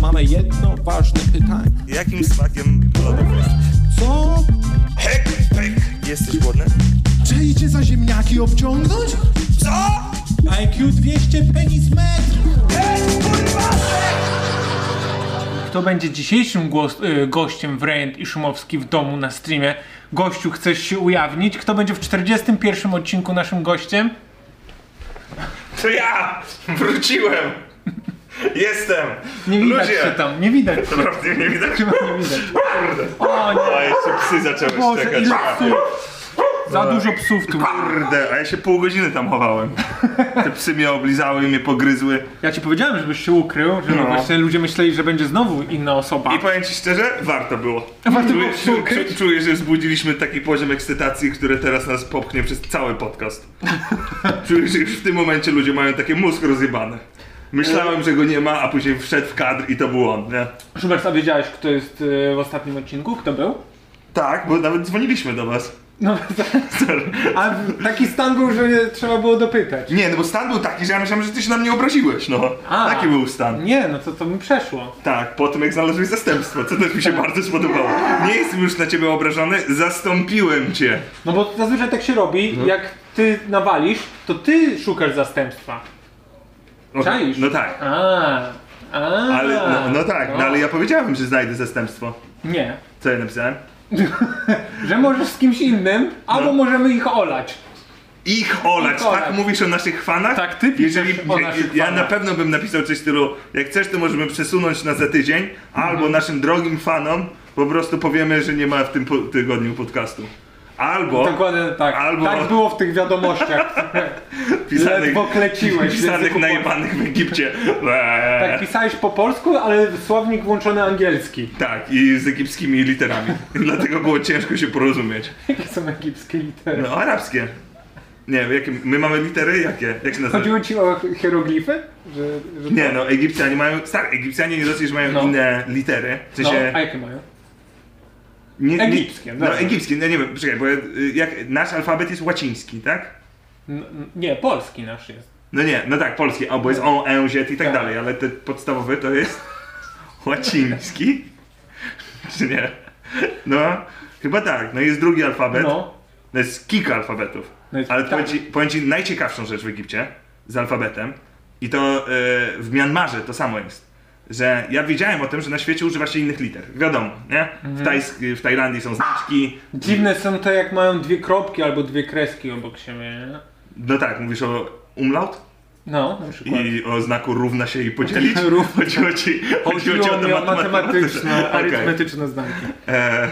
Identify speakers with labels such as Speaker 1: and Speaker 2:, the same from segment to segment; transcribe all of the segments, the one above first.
Speaker 1: mamy jedno ważne pytanie.
Speaker 2: Jakim smakiem lodów jesteś?
Speaker 1: Co?
Speaker 2: Hek, hek. Jesteś głodny?
Speaker 3: Czy idzie za ziemniaki obciągnąć?
Speaker 2: Co?
Speaker 1: IQ 200 penis metr!
Speaker 4: Kto będzie dzisiejszym głos, y, gościem w Rejent i Szumowski w domu na streamie? Gościu, chcesz się ujawnić? Kto będzie w 41 odcinku naszym gościem?
Speaker 2: To ja! Wróciłem! Jestem!
Speaker 4: Nie widać
Speaker 2: Ludzie!
Speaker 4: się tam, nie widać się,
Speaker 2: Naprawdę nie widać.
Speaker 4: chyba nie widać.
Speaker 2: Kurde.
Speaker 4: O nie,
Speaker 2: A jeszcze psy zaczęły
Speaker 4: Boże,
Speaker 2: szczekać.
Speaker 4: ile psów! Za dużo psów tu.
Speaker 2: Kurde, a ja się pół godziny tam chowałem. Te psy mnie oblizały i mnie pogryzły.
Speaker 4: Ja ci powiedziałem, żebyś się ukrył, żeby
Speaker 2: No.
Speaker 4: właśnie ludzie myśleli, że będzie znowu inna osoba.
Speaker 2: I powiem ci szczerze, warto było.
Speaker 4: Warto było
Speaker 2: Czu-
Speaker 4: się ukryć.
Speaker 2: czu- Czuję, że wzbudziliśmy taki poziom ekscytacji, który teraz nas popchnie przez cały podcast. Czuję, że już w tym momencie ludzie mają takie mózg rozjebane. Myślałem, że go nie ma, a później wszedł w kadr i to był on, nie?
Speaker 4: Szubert, a wiedziałeś, kto jest y, w ostatnim odcinku? Kto był?
Speaker 2: Tak, bo nawet dzwoniliśmy do was.
Speaker 4: No, a taki stan był, że nie trzeba było dopytać.
Speaker 2: Nie, no bo stan był taki, że ja myślałem, że ty się na mnie obraziłeś, no.
Speaker 4: A.
Speaker 2: Taki był stan.
Speaker 4: Nie, no to, to mi przeszło.
Speaker 2: Tak, po tym jak znalazłeś zastępstwo, co też mi
Speaker 4: Tak.
Speaker 2: się bardzo spodobało. Nie jestem już na ciebie obrażony, zastąpiłem cię.
Speaker 4: No bo zazwyczaj tak się robi,
Speaker 2: Mhm.
Speaker 4: jak ty nawalisz, to ty szukasz zastępstwa.
Speaker 2: No,
Speaker 4: Czaisz?
Speaker 2: No tak.
Speaker 4: A, a,
Speaker 2: Ale, no, no tak, no. ale ja powiedziałem, że znajdę zastępstwo.
Speaker 4: Nie.
Speaker 2: Co ja napisałem?
Speaker 4: Że możesz z kimś innym,
Speaker 2: No.
Speaker 4: albo możemy ich olać.
Speaker 2: Ich olać,
Speaker 4: Ich olać.
Speaker 2: tak mówisz o naszych fanach?
Speaker 4: Tak, ty piszesz
Speaker 2: Jeżeli,
Speaker 4: o naszych
Speaker 2: Ja
Speaker 4: fanach.
Speaker 2: na pewno bym napisał coś w stylu, jak chcesz to możemy przesunąć na za tydzień,
Speaker 4: Mhm.
Speaker 2: albo naszym drogim fanom po prostu powiemy, że nie ma w tym po- tygodniu podcastu. Albo
Speaker 4: Dokładnie tak.
Speaker 2: Albo-
Speaker 4: Tak było w tych wiadomościach.
Speaker 2: pisanych,
Speaker 4: ledwo kleciłeś w
Speaker 2: pisanych
Speaker 4: języku
Speaker 2: najebanych w Egipcie. Eee.
Speaker 4: Tak pisałeś po polsku, ale słownik włączony angielski.
Speaker 2: Tak, i z egipskimi literami. I Dlatego było ciężko się porozumieć.
Speaker 4: Jakie są egipskie litery?
Speaker 2: No, arabskie. Nie, jakie, my mamy litery jakie? Jak się nazywa?
Speaker 4: Chodziło ci o hieroglify? Że,
Speaker 2: No.
Speaker 4: że
Speaker 2: Nie no, Egipcjanie mają. Tak, Egipcjanie nie dosyć, że mają
Speaker 4: No.
Speaker 2: inne litery. W
Speaker 4: No,
Speaker 2: sensie.
Speaker 4: a jakie mają?
Speaker 2: nie, nie-
Speaker 4: egipskie,
Speaker 2: No
Speaker 4: dobra.
Speaker 2: egipskie, no nie wiem, czekaj, bo y, jak, nasz alfabet jest łaciński, tak?
Speaker 4: N- n- nie, polski nasz jest.
Speaker 2: No nie, no tak, polski, albo jest O, E, Z i tak
Speaker 4: Tak.
Speaker 2: dalej, ale ten podstawowy to jest łaciński. Czy nie? No, chyba tak. No jest drugi alfabet.
Speaker 4: No.
Speaker 2: No jest kilka alfabetów.
Speaker 4: No jest-
Speaker 2: ale
Speaker 4: tak.
Speaker 2: powiem, ci, powiem ci najciekawszą rzecz w Egipcie z alfabetem i to y, w Mianmarze to samo jest. Że ja wiedziałem o tym, że na świecie używa się innych liter. Wiadomo, nie? W,
Speaker 4: Mhm.
Speaker 2: Tajs- w Tajlandii są znaczki.
Speaker 4: Dziwne są te, jak mają dwie kropki albo dwie kreski obok siebie. nie?
Speaker 2: No tak, mówisz o umlaut
Speaker 4: No, na przykład.
Speaker 2: i o znaku równa się i podzielić.
Speaker 4: Równa.
Speaker 2: Chodziło ci, chodziło ci
Speaker 4: Chodziło
Speaker 2: o
Speaker 4: mi
Speaker 2: to
Speaker 4: o matematyczne,
Speaker 2: matematyczne. Okej.
Speaker 4: arytmetyczne znaki.
Speaker 2: E,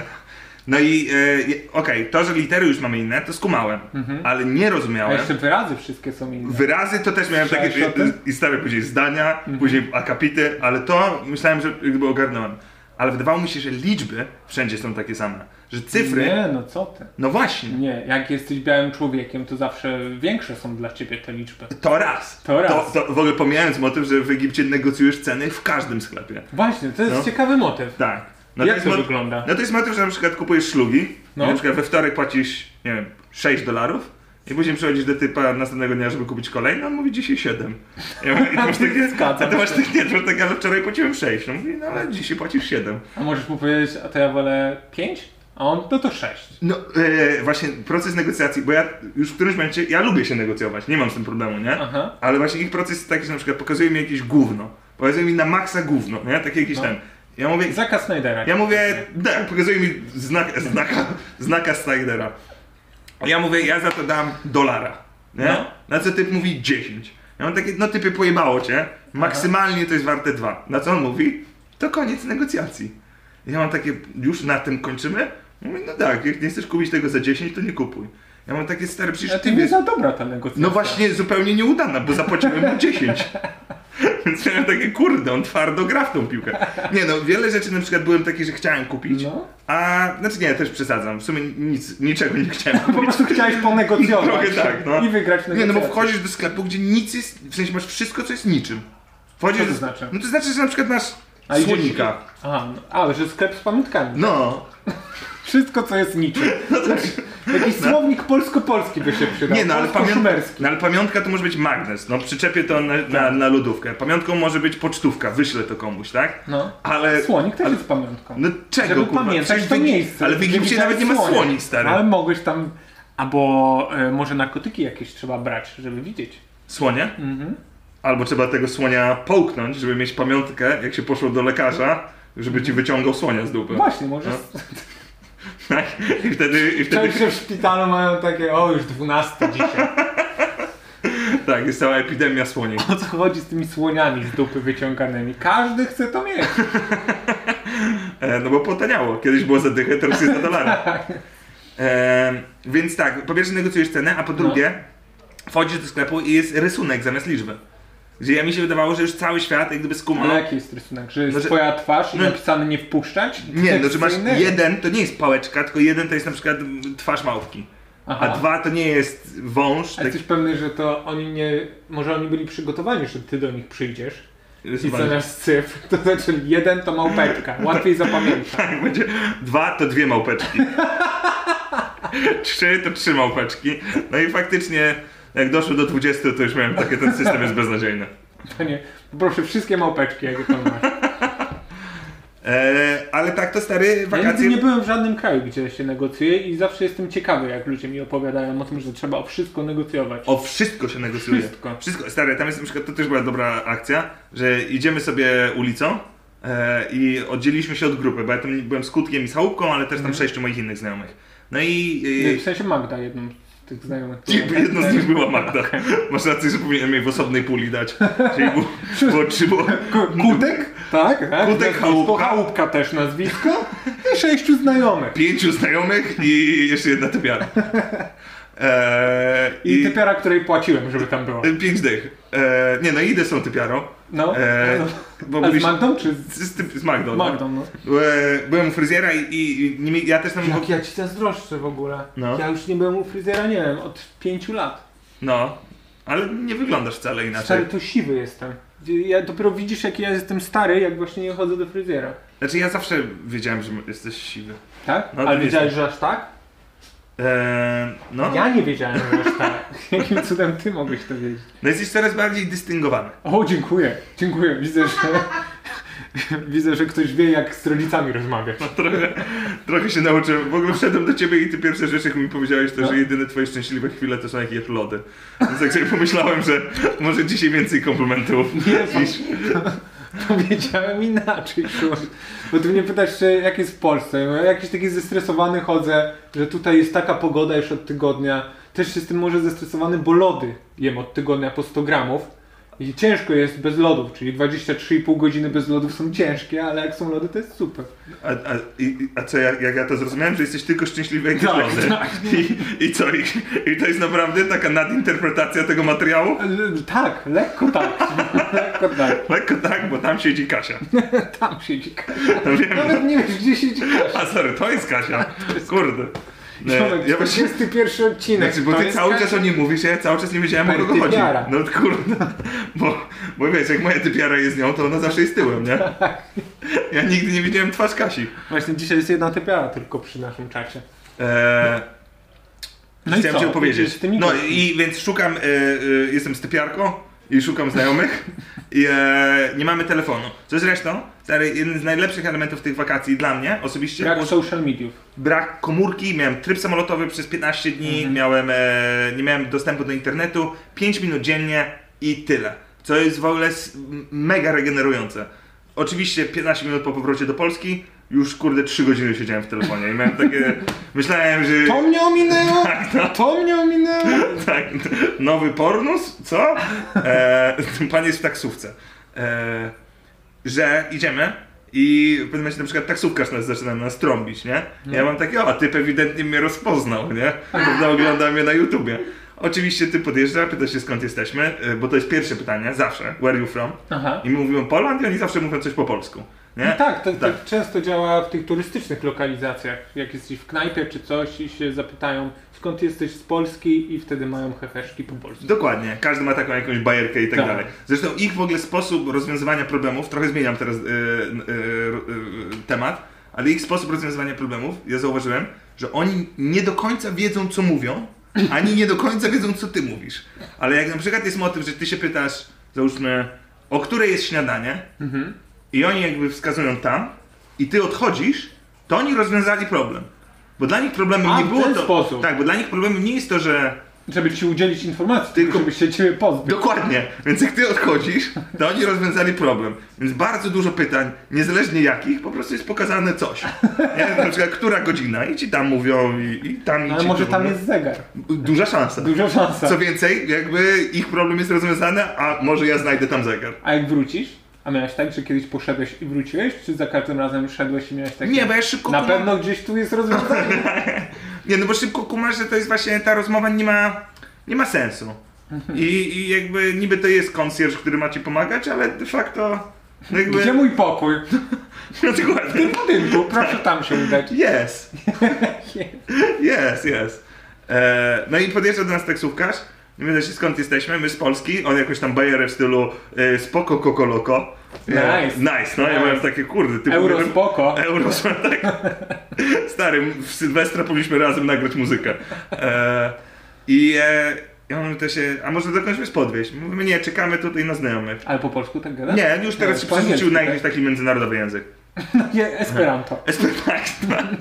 Speaker 2: No i e, je- okej, to, że litery już mamy inne, to skumałem, ale nie
Speaker 4: Mhm. A
Speaker 2: rozumiałem.
Speaker 4: jeszcze wyrazy wszystkie są inne.
Speaker 2: Wyrazy to też miałem takie,
Speaker 4: Słyszałeś o tym? Mhm.
Speaker 2: i stare później zdania, później akapity, ale to myślałem, że jakby ogarnąłem. Ale wydawało mi się, że liczby wszędzie są takie same, że cyfry,
Speaker 4: Nie, no co ty.
Speaker 2: no właśnie,
Speaker 4: Nie, jak jesteś białym człowiekiem, to zawsze większe są dla ciebie te liczby.
Speaker 2: to raz.
Speaker 4: To raz.
Speaker 2: To, w ogóle pomijając motyw, że w Egipcie negocjujesz ceny w każdym sklepie.
Speaker 4: Właśnie, to jest
Speaker 2: No.
Speaker 4: ciekawy motyw.
Speaker 2: Tak. No
Speaker 4: Jak
Speaker 2: jest
Speaker 4: to
Speaker 2: mot-
Speaker 4: wygląda?
Speaker 2: No to jest motyw, że na przykład kupujesz szlugi,
Speaker 4: No.
Speaker 2: na przykład we wtorek płacisz, nie wiem, 6 dolarów i później przychodzisz do typa następnego dnia, żeby kupić kolejny, on mówi dzisiaj 7. Ja mówię, I to masz takie,
Speaker 4: Zgadzam
Speaker 2: a ty masz takie, nie, to tak, masz takie, ale wczoraj płaciłem 6. On mówi, no ale dzisiaj płacisz 7.
Speaker 4: A możesz mu powiedzieć, a to ja wolę 5, a on, no to 6.
Speaker 2: No e, właśnie proces negocjacji, bo ja już w którymś momencie, ja lubię się negocjować, nie mam z tym problemu, nie?
Speaker 4: Aha.
Speaker 2: Ale właśnie ich proces jest taki, że na przykład pokazuje mi jakieś gówno, pokazuje mi na maksa gówno, nie? Takie jakieś
Speaker 4: No.
Speaker 2: ten. Ja mówię,
Speaker 4: Zaka Snydera.
Speaker 2: Ja mówię, tak, pokazuje mi znak, znaka, znaka Snydera. Ja mówię, ja za to dam dolara. Nie?
Speaker 4: No.
Speaker 2: Na co typ mówi 10. Ja mam takie, no typie pojebało cię, maksymalnie to jest warte 2. Na co on mówi? To koniec negocjacji. Ja mam takie, już na tym kończymy? Mówię, no tak, jak nie chcesz kupić tego za 10, to nie kupuj. Ja mam takie stare, przecież
Speaker 4: A ty
Speaker 2: ty
Speaker 4: nie
Speaker 2: wiesz,
Speaker 4: za dobra ta negocjacja.
Speaker 2: no właśnie zupełnie nieudana, bo zapłaciłem mu 10. Więc miałem takie, kurde, on twardo gra w tą piłkę. Nie no, wiele rzeczy na przykład byłem taki, że chciałem kupić,
Speaker 4: No.
Speaker 2: a... Znaczy nie, też przesadzam, w sumie nic, niczego nie chciałem
Speaker 4: Po
Speaker 2: kupić.
Speaker 4: prostu chciałeś ponegocjować.
Speaker 2: No Trochę tak, no.
Speaker 4: I wygrać
Speaker 2: Nie
Speaker 4: negocjację.
Speaker 2: no, bo wchodzisz do sklepu, gdzie nic jest, w sensie masz wszystko, co jest niczym. Wchodzisz
Speaker 4: Co to
Speaker 2: do-
Speaker 4: znaczy?
Speaker 2: No to znaczy, że na przykład masz
Speaker 4: A idziesz-
Speaker 2: słonika.
Speaker 4: Aha, no, a, że sklep z pamiątkami.
Speaker 2: No,
Speaker 4: Wszystko, co jest niczym.
Speaker 2: no tak.
Speaker 4: Jakiś słownik polsko-polski by się przydał.
Speaker 2: Nie, no ale, pamią-
Speaker 4: Polsko-szumerski.
Speaker 2: no ale pamiątka to może być magnes. No przyczepię to na, na, na lodówkę. Pamiątką może być pocztówka, wyślę to komuś, tak?
Speaker 4: No.
Speaker 2: Ale.
Speaker 4: Słonik też
Speaker 2: ale,
Speaker 4: jest pamiątką.
Speaker 2: No czego
Speaker 4: Żeby
Speaker 2: kurwa?
Speaker 4: pamiętać
Speaker 2: Przecież
Speaker 4: to
Speaker 2: w-
Speaker 4: miejsce.
Speaker 2: Ale w
Speaker 4: gdzie
Speaker 2: Egipcie
Speaker 4: widziałeś
Speaker 2: nawet nie ma
Speaker 4: słonia.
Speaker 2: słoni, stary.
Speaker 4: No, Ale mogłeś tam... Albo e, może narkotyki jakieś trzeba brać, żeby widzieć.
Speaker 2: Słonie?
Speaker 4: Mhm.
Speaker 2: Albo trzeba tego słonia połknąć, żeby mieć pamiątkę, jak się poszło do lekarza, żeby ci wyciągał słonia z dupy.
Speaker 4: Właśnie, może
Speaker 2: No. Tak? I wtedy, i wtedy
Speaker 4: Część w szpitalu mają takie, o już 12 dzisiaj.
Speaker 2: tak, jest cała epidemia słoni.
Speaker 4: O co chodzi z tymi słoniami z dupy wyciąganymi? Każdy chce to mieć.
Speaker 2: E, no bo potaniało. Kiedyś było za dychę, teraz jest za dolara.
Speaker 4: Tak.
Speaker 2: E, więc tak, po pierwsze negocjujesz cenę, a
Speaker 4: No.
Speaker 2: po drugie wchodzisz do sklepu i jest rysunek zamiast liczby. Gdzie ja mi się wydawało, że już cały świat jak gdyby skumał.
Speaker 4: Ale jaki jest rysunek? Że jest
Speaker 2: No. Znaczy-
Speaker 4: twoja twarz i
Speaker 2: no-
Speaker 4: napisane nie wpuszczać?
Speaker 2: Nie, no że masz
Speaker 4: Fikcyjny?
Speaker 2: jeden, to nie jest pałeczka, tylko jeden to jest na przykład mm, twarz małpki.
Speaker 4: Aha.
Speaker 2: A dwa to nie jest wąż.
Speaker 4: A
Speaker 2: Tak,
Speaker 4: jesteś pewny, że to oni nie... Może oni byli przygotowani, że ty do nich przyjdziesz i
Speaker 2: rysowanie.
Speaker 4: zamiast cyfr, to znaczy jeden to małpetka. Łatwiej zapamiętać.
Speaker 2: tak, będzie. Dwa to dwie małpeczki. Trzy to trzy małpeczki. No i faktycznie jak doszło do 20, to już miałem takie, ten system jest beznadziejny.
Speaker 4: Panie, proszę wszystkie małpeczki, jakie tam masz.
Speaker 2: E, ale tak to stary
Speaker 4: Ja nigdy
Speaker 2: wakacje.
Speaker 4: No nie byłem w żadnym kraju, gdzie się negocjuje i zawsze jestem ciekawy, jak ludzie mi opowiadają o tym, że trzeba o wszystko negocjować.
Speaker 2: O wszystko się negocjuje.
Speaker 4: Wszystko.
Speaker 2: Wszystko. Stary, tam jest na przykład, to też była dobra akcja, że idziemy sobie ulicą e, i oddzieliliśmy się od grupy, bo ja tam byłem skutkiem i chałupką, ale też tam
Speaker 4: Mhm.
Speaker 2: sześciu moich innych znajomych. No i...
Speaker 4: W
Speaker 2: E,
Speaker 4: sensie Magda, jedną z tych znajomych.
Speaker 2: Jakby jedno z nich była Magda. Masz rację, że powinienem jej w osobnej puli dać. Czyli było, było, czy było
Speaker 4: Kutek? Tak, tak.
Speaker 2: Kutek,
Speaker 4: Nazwisko,
Speaker 2: Chałupka.
Speaker 4: Chałupka też nazwisko. I sześciu znajomych.
Speaker 2: pięciu znajomych i jeszcze jedna typiara. E,
Speaker 4: I, typiara, której płaciłem, żeby tam było.
Speaker 2: Pięć dych. E, nie no, idę z tą typiarą.
Speaker 4: No.
Speaker 2: E, bo
Speaker 4: A z
Speaker 2: byliśmy-
Speaker 4: Magdą czy z
Speaker 2: Z, typ- z Magdą. no.
Speaker 4: Magdą, no.
Speaker 2: E, Byłem u fryzjera i, i, i nie, mi- ja też tam...
Speaker 4: Jak ja ci zazdroszczę w ogóle.
Speaker 2: No.
Speaker 4: Ja już nie byłem u fryzjera, nie wiem, od pięciu lat.
Speaker 2: No, ale nie wyglądasz wcale
Speaker 4: Stary,
Speaker 2: inaczej.
Speaker 4: to siwy jestem. Ja dopiero widzisz, jaki ja jestem stary, jak właśnie nie chodzę do fryzjera.
Speaker 2: Znaczy ja zawsze wiedziałem, że jesteś siwy.
Speaker 4: Tak?
Speaker 2: No,
Speaker 4: Ale
Speaker 2: to
Speaker 4: wiedziałeś,
Speaker 2: jest-
Speaker 4: że aż tak?
Speaker 2: E, no.
Speaker 4: Ja nie wiedziałem, że aż tak. Jakim cudem ty mogłeś to wiedzieć?
Speaker 2: no jesteś coraz bardziej dystyngowany.
Speaker 4: O, dziękuję. Dziękuję. Widzę, że... Widzę, że ktoś wie, jak z rodzicami rozmawiać.
Speaker 2: No Trochę, trochę się nauczyłem. W ogóle wszedłem do ciebie i ty pierwsze rzeczy, jak mi powiedziałeś, to
Speaker 4: No.
Speaker 2: że jedyne twoje szczęśliwe chwile to są jak jesz lody. Więc tak sobie pomyślałem, że może dzisiaj więcej komplementów
Speaker 4: Nie,
Speaker 2: niż...
Speaker 4: Powiedziałem inaczej, kurde. Bo ty mnie pytasz, czy jak jest w Polsce. Ja mówię, Jakiś taki zestresowany chodzę, że tutaj jest taka pogoda już od tygodnia. Też jestem może zestresowany, bo lody jem od tygodnia po 100 gramów. I ciężko jest bez lodów, czyli 23,5 godziny bez lodów są ciężkie, ale jak są lody, to jest super.
Speaker 2: A, a, i, a co, jak, jak ja to zrozumiałem, że jesteś tylko szczęśliwy jak
Speaker 4: Tak,
Speaker 2: tak, lody.
Speaker 4: tak.
Speaker 2: I, I co, i, i to jest naprawdę taka nadinterpretacja tego materiału?
Speaker 4: Ale Tak, lekko tak. lekko tak.
Speaker 2: Lekko tak, bo tam siedzi Kasia.
Speaker 4: Tam siedzi Kasia.
Speaker 2: No wiem, no.
Speaker 4: Nawet nie wiesz, gdzie siedzi Kasia.
Speaker 2: a sorry, to jest Kasia. Kurde. Nie,
Speaker 4: Człowiek,
Speaker 2: ja właśnie...
Speaker 4: 41 odcinek.
Speaker 2: Znaczy, bo
Speaker 4: To
Speaker 2: ty
Speaker 4: jest
Speaker 2: cały
Speaker 4: Kasia.
Speaker 2: czas o nim mówisz, a ja cały czas nie wiedziałem o kogo chodzi.
Speaker 4: Partypiara.
Speaker 2: No kurde, bo, bo wiesz, jak moja typiara jest nią, to ona zawsze jest tyłem, nie?
Speaker 4: Tak.
Speaker 2: Ja nigdy nie widziałem twarz Kasi.
Speaker 4: Właśnie dzisiaj jest jedna typiara tylko przy naszym czacie.
Speaker 2: Eee,
Speaker 4: No i
Speaker 2: Chciałem
Speaker 4: co?
Speaker 2: ci
Speaker 4: Z
Speaker 2: opowiedzieć.
Speaker 4: tymi
Speaker 2: No
Speaker 4: gośćmi.
Speaker 2: i więc szukam, e, e, jestem stypiarką i szukam znajomych i e, nie mamy telefonu. Co zresztą, stary, jeden z najlepszych elementów tych wakacji dla mnie osobiście
Speaker 4: Brak
Speaker 2: był
Speaker 4: social mediów.
Speaker 2: brak komórki, miałem tryb samolotowy przez 15 dni, miałem, e, nie miałem dostępu do internetu, 5 minut dziennie i tyle. Co jest w ogóle s- m- mega regenerujące. Oczywiście 15 minut po powrocie do Polski, już kurde 3 godziny siedziałem w telefonie i miałem takie, myślałem, że...
Speaker 4: To mnie ominęło!
Speaker 2: no.
Speaker 4: To mnie ominęło!
Speaker 2: Tak, nowy pornus? Co? E, pan jest w taksówce. E, że idziemy i w pewnym momencie na przykład taksówkarz nas zaczyna nas trąbić, nie?
Speaker 4: No.
Speaker 2: Ja mam takie, o, typ ewidentnie mnie rozpoznał, nie? Prawda, ogląda mnie na YouTubie. Oczywiście ty podjeżdża, pyta się skąd jesteśmy, e, bo to jest pierwsze pytanie, zawsze, where you from?
Speaker 4: Aha.
Speaker 2: I my mówimy Poland i oni zawsze mówią coś po polsku, nie?
Speaker 4: No tak, to, to
Speaker 2: Tak.
Speaker 4: często działa w tych turystycznych lokalizacjach. Jak jesteś w knajpie czy coś i się zapytają skąd jesteś z Polski i wtedy mają heheszki po polsku.
Speaker 2: Dokładnie, każdy ma taką jakąś bajerkę i tak,
Speaker 4: Tak.
Speaker 2: dalej. Zresztą ich w ogóle sposób rozwiązywania problemów, trochę zmieniam y, teraz e, e, e, temat, ale ich sposób rozwiązywania problemów, ja zauważyłem, że oni nie do końca wiedzą, co mówią, ani nie do końca wiedzą, co ty mówisz. Ale jak na przykład jest motyw, że ty się pytasz, załóżmy, o której jest śniadanie,
Speaker 4: Mhm.
Speaker 2: i oni jakby wskazują tam, i ty odchodzisz, to oni rozwiązali problem. Bo dla nich problemem
Speaker 4: A,
Speaker 2: nie
Speaker 4: w
Speaker 2: było
Speaker 4: ten
Speaker 2: to.
Speaker 4: sposób.
Speaker 2: Tak, bo dla nich problemem nie jest to, że
Speaker 4: Żeby ci udzielić informacji,
Speaker 2: Tylko-
Speaker 4: tylko żeby się ciebie pozbyć.
Speaker 2: Dokładnie, więc jak ty odchodzisz, to oni rozwiązali problem. Więc bardzo dużo pytań, niezależnie jakich, po prostu jest pokazane coś. Nie wiem, na przykład, która godzina i ci tam mówią i, i tam i
Speaker 4: Ale
Speaker 2: ci
Speaker 4: może
Speaker 2: tu
Speaker 4: tam
Speaker 2: mówią.
Speaker 4: jest zegar.
Speaker 2: Duża szansa.
Speaker 4: Duża tak. szansa.
Speaker 2: Co więcej, jakby ich problem jest rozwiązany, a może ja znajdę tam zegar.
Speaker 4: A jak wrócisz? A miałeś tak, że kiedyś poszedłeś i wróciłeś? Czy za każdym razem szedłeś i miałeś takie...
Speaker 2: Nie, bo ja szybko
Speaker 4: Tak. Na
Speaker 2: kumam-
Speaker 4: pewno gdzieś tu jest rozwiązanie.
Speaker 2: Nie, no bo szybko kumasz, że to jest właśnie, ta rozmowa nie ma, nie ma sensu. I, I jakby niby to jest konsjerż, który ma ci pomagać, ale de facto... no Jakby...
Speaker 4: Gdzie mój pokój?
Speaker 2: Dokładnie.
Speaker 4: W budynku, proszę tam się udać.
Speaker 2: Yes. Yes, yes. E, no i podjeżdża do nas taksówkarz. Nie wiem się skąd jesteśmy, my z Polski, on jakoś tam bajerę w stylu e, spoko kokoloko. E,
Speaker 4: Nice.
Speaker 2: Nice, no ja
Speaker 4: Nice.
Speaker 2: miałem takie kurde, ty
Speaker 4: Euro spoko.
Speaker 2: Euro tak. Stary, w Sylwestra powinniśmy razem nagrać muzykę. E, I e, ja mówię to się, a może dokądś wiesz podwieźć? Mówimy, nie, czekamy tutaj na znajomych.
Speaker 4: Ale po polsku tak gada?
Speaker 2: Nie, już teraz
Speaker 4: Nie,
Speaker 2: się
Speaker 4: po
Speaker 2: przerzucił na
Speaker 4: angielsku,
Speaker 2: jakiś taki międzynarodowy język.
Speaker 4: Nie, Esperanto.
Speaker 2: Esperanto.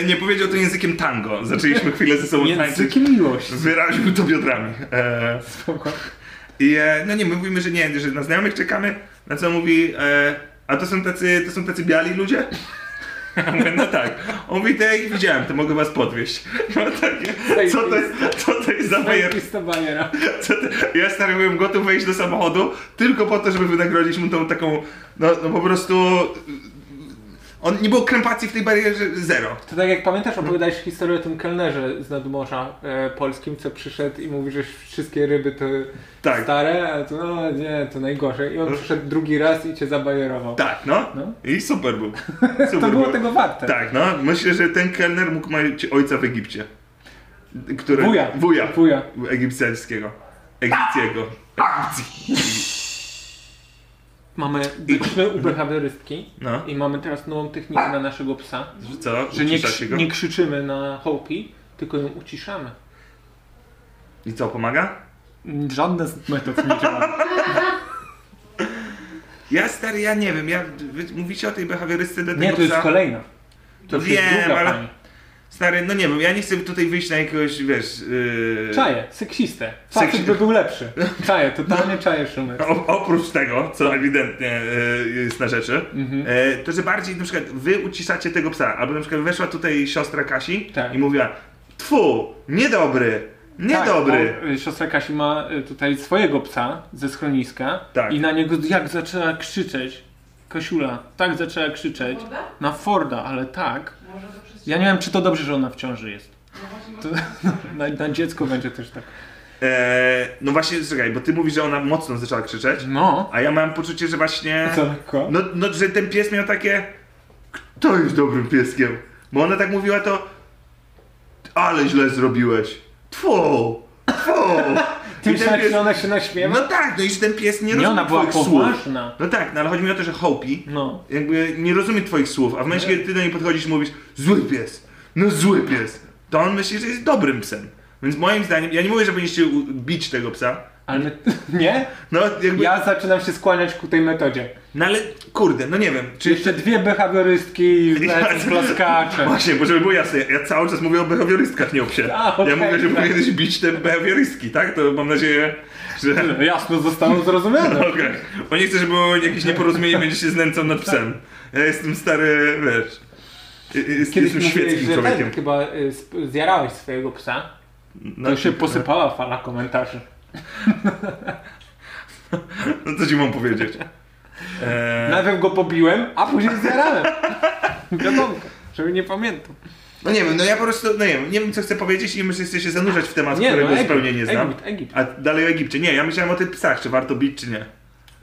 Speaker 2: E, Nie powiedział to językiem tango. Zaczęliśmy chwilę ze sobą tańczyć.
Speaker 4: Językiem miłości.
Speaker 2: Wyraził to biodrami. E,
Speaker 4: Spoko.
Speaker 2: I e, no nie, my mówimy, że nie, że na znajomych czekamy, na co on mówi, e, a to są tacy, to są tacy biali ludzie? Ja mówię, no tak. On mówi, to ja ich widziałem, to mogę was podwieźć. Ja mam takie, co to jest, co to jest za bajer?
Speaker 4: Zajebista bajera.
Speaker 2: Co to, ja stary byłem gotów wejść do samochodu tylko po to, żeby wynagrodzić mu tą taką, no, no po prostu... On, nie było krępacji w tej barierze zero.
Speaker 4: To tak jak pamiętasz, opowiadałeś historię o tym kelnerze z nadmorza e, polskim, co przyszedł i mówi, że wszystkie ryby to
Speaker 2: Tak.
Speaker 4: stare, a to no nie, to najgorzej. I on przyszedł drugi raz i cię zabajerował.
Speaker 2: Tak, no.
Speaker 4: No.
Speaker 2: I super był. Super
Speaker 4: To było
Speaker 2: był.
Speaker 4: tego warte.
Speaker 2: Tak, no. Myślę, że ten kelner mógł mieć ojca w Egipcie. Który...
Speaker 4: Wuja.
Speaker 2: Wuja.
Speaker 4: Wuja.
Speaker 2: Egipcjańskiego. Egipcjego. Egipcji.
Speaker 4: Mamy, byliśmy u behawiorystki
Speaker 2: No.
Speaker 4: i mamy teraz nową technikę na naszego psa,
Speaker 2: Że co?
Speaker 4: że nie,
Speaker 2: Ucisza się go?
Speaker 4: krzy- nie krzyczymy na hołpi, tylko ją uciszamy.
Speaker 2: I co, pomaga?
Speaker 4: Żadne z metod nie działa.
Speaker 2: Ja stary, ja nie wiem, ja... Wy mówicie o tej behawiorystyce do tego
Speaker 4: Nie, to jest
Speaker 2: psa.
Speaker 4: kolejna. To już jest
Speaker 2: Wiem,
Speaker 4: druga
Speaker 2: ale-
Speaker 4: pani.
Speaker 2: Stary, no nie wiem, ja nie chcę tutaj wyjść na jakiegoś, wiesz... Yy...
Speaker 4: Czaje, seksistę.
Speaker 2: Seksi-
Speaker 4: Facet by był lepszy. Czaje, totalnie
Speaker 2: No.
Speaker 4: czaje Szumer.
Speaker 2: O, oprócz tego, co ewidentnie e, jest na rzeczy,
Speaker 4: Mhm.
Speaker 2: e, to że bardziej na przykład wy uciszacie tego psa, albo na przykład weszła tutaj siostra Kasi
Speaker 4: Tak.
Speaker 2: i mówiła Tfu, niedobry, niedobry.
Speaker 4: Tak, bo, y, siostra Kasi ma y, tutaj swojego psa ze schroniska
Speaker 2: Tak.
Speaker 4: i na niego jak zaczęła krzyczeć, Kasiula, tak zaczęła krzyczeć,
Speaker 5: Forda?
Speaker 4: na Forda, ale tak.
Speaker 5: Może to No przez
Speaker 4: Ja nie wiem, czy to dobrze, że ona w ciąży jest. To, na, na dziecko będzie też tak.
Speaker 2: E, no właśnie, czekaj, bo ty mówisz, że ona mocno zaczęła krzyczeć,
Speaker 4: No,
Speaker 2: a ja mam poczucie, że właśnie...
Speaker 4: co lekko.
Speaker 2: No, no, że ten pies miał takie. Kto jest dobrym pieskiem? Bo ona tak mówiła to. Ale źle zrobiłeś. Tfu! Tfu!
Speaker 4: Ty
Speaker 2: I ten
Speaker 4: myślałeś,
Speaker 2: pies-
Speaker 4: że ona się naśmiewa?
Speaker 2: No tak, no i że ten pies nie,
Speaker 4: nie,
Speaker 2: rozumie
Speaker 4: ona była
Speaker 2: twoich słów.
Speaker 4: poważna.
Speaker 2: No tak, no ale chodzi mi o to, że Hopi
Speaker 4: No.
Speaker 2: jakby nie rozumie twoich słów, a w momencie, kiedy ty do niej podchodzisz i mówisz zły pies, no zły pies, to on myśli, że jest dobrym psem. Więc moim zdaniem, ja nie mówię, że powinniście u- bić tego psa,
Speaker 4: Ale my, nie?
Speaker 2: no jakby,
Speaker 4: Ja zaczynam się skłaniać ku tej metodzie.
Speaker 2: no ale kurde, no nie wiem, czy
Speaker 4: Jeszcze dwie behawiorystki i lecą plaskacze.
Speaker 2: Właśnie, bo żeby było jasne, ja cały czas mówię o behawiorystkach, nie o psie.
Speaker 4: A, okej,
Speaker 2: ja mówię, że
Speaker 4: tak.
Speaker 2: powinieneś bić te behawiorystki, tak? To mam nadzieję, że...
Speaker 4: Jasno zostało zrozumiane.
Speaker 2: Okej, bo nie chcę, żeby było jakieś nieporozumienie, będzie się znęcał nad psem. Ja jestem stary, wiesz... Jest,
Speaker 4: Kiedyś
Speaker 2: jestem
Speaker 4: mówiłeś,
Speaker 2: świeckim
Speaker 4: że
Speaker 2: człowiekiem.
Speaker 4: ten chyba y, sp- zjarałeś swojego psa.
Speaker 2: No,
Speaker 4: To się posypała fala komentarzy.
Speaker 2: No co ci mam powiedzieć? Eee,
Speaker 4: Najpierw go pobiłem, a później zjarałem. Wiadomo, żeby nie pamiętam.
Speaker 2: no nie wiem, no ja po prostu, no nie wiem, nie wiem co chcę powiedzieć i myślę, że chcę się zanurzać w temat,
Speaker 4: Nie, no,
Speaker 2: którego
Speaker 4: Egipt,
Speaker 2: zupełnie nie znam.
Speaker 4: Egipt, Egipt.
Speaker 2: A dalej o Egipcie. Nie, ja myślałem o tych psach, czy warto bić, czy nie.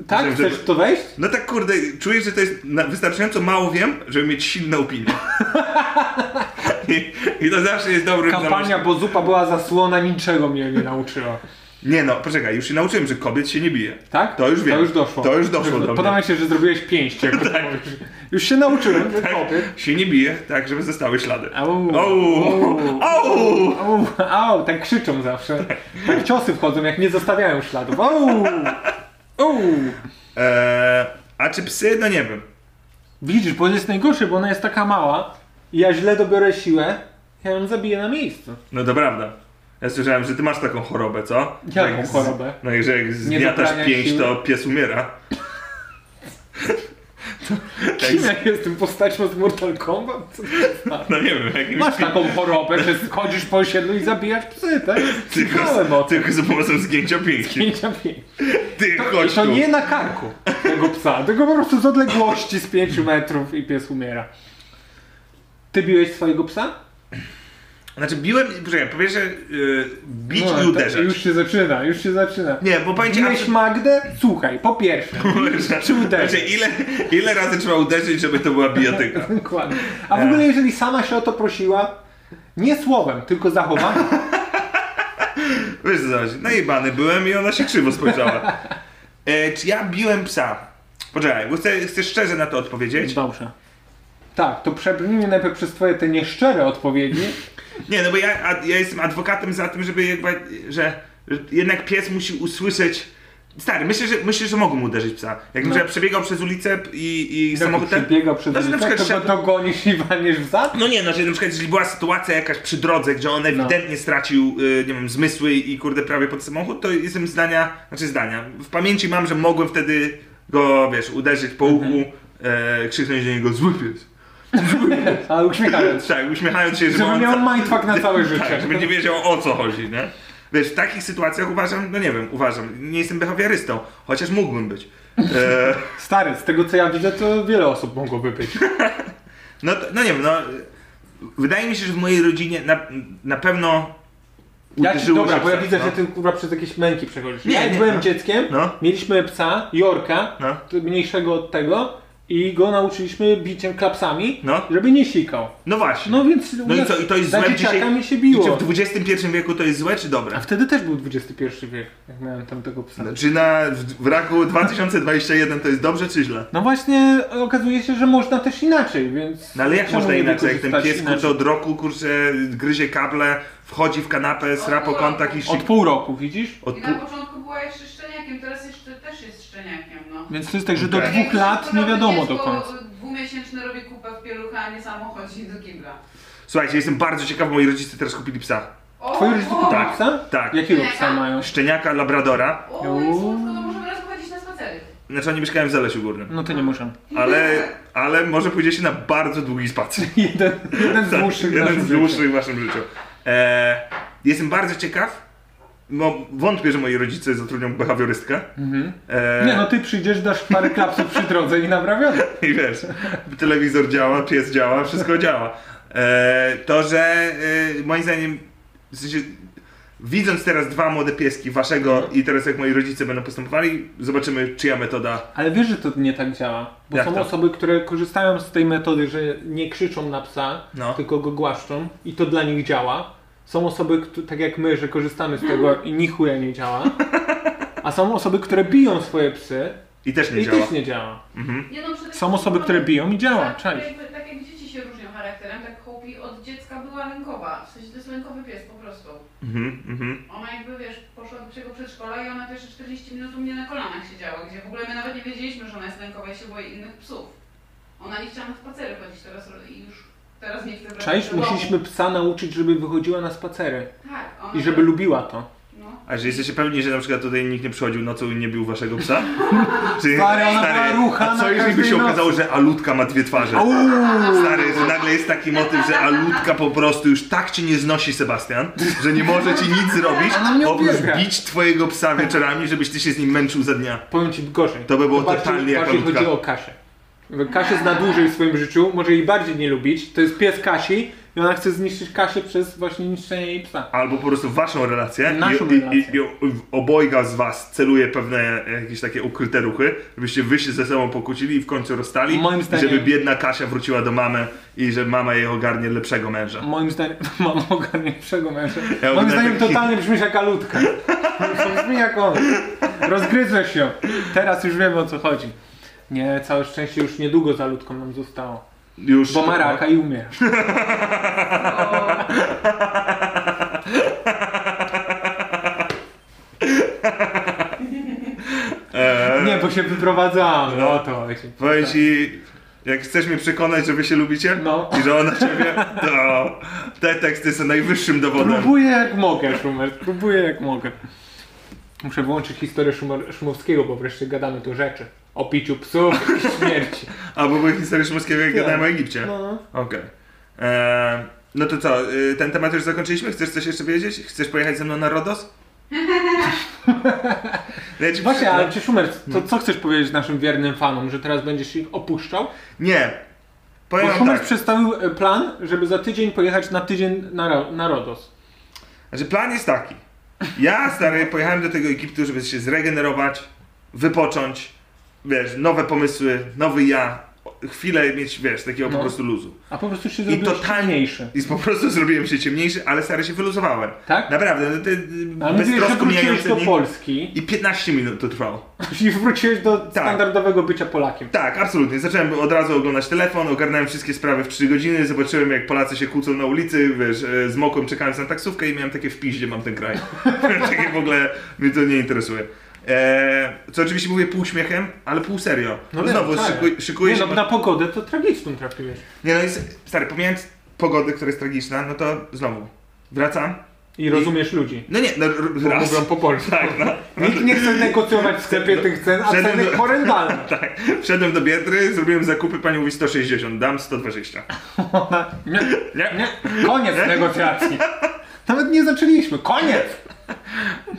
Speaker 4: Tak?
Speaker 2: Myślałem,
Speaker 4: Chcesz
Speaker 2: żeby-
Speaker 4: w to wejść?
Speaker 2: No tak kurde, czuję, że to jest na, wystarczająco mało wiem, żeby mieć silne opinie. I, I to zawsze jest dobry
Speaker 4: Kampania, bo zupa była zasłona, niczego mnie nie nauczyła.
Speaker 2: Nie no, poczekaj, już się nauczyłem, że kobiet się nie bije.
Speaker 4: Tak?
Speaker 2: To już wiem.
Speaker 4: To już doszło.
Speaker 2: To już doszło do
Speaker 4: Podoba
Speaker 2: mnie.
Speaker 4: mi się, że zrobiłeś pięść. Jak tak. Już się nauczyłem. Tak. Kobiet.
Speaker 2: Się nie bije, tak, żeby zostały ślady.
Speaker 4: Au.
Speaker 2: Au! Au!
Speaker 4: Au, au, tak krzyczą zawsze. Tak ciosy wchodzą, jak nie zostawiają śladów. Au! Au!
Speaker 2: Eee, a czy psy? No nie wiem.
Speaker 4: Widzisz, bo jest najgorszy, bo ona jest taka mała i ja źle dobiorę siłę, ja ją zabiję na miejscu.
Speaker 2: No to prawda. Ja słyszałem, że ty masz taką chorobę, co?
Speaker 4: Jaką
Speaker 2: Jak z-
Speaker 4: chorobę?
Speaker 2: No i że jak
Speaker 4: doprania
Speaker 2: zmiatasz pięść,
Speaker 4: siły?
Speaker 2: to pies umiera. to,
Speaker 4: Kim
Speaker 2: jak,
Speaker 4: ja jestem postacią z Mortal Kombat? Co to za-
Speaker 2: no nie wiem, jakimś
Speaker 4: Masz
Speaker 2: pi-
Speaker 4: taką chorobę, że chodzisz po osiedlu i zabijasz psy, tak?
Speaker 2: tylko,
Speaker 4: Słyszałem o
Speaker 2: z,
Speaker 4: tym.
Speaker 2: tylko z pomocą zgięcia pięści.
Speaker 4: Pięcia pięć.
Speaker 2: Ty
Speaker 4: I
Speaker 2: chodź
Speaker 4: to
Speaker 2: tu.
Speaker 4: nie na karku tego psa, tylko po prostu z odległości z 5 metrów i pies umiera. Ty biłeś swojego psa?
Speaker 2: Znaczy biłem, poczekaj, po pierwsze yy, bić
Speaker 4: No,
Speaker 2: i
Speaker 4: tak,
Speaker 2: uderzać.
Speaker 4: Już się zaczyna, już się zaczyna.
Speaker 2: Nie, bo powiem ci,
Speaker 4: Biłeś Magdę? Słuchaj, po pierwsze. Czy uderzyć?
Speaker 2: Znaczy, ile, ile razy trzeba uderzyć, żeby to była bijatyka?
Speaker 4: Dokładnie. A w ogóle jeżeli sama się o to prosiła, nie słowem, tylko zachowaniem.
Speaker 2: Wiesz co zaś, najebany byłem i ona się krzywo spojrzała. E, czy ja biłem psa? Poczekaj, bo chcę, chcę szczerze na to odpowiedzieć.
Speaker 4: Dobrze. Tak, to przebrnijmy najpierw przez twoje te nieszczere odpowiedzi.
Speaker 2: Nie, no bo ja, a, ja jestem adwokatem za tym, żeby jakby, że, że jednak pies musi usłyszeć. Stary, myślę, że, myślę, że mogą uderzyć psa.
Speaker 4: No.
Speaker 2: Jakbym że ja przebiegał przez ulicę i, i samochód. ten-
Speaker 4: Przebiega przed
Speaker 2: no, że na
Speaker 4: ulicą,
Speaker 2: przykład
Speaker 4: to go
Speaker 2: szedł,
Speaker 4: dogonisz i walniesz w zad?
Speaker 2: No nie, no, że na przykład jeśli była sytuacja jakaś przy drodze, gdzie
Speaker 4: No.
Speaker 2: on ewidentnie stracił, y, nie wiem, zmysły i kurde prawie pod samochód, to jestem zdania, znaczy zdania, w pamięci mam, że mogłem wtedy go, wiesz, uderzyć po
Speaker 4: Mhm.
Speaker 2: łuku, e, krzyknąć do niego zły pies.
Speaker 4: Ale uśmiechając się.
Speaker 2: Tak, uśmiechając się, żeby,
Speaker 4: Żeby
Speaker 2: on...
Speaker 4: miał mindfuck na całe życie.
Speaker 2: Tak, żeby nie wiedział o co chodzi, nie? Wiesz, w takich sytuacjach uważam, no nie wiem, uważam, nie jestem behawiorystą, chociaż mógłbym być. E,
Speaker 4: Stary, z tego co ja widzę, to wiele osób mogłoby być.
Speaker 2: no, to- no nie wiem, no... Wydaje mi się, że w mojej rodzinie na, na pewno
Speaker 4: Ja ci,
Speaker 2: uderzyło
Speaker 4: dobra,
Speaker 2: się
Speaker 4: bo ja
Speaker 2: psa,
Speaker 4: widzę,
Speaker 2: no.
Speaker 4: że ty kurwa przez jakieś męki przechodzisz.
Speaker 2: Nie,
Speaker 4: ja jak
Speaker 2: nie,
Speaker 4: byłem
Speaker 2: no.
Speaker 4: dzieckiem,
Speaker 2: No.
Speaker 4: mieliśmy psa, Jorka,
Speaker 2: No.
Speaker 4: t- mniejszego od tego i go nauczyliśmy biciem klapsami,
Speaker 2: No.
Speaker 4: żeby nie sikał.
Speaker 2: No właśnie.
Speaker 4: No więc u
Speaker 2: No i
Speaker 4: nas
Speaker 2: co, i to jest
Speaker 4: za
Speaker 2: złe
Speaker 4: dzieciaka
Speaker 2: dzisiaj?
Speaker 4: mi się biło.
Speaker 2: I Czy w XXI wieku to jest złe, czy
Speaker 4: A
Speaker 2: dobre?
Speaker 4: wtedy też był XXI wiek, jak miałem tamtego psa.
Speaker 2: Czy na, w, w roku 2021 to jest dobrze, czy źle?
Speaker 4: No właśnie okazuje się, że można też inaczej, więc...
Speaker 2: No ale jak
Speaker 4: czemu
Speaker 2: można
Speaker 4: nie
Speaker 2: inaczej, jak ten
Speaker 4: wykorzystać
Speaker 2: pies kurczę
Speaker 4: inaczej?
Speaker 2: od roku, kurczę, gryzie kable, wchodzi w kanapę, sra po kątach i
Speaker 4: Od
Speaker 2: sik...
Speaker 4: pół roku, widzisz?
Speaker 2: Od
Speaker 5: I
Speaker 2: pół...
Speaker 5: na początku była jeszcze szczeniakiem, teraz jeszcze też jest szczeniakiem, no.
Speaker 4: Więc to jest tak, że do
Speaker 2: Okej.
Speaker 4: dwóch lat nie wiadow do
Speaker 5: Dziecko
Speaker 4: końca.
Speaker 5: Dwumiesięczne robi kupę w pieluchę, a nie samo chodzi do kibla.
Speaker 2: Słuchajcie, jestem bardzo ciekaw, moi rodzice teraz kupili psa.
Speaker 5: O,
Speaker 4: Twoi rodzice kupili
Speaker 2: Tak,
Speaker 4: psa?
Speaker 2: tak.
Speaker 4: Jakiego psa mają?
Speaker 2: Szczeniaka, labradora.
Speaker 5: O, o jak słodko, to możemy razem chodzić na spacery.
Speaker 2: Znaczy oni mieszkają w Zalesiu Górnym.
Speaker 4: No to nie muszę.
Speaker 2: Ale, ale może pójdziecie na bardzo długi spacer.
Speaker 4: Jeden, jeden z
Speaker 2: Tak,
Speaker 4: dłuższych
Speaker 2: Jeden
Speaker 4: naszych
Speaker 2: z dłuższych w waszym życiu. E, jestem bardzo ciekaw. No, wątpię, że moi rodzice zatrudnią behawiorystkę. E,
Speaker 4: życiu. Nie no, ty przyjdziesz, dasz parę klapsów przy drodze i naprawione.
Speaker 2: I wiesz, telewizor działa, pies działa, wszystko działa. E, to, że e, moim zdaniem, w sensie, widząc teraz dwa młode pieski,
Speaker 4: No.
Speaker 2: waszego i teraz jak moi rodzice będą postępowali, zobaczymy czyja metoda.
Speaker 4: Ale wiesz, że to nie tak działa. Bo
Speaker 2: Jak
Speaker 4: są
Speaker 2: to?
Speaker 4: osoby, które korzystają z tej metody, że nie krzyczą na psa,
Speaker 2: No.
Speaker 4: tylko go głaszczą i to dla nich działa. Są osoby, kto- tak jak my, że korzystamy z tego i ni chuja nie działa. A są osoby, które biją swoje psy
Speaker 2: I też nie
Speaker 4: i
Speaker 2: działa.
Speaker 4: też nie działa.
Speaker 5: Nie, no, przede
Speaker 4: Są osoby, które biją i działa.
Speaker 5: Tak,
Speaker 4: Cześć.
Speaker 5: jakby- Tak jak dzieci się różnią charakterem, tak Hopi od dziecka była lękowa. W sensie to jest lękowy pies po prostu.
Speaker 2: Mhm, mhm.
Speaker 5: Ona jakby, wiesz, poszła do tego przedszkola i ona pierwsze 40 minut u mnie na kolanach siedziała, gdzie w ogóle my nawet nie wiedzieliśmy, że ona jest lękowa i się boi innych psów. Ona nie chciała na spacery chodzić teraz i już teraz nie chce wracać
Speaker 4: Cześć,
Speaker 5: do domu.
Speaker 4: musieliśmy psa nauczyć, żeby wychodziła na spacery
Speaker 5: Tak, ona...
Speaker 4: i żeby lubiła to.
Speaker 5: No.
Speaker 2: A że jesteście pewni, że na przykład tutaj nikt nie przychodził nocą i nie bił waszego psa? Czy,
Speaker 4: Stary, ona była rucha
Speaker 2: a
Speaker 4: na
Speaker 2: co jeżeli by
Speaker 4: każdej
Speaker 2: się
Speaker 4: nocy.
Speaker 2: okazało, że Alutka ma dwie twarze? Stary, że nagle jest taki motyw, że Alutka po prostu już tak cię nie znosi, Sebastian, że nie może ci nic zrobić,
Speaker 4: Ona mnie
Speaker 2: oprócz
Speaker 4: uwielbia.
Speaker 2: bić twojego psa wieczorami, żebyś ty się z nim męczył za dnia.
Speaker 4: Powiem ci gorzej.
Speaker 2: To by było
Speaker 4: bardziej-
Speaker 2: totalnie jak
Speaker 4: Bardziej
Speaker 2: malutka.
Speaker 4: chodzi o Kasię. Kasia jest na dłużej w swoim życiu, może jej bardziej nie lubić. To jest pies Kasi, i ona chce zniszczyć Kasię przez właśnie niszczenie jej psa.
Speaker 2: Albo po prostu waszą relację
Speaker 4: Naszą
Speaker 2: i, i,
Speaker 4: relację.
Speaker 2: i, i obojga z was celuje pewne jakieś takie ukryte ruchy, żebyście wy się ze sobą pokłócili i w końcu rozstali,
Speaker 4: Moim
Speaker 2: i
Speaker 4: zdaniem-
Speaker 2: żeby biedna Kasia wróciła do mamy i że mama jej ogarnie lepszego męża.
Speaker 4: Moim zdaniem mam ogarniętszego męża.
Speaker 2: Ja tak,
Speaker 4: Moim
Speaker 2: oglądam-
Speaker 4: zdaniem totalnie brzmisz jak alutka. Brzmi jak on. Rozgryzłeś się. Teraz już wiemy o co chodzi. Nie, całe szczęście już niedługo za alutką nam zostało.
Speaker 2: Już
Speaker 4: Bo ma raka i umiera.
Speaker 2: Eee,
Speaker 4: Nie, bo się wyprowadzamy. O to chodzi.
Speaker 2: Powiem ci, jak chcesz mnie przekonać, że wy się lubicie
Speaker 4: No.
Speaker 2: i że ona ciebie, to te teksty są najwyższym dowodem.
Speaker 4: Próbuję jak mogę, Szumer. Próbuję jak mogę. Muszę wyłączyć historię Szumer- Szumowskiego, bo wreszcie gadamy tu rzeczy. O piciu psów i śmierci.
Speaker 2: Albo były historie Szymowskiego, jak
Speaker 4: Tak.
Speaker 2: gadałem o Egipcie.
Speaker 4: No.
Speaker 2: Okej. Eee, No to co, y, ten temat już zakończyliśmy? Chcesz coś jeszcze powiedzieć? Chcesz pojechać ze mną na Rodos? No ja ci
Speaker 4: Właśnie,
Speaker 2: przyznam-
Speaker 4: ale czy Szumer, to co chcesz powiedzieć naszym wiernym fanom, że teraz będziesz ich opuszczał?
Speaker 2: Nie. Powiem
Speaker 4: Bo
Speaker 2: wam
Speaker 4: Szumer
Speaker 2: tak.
Speaker 4: przedstawił e, plan, żeby za tydzień pojechać na tydzień na, Ro- na Rodos.
Speaker 2: Znaczy plan jest taki. Ja, stary, pojechałem do tego Egiptu, żeby się zregenerować, wypocząć, wiesz, nowe pomysły, nowy ja, chwilę mieć, wiesz, takiego
Speaker 4: No.
Speaker 2: po prostu luzu.
Speaker 4: A po prostu się
Speaker 2: I
Speaker 4: zrobił
Speaker 2: totalniejszy. I po prostu zrobiłem się ciemniejszy, ale stary się wyluzowałem.
Speaker 4: Tak?
Speaker 2: Naprawdę, no, te, y,
Speaker 4: Ale
Speaker 2: te
Speaker 4: mówiłeś, że
Speaker 2: beztrosko
Speaker 4: wróciłeś
Speaker 2: mijające
Speaker 4: do
Speaker 2: dni.
Speaker 4: Polski
Speaker 2: I 15 minut to trwało.
Speaker 4: i wróciłeś do standardowego bycia Polakiem.
Speaker 2: Tak, absolutnie. Zacząłem od razu oglądać telefon, ogarnąłem wszystkie sprawy w 3 godziny, zobaczyłem jak Polacy się kłócą na ulicy, wiesz, e, zmokłem czekając na taksówkę i miałem takie w piździe mam ten kraj. takie w ogóle mnie to nie interesuje. E, co oczywiście mówię pół śmiechem, ale pół serio. No
Speaker 4: wiem,
Speaker 2: znowu
Speaker 4: wcale.
Speaker 2: szykuj, szykuję
Speaker 4: Nie,
Speaker 2: się...
Speaker 4: no, na pogodę to tragiczną trafiłeś.
Speaker 2: Nie no, jest, stary, pomijając pogodę, która jest tragiczna, no to znowu wracam.
Speaker 4: I rozumiesz ludzi.
Speaker 2: No nie, no r-
Speaker 4: Bo
Speaker 2: raz.
Speaker 4: mówią po polsku.
Speaker 2: Tak, no.
Speaker 4: Nikt nie chce negocjować w sklepie tych cen, a
Speaker 2: Wszedłem
Speaker 4: ceny
Speaker 2: do-
Speaker 4: horrendalne.
Speaker 2: no. Tak. Wszedłem do Biedry, zrobiłem zakupy, pani mówi 160, dam 120.
Speaker 4: Ona- Nie,
Speaker 2: Nie?
Speaker 4: nie, koniec negocjacji. Nawet nie zaczęliśmy, koniec!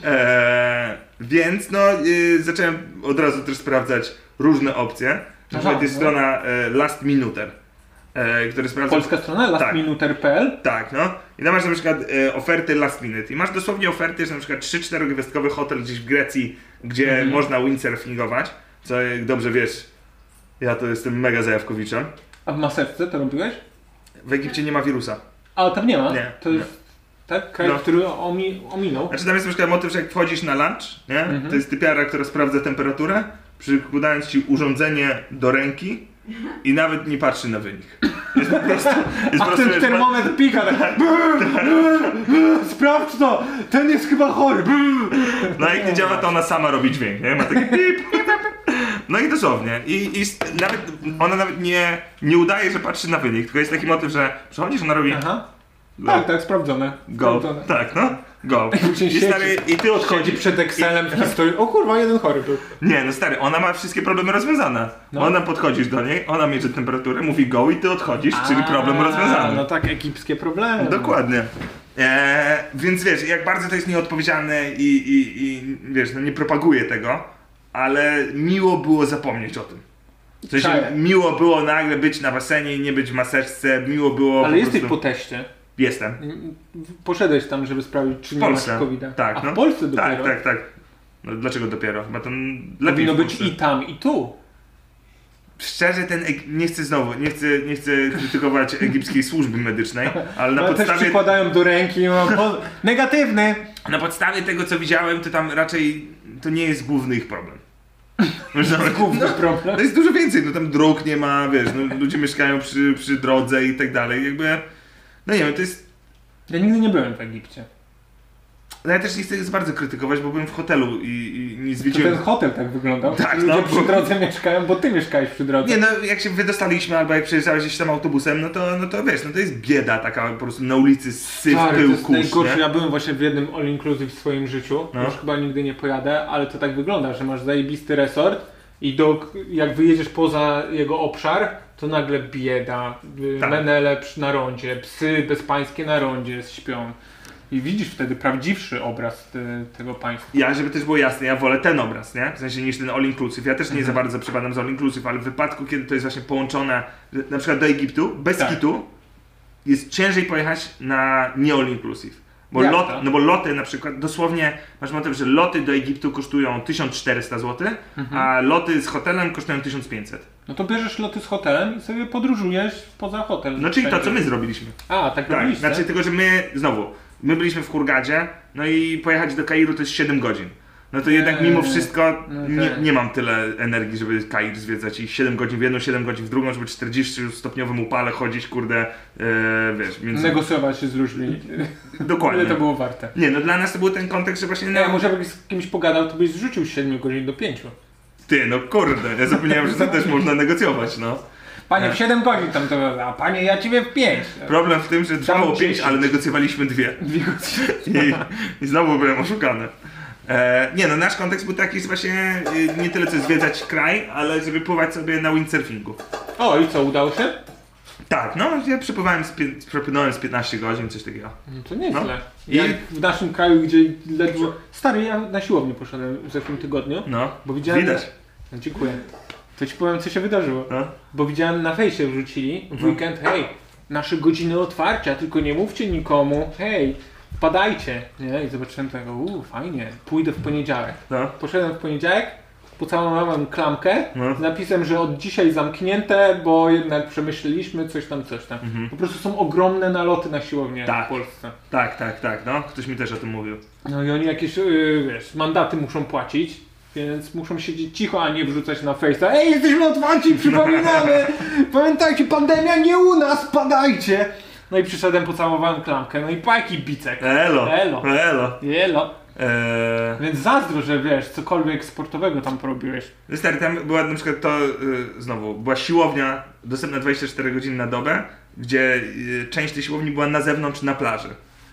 Speaker 2: Eee, więc no, y, zacząłem od razu też sprawdzać różne opcje. Na przykład
Speaker 4: Aha,
Speaker 2: jest
Speaker 4: no.
Speaker 2: strona e, Last Minuter, e, który sprawdza...
Speaker 4: Polska strona lastminuter.pl
Speaker 2: Tak, no. I tam masz na przykład e, oferty last minute. I masz dosłownie oferty, że na przykład 3-4 gwiazdkowy hotel gdzieś w Grecji, gdzie
Speaker 4: Mhm.
Speaker 2: można windsurfingować. Co jak dobrze wiesz, ja to jestem mega zajawkowiczem.
Speaker 4: A w maseczce to robiłeś?
Speaker 2: W Egipcie nie ma wirusa.
Speaker 4: A tam nie ma.
Speaker 2: Nie,
Speaker 4: to
Speaker 2: nie.
Speaker 4: jest tak kraj,
Speaker 2: No.
Speaker 4: który omi, ominął.
Speaker 2: Znaczy tam jest na przykład motyw, że jak wchodzisz na lunch, nie?
Speaker 4: Mhm.
Speaker 2: To jest typiara, która sprawdza temperaturę, przykładając ci urządzenie do ręki i nawet nie patrzy na wynik. Jest po prostu... Jest po
Speaker 4: A
Speaker 2: prostu
Speaker 4: ten
Speaker 2: wiesz,
Speaker 4: termometr pika tak. Sprawdź to! Ten jest chyba chory.
Speaker 2: No jak nie działa, to ona sama robi dźwięk, nie? Ma taki pip, pip, pip. No i dosłownie. I, i s- nawet, ona nawet nie, nie udaje, że patrzy na wynik, tylko jest taki motyw, że przychodzisz, ona robi
Speaker 4: Aha.
Speaker 2: go,
Speaker 4: Tak, tak, sprawdzone.
Speaker 2: go,
Speaker 4: Sprawdzone.
Speaker 2: tak, no, go.
Speaker 4: Później
Speaker 2: I, stary,
Speaker 4: siedzi.
Speaker 2: I ty odchodzi
Speaker 4: Chodzi przed Excelem w historii. O kurwa, jeden chory był.
Speaker 2: Nie, no stary, ona ma wszystkie problemy rozwiązane.
Speaker 4: No.
Speaker 2: Ona podchodzisz do niej, ona mierzy temperaturę, mówi go i ty odchodzisz, czyli problem
Speaker 4: A,
Speaker 2: rozwiązany.
Speaker 4: No tak, egipskie problemy.
Speaker 2: Dokładnie. Eee, więc wiesz, jak bardzo to jest nieodpowiedzialne i, i, i wiesz, no nie propaguję tego, ale miło było zapomnieć o tym. W sensie
Speaker 4: Czaję.
Speaker 2: miło było nagle być na basenie i nie być w maseczce, miło było
Speaker 4: Ale
Speaker 2: po
Speaker 4: jesteś po
Speaker 2: prostu...
Speaker 4: teście.
Speaker 2: Jestem.
Speaker 4: Poszedłeś tam, żeby sprawdzić, czy
Speaker 2: W
Speaker 4: nie masz
Speaker 2: Polsce.
Speaker 4: covid
Speaker 2: Tak,
Speaker 4: A
Speaker 2: no.
Speaker 4: w Polsce dopiero.
Speaker 2: Tak, tak, tak. No, dlaczego dopiero? Chyba to lepiej
Speaker 4: Powinno
Speaker 2: w
Speaker 4: być
Speaker 2: Polsce.
Speaker 4: i tam, i tu.
Speaker 2: Szczerze ten, Eg- nie chcę znowu, nie chcę, nie chcę krytykować egipskiej służby medycznej, ale na
Speaker 4: Ale No, też
Speaker 2: podstawie,
Speaker 4: przykładają do ręki. no, po- Negatywny!
Speaker 2: na podstawie tego co widziałem, to tam raczej to nie jest główny ich problem. Można-
Speaker 4: Główny
Speaker 2: no,
Speaker 4: problem.
Speaker 2: to jest dużo więcej, no tam dróg nie ma, wiesz, no, ludzie mieszkają przy, przy drodze i tak dalej, jakby, no nie wiem, to jest,
Speaker 4: Ja nigdy nie byłem w Egipcie.
Speaker 2: no ja też nie chcę z bardzo krytykować, bo byłem w hotelu i, i nie
Speaker 4: To ten
Speaker 2: zwiedziłem,
Speaker 4: hotel tak wyglądał.
Speaker 2: Tak,
Speaker 4: Ludzie
Speaker 2: no.
Speaker 4: przy drodze mieszkają, bo ty mieszkałeś przy drodze.
Speaker 2: nie no, jak się wydostaliśmy albo jak przejeżdżałeś gdzieś tam autobusem, no to, no to wiesz, no to jest bieda taka po prostu na ulicy syf,
Speaker 4: Stary, Tak, to
Speaker 2: pył,
Speaker 4: jest
Speaker 2: kurz,
Speaker 4: najgorsze.
Speaker 2: nie?
Speaker 4: Ja byłem właśnie w jednym all inclusive w swoim życiu.
Speaker 2: No.
Speaker 4: Już chyba nigdy nie pojadę, ale to tak wygląda, że masz zajebisty resort i do, jak wyjedziesz poza jego obszar, to nagle bieda, y,
Speaker 2: Tak.
Speaker 4: menele przy- na rondzie, psy bezpańskie na rondzie śpią. I widzisz wtedy prawdziwszy obraz y, tego państwa.
Speaker 2: Ja, żeby też było jasne, ja wolę ten obraz, nie? W sensie niż ten all inclusive. Ja też nie
Speaker 4: Mhm.
Speaker 2: za bardzo przepadam z all inclusive, ale w wypadku, kiedy to jest właśnie połączone że na przykład do Egiptu, bez
Speaker 4: Tak.
Speaker 2: kitu, jest ciężej pojechać na nie all inclusive. Bo,
Speaker 4: Jak
Speaker 2: lot,
Speaker 4: to?
Speaker 2: no bo loty na przykład, dosłownie masz motyw, że loty do Egiptu kosztują 1400 zł,
Speaker 4: Mhm.
Speaker 2: a loty z hotelem kosztują 1500.
Speaker 4: No to bierzesz loty z hotelem i sobie podróżujesz poza hotel.
Speaker 2: No czyli to, co my zrobiliśmy.
Speaker 4: A, tak,
Speaker 2: Tak,
Speaker 4: robiliście?
Speaker 2: znaczy tylko, że my, znowu, my byliśmy w Hurgadzie, no i pojechać do Kairu to jest 7 godzin. No to jednak
Speaker 4: Nie.
Speaker 2: mimo wszystko
Speaker 4: No
Speaker 2: nie,
Speaker 4: tak.
Speaker 2: nie mam tyle energii, żeby Kair zwiedzać i 7 godzin w jedną, 7 godzin w drugą, żeby 40-stopniowym upale chodzić, kurde, e, wiesz, więc...
Speaker 4: Negocjować się z ludźmi.
Speaker 2: dokładnie.
Speaker 4: Ile to było warte?
Speaker 2: Nie, no dla nas to był ten kontekst, że właśnie...
Speaker 4: Nie,
Speaker 2: No,
Speaker 4: może jakbyś z kimś pogadał, to byś zrzucił z 7 godzin do 5.
Speaker 2: Ty, no kurde, ja zapomniałem, że to też można negocjować, no.
Speaker 4: Panie,
Speaker 2: Nie.
Speaker 4: w 7 godzin tam to a panie, ja ciebie w 5.
Speaker 2: Problem w tym, że trwało 5,
Speaker 4: dziesięć.
Speaker 2: ale negocjowaliśmy dwie. I, I znowu byłem oszukany. E, nie no, nasz kontekst był taki że właśnie y, nie tyle co zwiedzać kraj, ale żeby pływać sobie na windsurfingu.
Speaker 4: O, i co, udało się?
Speaker 2: Tak, no ja przepływałem z, pie- przepłynąłem z 15 godzin, coś takiego.
Speaker 4: No to nieźle.
Speaker 2: No. I-
Speaker 4: Jak w naszym kraju, gdzie ledwo... Stary, ja na siłownię poszedłem w zeszłym tygodniu,
Speaker 2: No,
Speaker 4: bo widziałem...
Speaker 2: widać.
Speaker 4: No, dziękuję. To ci powiem, co się wydarzyło.
Speaker 2: No.
Speaker 4: Bo widziałem na fejsie wrzucili w weekend, hej, nasze godziny otwarcia, tylko nie mówcie nikomu, hej, padajcie. Nie? I zobaczyłem tego, uuu, fajnie, pójdę w poniedziałek.
Speaker 2: No.
Speaker 4: Poszedłem w poniedziałek, pocałowałem klamkę
Speaker 2: No.
Speaker 4: z napisem, że od dzisiaj zamknięte, bo jednak przemyśleliśmy coś tam, coś tam. Po prostu są ogromne naloty na siłownię
Speaker 2: Tak.
Speaker 4: w Polsce.
Speaker 2: Tak, tak, tak, no. Ktoś mi też o tym mówił.
Speaker 4: No i oni jakieś, yy, wiesz, mandaty muszą płacić. Więc muszą siedzieć cicho, a nie wrzucać na fejsa. Ej, jesteśmy otwarci, przypominamy! Pamiętajcie, pandemia nie u nas, padajcie! No i przyszedłem, pocałowałem klamkę, no i pajki bicek.
Speaker 2: Elo,
Speaker 4: Elo.
Speaker 2: elo.
Speaker 4: Jelo.
Speaker 2: Eee,
Speaker 4: Więc zazdro, że wiesz, cokolwiek sportowego tam porobiłeś.
Speaker 2: No Stary, tam była na przykład to, y, znowu, była siłownia dostępna 24 godziny na dobę, gdzie y, część tej siłowni była na zewnątrz, na plaży.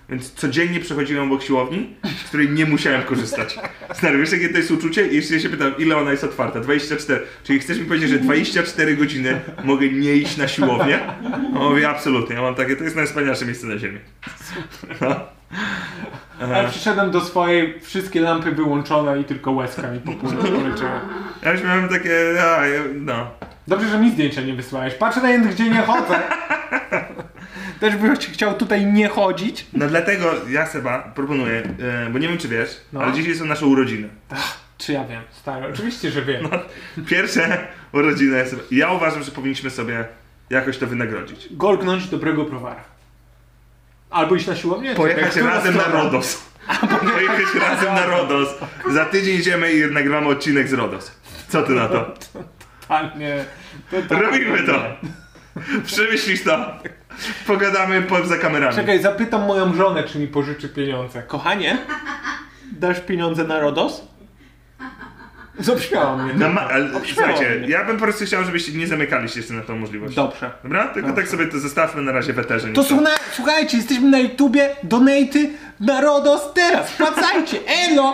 Speaker 2: Więc codziennie przechodziłem obok siłowni, z której nie musiałem korzystać. Stary, wiesz jakie to jest uczucie? I jeszcze ja się pytam, ile ona jest otwarta? 24. Czyli chcesz mi powiedzieć, że 24 godziny mogę nie iść na siłownię? No, mówię, absolutnie. Ja mam takie, to jest najwspanialsze miejsce na ziemi. No.
Speaker 4: Ale
Speaker 2: Tak.
Speaker 4: przyszedłem do swojej, wszystkie lampy wyłączone i tylko łezka mi popłynęła. poleciała.
Speaker 2: Ja już miałem takie, a, ja- no.
Speaker 4: Dobrze, że mi zdjęcia nie wysłałeś. Patrzę na jednych, gdzie nie chodzę. Też byś chciał tutaj nie chodzić.
Speaker 2: No dlatego ja Seba proponuję, e, bo nie wiem czy wiesz,
Speaker 4: No.
Speaker 2: ale dzisiaj są nasze urodziny.
Speaker 4: Czy ja wiem, stary? Oczywiście, że wiem.
Speaker 2: No. Pierwsze urodziny Seba. Ja uważam, że powinniśmy sobie jakoś to wynagrodzić.
Speaker 4: Golgnąć dobrego browara. Albo iść na siłownię?
Speaker 2: Pojechać
Speaker 4: Czekaj, która
Speaker 2: razem na
Speaker 4: strona?
Speaker 2: Rodos. Pojechać razem na Rodos. Za tydzień idziemy i nagramy odcinek z Rodos. Co ty na to?
Speaker 4: Totalnie. Totalnie.
Speaker 2: Robimy to! Przemyślisz to! Pogadamy poza kamerami.
Speaker 4: Czekaj, zapytam moją żonę, czy mi pożyczy pieniądze. Kochanie, dasz pieniądze na Rodos? Zobśmiała mnie.
Speaker 2: No, ma, ale,
Speaker 4: Obśmiało
Speaker 2: słuchajcie,
Speaker 4: mnie.
Speaker 2: ja bym po prostu chciał, żebyście nie zamykali się jeszcze na tą możliwość.
Speaker 4: Dobrze.
Speaker 2: Dobra? Tylko tak sobie to zostawmy na razie w eterze.
Speaker 4: To
Speaker 2: niech
Speaker 4: są na, słuchajcie, jesteśmy na YouTubie, donaty na Rodos teraz, wpłacajcie, elo!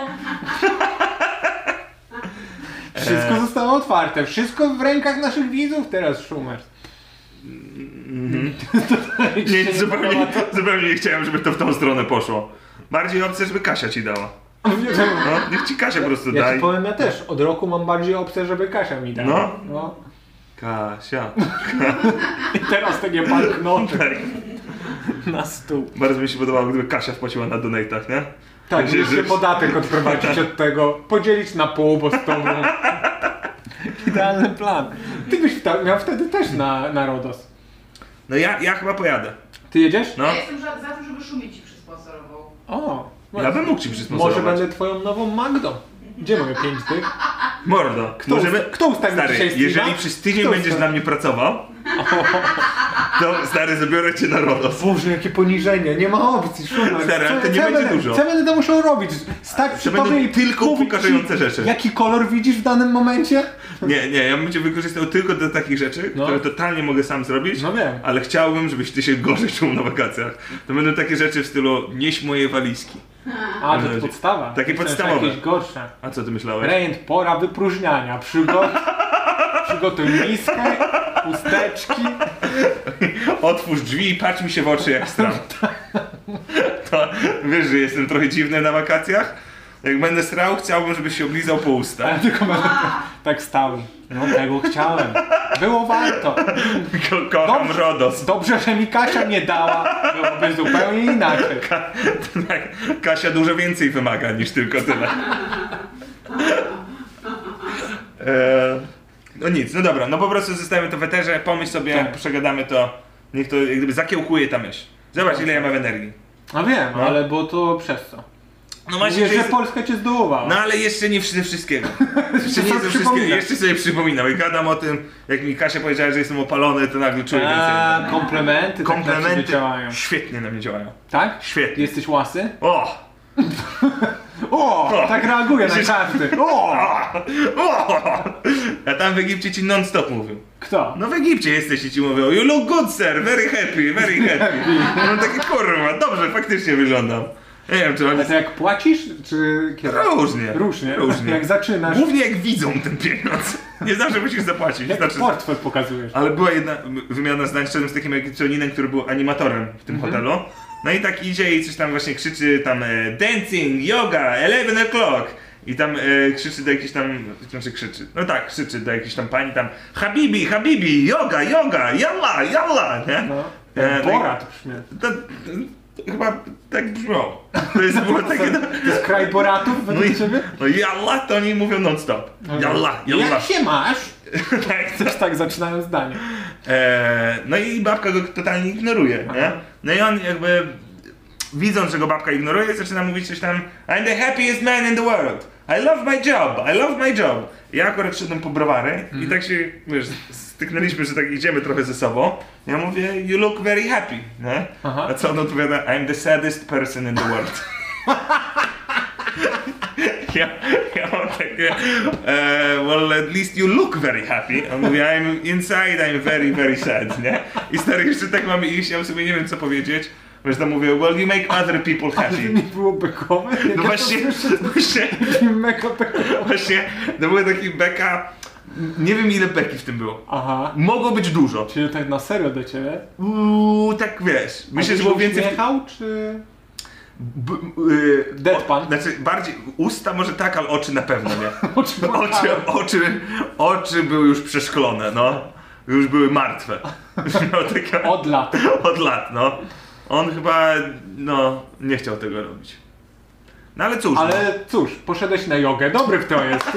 Speaker 2: E.
Speaker 4: Wszystko zostało otwarte, wszystko w rękach naszych widzów teraz, Schumer.
Speaker 2: Nie, zupełnie, zupełnie nie chciałem, żeby to w tą stronę poszło. Bardziej opcja, żeby Kasia ci dała. No, niech ci Kasia po prostu
Speaker 4: Ja ci
Speaker 2: daj.
Speaker 4: powiem, ja też, od roku mam bardziej opcję, żeby Kasia mi dała.
Speaker 2: No.
Speaker 4: no.
Speaker 2: Kasia.
Speaker 4: I teraz takie banknoty
Speaker 2: Tak.
Speaker 4: na stół.
Speaker 2: Bardzo mi się podobało, gdyby Kasia wpłaciła na donatach, nie?
Speaker 4: Tak,
Speaker 2: Myślę,
Speaker 4: musisz
Speaker 2: że-
Speaker 4: podatek odprowadzić od tego, podzielić na pół, bo z tobą. Idealny plan. Ty byś wta- miał wtedy też na, na RODOS.
Speaker 2: No ja, ja chyba pojadę.
Speaker 4: Ty jedziesz?
Speaker 2: No.
Speaker 5: Ja jestem za, za tym, żeby Szumi ci przysponsorował.
Speaker 4: O,
Speaker 2: Ja bym mógł ci przysponsorować.
Speaker 4: może będę twoją nową Magdą. Gdzie mamy pięć tych?
Speaker 2: Mordo, kto, możemy...
Speaker 4: usta- kto ustawił
Speaker 2: Stary,
Speaker 4: dzisiaj streama?
Speaker 2: jeżeli przez tydzień
Speaker 4: Kto
Speaker 2: będziesz
Speaker 4: ustawił?
Speaker 2: dla mnie pracował, to stary, zabiorę cię na RODOS.
Speaker 4: Boże, jakie poniżenie, nie ma opcji, Szumer.
Speaker 2: Stary, ale to nie
Speaker 4: ja
Speaker 2: będzie
Speaker 4: będę,
Speaker 2: dużo.
Speaker 4: Co ja będę to musiał robić? Stać przy
Speaker 2: To będą
Speaker 4: tobie i
Speaker 2: tylko
Speaker 4: mówić
Speaker 2: upokarzające
Speaker 4: ci,
Speaker 2: rzeczy.
Speaker 4: Jaki kolor widzisz w danym momencie?
Speaker 2: Nie, nie, ja bym cię wykorzystał tylko do takich rzeczy,
Speaker 4: No.
Speaker 2: które totalnie mogę sam zrobić,
Speaker 4: No wiem.
Speaker 2: ale chciałbym, żebyś ty się gorzej czuł na wakacjach. To będą takie rzeczy w stylu nieś moje walizki.
Speaker 4: A, to jest podstawa.
Speaker 2: Takie
Speaker 4: Myślałem, że
Speaker 2: podstawowe.
Speaker 4: Jakieś gorsze.
Speaker 2: A co ty myślałeś?
Speaker 4: Rejent, pora wypróżniania. Przygot... Przygotuj miskę, chusteczki.
Speaker 2: Otwórz drzwi i patrz mi się w oczy jak stram. To wiesz, że jestem trochę dziwny na wakacjach? Jak będę srał, chciałbym, żebyś się oblizał po
Speaker 4: Ale
Speaker 2: ustach.
Speaker 4: tylko będę, Tak stałem. No tego chciałem. Było warto.
Speaker 2: Ko- kocham
Speaker 4: Dobrze.
Speaker 2: RODOS.
Speaker 4: Dobrze, że mi Kasia nie dała. Byłoby zupełnie inaczej.
Speaker 2: Tak, Kasia dużo więcej wymaga niż tylko tyle. E, no nic, no dobra, no po prostu zostawiamy to w eterze, pomyśl sobie,
Speaker 4: Tak.
Speaker 2: przegadamy to, niech to jak gdyby zakiełkuje ta myśl. Zobacz ile ja mam energii.
Speaker 4: No wiem,
Speaker 2: No.
Speaker 4: ale było to przez co?
Speaker 2: No
Speaker 4: Mówię,
Speaker 2: że
Speaker 4: że
Speaker 2: jest-
Speaker 4: Polska cię zdołowała.
Speaker 2: No ale jeszcze nie przy wszystkiego. Jeszcze
Speaker 4: Jeszcze
Speaker 2: nie ze wszystkiego,
Speaker 4: przypominasz.
Speaker 2: jeszcze sobie przypominam i gadam o tym, jak mi Kasia powiedziała, że jestem opalony, to nagle czuję
Speaker 4: A,
Speaker 2: więcej.
Speaker 4: komplementy, Eee, komplementy. Tak na ciebie
Speaker 2: Komplementy
Speaker 4: działają.
Speaker 2: świetnie na mnie działają.
Speaker 4: Tak?
Speaker 2: Świetnie.
Speaker 4: Jesteś łasy?
Speaker 2: O!
Speaker 4: O!
Speaker 2: O!
Speaker 4: Tak reaguje na karty.
Speaker 2: O! O! A tam w Egipcie ci non-stop mówił.
Speaker 4: Kto?
Speaker 2: No w Egipcie jesteś i ci mówią You look good sir, very happy, very happy. Ja Mam takie kurwa, dobrze, faktycznie wyglądam. Nie wiem czy oni...
Speaker 4: A to jak płacisz, czy kiedy?
Speaker 2: Różnie.
Speaker 4: Różnie.
Speaker 2: Różnie.
Speaker 4: Jak zaczynasz,
Speaker 2: Głównie jak widzą ten pieniądz. Nie zawsze musisz zapłacić.
Speaker 4: jak
Speaker 2: Znaczy,
Speaker 4: portfel pokazujesz.
Speaker 2: ale była jedna wymiana zdań szedłem z takim Egipcjaninem, który był animatorem w
Speaker 4: Mhm.
Speaker 2: tym hotelu. No i tak idzie i coś tam właśnie krzyczy tam e, dancing, yoga, 11 o'clock. I tam e, krzyczy do jakiejś tam, znaczy krzyczy, no tak, krzyczy do jakiejś tam pani tam Habibi, Habibi, yoga, yoga, yalla, yalla, nie?
Speaker 4: No.
Speaker 2: E, no i-
Speaker 4: Borat brzmi.
Speaker 2: To, to, to chyba tak brzmiało. To jest było takie... No,
Speaker 4: To jest kraj Boratów
Speaker 2: no,
Speaker 4: według
Speaker 2: i,
Speaker 4: ciebie?
Speaker 2: no jalla to oni mówią non stop. Jalla, jalla.
Speaker 4: Jak się masz?
Speaker 2: Tak, tak.
Speaker 4: Też tak zaczynają zdanie.
Speaker 2: Eee, no i babka go totalnie ignoruje, nie? No i on jakby widząc, że go babka ignoruje, zaczyna mówić coś tam I'm the happiest man in the world. I love my job, I love my job. Ja akurat szedłem po browary i tak się, wiesz, styknęliśmy, że tak idziemy trochę ze sobą. Ja mówię, you look very happy, nie?
Speaker 4: Aha.
Speaker 2: A co on odpowiada, I'm the saddest person in the world. Ja, ja mam takie, e, well at least you look very happy. On mówi, I'm inside, I'm very, very sad, nie? I stary, jeszcze tak mamy iść, ja w sumie nie wiem co powiedzieć. Wiesz, tam mówię, well you make other people
Speaker 4: Ale
Speaker 2: happy.
Speaker 4: nie było bekowe? Jak
Speaker 2: Znaczy- No
Speaker 4: ja
Speaker 2: właśnie,
Speaker 4: to słyszę, to
Speaker 2: właśnie,
Speaker 4: taki mega bekowe.
Speaker 2: właśnie, to były taki beka, nie wiem ile beki w tym było.
Speaker 4: Aha.
Speaker 2: Mogło być dużo.
Speaker 4: Czyli tak na serio do ciebie?
Speaker 2: Uuu, tak wiesz,
Speaker 4: A ty
Speaker 2: myślę, że
Speaker 4: się
Speaker 2: było więcej... w-
Speaker 4: uśmiechał, czy...
Speaker 2: B, yy,
Speaker 4: Deadpan.
Speaker 2: O, znaczy bardziej usta może tak, ale oczy na pewno nie.
Speaker 4: Oczy
Speaker 2: No, Oczy, oczy, oczy były już przeszklone, no. Już były martwe. Miał takie od,
Speaker 4: Od lat.
Speaker 2: od lat, no. On chyba, no, nie chciał tego robić. No ale cóż, ale...
Speaker 4: Ale cóż, poszedłeś na jogę, dobry w to jest.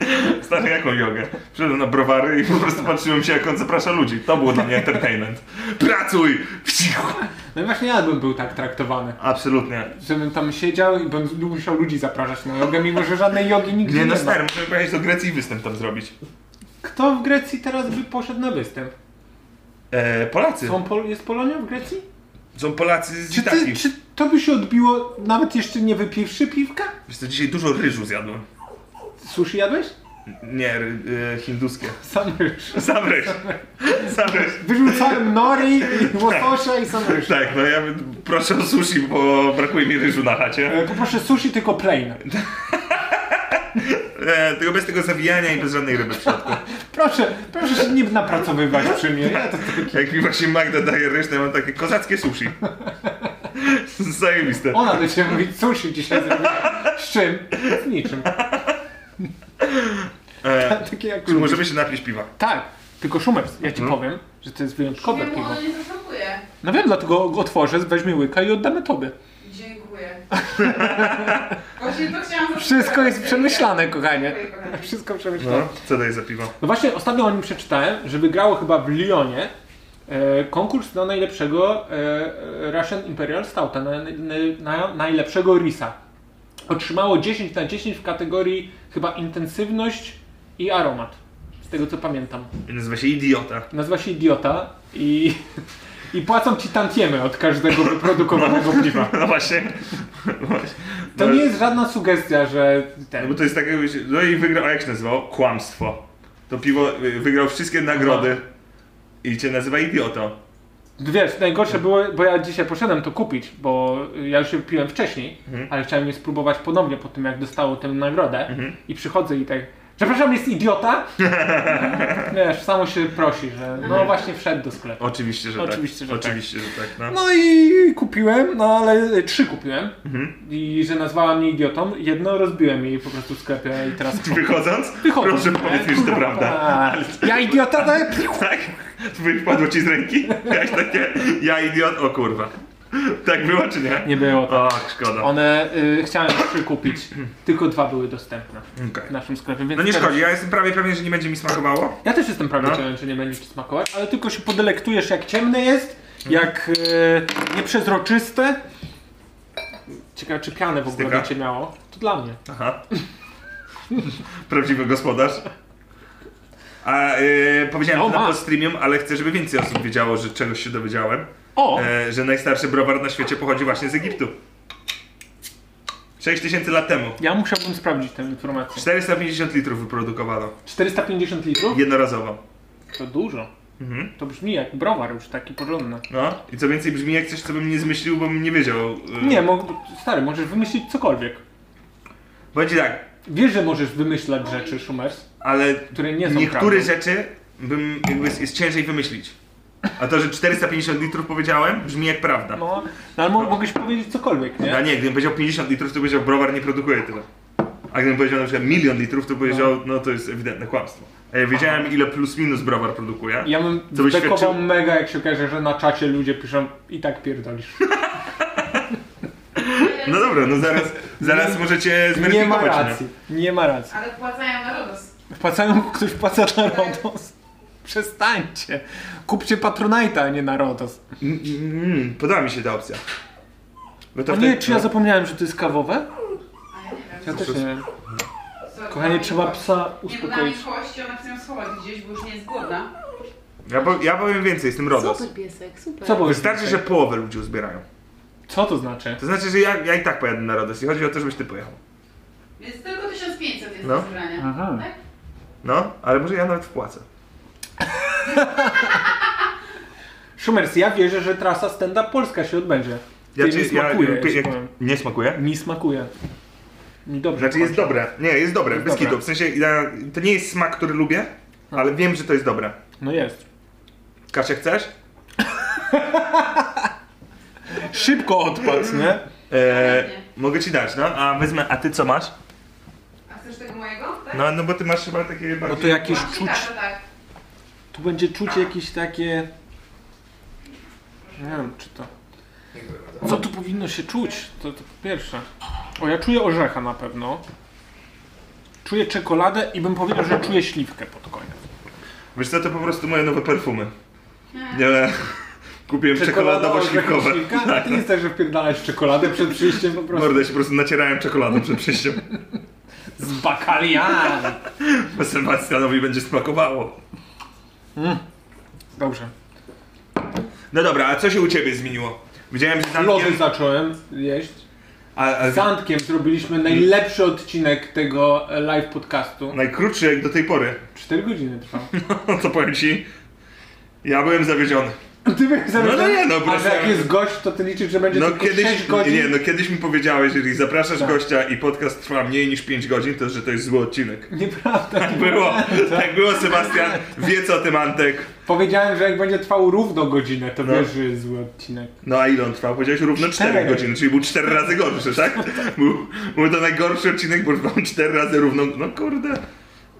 Speaker 2: No, stary, jaką jogę? Przyszedłem na browary i po prostu patrzyłem się, jak on zaprasza ludzi. To było dla mnie entertainment. Pracuj! W cichu!
Speaker 4: No i właśnie ja bym był tak traktowany.
Speaker 2: Absolutnie.
Speaker 4: Żebym tam siedział i bym musiał ludzi zapraszać na jogę, mimo że żadnej jogi nigdzie
Speaker 2: Nie
Speaker 4: nie,
Speaker 2: no,
Speaker 4: ma.
Speaker 2: stary, możemy pojechać do Grecji i występ tam zrobić.
Speaker 4: Kto w Grecji teraz by poszedł na występ?
Speaker 2: E, Polacy.
Speaker 4: Są Pol- jest Polonia w Grecji?
Speaker 2: Są Polacy z
Speaker 4: Czy, ty,
Speaker 2: Italii.
Speaker 4: czy to by się odbiło nawet jeszcze nie wypiwszy piwka?
Speaker 2: Wiesz co, dzisiaj dużo ryżu zjadłem.
Speaker 4: Sushi jadłeś?
Speaker 2: Nie, ry- y, hinduskie.
Speaker 4: Sam ryż.
Speaker 2: Sam ryż. Sam ryż.
Speaker 4: Wyrzucałem nori i łososia i sam ryż.
Speaker 2: Tak, no ja bym- proszę o sushi, bo brakuje mi ryżu na chacie.
Speaker 4: E, Poproszę sushi, tylko plain.
Speaker 2: E, tylko bez tego zawijania i bez żadnej ryby w środku.
Speaker 4: Proszę, proszę się nie napracowywać przy mnie. Ja to
Speaker 2: Jak mi właśnie Magda daje ryż, to ja mam takie kozackie sushi. Zajebiste.
Speaker 4: Ona do ciebie mówi, sushi dzisiaj zrobiła. Z czym? Z niczym.
Speaker 2: E,
Speaker 4: Takie jak
Speaker 2: czy
Speaker 4: lubisz.
Speaker 2: możemy się napić piwa?
Speaker 4: Tak, tylko Szumers, ja ci
Speaker 2: Mhm.
Speaker 4: powiem, że to jest wyjątkowe
Speaker 5: Dziękuję,
Speaker 4: piwo.
Speaker 5: ono nie zasmakuje.
Speaker 4: No wiem, dlatego otworzę, weźmie łyka i oddamy tobie.
Speaker 5: Dziękuję. Właśnie to chciałam
Speaker 4: Wszystko jest przemyślane, kochanie.
Speaker 5: Dziękuję, kochanie.
Speaker 4: Wszystko przemyślane.
Speaker 2: No, co daje za piwo?
Speaker 4: No właśnie, ostatnio o nim przeczytałem, że wygrało chyba w Lyonie e, konkurs do najlepszego e, Russian Imperial Stouta, na, na, na, najlepszego risa. Otrzymało 10 na 10 w kategorii chyba intensywność i aromat, z tego co pamiętam.
Speaker 2: Nazywa się Idiota.
Speaker 4: Nazywa się Idiota i, i płacą ci tantiemy od każdego wyprodukowanego piwa.
Speaker 2: No właśnie. Właśnie.
Speaker 4: To
Speaker 2: No,
Speaker 4: nie jest żadna sugestia, że
Speaker 2: No bo
Speaker 4: ten...
Speaker 2: to jest takie, wiecie, no i wygrał, a jak się nazywało? Kłamstwo. To piwo y, wygrał wszystkie nagrody i cię nazywa idiotą.
Speaker 4: Wiesz, najgorsze było, bo ja dzisiaj poszedłem to kupić, bo ja już je piłem Mhm. Mhm. wcześniej, ale chciałem je spróbować ponownie po tym, jak dostało tę nagrodę i przychodzę i tak... Przepraszam, jest idiota? Wiesz, samo się prosi, że no właśnie wszedł do sklepu.
Speaker 2: Oczywiście, że
Speaker 4: Oczywiście,
Speaker 2: tak.
Speaker 4: że tak.
Speaker 2: Oczywiście, że tak. No.
Speaker 4: No i kupiłem, no ale y, trzy kupiłem. I że nazwała mnie idiotą. Jedno rozbiłem jej po prostu w sklepie i teraz...
Speaker 2: Wychodząc,
Speaker 4: Wychodzę.
Speaker 2: proszę powiedz mi, że to prawda.
Speaker 4: Ja idiota daję...
Speaker 2: Tak? Wypadło ci z ręki? Miałeś takie, ja idiot, o kurwa. Tak było czy nie?
Speaker 4: Nie było tak.
Speaker 2: O, szkoda.
Speaker 4: One y, chciałem trzy kupić, tylko dwa były dostępne
Speaker 2: Okej.
Speaker 4: w naszym sklepie, więc
Speaker 2: No nie
Speaker 4: teraz-
Speaker 2: szkodzi, ja jestem prawie pewien, że nie będzie mi smakowało.
Speaker 4: Ja też jestem prawie
Speaker 2: No.
Speaker 4: pewien, że nie będzie ci smakować, ale tylko się podelektujesz jak ciemne jest,
Speaker 2: Mhm.
Speaker 4: jak e, nieprzezroczyste. Ciekawe czy pianę w ogóle
Speaker 2: Styka?
Speaker 4: będzie miało. To dla mnie.
Speaker 2: Aha. Prawdziwy gospodarz. A yy, powiedziałem
Speaker 4: No,
Speaker 2: to na
Speaker 4: ma.
Speaker 2: postreamium, ale chcę, żeby więcej osób wiedziało, że czegoś się dowiedziałem.
Speaker 4: O!
Speaker 2: E, że najstarszy browar na świecie pochodzi właśnie z Egiptu. 6000 lat temu.
Speaker 4: Ja musiałbym sprawdzić tę informację.
Speaker 2: 450 litrów wyprodukowano.
Speaker 4: 450 litrów?
Speaker 2: Jednorazowo.
Speaker 4: To dużo.
Speaker 2: Mhm.
Speaker 4: To brzmi jak browar już taki porządny.
Speaker 2: No. I co więcej brzmi jak coś, co bym nie zmyślił, bo bym nie wiedział. e,
Speaker 4: Nie, mo- stary, możesz wymyślić cokolwiek.
Speaker 2: Powiem ci tak,
Speaker 4: Wiesz, że możesz wymyślać rzeczy, Schumers,
Speaker 2: ale
Speaker 4: które nie są
Speaker 2: niektóre
Speaker 4: prawdą.
Speaker 2: rzeczy bym, jakby jest, jest ciężej wymyślić. A to, że 450 litrów powiedziałem, brzmi jak prawda. No.
Speaker 4: No, no ale mo- mogłeś powiedzieć cokolwiek,
Speaker 2: A
Speaker 4: nie?
Speaker 2: nie, gdybym powiedział 50 litrów, to bym powiedział, browar nie produkuje tyle. A gdybym powiedział na przykład milion litrów, to bym powiedział, no to jest ewidentne kłamstwo. A ja wiedziałem, ile plus minus browar produkuje.
Speaker 4: Ja bym
Speaker 2: Co byś
Speaker 4: zdekował
Speaker 2: świadczył?
Speaker 4: mega, jak się okaże, że na czacie ludzie piszą i tak pierdolisz.
Speaker 2: No dobra, no zaraz, zaraz możecie
Speaker 4: Nie ma
Speaker 2: zweryfikować.
Speaker 4: racji, nie ma racji.
Speaker 5: Ale płacają na RODOS.
Speaker 4: Wpłacają, ktoś wpłaca na RODOS. Przestańcie. Kupcie Patronite'a, a nie na RODOS.
Speaker 2: Mm, mm, podoba mi się ta opcja. Bo to
Speaker 4: A
Speaker 2: wtedy- No.
Speaker 4: nie, czy ja zapomniałem, że to jest kawowe?
Speaker 5: A ja nie wiem.
Speaker 4: Ja też nie wiem.
Speaker 5: Sorry.
Speaker 4: Kochanie, trzeba psa
Speaker 5: Nie, bo dla mnie
Speaker 4: uspokoić.
Speaker 5: kości, ona chce ją schować gdzieś, bo już nie jest głodna.
Speaker 2: ja, po, ja powiem więcej, jestem RODOS.
Speaker 6: Super piesek, super.
Speaker 4: Co powiesz?
Speaker 2: Wystarczy, że
Speaker 4: dzisiaj?
Speaker 2: połowę ludzi uzbierają.
Speaker 4: Co to znaczy?
Speaker 2: To znaczy, że ja, ja i tak pojadę na RODOS i chodzi o to, żebyś ty pojechał.
Speaker 5: Więc tylko 1500 jest
Speaker 2: No.
Speaker 5: do zebrania.
Speaker 4: Aha.
Speaker 5: Tak?
Speaker 2: No, ale może ja nawet wpłacę.
Speaker 4: Szumers, ja wierzę, że trasa stand-up polska się odbędzie.
Speaker 2: Ja,
Speaker 4: Ty
Speaker 2: ci-
Speaker 4: mi smakuje, ja,
Speaker 2: ja,
Speaker 4: ci
Speaker 2: jak-
Speaker 4: powiem.
Speaker 2: nie smakuje?
Speaker 4: Mi smakuje. Mi dobrze
Speaker 2: Znaczy jest
Speaker 4: smakuje.
Speaker 2: dobre. Nie, jest dobre,
Speaker 4: Jest
Speaker 2: bez
Speaker 4: dobre.
Speaker 2: kitu. W sensie ja, to nie jest smak, który lubię, ale wiem, że to jest dobre.
Speaker 4: No jest.
Speaker 2: Kasia, chcesz?
Speaker 4: Szybko odpadł, nie?
Speaker 2: Eee,
Speaker 5: Chętnie.
Speaker 2: mogę ci dać, no? A wezmę, a ty co masz?
Speaker 5: A chcesz tego mojego? Tak?
Speaker 2: No, no bo ty masz chyba takie
Speaker 4: Bo
Speaker 2: bardziej...
Speaker 4: to jakieś
Speaker 5: Mam
Speaker 4: czuć,
Speaker 5: ciekawe, tak.
Speaker 4: tu będzie czuć jakieś takie... Nie wiem, czy to... Co tu powinno się czuć? To, to po pierwsze. O, ja czuję orzecha na pewno. Czuję czekoladę i bym powiedział, że czuję śliwkę pod koniec.
Speaker 2: Wiesz co, to po prostu moje nowe perfumy.
Speaker 5: Nie.
Speaker 2: Nie, kupiłem
Speaker 4: orzech i
Speaker 2: czekoladowo-śliwkowe.
Speaker 4: śliwka? Ty jest tak, że wpierdalałeś czekoladę przed przyjściem po prostu.
Speaker 2: Mordę się po prostu nacierałem czekoladą przed przyjściem.
Speaker 4: Z No, bakalian!
Speaker 2: Bo Sebastianowi będzie smakowało.
Speaker 4: Dobrze.
Speaker 2: No dobra, a co się u ciebie zmieniło? Widziałem, że z
Speaker 4: Lody
Speaker 2: Antkiem...
Speaker 4: zacząłem jeść.
Speaker 2: A, a,
Speaker 4: Z Antkiem zrobiliśmy najlepszy odcinek tego e, live podcastu.
Speaker 2: najkrótszy jak do tej pory.
Speaker 4: 4 godziny trwał.
Speaker 2: No to powiem ci, ja byłem zawiedziony.
Speaker 4: Ty byłeś
Speaker 2: no
Speaker 4: zawiedziony?
Speaker 2: nie, no,
Speaker 4: A
Speaker 2: proszę.
Speaker 4: że jak jest gość, to ty liczysz, że będzie
Speaker 2: No
Speaker 4: tylko 6
Speaker 2: kiedyś,
Speaker 4: godzin?
Speaker 2: nie, no kiedyś mi powiedziałeś, jeżeli zapraszasz
Speaker 4: Tak.
Speaker 2: gościa i podcast trwa mniej niż 5 godzin, to że to jest zły odcinek.
Speaker 4: Nieprawda.
Speaker 2: Tak było, tak było Sebastian, wie co tym Antek.
Speaker 4: Powiedziałem, że jak będzie trwał równo godzinę, to
Speaker 2: No.
Speaker 4: wiesz, że jest zły odcinek.
Speaker 2: No a ile on trwał? Powiedziałeś równo 4,
Speaker 4: Cztery.
Speaker 2: godziny, czyli był 4 razy gorszy, tak? Był, był to najgorszy odcinek, bo trwał 4 razy równo, no kurde.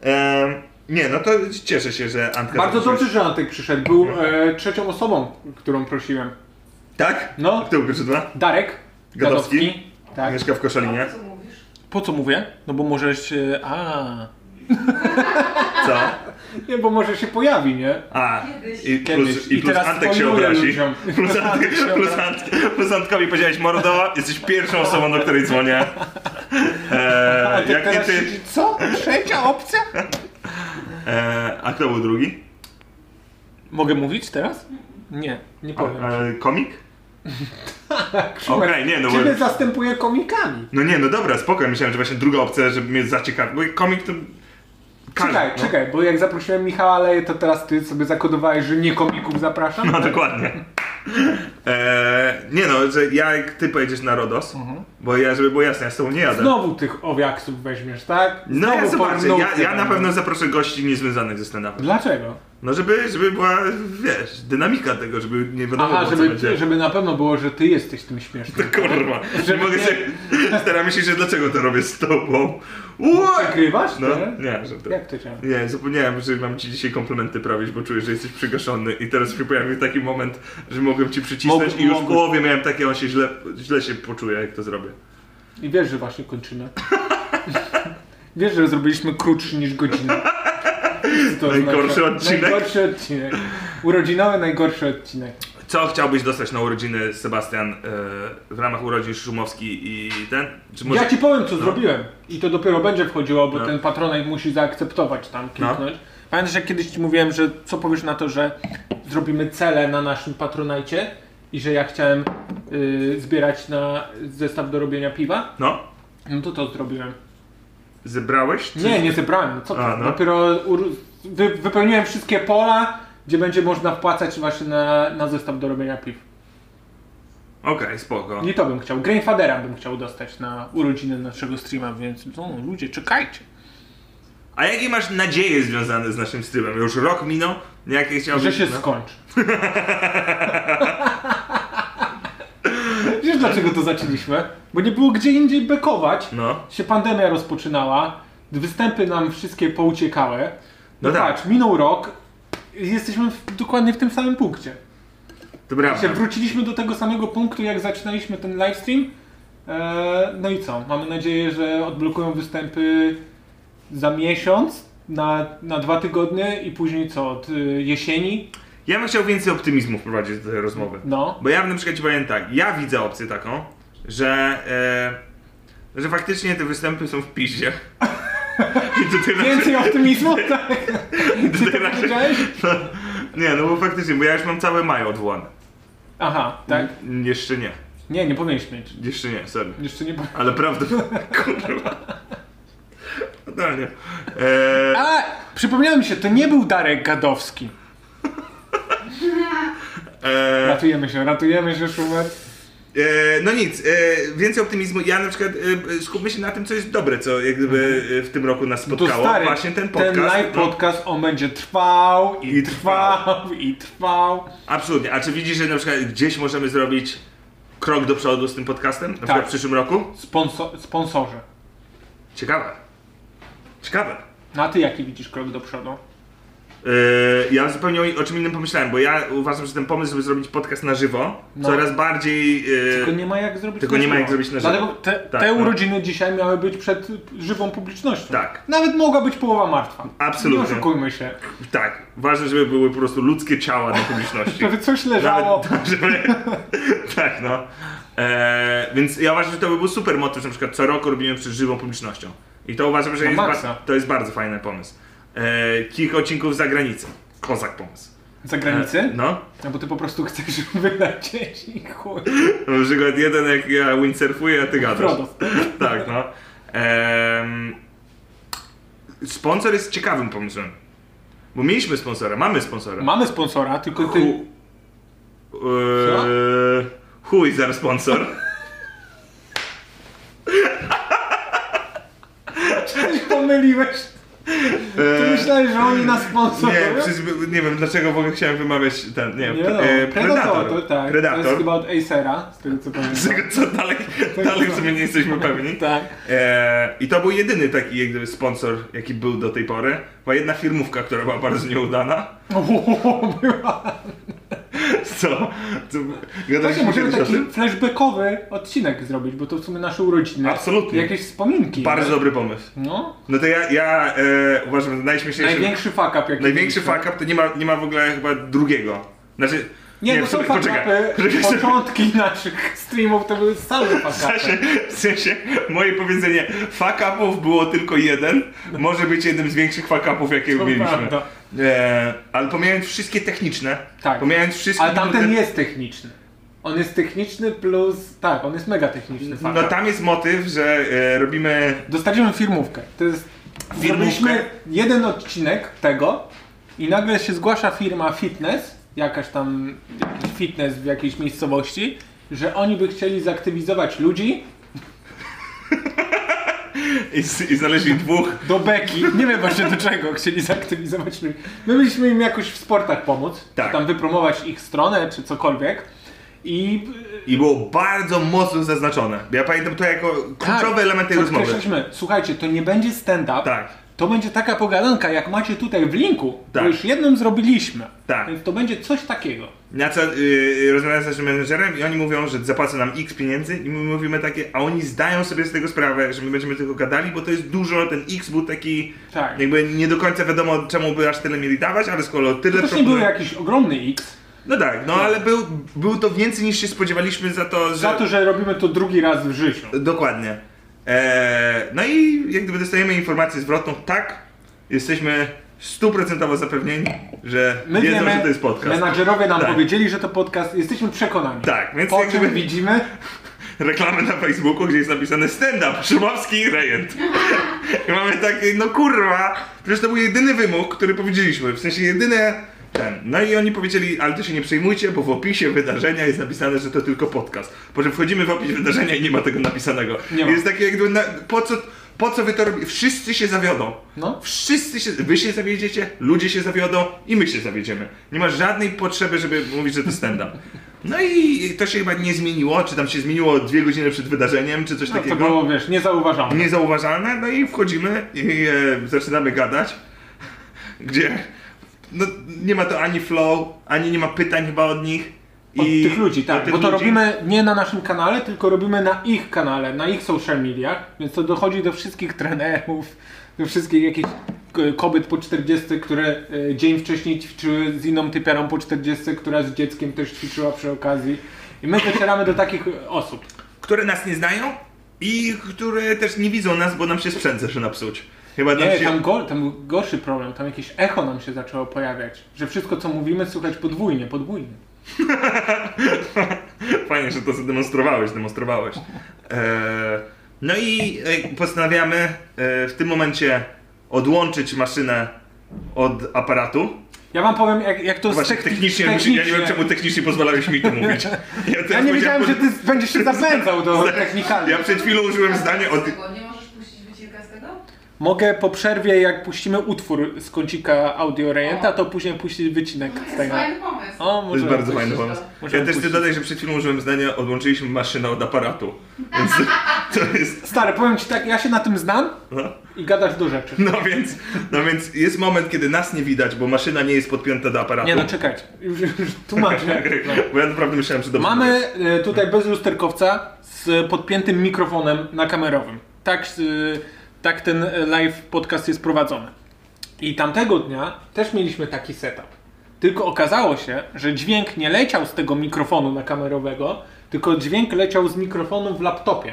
Speaker 2: Em, nie, no to cieszę się, No. że Antka...
Speaker 4: Bardzo
Speaker 2: zaprosiłeś.
Speaker 4: dobrze, że Antek przyszedł. Był e, trzecią osobą, którą prosiłem.
Speaker 2: Tak?
Speaker 4: No.
Speaker 2: Kto był pierwszy dwa?
Speaker 4: Darek
Speaker 2: Gadowski.
Speaker 4: Gadowski. Tak.
Speaker 2: Mieszka w Koszalinie.
Speaker 5: Co mówisz?
Speaker 4: Po co mówię? No bo może się... A.
Speaker 2: Co?
Speaker 4: Nie, bo może się pojawi, nie?
Speaker 2: A,
Speaker 5: Kiedyś.
Speaker 2: i
Speaker 4: Kiedyś.
Speaker 2: plus, i
Speaker 4: I
Speaker 2: plus
Speaker 4: teraz
Speaker 2: Antek się
Speaker 4: spoiluję
Speaker 2: obrazi.
Speaker 4: ludziom. Tak,
Speaker 2: Plus, Antek, plus, Antek, plus Antkowi powiedziałeś, mordo, jesteś pierwszą osobą, do której dzwonię.
Speaker 4: A
Speaker 2: E,
Speaker 4: to
Speaker 2: jak nie
Speaker 4: teraz
Speaker 2: ty...
Speaker 4: siedzi- Co? Trzecia opcja?
Speaker 2: E, a kto był drugi?
Speaker 4: Mogę mówić teraz? Nie, nie powiem.
Speaker 2: E, komik? Okej,
Speaker 4: Krzymek,
Speaker 2: nie, no bo...
Speaker 4: Tak, Ciebie zastępuję komikami.
Speaker 2: No nie, no dobra, spoko, ja myślałem, że właśnie druga opcja, żeby mnie zaciekawił, bo komik to... Każdy,
Speaker 4: Czekaj,
Speaker 2: no.
Speaker 4: czekaj, bo jak zaprosiłem Michała Leje, to teraz ty sobie zakodowałeś, że nie komików zapraszam.
Speaker 2: No
Speaker 4: tak?
Speaker 2: dokładnie. Eee, nie no, że ja jak ty pojedziesz na Rodos, bo ja, żeby było jasne, ja z tobą nie jadę.
Speaker 4: Mhm. Znowu tych owiaksów weźmiesz, tak?
Speaker 2: No
Speaker 4: Znowu no.
Speaker 2: ja zobaczę,
Speaker 4: porną
Speaker 2: ja, ja
Speaker 4: cenę.
Speaker 2: na pewno zaproszę gości niezwiązanych ze stand-upem.
Speaker 4: Dlaczego?
Speaker 2: No żeby, żeby była, wiesz, dynamika tego, żeby nie wiadomo
Speaker 4: Aha,
Speaker 2: było, No, co
Speaker 4: żeby,
Speaker 2: będzie.
Speaker 4: żeby na pewno było, że ty jesteś tym śmiesznym.
Speaker 2: Kurwa, nie
Speaker 4: Żeby
Speaker 2: mogę
Speaker 4: nie-
Speaker 2: sobie... Staram się, że dlaczego to robię z tobą. Ue!
Speaker 4: Przykrywasz?
Speaker 2: No,
Speaker 4: nie?
Speaker 2: nie, że to...
Speaker 4: Jak to działa?
Speaker 2: Nie, zapomniałem, że mam ci dzisiaj komplementy prawić, bo czuję, że jesteś przygaszony i teraz się pojawił taki moment, że mogłem ci przycisnąć
Speaker 4: Mog-
Speaker 2: i już w
Speaker 4: mogłeś.
Speaker 2: głowie miałem takie, on się źle, źle się poczuje, jak to zrobię.
Speaker 4: I wiesz, że właśnie kończymy. Wiesz, że zrobiliśmy krótszy niż godzinę. Co to
Speaker 2: Najgorszy
Speaker 4: oznacza?
Speaker 2: odcinek.
Speaker 4: Najgorszy odcinek. Urodzinowy najgorszy odcinek.
Speaker 2: Co chciałbyś dostać na urodziny, Sebastian, e, w ramach urodzin Szumowski i ten? Czy może...
Speaker 4: Ja ci powiem, co zrobiłem. I to dopiero będzie wchodziło, bo
Speaker 2: No.
Speaker 4: ten patronat musi zaakceptować tam, kliknąć. Pamiętasz, jak kiedyś ci mówiłem, że co powiesz na to, że zrobimy cele na naszym patronajcie i że ja chciałem y, zbierać na zestaw do robienia piwa?
Speaker 2: No,
Speaker 4: No to to zrobiłem.
Speaker 2: zebrałeś? Czy...
Speaker 4: Nie, nie zebrałem. Co to?
Speaker 2: A, no.
Speaker 4: Dopiero ur- wy- wypełniłem wszystkie pola, gdzie będzie można wpłacać właśnie na, na zestaw do robienia piw.
Speaker 2: Okej, spoko.
Speaker 4: Nie to bym chciał. Grainfadera bym chciał dostać na urodziny naszego streama, więc no, ludzie, czekajcie.
Speaker 2: A jakie masz nadzieje związane z naszym streamem? Już rok minął, jakie chciałbyś...
Speaker 4: Że się
Speaker 2: no?
Speaker 4: skończy. Wiesz dlaczego to zaczęliśmy? Bo nie było gdzie indziej bekować.
Speaker 2: No.
Speaker 4: Się pandemia rozpoczynała, występy nam wszystkie pouciekały. No,
Speaker 2: No tak.
Speaker 4: patrz, minął rok i jesteśmy w, dokładnie w tym samym punkcie.
Speaker 2: To prawda.
Speaker 4: Się wróciliśmy do tego samego punktu, jak zaczynaliśmy ten livestream. Eee, no i co? Mamy nadzieję, że odblokują występy za miesiąc, na, na dwa tygodnie i później co? Od y, jesieni?
Speaker 2: Ja bym chciał więcej optymizmu wprowadzić do tej rozmowy.
Speaker 4: No.
Speaker 2: Bo ja na przykład ci powiem tak, ja widzę opcję taką, że, e, że faktycznie te występy są w piździe. I tutaj
Speaker 4: Więcej optymizmu? Tak. Czy to
Speaker 2: raczej-
Speaker 4: powiedziałeś?
Speaker 2: No, nie, no bo faktycznie, bo ja już mam całe maje odwołane.
Speaker 4: Aha, tak.
Speaker 2: N- Jeszcze nie,
Speaker 4: Nie, nie powinieneś mieć.
Speaker 2: jeszcze nie, sorry.
Speaker 4: Jeszcze nie powiem.
Speaker 2: Ale prawda, kurwa. Totalnie. E,
Speaker 4: A! Przypomniałem mi się, to nie był Darek Gadowski.
Speaker 2: e,
Speaker 4: Ratujemy się, ratujemy się, Schubert.
Speaker 2: E, no nic, e, więcej optymizmu. Ja na przykład e, e, skupmy się na tym, co jest dobre, co jak gdyby e, w tym roku nas
Speaker 4: No To
Speaker 2: spotkało.
Speaker 4: stary,
Speaker 2: Właśnie ten podcast.
Speaker 4: ten live
Speaker 2: no,
Speaker 4: podcast, on będzie trwał i,
Speaker 2: I
Speaker 4: trwał, i trwał.
Speaker 2: absolutnie. A czy widzisz, że na przykład gdzieś możemy zrobić krok do przodu z tym podcastem? Na przykład w
Speaker 4: Tak.
Speaker 2: przyszłym roku?
Speaker 4: Sponso- sponsorze.
Speaker 2: Ciekawe. Ciekawe.
Speaker 4: No a ty jaki widzisz krok do przodu?
Speaker 2: E, ja zupełnie o, o czym innym pomyślałem, bo ja uważam, że ten pomysł, żeby zrobić podcast na żywo,
Speaker 4: No.
Speaker 2: coraz bardziej. e,
Speaker 4: Tylko nie ma jak zrobić
Speaker 2: Tylko
Speaker 4: na
Speaker 2: nie ma
Speaker 4: żywo.
Speaker 2: jak zrobić na żywo.
Speaker 4: Dlatego te,
Speaker 2: Tak,
Speaker 4: te
Speaker 2: no.
Speaker 4: urodziny dzisiaj miały być przed żywą publicznością.
Speaker 2: Tak.
Speaker 4: Nawet mogła być połowa martwa.
Speaker 2: Absolutnie.
Speaker 4: Nie oszukujmy się.
Speaker 2: Tak. Ważne, żeby były po prostu ludzkie ciała na publiczności.
Speaker 4: Żeby coś leżało.
Speaker 2: Nawet, żeby, tak, no. E, więc ja uważam, że to by był super motyw, że na przykład co roku robimy przed żywą publicznością. I to uważam, że
Speaker 4: Na
Speaker 2: jest,
Speaker 4: maksa.
Speaker 2: ba- to jest bardzo fajny pomysł. E, kilka odcinków za granicą. Kozak pomysł.
Speaker 4: Za
Speaker 2: E,
Speaker 4: granicy?
Speaker 2: No.
Speaker 4: No bo ty po prostu chcesz wylecieć i chuj.
Speaker 2: Na przykład jeden jak ja windsurfuję, a ty gadasz.
Speaker 4: Frodo.
Speaker 2: tak, no. Em, sponsor jest ciekawym pomysłem. Bo mieliśmy sponsora, mamy sponsora. e,
Speaker 4: Mamy sponsora, tylko ty...
Speaker 2: Chu... Eee, chuj za sponsor.
Speaker 4: pomyliłeś. Ty myślałeś, że oni nas sponsorują?
Speaker 2: E, Nie, przecież, by- nie wiem dlaczego w ogóle chciałem wymawiać ten, nie,
Speaker 4: Nie
Speaker 2: pre-
Speaker 4: wiadomo.
Speaker 2: e,
Speaker 4: Predator, to, tak. To jest
Speaker 2: Predator.
Speaker 4: chyba od Acera, z tego co
Speaker 2: Z
Speaker 4: pamiętam.
Speaker 2: tego co dalej, dalej w sumie nie jesteśmy pewni.
Speaker 4: Tak.
Speaker 2: E, I to był jedyny taki jak gdyby, sponsor, jaki był do tej pory. Była jedna firmówka, która była bardzo nieudana.
Speaker 4: była.
Speaker 2: Co? co
Speaker 4: Właśnie,
Speaker 2: gadaliśmy
Speaker 4: możemy
Speaker 2: kiedyś o
Speaker 4: taki
Speaker 2: tym?
Speaker 4: flashbackowy odcinek zrobić, bo to w sumie nasze urodziny.
Speaker 2: Absolutnie.
Speaker 4: Jakieś wspominki.
Speaker 2: Bardzo dobry pomysł.
Speaker 4: No.
Speaker 2: No to ja, ja e, uważam, że najśmieszniejszy...
Speaker 4: Największy tak. fuck up jaki
Speaker 2: Największy
Speaker 4: mieliśmy.
Speaker 2: fuck up to nie ma, nie ma w ogóle chyba drugiego. Znaczy,
Speaker 4: Nie, no
Speaker 2: w
Speaker 4: są
Speaker 2: sumie-
Speaker 4: fuck upy.
Speaker 2: poczekaj, sobie-
Speaker 4: Początki naszych streamów to były same
Speaker 2: W
Speaker 4: fuck
Speaker 2: sensie,
Speaker 4: upy.
Speaker 2: w sensie, moje powiedzenie fuck upów było tylko jeden, może być jednym z większych fuck upów, jakiego
Speaker 4: To
Speaker 2: mieliśmy.
Speaker 4: prawda.
Speaker 2: E, ale pomijając wszystkie techniczne,
Speaker 4: Tak.
Speaker 2: pomijając wszystkie...
Speaker 4: Ale tamten
Speaker 2: minute-
Speaker 4: jest techniczny. On jest techniczny plus... Tak, on jest mega techniczny fuck
Speaker 2: No
Speaker 4: up.
Speaker 2: tam jest motyw, że e, robimy
Speaker 4: Dostaliśmy firmówkę. To jest.
Speaker 2: Firmówkę?
Speaker 4: Zrobiliśmy jeden odcinek tego i nagle się zgłasza firma Fitness jakaś tam jakiś fitness w jakiejś miejscowości, że oni by chcieli zaktywizować ludzi
Speaker 2: I, z- i znaleźli dwóch.
Speaker 4: do beki. Nie wiem właśnie do czego chcieli zaktywizować ludzi. My mieliśmy im jakoś w sportach pomóc,
Speaker 2: Tak.
Speaker 4: tam wypromować ich stronę czy cokolwiek. I
Speaker 2: I było bardzo mocno zaznaczone. Ja pamiętam to jako
Speaker 4: Tak.
Speaker 2: kluczowy element tej rozmowy.
Speaker 4: podkreślaliśmy, Słuchajcie, to nie będzie stand-up.
Speaker 2: Tak.
Speaker 4: To będzie taka pogadanka, jak macie tutaj w linku.
Speaker 2: Tak.
Speaker 4: Bo już jednym zrobiliśmy.
Speaker 2: Tak.
Speaker 4: Więc to będzie coś takiego.
Speaker 2: Na co yy, rozmawiam z naszym menedżerem i oni mówią, że zapłacą nam x pieniędzy i my mówimy takie, a oni zdają sobie z tego sprawę, że my będziemy tylko gadali, bo to jest dużo, ten x był taki,
Speaker 4: Tak.
Speaker 2: jakby nie do końca wiadomo czemu by aż tyle mieli dawać, ale skoro tyle
Speaker 4: No To też nie był jakiś ogromny X.
Speaker 2: No tak, no ale był, był to więcej niż się spodziewaliśmy za to, że...
Speaker 4: Za to, że robimy to drugi raz w życiu.
Speaker 2: Dokładnie. Eee, no i jak gdyby dostajemy informację zwrotną, tak, jesteśmy stuprocentowo zapewnieni, że
Speaker 4: My
Speaker 2: wiedzą,
Speaker 4: wiemy,
Speaker 2: że to jest podcast.
Speaker 4: menadżerowie nam
Speaker 2: Tak.
Speaker 4: powiedzieli, że to podcast, jesteśmy przekonani.
Speaker 2: Tak, więc
Speaker 4: Po
Speaker 2: jak
Speaker 4: czym
Speaker 2: gdyby-
Speaker 4: widzimy,
Speaker 2: reklamę na Facebooku, gdzie jest napisane stand-up, Szumowski i Rejent. I mamy takie, no kurwa, przecież to był jedyny wymóg, który powiedzieliśmy, w sensie jedyne ten. No i oni powiedzieli, ale to się nie przejmujcie, bo w opisie wydarzenia jest napisane, że to tylko podcast. Po czym wchodzimy w opis wydarzenia i nie ma tego napisanego.
Speaker 4: Nie ma.
Speaker 2: Jest takie jakby, na, po co... Po co wy to robicie? Wszyscy się zawiodą.
Speaker 4: No.
Speaker 2: Wszyscy się... Wy się zawiedziecie, ludzie się zawiodą i my się zawiedziemy. Nie ma żadnej potrzeby, żeby mówić, że to stand-up. No i to się chyba nie zmieniło, czy tam się zmieniło dwie godziny przed wydarzeniem, czy coś
Speaker 4: no, to
Speaker 2: takiego.
Speaker 4: było, wiesz, niezauważalne.
Speaker 2: Niezauważalne, no i wchodzimy i e, zaczynamy gadać, gdzie no, nie ma to ani flow, ani nie ma pytań chyba od nich.
Speaker 4: Od
Speaker 2: i-
Speaker 4: tych ludzi, tak.
Speaker 2: od tych
Speaker 4: bo to
Speaker 2: ludzi.
Speaker 4: robimy nie na naszym kanale, tylko robimy na ich kanale, na ich social mediach, więc to dochodzi do wszystkich trenerów, do wszystkich jakichś k- kobiet po 40, które e, dzień wcześniej ćwiczyły z inną typiarą po 40, która z dzieckiem też ćwiczyła przy okazji. I my docieramy do takich e, osób.
Speaker 2: Które nas nie znają i które też nie widzą nas, bo nam się sprzęt zaczyna psuć. Chyba nam
Speaker 4: Nie,
Speaker 2: się...
Speaker 4: tam, go, tam był gorszy problem, tam jakieś echo nam się zaczęło pojawiać, że wszystko co mówimy słychać podwójnie, podwójnie.
Speaker 2: Fajnie, że to zademonstrowałeś, demonstrowałeś. E, no i e, postanawiamy e, w tym momencie odłączyć maszynę od aparatu.
Speaker 4: Ja wam powiem, jak, jak to
Speaker 2: Właśnie
Speaker 4: techni-
Speaker 2: technicznie, musi- ja nie wiem czemu technicznie pozwalałeś mi to mówić. teraz
Speaker 4: Ja nie wiedziałem,
Speaker 2: powiedziałem-
Speaker 4: że ty będziesz się zapędzał do technikali.
Speaker 2: Ja przed chwilą użyłem zdania od...
Speaker 5: Tak, Nie możesz puścić wycinka z tego?
Speaker 4: Mogę po przerwie, jak puścimy utwór z kącika Audio Rejenta, to później puścić wycinek
Speaker 5: To
Speaker 4: z
Speaker 5: jest
Speaker 4: tego.
Speaker 5: fajny pomysł.
Speaker 4: O,
Speaker 2: To jest
Speaker 4: może
Speaker 2: bardzo fajny pomysł.
Speaker 4: Możemy
Speaker 2: Ja też ty
Speaker 4: puścić.
Speaker 2: dodaj, że przed chwilą użyłem zdania odłączyliśmy maszynę od aparatu. Więc to jest...
Speaker 4: Stary, powiem ci tak, ja się na tym znam
Speaker 2: No.
Speaker 4: i gadasz do rzeczy.
Speaker 2: No więc, no więc jest moment, kiedy nas nie widać, bo maszyna nie jest podpięta do aparatu.
Speaker 4: Nie no, czekajcie, już, już tłumaczę. No.
Speaker 2: Bo ja naprawdę myślałem, że dobrze
Speaker 4: Mamy e, tutaj bez lusterkowca z podpiętym mikrofonem nakamerowym. Tak, e, tak ten e, live podcast jest prowadzony. I tamtego dnia też mieliśmy taki setup. Tylko okazało się, że dźwięk nie leciał z tego mikrofonu nakamerowego, tylko dźwięk leciał z mikrofonu w laptopie.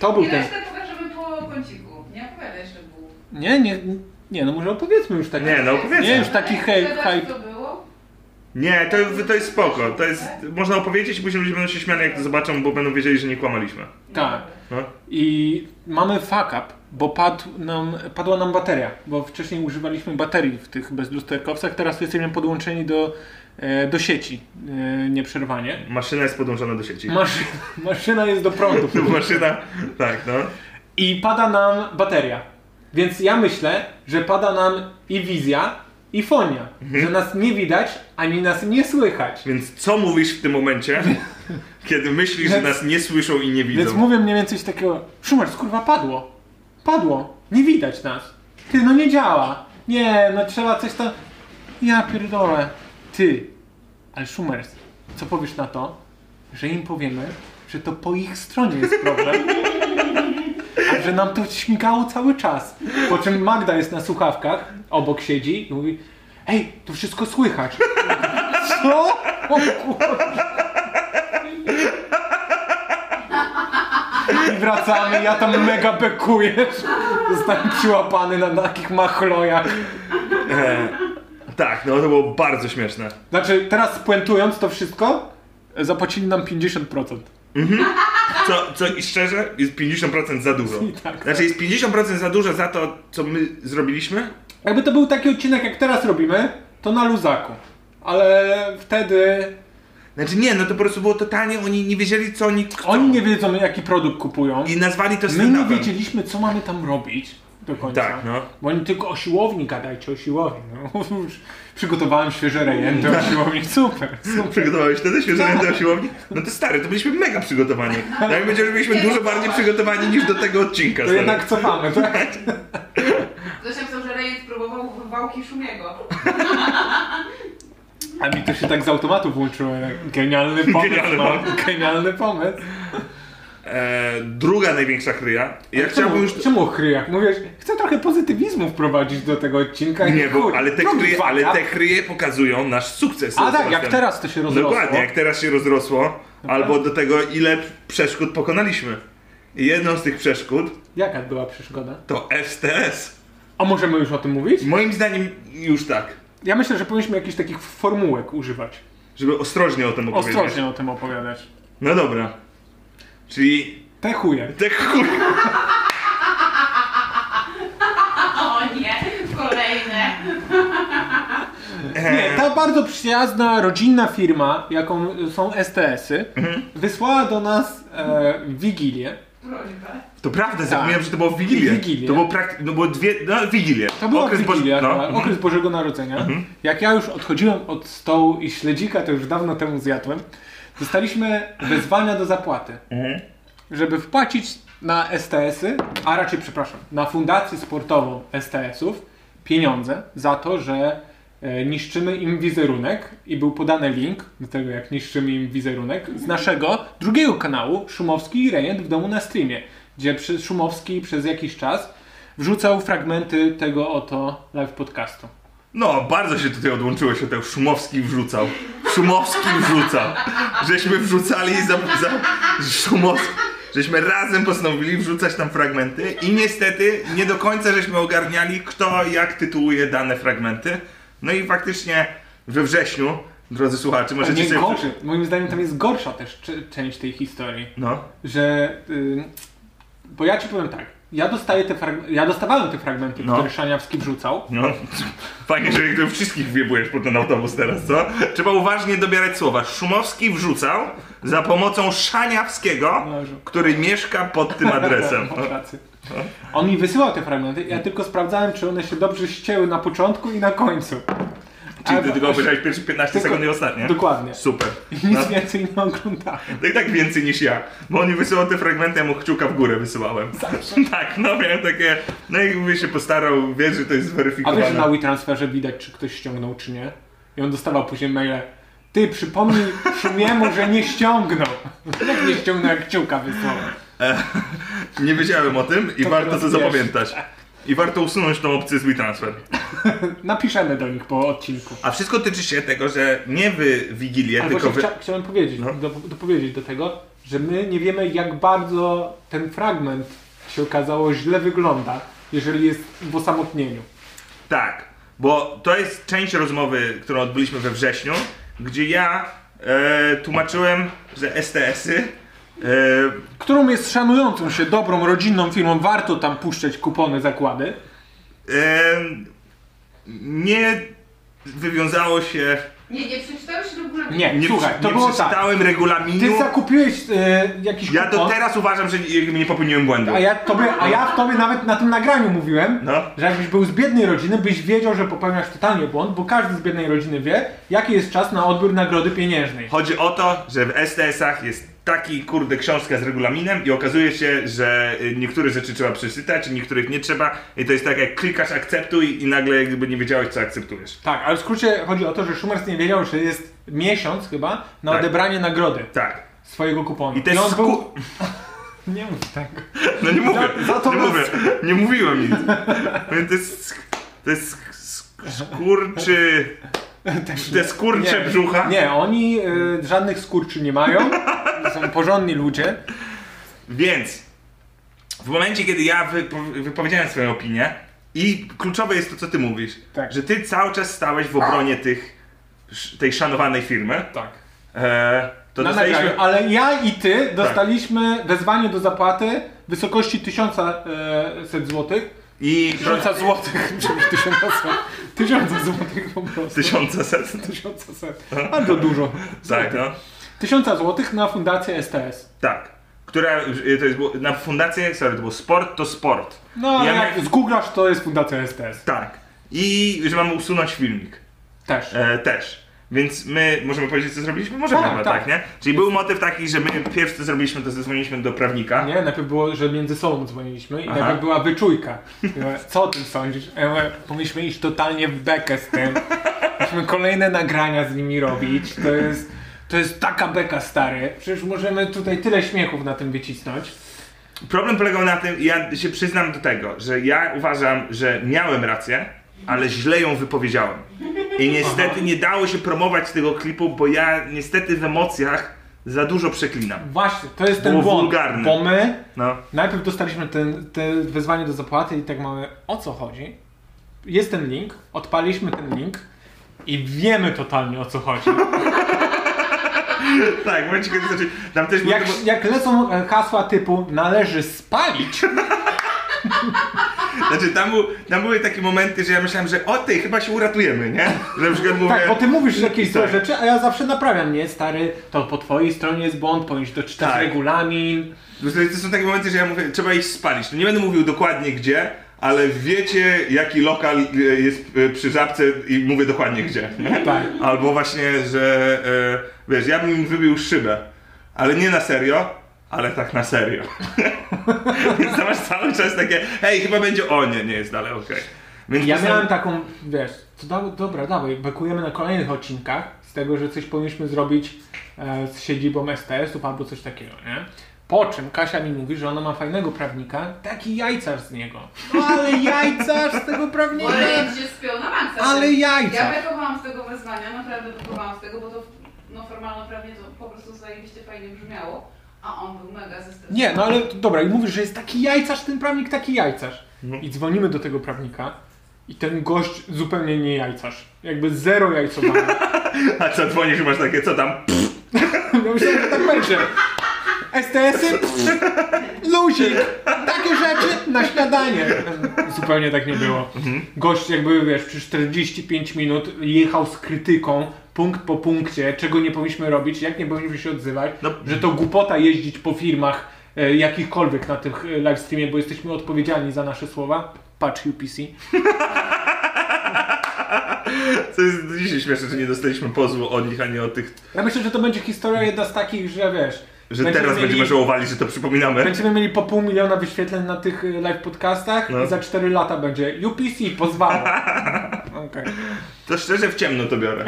Speaker 4: To był
Speaker 5: I
Speaker 4: ten.
Speaker 5: resztę pokażemy po kąciku. Nie opowiadaj jeszcze było.
Speaker 4: Nie, nie, nie, no może opowiedzmy już taki.
Speaker 2: Nie, no powiedzmy.
Speaker 4: Nie, już taki hej,
Speaker 5: Zobacz,
Speaker 4: hype.
Speaker 5: co było.
Speaker 2: Nie, to, to jest spoko. To jest, można opowiedzieć i później ludzie będą się śmiali, jak to zobaczą, bo będą wiedzieli, że nie kłamaliśmy.
Speaker 4: Tak.
Speaker 2: No.
Speaker 4: I mamy fuck up, bo padł nam, padła nam bateria, bo wcześniej używaliśmy baterii w tych bezlusterkowcach, teraz jesteśmy podłączeni do, e, do sieci e, nieprzerwanie.
Speaker 2: Maszyna jest podłączona do sieci.
Speaker 4: Maszy, maszyna jest do prądu.
Speaker 2: No, maszyna, tak, no.
Speaker 4: I pada nam bateria. Więc ja myślę, że pada nam i wizja, i fonia. Że nas nie widać, ani nas nie słychać.
Speaker 2: Więc co mówisz w tym momencie, kiedy myślisz, że nas nie słyszą i nie
Speaker 4: Więc
Speaker 2: widzą?
Speaker 4: mówię mniej więcej coś takiego, Szumer, kurwa padło, padło, nie widać nas. Ty, no nie działa, nie, no trzeba coś tam... Ja pierdolę. Ty, ale Szumer, co powiesz na to, że im powiemy, że to po ich stronie jest problem, a że nam to śmigało cały czas. Po czym Magda jest na słuchawkach, obok siedzi i mówi, ej, to wszystko słychać. Co? O kurwa. I wracamy, ja tam mega bekuję. Zostałem przyłapany na takich machlojach.
Speaker 2: E, tak, no to było bardzo śmieszne.
Speaker 4: Znaczy, teraz spuentując to wszystko, zapłacili nam 50%.
Speaker 2: Co, co i szczerze, jest 50% za dużo.
Speaker 4: I tak.
Speaker 2: Znaczy jest 50% za dużo za to, co my zrobiliśmy?
Speaker 4: Jakby to był taki odcinek, jak teraz robimy, to na luzaku. Ale wtedy
Speaker 2: Znaczy nie, no to po prostu było totalnie, oni nie wiedzieli co oni chcą.
Speaker 4: oni nie wiedzą jaki produkt kupują.
Speaker 2: I nazwali to
Speaker 4: My nie
Speaker 2: stand-upem.
Speaker 4: wiedzieliśmy co mamy tam robić do końca.
Speaker 2: Tak, no.
Speaker 4: Bo oni tylko o siłowni gadajcie, o siłowni. No, już przygotowałem świeże rejenty o siłowni. Super, super.
Speaker 2: Przygotowałeś wtedy świeże
Speaker 4: Tak.
Speaker 2: ręce do siłowni? No to stary, to byliśmy mega przygotowani. No Jak będziemy byliśmy dużo bardziej przygotowani niż do tego odcinka.
Speaker 4: no tak. To
Speaker 2: stary.
Speaker 4: jednak co mamy, tak?
Speaker 5: Ktoś napisał, że Rejent próbował wałki Szumiego.
Speaker 4: A mi to się tak z automatu włączyło. jak Genialny pomysł,
Speaker 2: Genialny
Speaker 4: genialny,
Speaker 2: pomysł.
Speaker 4: genialny pomysł.
Speaker 2: E, druga największa chryja. Ja
Speaker 4: Ale
Speaker 2: chciałbym
Speaker 4: czemu,
Speaker 2: już...
Speaker 4: Czemu o chryjach? Mówisz, chcę trochę pozytywizmu wprowadzić do tego odcinka.
Speaker 2: Nie, bo,
Speaker 4: Kurde,
Speaker 2: ale, te
Speaker 4: robisz
Speaker 2: chryje, ale
Speaker 4: wariat.
Speaker 2: te chryje pokazują nasz sukces.
Speaker 4: tak? A tak, jak
Speaker 2: Następny.
Speaker 4: teraz to się rozrosło.
Speaker 2: Dokładnie, jak teraz się rozrosło. Albo do tego, ile przeszkód pokonaliśmy. I jedną z tych przeszkód
Speaker 4: Jaka była przeszkoda?
Speaker 2: to STS.
Speaker 4: A możemy już o tym mówić?
Speaker 2: Moim zdaniem już tak.
Speaker 4: Ja myślę, że powinniśmy jakichś takich formułek używać.
Speaker 2: Żeby ostrożnie o tym opowiedzieć.
Speaker 4: Ostrożnie o tym opowiadać.
Speaker 2: No dobra. Czyli
Speaker 4: Te chuje.
Speaker 2: te chuj...
Speaker 5: O nie, kolejne.
Speaker 2: Eee.
Speaker 4: Nie, ta bardzo przyjazna, rodzinna firma, jaką są STS-y,
Speaker 2: Mhm.
Speaker 4: wysłała do nas e, Wigilię.
Speaker 5: Prośbę.
Speaker 2: To prawda, zapomniałem, że to było w Wigilię.
Speaker 4: Tak. Wigilię.
Speaker 2: To było prakty... No było dwie... No, Wigilię.
Speaker 4: To była okres,
Speaker 2: Boż-
Speaker 4: Wigilia,
Speaker 2: no. Mhm.
Speaker 4: chyba, tak, okres Bożego Narodzenia. Jak ja już odchodziłem od stołu i śledzika, to już dawno temu zjadłem, dostaliśmy wezwania do zapłaty, żeby wpłacić na STS-y, a raczej, przepraszam, na Fundację Sportową STS-ów pieniądze za to, że e, niszczymy im wizerunek i był podany link do tego, jak niszczymy im wizerunek z naszego drugiego kanału Szumowski i Rejent w domu na streamie, gdzie przy- Szumowski przez jakiś czas wrzucał fragmenty tego oto live podcastu.
Speaker 2: No, bardzo się tutaj odłączyłeś od tego. Szumowski wrzucał. Szumowski wrzucał. Żeśmy wrzucali za... za Szumowski. Żeśmy razem postanowili wrzucać tam fragmenty i niestety nie do końca żeśmy ogarniali, kto jak tytułuje dane fragmenty. No i faktycznie we wrześniu, drodzy słuchacze,
Speaker 4: A
Speaker 2: możecie
Speaker 4: nie
Speaker 2: sobie...
Speaker 4: gorzej, moim zdaniem tam jest gorsza też cze- część tej historii,
Speaker 2: No.
Speaker 4: że... y, bo ja ci powiem tak, ja dostaję te frag- ja dostawałem te fragmenty,
Speaker 2: No.
Speaker 4: które Szaniawski wrzucał,
Speaker 2: No, fajnie, że ich tu wszystkich wiebujesz pod ten autobus teraz, co? Trzeba uważnie dobierać słowa. Szumowski wrzucał za pomocą Szaniawskiego,
Speaker 4: Boże.
Speaker 2: który mieszka pod tym adresem.
Speaker 4: Masz rację. On mi wysyłał te fragmenty, ja tylko sprawdzałem, czy one się dobrze ścięły na początku i na końcu.
Speaker 2: Czyli ty
Speaker 4: Ale-
Speaker 2: tylko obejrzałeś pierwsze 15
Speaker 4: Tylko-
Speaker 2: sekund i ostatnie.
Speaker 4: Dokładnie.
Speaker 2: Super.
Speaker 4: I nic więcej nie oglądałem.
Speaker 2: No i tak więcej niż ja, bo on mi wysyłał te fragmenty, ja mu kciuka w górę wysyłałem. Tak, no miałem takie, no i mówię, się postarał, wiesz, że to jest
Speaker 4: A
Speaker 2: zweryfikowane.
Speaker 4: wiesz, że na WeTransferze widać, czy ktoś ściągnął, czy nie? I on dostawał później maile. Ty, przypomnij Szumiemu, że nie ściągnął. Jak nie ściągnął, jak kciuka wysłał.
Speaker 2: Nie wiedziałem o tym i
Speaker 4: To
Speaker 2: warto to
Speaker 4: teraz wiesz.
Speaker 2: zapamiętać. I warto usunąć tą opcję z WeTransfer.
Speaker 4: Napiszemy do nich po odcinku.
Speaker 2: A wszystko tyczy się tego, że nie wy Wigilię,
Speaker 4: Ale
Speaker 2: tylko
Speaker 4: właśnie
Speaker 2: wy...
Speaker 4: chcia, chciałem powiedzieć,
Speaker 2: No.
Speaker 4: do, dopowiedzieć do tego, że my nie wiemy jak bardzo ten fragment się okazało źle wygląda, jeżeli jest w osamotnieniu.
Speaker 2: Tak, bo to jest część rozmowy, którą odbyliśmy we wrześniu, gdzie ja e, tłumaczyłem, że STS-y... E,
Speaker 4: Którą jest szanującą się dobrą, rodzinną firmą, warto tam puszczać kupony, zakłady.
Speaker 2: e, nie wywiązało się...
Speaker 5: Nie, nie przeczytałeś do góry.
Speaker 4: Nie,
Speaker 2: Nie,
Speaker 4: słuchaj,
Speaker 2: przy-
Speaker 4: to
Speaker 2: nie
Speaker 4: było tak.
Speaker 2: przeczytałem regulaminu.
Speaker 4: Ty zakupiłeś e, jakiś
Speaker 2: Ja
Speaker 4: kupon,
Speaker 2: do teraz uważam, że nie, nie popełniłem błędu.
Speaker 4: a ja, tobie, a ja w tobie nawet na tym nagraniu mówiłem,
Speaker 2: No.
Speaker 4: że jakbyś był z biednej rodziny, byś wiedział, że popełniasz totalnie błąd, bo każdy z biednej rodziny wie, jaki jest czas na odbiór nagrody pieniężnej.
Speaker 2: Chodzi o to, że w STS-ach jest taki kurde książka z regulaminem i okazuje się, że y, niektóre rzeczy trzeba przeczytać, niektórych nie trzeba i to jest tak jak klikasz akceptuj i nagle jakby nie wiedziałeś co akceptujesz.
Speaker 4: Tak, ale w skrócie chodzi o to, że Schumers nie wiedział, że jest miesiąc chyba na
Speaker 2: Tak.
Speaker 4: odebranie nagrody
Speaker 2: Tak.
Speaker 4: swojego kuponu.
Speaker 2: I też
Speaker 4: on
Speaker 2: sku...
Speaker 4: był... Nie mów tak.
Speaker 2: No nie mówię,
Speaker 4: za to
Speaker 2: nie
Speaker 4: was-
Speaker 2: mówię, nie mówiłem nic. No To jest, sk- to jest sk- sk- skurczy,
Speaker 4: Też
Speaker 2: te skurcze
Speaker 4: Tak, Nie.
Speaker 2: brzucha.
Speaker 4: Nie, oni y, żadnych skurczy nie mają. Są porządni ludzie.
Speaker 2: Więc w momencie, kiedy ja wypo- wypowiedziałem swoją opinię i kluczowe jest to, co ty mówisz,
Speaker 4: Tak.
Speaker 2: że ty cały czas stałeś w obronie tych, sz- tej szanowanej firmy,
Speaker 4: Tak.
Speaker 2: e, to
Speaker 4: Na
Speaker 2: dostaliśmy... Tak.
Speaker 4: nagraniu, ale ja i ty dostaliśmy wezwanie do zapłaty w wysokości 1000 e, set złotych
Speaker 2: I
Speaker 4: Tysiąca złotych, czy tysiąca set. Tysiąca złotych po prostu.
Speaker 2: tysiące set.
Speaker 4: Tysiąca set. A to dużo.
Speaker 2: Tak, no.
Speaker 4: Tysiąca złotych na fundację STS.
Speaker 2: Tak. Która, y, to jest, było- na fundację, sorry, to był sport, to sport.
Speaker 4: No ale
Speaker 2: Ja
Speaker 4: jak
Speaker 2: miałem-
Speaker 4: zgooglasz, to jest fundacja STS.
Speaker 2: Tak. I że mamy usunąć filmik.
Speaker 4: Też.
Speaker 2: E, też. Więc my możemy powiedzieć, co zrobiliśmy? Możemy
Speaker 4: Tak,
Speaker 2: chyba, tak.
Speaker 4: tak.
Speaker 2: nie? Czyli był motyw taki, że my pierwsze co zrobiliśmy, to zadzwoniliśmy do prawnika.
Speaker 4: Nie, najpierw było, że między sobą dzwoniliśmy i
Speaker 2: Aha.
Speaker 4: najpierw była wyczujka. Ja mówię, Co o tym sądzisz? Ja mówię, powinniśmy iść totalnie w bekę z tym. Musimy kolejne nagrania z nimi robić. To jest, to jest taka beka, stary. Przecież możemy tutaj tyle śmiechów na tym wycisnąć.
Speaker 2: Problem polegał na tym, ja się przyznam do tego, że ja uważam, że miałem rację, ale źle ją wypowiedziałem. I niestety nie dało się promować tego klipu, bo ja niestety w emocjach za dużo przeklinam.
Speaker 4: Właśnie, to jest ten
Speaker 2: Było
Speaker 4: błąd.
Speaker 2: wulgarne.
Speaker 4: Bo my
Speaker 2: No.
Speaker 4: najpierw dostaliśmy ten, te wezwanie do zapłaty i tak mamy o co chodzi. Jest ten link, odpaliśmy ten link i wiemy totalnie o co chodzi.
Speaker 2: Tak, momencie, kiedy zaczęli, tam też było,
Speaker 4: Jak, jak lecą e, hasła typu należy spalić,
Speaker 2: znaczy tam, był, tam były takie momenty, że ja myślałem, że o ty, chyba się uratujemy, nie? Że na przykład mówię,
Speaker 4: tak, bo ty mówisz jakieś złe
Speaker 2: tak.
Speaker 4: rzeczy, a ja zawsze naprawiam, nie stary, to po twojej stronie jest błąd, powinieneś doczytać
Speaker 2: Tak.
Speaker 4: regulamin.
Speaker 2: No To są takie momenty, że ja mówię, trzeba ich spalić. No nie będę mówił dokładnie gdzie, ale wiecie jaki lokal e, jest e, przy żabce i mówię dokładnie gdzie.
Speaker 4: Tak.
Speaker 2: Albo właśnie, że e, wiesz, ja bym im wybił szybę, ale nie na serio, ale tak na serio. Więc tam masz cały czas takie, hej, chyba będzie, o nie, nie jest dalej, okej. Więc
Speaker 4: Ja
Speaker 2: to są-
Speaker 4: miałem taką, wiesz, to da, dobra, dawaj, bekujemy na kolejnych odcinkach z tego, że coś powinniśmy zrobić e, z siedzibą STS-ów albo coś takiego, nie? Po czym Kasia mi mówi, że ona ma fajnego prawnika, taki jajcarz z niego. No ale jajcarz z tego prawnika!
Speaker 5: Ale ja się spiął na maksa.
Speaker 4: no, Ale jajca.
Speaker 5: Ja bekowałam z tego wezwania, naprawdę bekowałam z tego, bo to no, formalno-prawnie to po prostu zajebiście fajnie brzmiało, a on był mega zestresowany.
Speaker 4: Nie, no ale to- dobra, i mówisz, że jest taki jajcarz, ten prawnik taki jajcarz. I dzwonimy do tego prawnika i ten gość zupełnie nie jajcarz. Jakby zero jajcowania.
Speaker 2: A co, dzwonisz i masz takie, co tam?
Speaker 4: Ja myślałem, że tak będzie. STS-y, pff, luzik, takie rzeczy na śniadanie. Zupełnie tak nie było.
Speaker 2: Mhm.
Speaker 4: Gość jakby, wiesz, przez 45 minut jechał z krytyką, punkt po punkcie, czego nie powinniśmy robić, jak nie powinniśmy się odzywać,
Speaker 2: No.
Speaker 4: że to głupota jeździć po firmach e, jakichkolwiek na tych e, livestreamie, bo jesteśmy odpowiedzialni za nasze słowa. Patrz UPC.
Speaker 2: Co jest dzisiaj śmieszne, że nie dostaliśmy pozwu od nich, ani od tych,
Speaker 4: Ja myślę, że to będzie historia jedna z takich, że wiesz...
Speaker 2: że teraz będziemy żałowali, że to przypominamy.
Speaker 4: Będziemy mieli po pół miliona wyświetleń na tych y, live podcastach
Speaker 2: No.
Speaker 4: i za 4 lata będzie UPC pozwało. Okej.
Speaker 2: To szczerze w ciemno to biorę.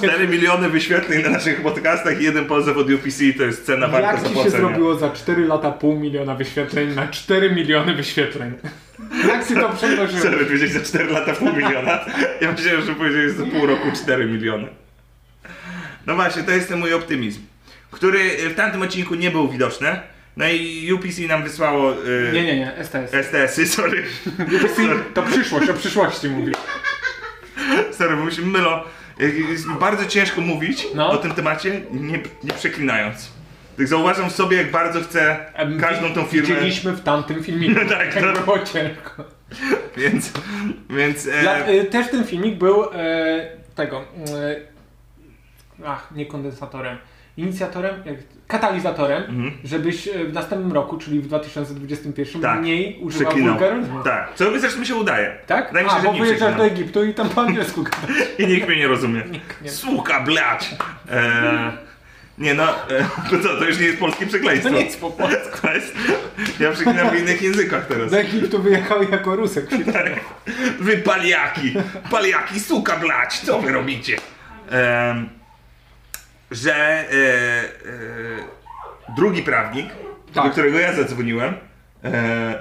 Speaker 2: 4 miliony wyświetleń na naszych podcastach i jeden pozew od UPC to jest cena warta
Speaker 4: Jak ci się
Speaker 2: zapłacenia.
Speaker 4: zrobiło za 4 lata pół miliona wyświetleń na 4 miliony wyświetleń? Jak ci to
Speaker 2: Chcę
Speaker 4: przemnożyło?
Speaker 2: powiedzieć za 4 lata pół miliona. Ja myślałem, że powiedziałeś za pół roku 4 miliony. No właśnie, to jest ten mój optymizm, który y, w tamtym odcinku nie był widoczny. No i UPC nam wysłało y,
Speaker 4: Nie, nie, nie, STS.
Speaker 2: STS-y, sorry.
Speaker 4: UPC to przyszłość, o przyszłości mówię.
Speaker 2: Sorry, bo mi się mylą. Jest mi bardzo ciężko mówić
Speaker 4: No.
Speaker 2: o tym temacie, nie, nie przeklinając. Tak zauważam w sobie, jak bardzo chcę każdą tą firmę,
Speaker 4: Widzieliśmy w tamtym filmiku.
Speaker 2: tak,
Speaker 4: Jak
Speaker 2: no.
Speaker 4: było ciężko.
Speaker 2: więc... więc e,
Speaker 4: Dla, y, też ten filmik był e, tego. E, ach, nie kondensatorem. Inicjatorem, jak, katalizatorem,
Speaker 2: Mhm.
Speaker 4: żebyś e, w następnym roku, czyli w 2021,
Speaker 2: Tak.
Speaker 4: mniej używał
Speaker 2: przeklinam.
Speaker 4: wulgaryzmu.
Speaker 2: Tak, co mi zresztą się udaje.
Speaker 4: Tak?
Speaker 2: Wydaje mi się,
Speaker 4: A,
Speaker 2: że
Speaker 4: bo
Speaker 2: nie
Speaker 4: wyjeżdżasz do
Speaker 2: przeklinam.
Speaker 4: Egiptu i tam po angielsku gadasz.
Speaker 2: I nikt mnie nie rozumie.
Speaker 4: nie.
Speaker 2: Słucha, blać! E, nie no, e, to co, to już nie jest polskie przekleństwo.
Speaker 4: To nic po polsku.
Speaker 2: To jest, ja przeklinam w innych językach teraz.
Speaker 4: Do Egiptu wyjechał jako Rusek.
Speaker 2: Wy paliaki, paliaki, suka blać, co wy robicie? Em, że e, e, drugi prawnik, do
Speaker 4: Tak.
Speaker 2: którego ja zadzwoniłem, e,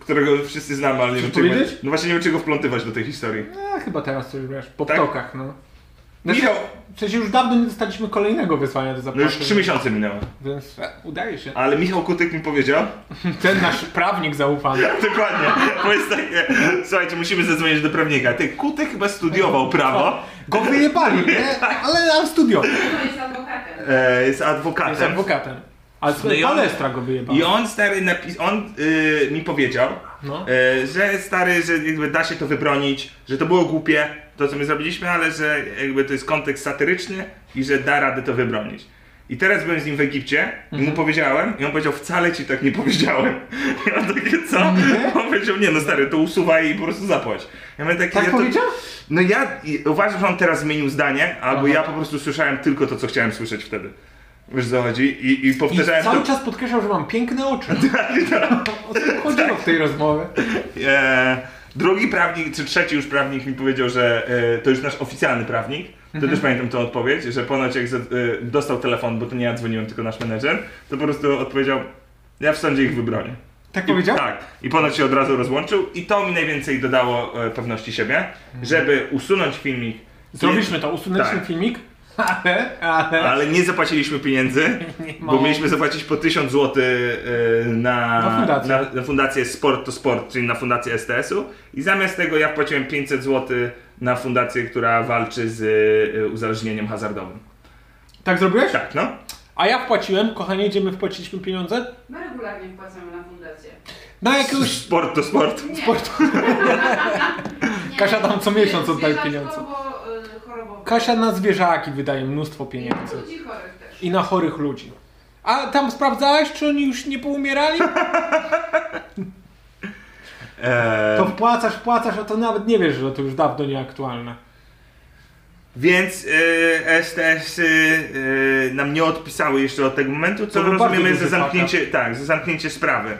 Speaker 2: którego wszyscy znamy, ale nie wiem, czy
Speaker 4: powiedzieć?
Speaker 2: No właśnie nie wiem, czy go wplątywać do tej historii.
Speaker 4: No, chyba teraz coś wiesz, po
Speaker 2: Tak?
Speaker 4: ptokach, no. Znaczy,
Speaker 2: Michał,
Speaker 4: Przecież już dawno nie dostaliśmy kolejnego wezwania do
Speaker 2: no
Speaker 4: zapłaty.
Speaker 2: już trzy miesiące minęło,
Speaker 4: Więc e, udaje się.
Speaker 2: ale Michał Kutyk mi powiedział,
Speaker 4: Ten nasz prawnik zaufany.
Speaker 2: dokładnie, bo jest takie, słuchajcie, musimy zadzwonić do prawnika. Ty, Kutyk chyba studiował prawo, Tak.
Speaker 4: Go wyjebali, nie? Ale nam studio.
Speaker 5: To jest No adwokatem.
Speaker 2: e, jest
Speaker 4: Jest adwokatem. Ale
Speaker 2: No i on-
Speaker 4: palestra go wyjebał.
Speaker 2: I on stary napis, on y, mi powiedział,
Speaker 4: No.
Speaker 2: E, że stary, że jakby da się to wybronić, że to było głupie, to co my zrobiliśmy, ale że jakby to jest kontekst satyryczny i że da radę to wybronić. I teraz byłem z nim w Egipcie i
Speaker 4: Mhm.
Speaker 2: mu powiedziałem, i on powiedział, wcale ci tak nie powiedziałem. Ja mam takie, co?
Speaker 4: Mhm.
Speaker 2: On powiedział, nie no stary, to usuwaj i po prostu zapłać. Ja mówię, takie,
Speaker 4: Tak
Speaker 2: ja to,
Speaker 4: powiedział?
Speaker 2: No ja i- uważam, że on teraz zmienił zdanie, albo
Speaker 4: Aha.
Speaker 2: ja po prostu słyszałem tylko to, co chciałem słyszeć wtedy. Wiesz, co chodzi? I, i
Speaker 4: I
Speaker 2: powtarzałem
Speaker 4: cały
Speaker 2: to. Tak,
Speaker 4: czas podkreślał, że mam piękne oczy. No, O co chodziło w tej rozmowie?
Speaker 2: E, drugi prawnik, czy trzeci już prawnik mi powiedział, że e, to już nasz oficjalny prawnik. To też pamiętam tą odpowiedź, że ponoć jak za, e, dostał telefon, bo to nie ja dzwoniłem, tylko nasz menedżer, to po prostu odpowiedział, ja w sądzie ich wybronię.
Speaker 4: Tak
Speaker 2: I,
Speaker 4: powiedział?
Speaker 2: Tak. I ponoć się od razu rozłączył i to mi najwięcej dodało e, pewności siebie, żeby usunąć filmik.
Speaker 4: Zrobiliśmy to, usunęliśmy
Speaker 2: Tak.
Speaker 4: filmik, ale, ale...
Speaker 2: Ale nie zapłaciliśmy pieniędzy, bo mieliśmy zapłacić po 1000 zł na,
Speaker 4: Na fundację.
Speaker 2: na, na fundację Sport to Sport, czyli na fundację STS-u. I zamiast tego ja płaciłem 500 zł na fundację, która walczy z y, uzależnieniem hazardowym.
Speaker 4: Tak zrobiłeś?
Speaker 2: Tak, no.
Speaker 4: A ja wpłaciłem, kochanie, gdzie my wpłaciliśmy pieniądze?
Speaker 5: My regularnie wpłacamy na fundację.
Speaker 4: Na jakiegoś...
Speaker 2: Sport to Sport.
Speaker 5: Nie. Nie,
Speaker 4: Kasia tam co miesiąc oddaje
Speaker 5: zwierzaczko,
Speaker 4: pieniądze.
Speaker 5: bo, y, chorobowo-
Speaker 4: Kasia na zwierzaki wydaje mnóstwo
Speaker 5: I
Speaker 4: pieniędzy.
Speaker 5: Ludzi chorych też.
Speaker 4: I na chorych ludzi. A tam sprawdzałeś, czy oni już nie poumierali?
Speaker 2: Eee,
Speaker 4: To wpłacasz, wpłacasz, a to nawet nie wiesz, że to już dawno nieaktualne.
Speaker 2: Więc y, STS y, y, nam nie odpisały jeszcze od tego momentu, co
Speaker 4: był bardzo
Speaker 2: rozumiemy
Speaker 4: duży
Speaker 2: za zamknięcie, tak, za zamknięcie sprawy.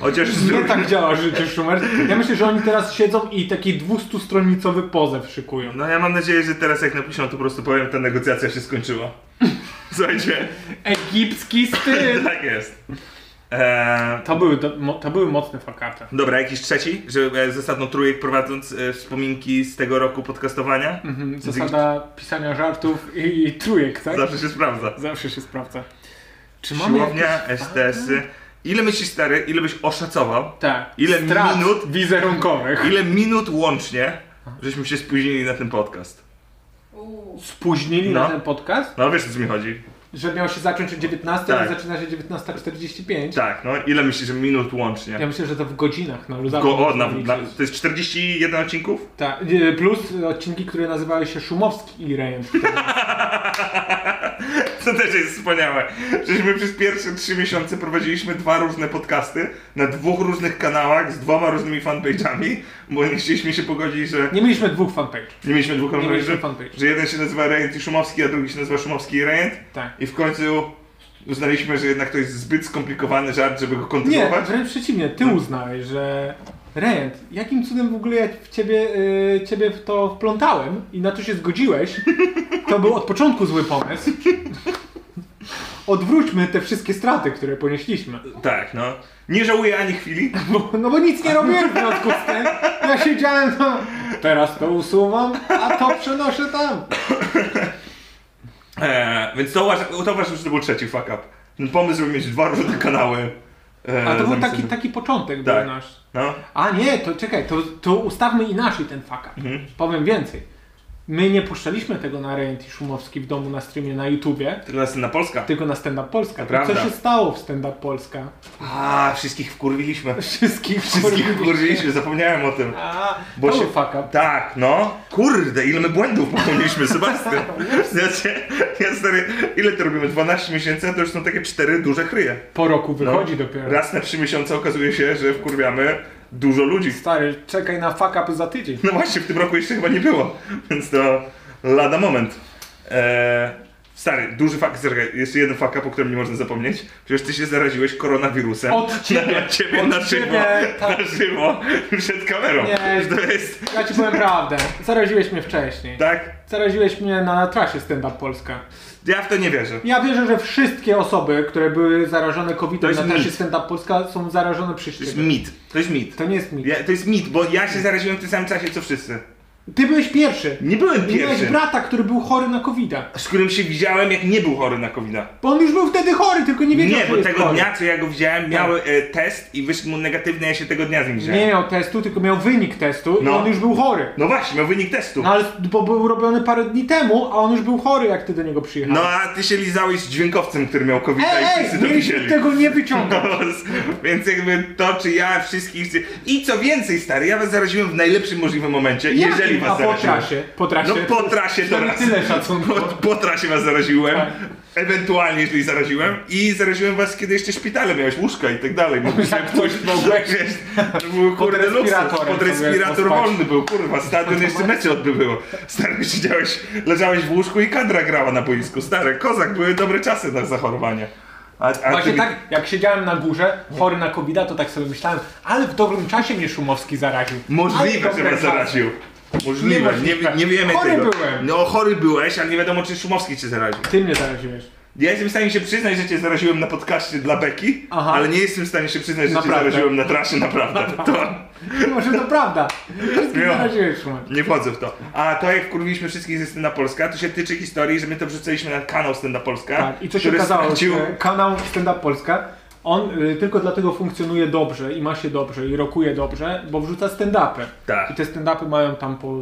Speaker 2: Chociaż
Speaker 4: Nie tak działa życie Schumer. Ja myślę, że oni teraz siedzą i taki 200-stronicowy pozew szykują.
Speaker 2: No ja mam nadzieję, że teraz jak napiszą, to po prostu powiem, ta negocjacja się skończyła. Słuchajcie,
Speaker 4: Egipski styl!
Speaker 2: tak jest. Eee,
Speaker 4: To były, do, mo, to były mocne fakapy.
Speaker 2: dobra, jakiś trzeci, żeby e, zasadną trójek prowadząc e, wspominki z tego roku podcastowania.
Speaker 4: Mhm, Zasada pisania żartów i trójek, tak?
Speaker 2: Hmm, Zawsze się sprawdza.
Speaker 4: Zawsze się sprawdza. Czy mamy jakieś-
Speaker 2: Siłownia, STS-y. Ile myślisz stary, ile byś oszacował?
Speaker 4: Tak.
Speaker 2: Ile
Speaker 4: strat
Speaker 2: minut?
Speaker 4: wizerunkowych.
Speaker 2: Ile minut łącznie, żeśmy się spóźnili na ten podcast?
Speaker 5: Uuu.
Speaker 4: Spóźnili
Speaker 2: No.
Speaker 4: na ten podcast,
Speaker 2: No wiesz o co mi chodzi.
Speaker 4: że miał się zacząć o 19,
Speaker 2: Tak.
Speaker 4: ale zaczyna się 19.45.
Speaker 2: Tak, no ile myślisz, że minut łącznie?
Speaker 4: Ja myślę, że to w godzinach no, na luzaku.
Speaker 2: Go, o,
Speaker 4: można
Speaker 2: na, na,
Speaker 4: liczyć.
Speaker 2: to jest 41 odcinków?
Speaker 4: Tak, nie, plus odcinki, które nazywały się Szumowski i Rejem.
Speaker 2: To też jest wspaniałe. Żeśmy przez pierwsze trzy miesiące prowadziliśmy dwa różne podcasty na dwóch różnych kanałach z dwoma różnymi fanpage'ami, bo nie chcieliśmy się pogodzić, że
Speaker 4: Nie mieliśmy dwóch fanpage.
Speaker 2: nie mieliśmy dwóch
Speaker 4: Nie
Speaker 2: kanałów,
Speaker 4: mieliśmy
Speaker 2: że,
Speaker 4: fanpage.
Speaker 2: że jeden się nazywa Rejent i Szumowski, a drugi się nazywa Szumowski i Rejent
Speaker 4: Tak.
Speaker 2: i w końcu uznaliśmy, że jednak to jest zbyt skomplikowany żart, żeby go
Speaker 4: Nie,
Speaker 2: kontynuować.
Speaker 4: wręcz przeciwnie, ty uznałeś, że Rejent, jakim cudem w ogóle ja w ciebie, y, ciebie w to wplątałem i na to się zgodziłeś, to był od początku zły pomysł. Odwróćmy te wszystkie straty, które ponieśliśmy.
Speaker 2: Tak, no. Nie żałuję ani chwili.
Speaker 4: Bo, no bo nic nie robiłem w związku z tym. Ja siedziałem, no, teraz to usuwam, a to przenoszę tam.
Speaker 2: Eee, więc to uważam, to uważam, że to był trzeci fuck up. Ten pomysł, żeby mieć dwa różne kanały. eee,
Speaker 4: A to był
Speaker 2: zamiast-
Speaker 4: taki, taki początek
Speaker 2: Tak.
Speaker 4: był nasz.
Speaker 2: No.
Speaker 4: A nie, to czekaj, to, to ustawmy inaczej ten fuck up.
Speaker 2: Mhm.
Speaker 4: Powiem więcej. My nie puszczaliśmy tego na Rent i Szumowski w domu na streamie na YouTubie,
Speaker 2: Tylko następna Polska.
Speaker 4: tylko na Stand Up Polska.
Speaker 2: To
Speaker 4: To co
Speaker 2: prawda.
Speaker 4: się stało w Stand Up Polska?
Speaker 2: A, wszystkich wkurwiliśmy.
Speaker 4: Wszystkich
Speaker 2: Wszystkich
Speaker 4: kurwa.
Speaker 2: wkurwiliśmy, zapomniałem o tym.
Speaker 4: A,
Speaker 2: Bo
Speaker 4: to
Speaker 2: się-
Speaker 4: był fuck up.
Speaker 2: Tak, no. Kurde, ile my błędów popełniliśmy, Sebastian. Znaczy, ja stary, ile to robimy? 12 miesięcy, a to już są takie cztery duże chryje.
Speaker 4: Po roku wychodzi
Speaker 2: No.
Speaker 4: dopiero.
Speaker 2: Raz na 3 miesiące okazuje się, że wkurwiamy dużo ludzi.
Speaker 4: Stary, czekaj na fuck up za tydzień.
Speaker 2: No właśnie, w tym roku jeszcze chyba nie było, więc to lada moment. Eee, stary, duży fakt, zerkaj, jeszcze jeden fakt, o którym nie można zapomnieć. Przecież ty się zaraziłeś koronawirusem.
Speaker 4: Od ciebie,
Speaker 2: Na ciebie,
Speaker 4: od
Speaker 2: na żywo,
Speaker 4: ciebie, tak.
Speaker 2: na żywo, przed kamerą.
Speaker 4: Nie.
Speaker 2: To jest,
Speaker 4: Ja ci powiem prawdę. Zaraziłeś mnie wcześniej.
Speaker 2: tak?
Speaker 4: Zaraziłeś mnie na trasie Stand Up Polska.
Speaker 2: Ja w to nie wierzę.
Speaker 4: Ja wierzę, że wszystkie osoby, które były zarażone
Speaker 2: To
Speaker 4: COVID-em
Speaker 2: jest
Speaker 4: na trasie
Speaker 2: mit.
Speaker 4: Stand Up Polska są zarażone przy
Speaker 2: To jest
Speaker 4: ciebie.
Speaker 2: mit, to jest mit.
Speaker 4: To nie jest mit.
Speaker 2: Ja, to jest mit, bo ja się zaraziłem w tym samym czasie, co wszyscy.
Speaker 6: Ty byłeś pierwszy.
Speaker 2: Nie byłem
Speaker 6: Miałeś
Speaker 2: pierwszy,
Speaker 6: brata, który był chory na covid
Speaker 2: z którym się widziałem, jak nie był chory na covid
Speaker 6: Bo on już był wtedy chory, tylko nie wiedział,
Speaker 2: Nie,
Speaker 6: że
Speaker 2: bo
Speaker 6: jest
Speaker 2: tego
Speaker 6: chory.
Speaker 2: dnia, co ja go widziałem, miał e, test i wyszedł mu negatywny, ja się tego dnia z nim
Speaker 6: Nie
Speaker 2: wziąłem.
Speaker 6: miał testu, tylko miał wynik testu i
Speaker 2: No.
Speaker 6: on już był chory.
Speaker 2: No właśnie, miał wynik testu.
Speaker 6: No ale bo był robiony parę dni temu, a on już był chory, jak ty do niego
Speaker 2: No
Speaker 6: przyjechałeś.
Speaker 2: a ty się lizałeś z dźwiękowcem, który miał covid
Speaker 6: Ej,
Speaker 2: i wszyscy
Speaker 6: ej,
Speaker 2: to
Speaker 6: mieliśmy
Speaker 2: widzieli. No,
Speaker 6: tego nie wyciągać.
Speaker 2: Więc jakby to, czy ja wszystkich chcę... I co więcej, stary, ja was zaraziłem w najlepszym możliwym momencie, jeżeli was
Speaker 6: A po
Speaker 2: zaraziłem.
Speaker 6: trasie, po trasie.
Speaker 2: No po trasie to
Speaker 4: Przynajmniej
Speaker 2: raz.
Speaker 4: tyle szacunku.
Speaker 2: Po, po trasie was zaraziłem,
Speaker 6: Tak.
Speaker 2: ewentualnie jeżeli zaraziłem i zaraziłem was, kiedy jeszcze szpitale miałeś łóżka i tak dalej. Bo
Speaker 4: Jak ktoś mogłeś.
Speaker 2: Tak, Wiesz, to był kurde luksus, pod
Speaker 4: respiratorem sobie
Speaker 2: respirator
Speaker 4: pospać.
Speaker 2: wolny był, kurwa, stadion jeszcze mecze odbybyło. Stary, siedziałeś, leżałeś w łóżku i kadra grała na boisku. Stary, kozak, były dobre czasy na zachorowanie. A, a
Speaker 4: Właśnie
Speaker 2: ty-
Speaker 4: tak, jak siedziałem na górze, chory na covid to tak sobie myślałem, ale w dobrym czasie mnie Szumowski zaraził. Ale
Speaker 2: Możliwe,
Speaker 4: dobre
Speaker 2: że was
Speaker 4: czasy.
Speaker 2: zaraził. Możliwe, nie,
Speaker 4: Niemożliwe.
Speaker 2: nie wiemy
Speaker 4: Chory
Speaker 2: tego.
Speaker 4: byłem.
Speaker 2: No chory byłeś, ale nie wiadomo czy Szumowski cię zaraził.
Speaker 6: Ty mnie zaraziłeś.
Speaker 2: Ja jestem w stanie się przyznać, że cię zaraziłem na podcaście dla Beki,
Speaker 4: Aha.
Speaker 2: ale nie jestem w stanie się przyznać, że
Speaker 4: Naprawdę.
Speaker 2: cię zaraziłem na trasie, naprawdę. To,
Speaker 4: Może to prawda. Wszystkich
Speaker 2: Jo.
Speaker 4: zaraziłeś Szumowski.
Speaker 2: nie wchodzę w to. A to jak wkurwiliśmy wszystkich ze Stenda Polska, to się tyczy historii, że my to wrzucaliśmy na kanał Stenda Polska.
Speaker 4: Tak, i co się
Speaker 2: który
Speaker 4: okazało,
Speaker 2: stracił-
Speaker 4: że kanał Stand Up Polska, on y, tylko dlatego funkcjonuje dobrze i ma się dobrze i rokuje dobrze, bo wrzuca stand-upy.
Speaker 2: Tak.
Speaker 4: I te stand-upy mają tam po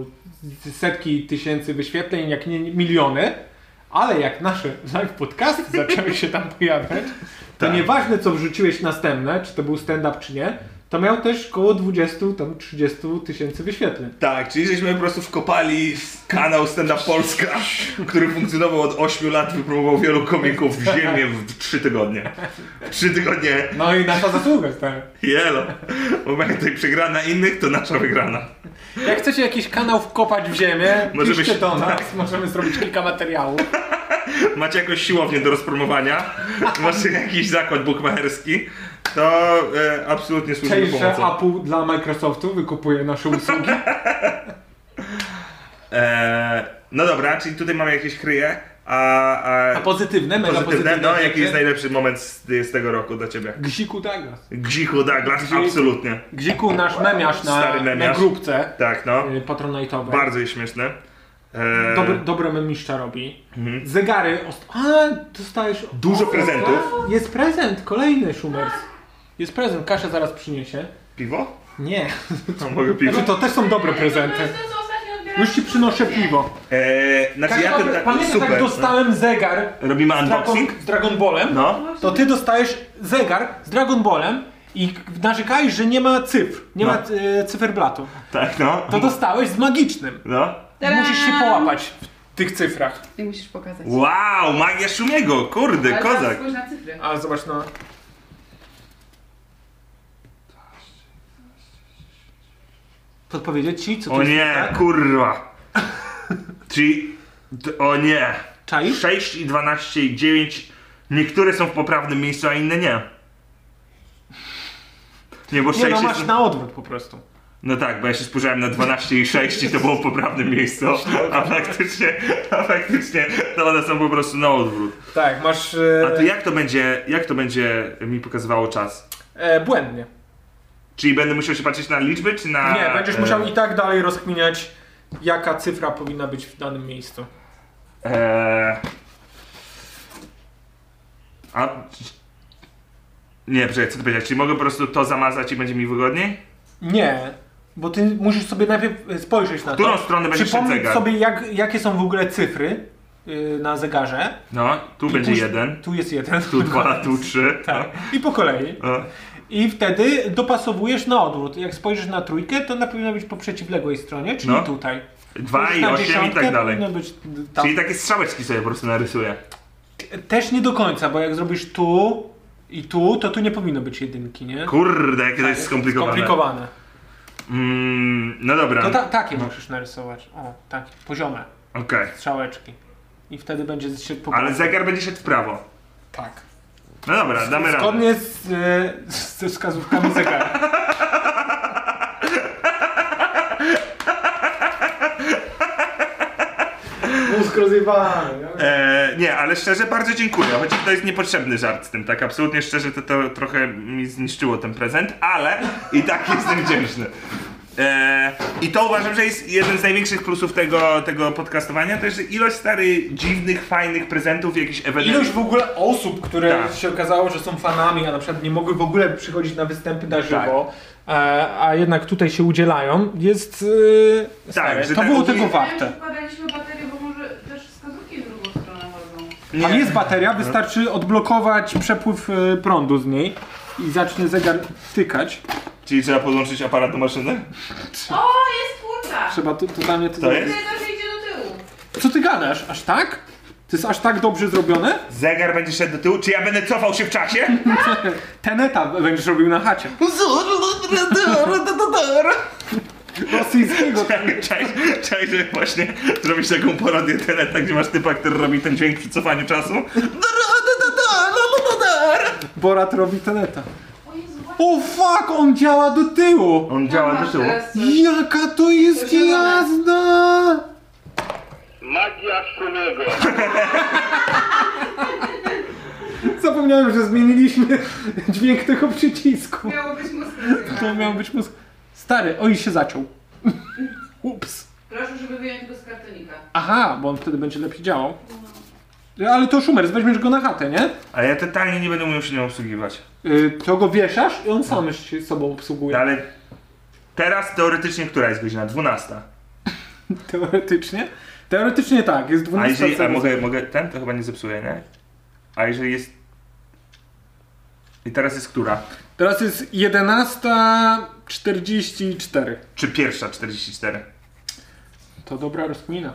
Speaker 4: setki tysięcy wyświetleń, jak nie miliony, ale jak nasze live podcasty zaczęły się tam pojawiać, to
Speaker 2: Tak.
Speaker 4: nieważne co wrzuciłeś następne, czy to był stand-up czy nie, to miał też około 20, tam 30 tysięcy wyświetleń.
Speaker 2: Tak, czyli żeśmy po prostu wkopali w kanał Stand Up Polska, który funkcjonował od 8 lat, wypróbował wielu komików w ziemię w 3 tygodnie. W 3 tygodnie
Speaker 4: No i nasza zasługa, stary.
Speaker 2: Jelo. Bo jak tutaj przegrana innych, to nasza wygrana.
Speaker 4: Jak chcecie jakiś kanał wkopać w ziemię,
Speaker 2: Możemy
Speaker 4: piszcie
Speaker 2: się- tak.
Speaker 4: do nas, możemy zrobić kilka materiałów.
Speaker 2: Macie jakąś siłownię do rozpromowania, macie jakiś zakład bukmacherski, to e, absolutnie służy do
Speaker 4: Cześć, że
Speaker 2: pomocą.
Speaker 4: Apple dla Microsoftu wykupuje nasze usługi.
Speaker 2: E, no dobra, czyli tutaj mamy jakieś kryje, a, a,
Speaker 4: A pozytywne, mega pozytywne.
Speaker 2: Tak. pozytywne, no jaki
Speaker 4: rzeczy.
Speaker 2: jest najlepszy moment z, z tego roku dla ciebie?
Speaker 4: Gziku Douglas.
Speaker 2: Gzichu Douglas,
Speaker 4: Gzik.
Speaker 2: absolutnie.
Speaker 4: Gziku nasz memiarz na,
Speaker 2: Stary memiarz.
Speaker 4: na grupce
Speaker 2: Tak, no.
Speaker 4: y, patronajtowej.
Speaker 2: Bardzo jest śmieszne. E,
Speaker 4: Dobry, dobre memiszcza robi. Zegary. Ost- a, dostajesz...
Speaker 2: Mhm. Dużo
Speaker 4: o, tak.
Speaker 2: prezentów.
Speaker 4: Jest prezent, kolejny Szumers. Jest prezent, Kasia zaraz przyniesie.
Speaker 2: Piwo?
Speaker 4: Nie.
Speaker 2: No, mogę piwo?
Speaker 4: Znaczy, to też są dobre prezenty.
Speaker 5: To jest to, No, co ostatnio odbierałam.
Speaker 4: Już ci przynoszę piwo.
Speaker 2: E, znaczy
Speaker 4: Kasia,
Speaker 2: ja to tak,
Speaker 4: pamiętam
Speaker 2: super.
Speaker 4: jak dostałem zegar
Speaker 2: Robimy
Speaker 4: z, Dragon,
Speaker 2: unboxing?
Speaker 4: z Dragon Ballem?
Speaker 2: No.
Speaker 4: to ty dostajesz zegar z Dragon Ballem i narzekałeś, że nie ma cyfr, nie
Speaker 2: No.
Speaker 4: ma e, cyferblatu.
Speaker 2: Tak, no.
Speaker 4: To dostałeś z magicznym.
Speaker 2: No.
Speaker 5: Tadam!
Speaker 4: Musisz się połapać w tych cyfrach.
Speaker 5: Ty musisz pokazać.
Speaker 2: Wow, magia Szumiego, kurde,
Speaker 5: Ale teraz
Speaker 2: kozak.
Speaker 5: Spójrz na cyfry.
Speaker 4: A zobacz no. Podpowiedzieć ci, co to
Speaker 2: O
Speaker 4: jest? tak?
Speaker 2: nie, kurwa. Czyli, d- o nie.
Speaker 4: Czaisz?
Speaker 2: 6 i 12 i 9. Niektóre są w poprawnym miejscu, a inne nie. Nie, bo 6
Speaker 4: Nie no,
Speaker 2: jest...
Speaker 4: masz na odwrót po prostu.
Speaker 2: No tak, bo ja się spojrzałem na 12 i 6 i to było w poprawnym miejscu, a faktycznie, a faktycznie to one są po prostu na odwrót.
Speaker 4: Tak, masz
Speaker 2: A to
Speaker 4: e,
Speaker 2: jak to będzie, jak to będzie mi pokazywało czas?
Speaker 4: e, błędnie.
Speaker 2: Czyli będę musiał się patrzeć na liczby, czy na...
Speaker 4: Nie, będziesz
Speaker 2: e,
Speaker 4: musiał i tak dalej rozkminiać, jaka cyfra powinna być w danym miejscu.
Speaker 2: Eee... A... Nie, przecież co ty powiedziałeś? Czyli mogę po prostu to zamazać i będzie mi wygodniej?
Speaker 4: Nie, bo ty musisz sobie najpierw e, spojrzeć na
Speaker 2: Którą
Speaker 4: to.
Speaker 2: stronę będzie szedł
Speaker 4: Przypomnieć
Speaker 2: zegar?
Speaker 4: sobie, jak, jakie są w ogóle cyfry y, na zegarze.
Speaker 2: No, tu będzie
Speaker 4: później-
Speaker 2: jeden,
Speaker 4: Tu jest jeden.
Speaker 2: tu dwa, tu trzy.
Speaker 4: Tak. I po kolei.
Speaker 2: No.
Speaker 4: I wtedy dopasowujesz na odwrót. Jak spojrzysz na trójkę, to ona powinna być po przeciwległej stronie, czyli
Speaker 2: No.
Speaker 4: tutaj.
Speaker 2: Dwa
Speaker 4: Spojrzysz
Speaker 2: i
Speaker 4: na
Speaker 2: osiem i
Speaker 4: dziesiątkę, No.
Speaker 2: tak dalej.
Speaker 4: powinno być tam.
Speaker 2: Czyli tak- takie strzałeczki sobie po prostu narysuję.
Speaker 4: Też nie do końca, bo jak zrobisz tu i tu, to tu nie powinno być jedynki, nie?
Speaker 2: Kurde, jakie to jest skomplikowane.
Speaker 4: Skomplikowane.
Speaker 2: Mm, no dobra,
Speaker 4: To
Speaker 2: okej.
Speaker 4: ta, takie musisz narysować. O,
Speaker 6: tak,
Speaker 4: takie. Poziome. Strzałeczki. I wtedy będzie się po
Speaker 2: Ale zegar będzie szedł w prawo.
Speaker 4: Tak.
Speaker 2: No dobra, damy radę.
Speaker 4: Zgodnie z, e, z, ze wskazówkami zegara. Mózg rozjebany.
Speaker 2: Eee, nie, ale szczerze bardzo dziękuję, chociaż to jest niepotrzebny żart z tym, tak? Absolutnie szczerze to, to trochę mi zniszczyło ten prezent, ale i tak jestem wdzięczny. E, I to uważam, że jest jeden z największych plusów tego, tego podcastowania, to jest ilość stary dziwnych, fajnych prezentów, jakichś ewenentów.
Speaker 6: Ilość w ogóle osób, które
Speaker 2: Tak.
Speaker 6: się okazało, że są fanami, a na przykład nie mogły w ogóle przychodzić na występy na żywo,
Speaker 2: Tak.
Speaker 6: e, a jednak tutaj się udzielają, jest. E, stare.
Speaker 2: że
Speaker 6: to
Speaker 2: tak
Speaker 6: było
Speaker 2: ogólnie-
Speaker 6: tego
Speaker 5: Ja
Speaker 6: warte.
Speaker 5: już wkładaliśmy baterię, bo może też wskazówki w drugą stronę chodzą.
Speaker 2: Nie.
Speaker 4: Tam jest bateria, wystarczy odblokować przepływ e, prądu z niej i zacznie zegar tykać.
Speaker 2: Czyli trzeba podłączyć aparat do maszyny?
Speaker 5: O, jest twórca!
Speaker 4: Trzeba to, totalnie to
Speaker 2: To
Speaker 4: zrobić.
Speaker 2: jest?
Speaker 5: Tyle też idzie do tyłu.
Speaker 4: Co ty gadasz? Aż tak? To jest aż tak dobrze zrobione?
Speaker 2: Zegar będzie szedł do tyłu, czy ja będę cofał się w czasie?
Speaker 4: Ten etap będziesz robił na chacie. Rosyjskiego.
Speaker 2: Tak, Cześć, cześć, że właśnie zrobisz taką parodię Teneta, gdzie masz typa, który robi ten dźwięk przy cofaniu czasu.
Speaker 4: Borat robi ten etap.
Speaker 5: O Jezu, właśnie.
Speaker 4: O fuck, on działa do
Speaker 2: On
Speaker 4: tyłu!
Speaker 5: Tam
Speaker 2: działa
Speaker 5: No, masz
Speaker 2: do tyłu.
Speaker 5: teraz coś.
Speaker 4: Jaka to jest
Speaker 5: To zielone.
Speaker 4: jazda!
Speaker 7: Magia Szumiego.
Speaker 4: Zapomniałem, że zmieniliśmy dźwięk tego przycisku.
Speaker 5: Miało być mózg.
Speaker 4: To miał być mózg. Stary, oj się zaciął. Ups.
Speaker 5: Proszę, żeby wyjąć go z kartonika.
Speaker 4: Aha, bo on wtedy będzie lepiej działał. Ale to szumer, weźmiesz go na chatę, nie?
Speaker 2: Ale ja totalnie nie będę umiał się nią obsługiwać.
Speaker 4: Yy, to go wieszasz i on sam się sobą obsługuje.
Speaker 2: Ale teraz teoretycznie która jest godzina? 12.
Speaker 4: Teoretycznie? Teoretycznie tak, jest
Speaker 2: Tak. A
Speaker 4: 12
Speaker 2: jeżeli a mogę, mogę ten, to chyba nie zepsuję, nie? A jeżeli jest... I teraz jest która?
Speaker 4: Teraz jest 11.44.
Speaker 2: Czy pierwsza 44?
Speaker 4: To dobra rozkmina.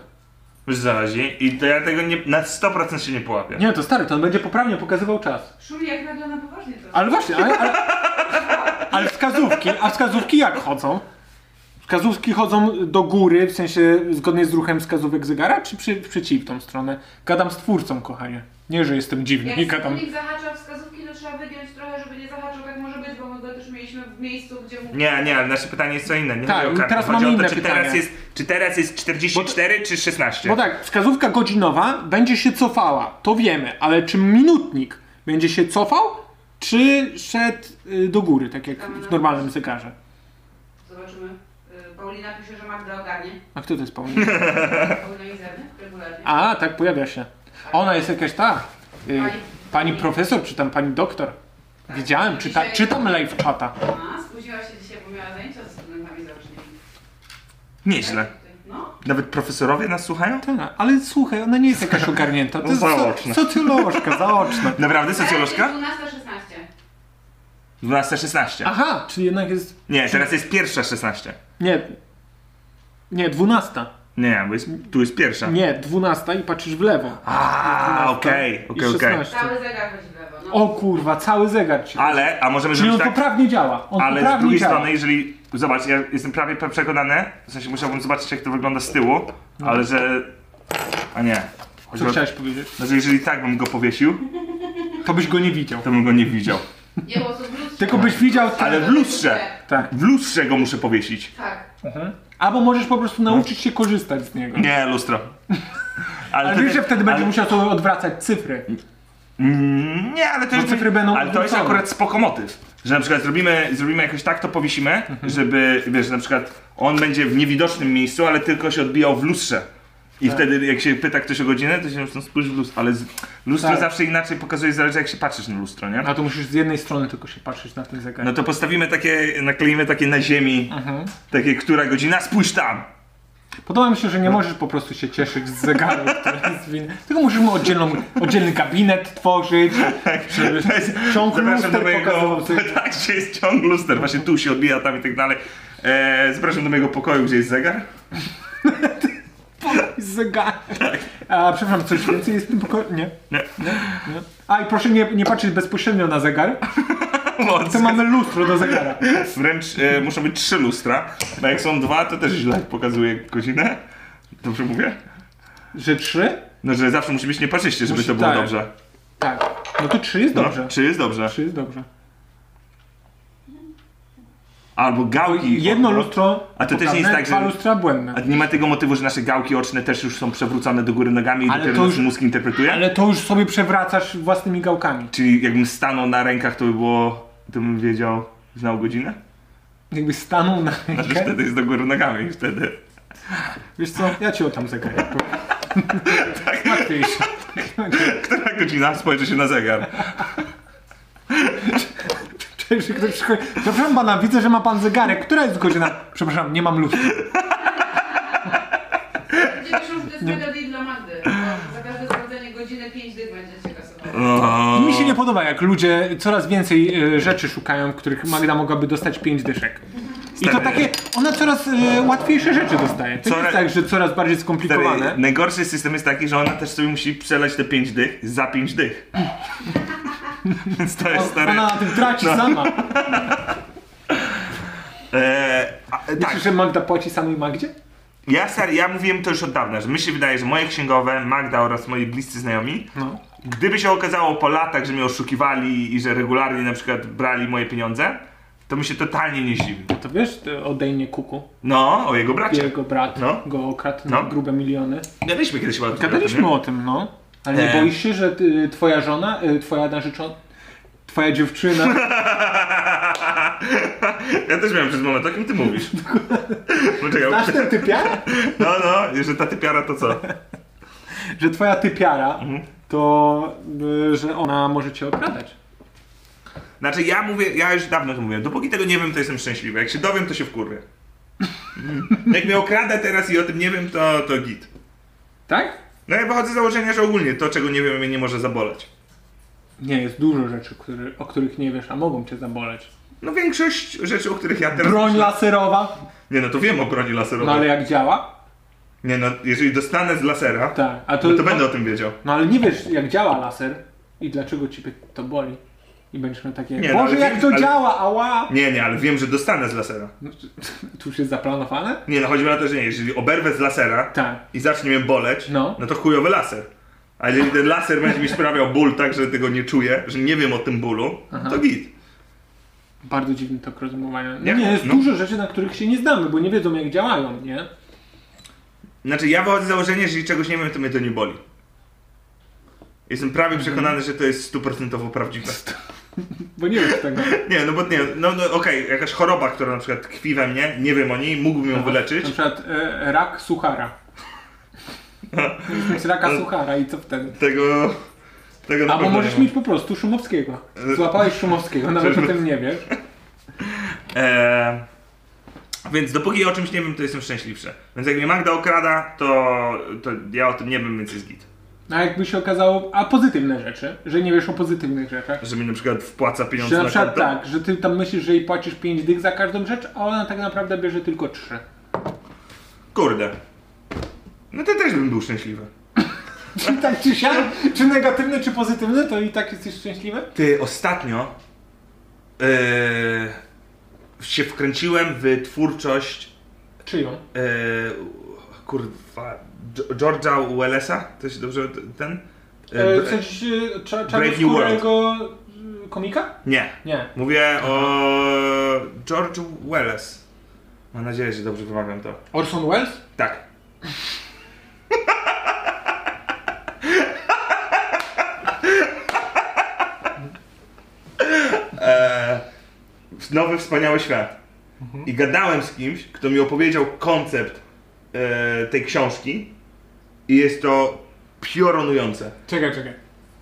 Speaker 2: Już zależy. I to ja tego nie, na 100% się nie połapię.
Speaker 4: Nie, to stary, to on będzie poprawnie pokazywał czas.
Speaker 5: Szuli, jak nagle na poważnie to
Speaker 4: Ale właśnie, ale, ale, ale wskazówki, a wskazówki jak chodzą? Wskazówki chodzą do góry, w sensie zgodnie z ruchem wskazówek zegara, czy przy, w przeciwną stronę? Gadam z twórcą, kochanie. Nie, że jestem dziwny, nie
Speaker 5: Jak
Speaker 4: gadam.
Speaker 5: skutnik zahacza wskazówki, to trzeba wygiąć trochę, żeby nie zahaczał, tak może być, bo my go też mieliśmy w miejscu, gdzie mu...
Speaker 2: Nie, nie, ale nasze pytanie jest co inne. Nie
Speaker 4: Tak,
Speaker 2: chodzi o kartę.
Speaker 4: teraz
Speaker 2: Chodzi
Speaker 4: mamy
Speaker 2: o to,
Speaker 4: inne
Speaker 2: czy Teraz
Speaker 4: pytanie.
Speaker 2: jest, czy teraz jest 44 czy 16?
Speaker 4: Bo tak, wskazówka godzinowa będzie się cofała, to wiemy, ale czy minutnik będzie się cofał, czy szedł y, do góry, tak jak w normalnym zegarze?
Speaker 5: Zobaczymy. Y, Paulina pisze, że Magda ogarnie.
Speaker 4: A kto to jest Paulina?
Speaker 5: Paulina i zewnątrz, regularnie.
Speaker 4: A, tak, pojawia się. Ona jest jakaś ta. Y,
Speaker 5: Pani-
Speaker 4: pani profesor, czy tam pani doktor. Widziałem, czyta,
Speaker 5: Dzisiaj-
Speaker 4: czytam live chata.
Speaker 5: A, spóźniła się dzisiaj, bo miała zajęcia ze studentami zaocznymi.
Speaker 2: Nieźle.
Speaker 5: No,
Speaker 2: Nawet profesorowie nas słuchają?
Speaker 4: Tak, ale słuchaj, ona nie jest jakaś ogarnięta. To
Speaker 2: No,
Speaker 4: jest
Speaker 2: zaoczne.
Speaker 4: Co, co ty lożka, zaoczne.
Speaker 2: Naprawdę, socjolożka?
Speaker 5: 12.16.
Speaker 2: 12.16.
Speaker 4: Aha, czyli jednak jest.
Speaker 2: Nie, teraz jest pierwsza 16.
Speaker 4: Nie. Nie, dwunasta.
Speaker 2: Nie, bo jest, tu jest pierwsza.
Speaker 4: Nie, dwunasta i patrzysz w lewo.
Speaker 2: A, okej,
Speaker 4: I
Speaker 2: okej, okej.
Speaker 4: 16.
Speaker 5: Cały zegar chodzi w lewo. No.
Speaker 4: O kurwa, cały zegar ci.
Speaker 2: Ale, a możemy
Speaker 4: Czyli on
Speaker 2: zrobić tak,
Speaker 4: poprawnie działa. On
Speaker 2: ale z
Speaker 4: poprawnie
Speaker 2: drugiej
Speaker 4: działa.
Speaker 2: strony, jeżeli, zobacz, ja jestem prawie pe- przekonany, w sensie musiałbym zobaczyć jak to wygląda z tyłu, ale że, a nie. Chodzi
Speaker 4: No. Co
Speaker 2: o,
Speaker 4: chciałeś powiedzieć?
Speaker 2: no, że jeżeli tak bym go powiesił,
Speaker 4: To byś go nie widział.
Speaker 2: to bym go nie widział.
Speaker 5: Nie, bo są w lustrze.
Speaker 4: Tylko byś widział.
Speaker 2: Ale w lustrze,
Speaker 4: Tak.
Speaker 2: w lustrze go muszę powiesić.
Speaker 5: Tak.
Speaker 4: Albo możesz po prostu
Speaker 2: No.
Speaker 4: nauczyć się korzystać z niego.
Speaker 2: Nie, lustro.
Speaker 4: Ale
Speaker 2: to
Speaker 4: wiesz,
Speaker 2: nie-
Speaker 4: że wtedy będzie
Speaker 2: ale-
Speaker 4: musiał sobie odwracać cyfry.
Speaker 2: Mm, Nie, ale to jest.
Speaker 4: cyfry będą
Speaker 2: ale to jest
Speaker 4: odwrócone.
Speaker 2: akurat spoko motyw. Że na przykład zrobimy, zrobimy jakoś tak, to powiesimy,
Speaker 4: Mhm.
Speaker 2: żeby, wiesz, na przykład on będzie w niewidocznym miejscu, ale tylko się odbijał w lustrze. I
Speaker 4: Tak.
Speaker 2: wtedy jak się pyta ktoś o godzinę, to się no, spójrz w lustro, ale z, lustro
Speaker 4: Tak.
Speaker 2: zawsze inaczej pokazuje, zależy jak się patrzysz na lustro, nie?
Speaker 4: No to musisz z jednej strony tylko się patrzeć na ten zegar.
Speaker 2: No to postawimy takie, nakleimy takie na ziemi,
Speaker 4: Mhm.
Speaker 2: takie, która godzina, spójrz tam!
Speaker 4: Podoba mi się,
Speaker 2: no.
Speaker 4: że nie możesz po prostu się cieszyć z zegaru, który jest winny. Tylko musisz mu oddzielną, oddzielny gabinet tworzyć. Żeby
Speaker 2: Tak. To jest-
Speaker 4: ciąg
Speaker 2: Zapraszam do
Speaker 4: luster
Speaker 2: mojego.
Speaker 4: pokazywał. sobie.
Speaker 2: Tak, gdzie jest ciąg luster, właśnie tu się odbija, tam i tak dalej. Eee, zapraszam do mojego pokoju, gdzie jest zegar.
Speaker 4: Z zegaru.
Speaker 2: Tak.
Speaker 4: A przepraszam, coś więcej jest w tym pokoju? Nie.
Speaker 2: Nie.
Speaker 4: nie. A i proszę nie, nie patrzeć bezpośrednio na zegar.
Speaker 2: Moc.
Speaker 4: To mamy lustro do zegara.
Speaker 2: Wręcz e, muszą być trzy lustra, bo jak są dwa, to też źle pokazuje godzinę. Dobrze mówię?
Speaker 4: Że trzy?
Speaker 2: No, że zawsze musi być nieparzyście, żeby
Speaker 4: Musi-
Speaker 2: to było
Speaker 4: tak.
Speaker 2: dobrze.
Speaker 4: Tak. No to trzy jest
Speaker 2: No,
Speaker 4: dobrze.
Speaker 2: Czy jest dobrze?
Speaker 4: Trzy jest dobrze.
Speaker 2: Albo gałki.
Speaker 4: Jedno lustro
Speaker 2: A to też nie jest
Speaker 4: poprawne,
Speaker 2: tak, że-
Speaker 4: dwa lustra błędne.
Speaker 2: A nie ma tego motywu, że nasze gałki oczne też już są przewrócone do góry nogami i
Speaker 4: Ale
Speaker 2: dopiero
Speaker 4: to
Speaker 2: nasz
Speaker 4: już-
Speaker 2: mózg interpretuje?
Speaker 4: Ale to już sobie przewracasz własnymi gałkami.
Speaker 2: Czyli jakbym stanął na rękach, to by było. to bym wiedział, znał godzinę?
Speaker 4: jakby stanął na
Speaker 2: Znaczy
Speaker 4: rękę.
Speaker 2: wtedy jest do góry nogami, wtedy.
Speaker 4: Wiesz co, ja cię o tam zagaję. Tak. Łatwiejsze.
Speaker 2: Która godzina? Spojrzy się na zegar.
Speaker 4: Cześć, że ktoś przychodzi. Przepraszam pana, widzę, że ma pan zegarek. Która jest godzina? Przepraszam, nie mam lustra.
Speaker 5: Będzie piszą, że to jest mega deal dla Magdy. bo Za każde sprawdzenie godziny 5 dych będziecie kasować.
Speaker 2: O,
Speaker 4: Mi się nie podoba, jak ludzie coraz więcej e, rzeczy szukają, w których Magda mogłaby dostać 5 dyszek. I to
Speaker 2: Stary.
Speaker 4: takie, ona coraz e, łatwiejsze rzeczy dostaje. To nie
Speaker 2: Coraz-
Speaker 4: jest tak, że coraz bardziej
Speaker 2: Stary,
Speaker 4: skomplikowane.
Speaker 2: najgorszy system jest taki, że ona też sobie musi przelać te 5 dych za 5 dych. Więc to jest stary. No.
Speaker 4: Ona na tym traci sama.
Speaker 2: E, a, tak,
Speaker 4: Myślisz, że Magda płaci samej Magdzie?
Speaker 2: ja, ser, ja mówiłem to już od dawna, że mi się wydaje, że moje księgowe, Magda oraz moi bliscy znajomi,
Speaker 4: No.
Speaker 2: gdyby się okazało po latach, że mnie oszukiwali i że regularnie na przykład brali moje pieniądze, to mi się totalnie nie zdziwi.
Speaker 4: To wiesz, to odejmie kuku.
Speaker 2: No, o jego bracie.
Speaker 4: Jego brat
Speaker 2: No.
Speaker 4: go okradł na
Speaker 2: No.
Speaker 4: grube miliony.
Speaker 2: Gadaliśmy kiedyś chyba o tym.
Speaker 4: Gadaliśmy
Speaker 2: nie?
Speaker 4: o tym, no. Ale nie
Speaker 2: E.
Speaker 4: boisz się, że y, twoja żona, y, twoja narzeczona, twoja dziewczyna...
Speaker 2: No. Ja też miałem przez moment, o kim ty mówisz? Poczekaj,
Speaker 4: Znasz ten typiara?
Speaker 2: no, no, że ta typiara to co?
Speaker 4: Że twoja typiara,
Speaker 2: Mhm.
Speaker 4: to y, że ona może cię okradać.
Speaker 2: Znaczy ja mówię, ja już dawno to mówiłem, dopóki tego nie wiem, to jestem szczęśliwy. Jak się dowiem, to się wkurwię. Mm. Jak mnie okrada teraz i o tym nie wiem, to, to git.
Speaker 4: Tak?
Speaker 2: No ja wychodzę z założenia, że ogólnie to, czego nie wiem, mnie nie może zaboleć.
Speaker 4: Nie, jest dużo rzeczy, które, o których nie wiesz, a mogą cię zaboleć.
Speaker 2: No większość rzeczy, o których ja teraz...
Speaker 4: Broń laserowa,
Speaker 2: Nie no, to wiem o broni laserowej.
Speaker 4: no ale jak działa?
Speaker 2: Nie no, jeżeli dostanę z lasera,
Speaker 4: Tak. A to,
Speaker 2: no to będę o tym wiedział.
Speaker 4: No ale nie wiesz, jak działa laser i dlaczego ciebie to boli. I będziesz miał takie,
Speaker 2: Nie, no,
Speaker 4: Boże,
Speaker 2: ale
Speaker 4: jak
Speaker 2: wiem,
Speaker 4: to
Speaker 2: ale-
Speaker 4: działa, ała!
Speaker 2: Nie, nie, ale wiem, że dostanę z lasera.
Speaker 4: Tu już jest zaplanowane?
Speaker 2: Nie no, chodzi mi o to, że nie, jeżeli oberwę z lasera
Speaker 4: Tak.
Speaker 2: i zacznie mnie boleć,
Speaker 4: No.
Speaker 2: no, to chujowy laser. A jeżeli ten laser będzie mi sprawiał ból tak, że tego nie czuję, że nie wiem o tym bólu, to git.
Speaker 4: Bardzo dziwny tok rozumowania. Nie,
Speaker 2: Jak-
Speaker 4: nie jest
Speaker 2: no.
Speaker 4: dużo rzeczy, na których się nie znamy, bo nie wiedzą jak działają, nie?
Speaker 2: Znaczy ja wychodzę z założenia, że jeżeli czegoś nie wiem, to mnie to nie boli. Jestem prawie
Speaker 4: Mhm.
Speaker 2: przekonany, że to jest stuprocentowo prawdziwe.
Speaker 4: Bo nie tak wiesz tego.
Speaker 2: Nie, no bo nie, no, no okej, jakaś choroba, która na przykład tkwi we mnie, nie wiem o niej, mógłbym ją wyleczyć.
Speaker 4: Na przykład e, rak suchara. Możesz mieć raka suchara i co wtedy?
Speaker 2: Tego... Tego na
Speaker 4: Albo
Speaker 2: pewno
Speaker 4: możesz
Speaker 2: nie
Speaker 4: mieć po prostu Szumowskiego.
Speaker 2: E,
Speaker 4: Złapałeś Szumowskiego, nawet o
Speaker 2: przecież-
Speaker 4: tym nie wiesz.
Speaker 2: Eee, więc dopóki o czymś nie wiem, to jestem szczęśliwszy. Więc jak mnie Magda okrada, to, to ja o tym nie wiem, więc jest git.
Speaker 4: No A jakby się okazało, a pozytywne rzeczy, że nie wiesz o pozytywnych rzeczach.
Speaker 2: Że mi na przykład wpłaca pieniądze
Speaker 4: Że na
Speaker 2: na,
Speaker 4: przykład
Speaker 2: konto.
Speaker 4: tak, że ty tam myślisz, że jej płacisz 5 dych za każdą rzecz, a ona tak naprawdę bierze tylko 3.
Speaker 2: Kurde. No to też bym był szczęśliwy.
Speaker 4: Czy tak czy siak, czy negatywne, czy pozytywne, to i tak jesteś szczęśliwy?
Speaker 2: Ty, ostatnio eee, się wkręciłem w twórczość
Speaker 4: Czyją?
Speaker 2: eee, kurwa, Dż- George'a Wellesa, to się dobrze ten? Eee,
Speaker 4: E,
Speaker 2: br-
Speaker 4: coś e, cza,
Speaker 2: Brave New World.
Speaker 4: czarnoskórego e, komika?
Speaker 2: nie,
Speaker 4: Nie.
Speaker 2: mówię o George Welles. Mam nadzieję, że dobrze wymawiam to.
Speaker 4: Orson Welles?
Speaker 2: Tak. Eee, Nowy wspaniały świat. I gadałem z kimś, kto mi opowiedział koncept e, tej książki i jest to piorunujące.
Speaker 4: Czekaj, czekaj.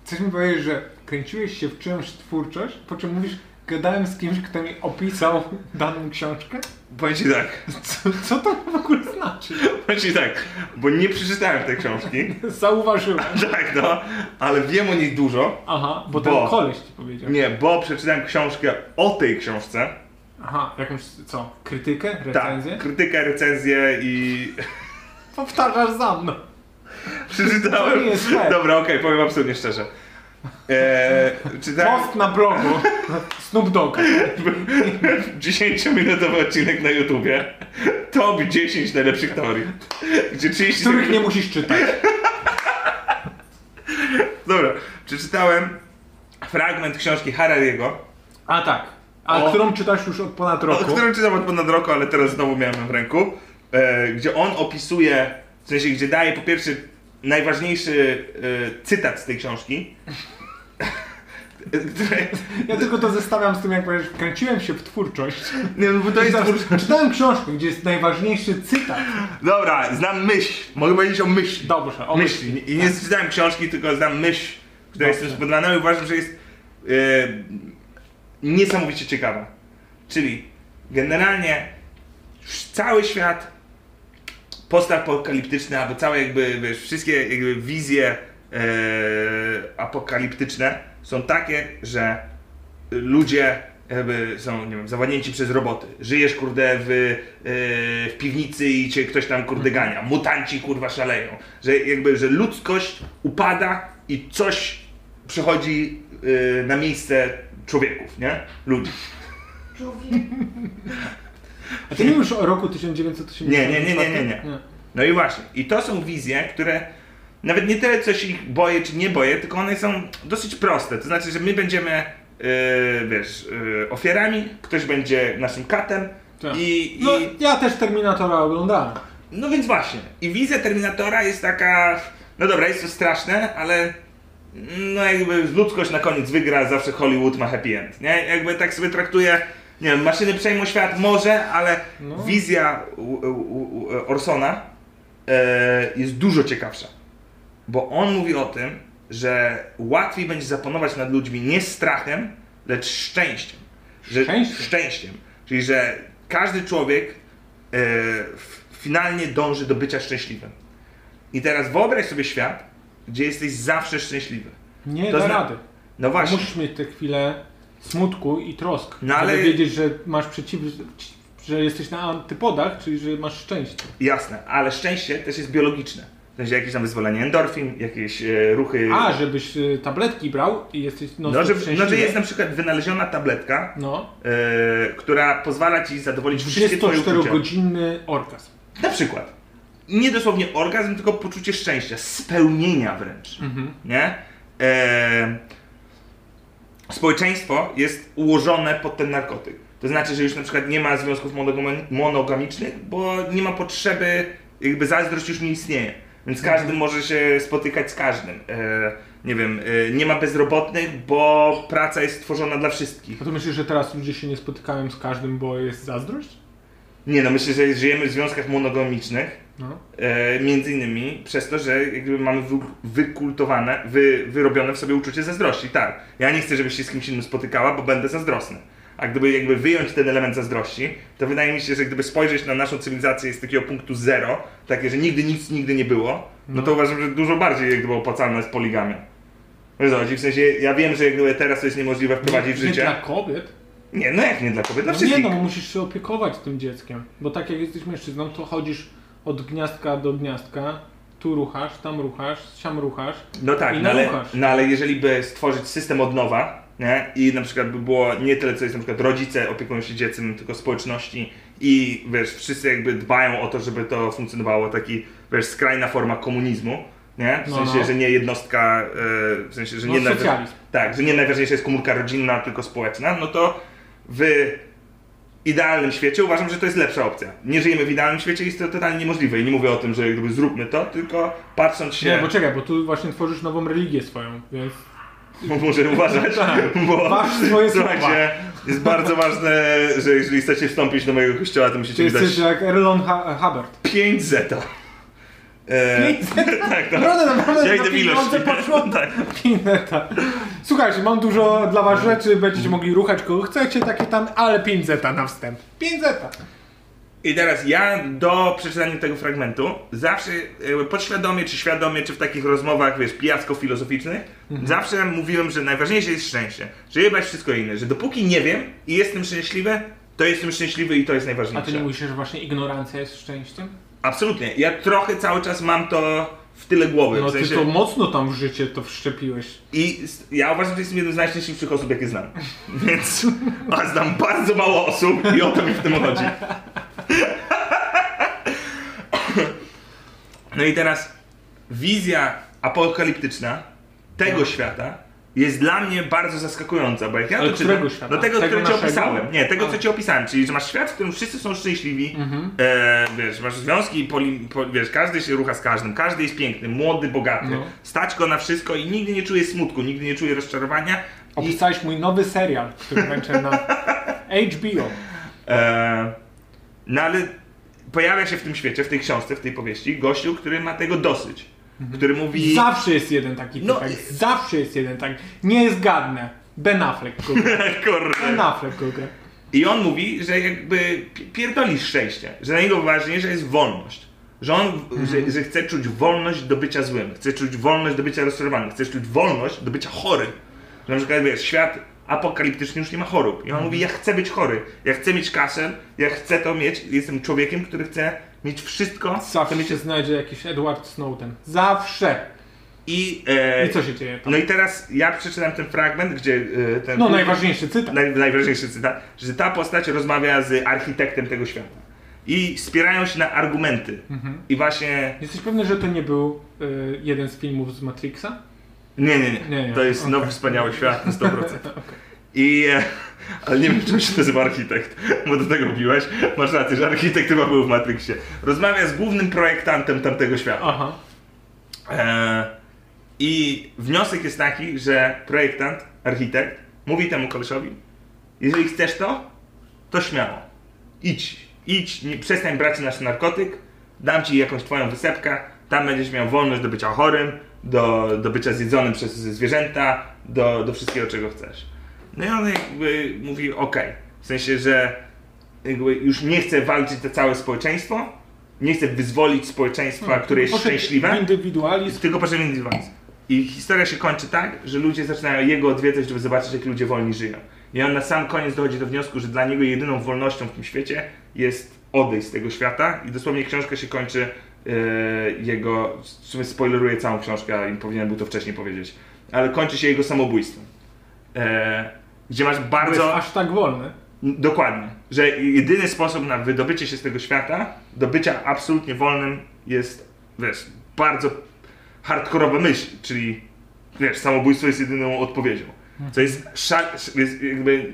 Speaker 4: Chcesz mi powiedzieć, że kręciłeś się w czymś twórczość, po czym mówisz, gadałem z kimś, kto mi opisał daną książkę?
Speaker 2: Powiem ci tak,
Speaker 4: Co, co to w ogóle znaczy?
Speaker 2: powiem ci tak, bo nie przeczytałem tej książki,
Speaker 4: Zauważyłem.
Speaker 2: tak no, ale wiem o niej dużo.
Speaker 4: Aha, bo ten
Speaker 2: Bo.
Speaker 4: koleś ci powiedział.
Speaker 2: Nie, bo przeczytałem książkę o tej książce.
Speaker 4: Aha, jakąś, co, krytykę, recenzję?
Speaker 2: Tak, krytykę, recenzję i
Speaker 4: Powtarzasz za mną.
Speaker 2: przeczytałem.
Speaker 4: To nie jest fair.
Speaker 2: Dobra, okej, powiem absolutnie szczerze. Eee, czytałem
Speaker 4: Post na blogu Snoop Dogg.
Speaker 2: 10-minutowy odcinek na YouTubie. Top 10 najlepszych teorii. Gdzie 30
Speaker 4: których nie musisz czytać.
Speaker 2: Dobra, przeczytałem fragment książki Harariego,
Speaker 4: A tak. A
Speaker 2: O.
Speaker 4: którą czytasz już od ponad
Speaker 2: o
Speaker 4: roku.
Speaker 2: którym czytam od ponad roku, ale teraz znowu miałem ją w ręku. E, gdzie on opisuje, w sensie gdzie daje po pierwsze najważniejszy e, cytat z tej książki. Które-
Speaker 4: Ja tylko to zestawiam z tym, jak powiesz, wkręciłem się w twórczość.
Speaker 2: Nie, no bo to jest...
Speaker 4: Zaraz,
Speaker 2: twórczość.
Speaker 4: Czytałem książkę, gdzie jest najważniejszy cytat.
Speaker 2: Dobra, znam myśl. Mogę powiedzieć o myśli.
Speaker 4: Dobrze, o
Speaker 2: myśli. I nie czytałem książki, tylko znam myśl, która jest tym spodobana i uważam, że jest e, niesamowicie ciekawa. Czyli generalnie sz- cały świat postapokaliptyczny, albo całe jakby, wiesz, wszystkie jakby wizje e, apokaliptyczne są takie, że ludzie jakby są, nie wiem, zawładnięci przez roboty. Żyjesz, kurde, w, e, w piwnicy i cię ktoś tam, kurde, gania. Mutanci, kurwa, szaleją. Że jakby, że ludzkość upada i coś przychodzi e, na miejsce człowieków, nie? Ludzi.
Speaker 4: A ty nie mówisz o roku 1980?
Speaker 2: Nie, nie, nie, nie, nie, nie. No i właśnie. I to są wizje, które nawet nie tyle coś ich boję czy nie boję, tylko one są dosyć proste. To znaczy, że my będziemy, yy, wiesz, yy, ofiarami, ktoś będzie naszym katem
Speaker 4: Tak.
Speaker 2: i, i
Speaker 4: No, ja też Terminatora oglądałem.
Speaker 2: no więc właśnie. I wizja Terminatora jest taka. No dobra, jest to straszne, ale. No jakby ludzkość na koniec wygra, zawsze Hollywood ma happy end. Nie? Jakby tak sobie traktuje. Nie wiem, maszyny przejmą świat może, ale wizja u, u, u Orsona e, jest dużo ciekawsza. Bo on mówi o tym, że łatwiej będzie zapanować nad ludźmi nie strachem, lecz szczęściem. Że,
Speaker 4: Szczęściem?
Speaker 2: szczęściem. Czyli, że każdy człowiek e, f- finalnie dąży do bycia szczęśliwym. I teraz wyobraź sobie świat, gdzie jesteś zawsze szczęśliwy.
Speaker 4: Nie
Speaker 2: To
Speaker 4: da
Speaker 2: zna-
Speaker 4: rady.
Speaker 2: No właśnie.
Speaker 4: Musisz mieć te chwile smutku i trosk,
Speaker 2: No, ale-
Speaker 4: żeby wiedzieć, że masz przeciw... że jesteś na antypodach, czyli że masz szczęście.
Speaker 2: Jasne, ale szczęście też jest biologiczne. W sensie jakieś tam wyzwolenie endorfin, jakieś e, ruchy.
Speaker 4: A, żebyś y, tabletki brał i jesteś no,
Speaker 2: no, że,
Speaker 4: szczęśliwy.
Speaker 2: no, że jest na przykład wynaleziona tabletka,
Speaker 4: No.
Speaker 2: e, która pozwala ci zadowolić wszystkie twoje uczucia.
Speaker 4: 34-godzinny orkazm.
Speaker 2: Na przykład. Nie dosłownie orgazm, tylko poczucie szczęścia, spełnienia wręcz. Nie? E, społeczeństwo jest ułożone pod ten narkotyk. To znaczy, że już na przykład nie ma związków monogami- monogamicznych, bo nie ma potrzeby, jakby zazdrość już nie istnieje. Więc każdy może się spotykać z każdym. E, nie wiem, e, nie ma bezrobotnych, bo praca jest tworzona dla wszystkich.
Speaker 4: A to myślisz, że teraz ludzie się nie spotykają z każdym, bo jest zazdrość?
Speaker 2: Nie no, myślę, że żyjemy w związkach monogamicznych.
Speaker 4: No.
Speaker 2: E, między innymi przez to, że jakby mamy wy, wykultowane, wy, wyrobione w sobie uczucie zazdrości. Tak, ja nie chcę, żebyś się z kimś innym spotykała, bo będę zazdrosny. A gdyby jakby wyjąć ten element zazdrości, to wydaje mi się, że gdyby spojrzeć na naszą cywilizację z takiego punktu zero, takie, że nigdy nic nigdy nie było, no to uważam, że dużo bardziej jakby opłacalna jest poligamia. Wiesz o co chodzi? W sensie, ja wiem, że jakby teraz to jest niemożliwe wprowadzić w
Speaker 4: nie
Speaker 2: życie.
Speaker 4: dla kobiet?
Speaker 2: Nie, no jak nie dla kobiet, dla
Speaker 4: No nie
Speaker 2: wszystkich.
Speaker 4: no, bo musisz się opiekować tym dzieckiem. Bo tak jak jesteś mężczyzną, to chodzisz od gniazdka do gniazdka, tu ruchasz, tam ruchasz, siam ruchasz.
Speaker 2: No tak,
Speaker 4: I
Speaker 2: no ale,
Speaker 4: naukasz.
Speaker 2: no ale jeżeli by stworzyć system od nowa, nie? I na przykład by było nie tyle, co jest na przykład rodzice opiekują się dzieckiem, tylko społeczności i wiesz, wszyscy jakby dbają o to, żeby to funkcjonowało, taki wiesz, skrajna forma komunizmu, nie? W
Speaker 4: No,
Speaker 2: sensie,
Speaker 4: no.
Speaker 2: że nie jednostka, e, w sensie, że
Speaker 4: No,
Speaker 2: nie najwa-
Speaker 4: socjalizm.
Speaker 2: tak, że nie najważniejsza jest komórka rodzinna, tylko społeczna, no to w idealnym świecie uważam, że to jest lepsza opcja. Nie żyjemy w idealnym świecie i jest to totalnie niemożliwe. I nie mówię o tym, że jakby zróbmy to, tylko patrząc się...
Speaker 4: Nie, bo czekaj, bo tu właśnie tworzysz nową religię swoją, więc...
Speaker 2: Może uważać, bo
Speaker 4: Waż Tak. swoje słowa.
Speaker 2: słuchajcie, jest bardzo ważne, że jeżeli chcecie wstąpić do mojego kościoła, to
Speaker 4: Ty
Speaker 2: musicie mi dać
Speaker 4: jesteś jak Erlon ha Hubbard.
Speaker 2: 5 zeta. E, tak, no.
Speaker 4: Naprawdę, naprawdę
Speaker 2: Ja
Speaker 4: za
Speaker 2: idę w ilość.
Speaker 4: pieniądze poszło.
Speaker 2: Tak.
Speaker 4: Pinzeta. Słuchajcie, mam dużo dla was rzeczy, będziecie mogli ruchać kogo chcecie, takie tam, ale 5 zeta na wstęp. 5 zeta.
Speaker 2: I teraz ja do przeczytania tego fragmentu zawsze e, podświadomie czy świadomie, czy w takich rozmowach, wiesz, pijacko-filozoficznych,
Speaker 4: Mhm.
Speaker 2: zawsze mówiłem, że najważniejsze jest szczęście, że jebać wszystko inne, że dopóki nie wiem i jestem szczęśliwy, to jestem szczęśliwy i to jest
Speaker 4: A
Speaker 2: najważniejsze.
Speaker 4: ty nie mówisz, że właśnie ignorancja jest szczęściem?
Speaker 2: Absolutnie. Ja trochę cały czas mam to w tyle głowy.
Speaker 4: No
Speaker 2: w sensie...
Speaker 4: ty to mocno tam w życie to wszczepiłeś.
Speaker 2: I s- ja uważam, że jestem jednym z najszczęśliwszych osób, jakie znam. Więc. A znam bardzo mało osób i o to mi w tym chodzi. No i teraz wizja apokaliptyczna
Speaker 4: No.
Speaker 2: tego świata jest dla mnie bardzo zaskakująca, bo jak ja
Speaker 4: Ale
Speaker 2: to
Speaker 4: którego
Speaker 2: czytam,
Speaker 4: świata?
Speaker 2: No tego,
Speaker 4: Tego
Speaker 2: który ci
Speaker 4: naszego?
Speaker 2: opisałem. Nie, tego, co ci opisałem, czyli że masz świat, w którym wszyscy są szczęśliwi,
Speaker 4: Mhm.
Speaker 2: e, wiesz, masz związki, poli, po, wiesz, każdy się rucha z każdym, każdy jest piękny, młody, bogaty,
Speaker 4: No.
Speaker 2: stać go na wszystko i nigdy nie czuje smutku, nigdy nie czuje rozczarowania,
Speaker 4: Opisałeś mój nowy serial, który męczę na HBO.
Speaker 2: E, no ale pojawia się w tym świecie, w tej książce, w tej powieści gościu, który ma tego dosyć. Który mówi...
Speaker 4: Zawsze jest jeden taki
Speaker 2: No
Speaker 4: typek.
Speaker 2: i-
Speaker 4: Zawsze jest jeden taki. Nie jest gadne. Ben Affleck go gra. Ben
Speaker 2: Kurde.
Speaker 4: Affleck go gra.
Speaker 2: I on mówi, że jakby pi- pierdoli szczęście, że dla niego ważniejsza jest wolność. Że on,
Speaker 4: Mhm.
Speaker 2: że, że chce czuć wolność do bycia złym, chce czuć wolność do bycia rozczarowanym, chce czuć wolność do bycia chorym. Że na przykład, wiesz, świat apokaliptyczny już nie ma chorób. I on mówi, ja chcę być chory, ja chcę mieć kasę, ja chcę to mieć, jestem człowiekiem, który chce mieć wszystko.
Speaker 4: Zawsze się znajdzie jakiś Edward Snowden. Zawsze.
Speaker 2: I, e,
Speaker 4: I co się dzieje tam?
Speaker 2: No i teraz ja przeczytam ten fragment, gdzie e, ten...
Speaker 4: No najważniejszy cytat.
Speaker 2: naj, najważniejszy cytat, że ta postać rozmawia z architektem tego świata. I spierają się na argumenty.
Speaker 4: Mhm.
Speaker 2: I właśnie.
Speaker 4: Jesteś pewny, że to nie był y, jeden z filmów z Matrixa?
Speaker 2: Nie, nie, nie.
Speaker 4: Nie, nie.
Speaker 2: To jest
Speaker 4: Okej.
Speaker 2: nowy wspaniały świat na 100%. I. E, ale nie wiem, czemu się nazywa architekt, bo do tego biłeś. Masz rację, że architekt chyba był w Matrixie. Rozmawia z głównym projektantem tamtego świata.
Speaker 4: Aha.
Speaker 2: E, I wniosek jest taki, że projektant, architekt mówi temu kolesiowi, jeżeli chcesz to, to śmiało. Idź, idź, nie, przestań brać nasz narkotyk, dam ci jakąś twoją wysepkę, tam będziesz miał wolność do bycia chorym, do, do bycia zjedzonym przez zwierzęta, do, do wszystkiego, czego chcesz. No i on jakby mówi, okej, w sensie, że jakby już nie chce walczyć za całe społeczeństwo, nie chce wyzwolić społeczeństwa, które jest
Speaker 4: Poszedł
Speaker 2: szczęśliwe.
Speaker 4: w Indywidualizm.
Speaker 2: Tylko patrzę między was. I historia się kończy tak, że ludzie zaczynają jego odwiedzać, żeby zobaczyć, jak ludzie wolni żyją. I on na sam koniec dochodzi do wniosku, że dla niego jedyną wolnością w tym świecie jest odejść z tego świata. I dosłownie książka się kończy e, jego. W sumie spoileruję całą książkę, i powinienem był to wcześniej powiedzieć. Ale kończy się jego samobójstwem. E, gdzie masz
Speaker 4: To
Speaker 2: bardzo.
Speaker 4: jest aż tak wolny.
Speaker 2: Dokładnie. Że jedyny sposób na wydobycie się z tego świata, do bycia absolutnie wolnym jest, wiesz, bardzo hardkorowa myśl, czyli, wiesz, samobójstwo jest jedyną odpowiedzią.
Speaker 4: Mhm.
Speaker 2: Co jest, szal, jest jakby,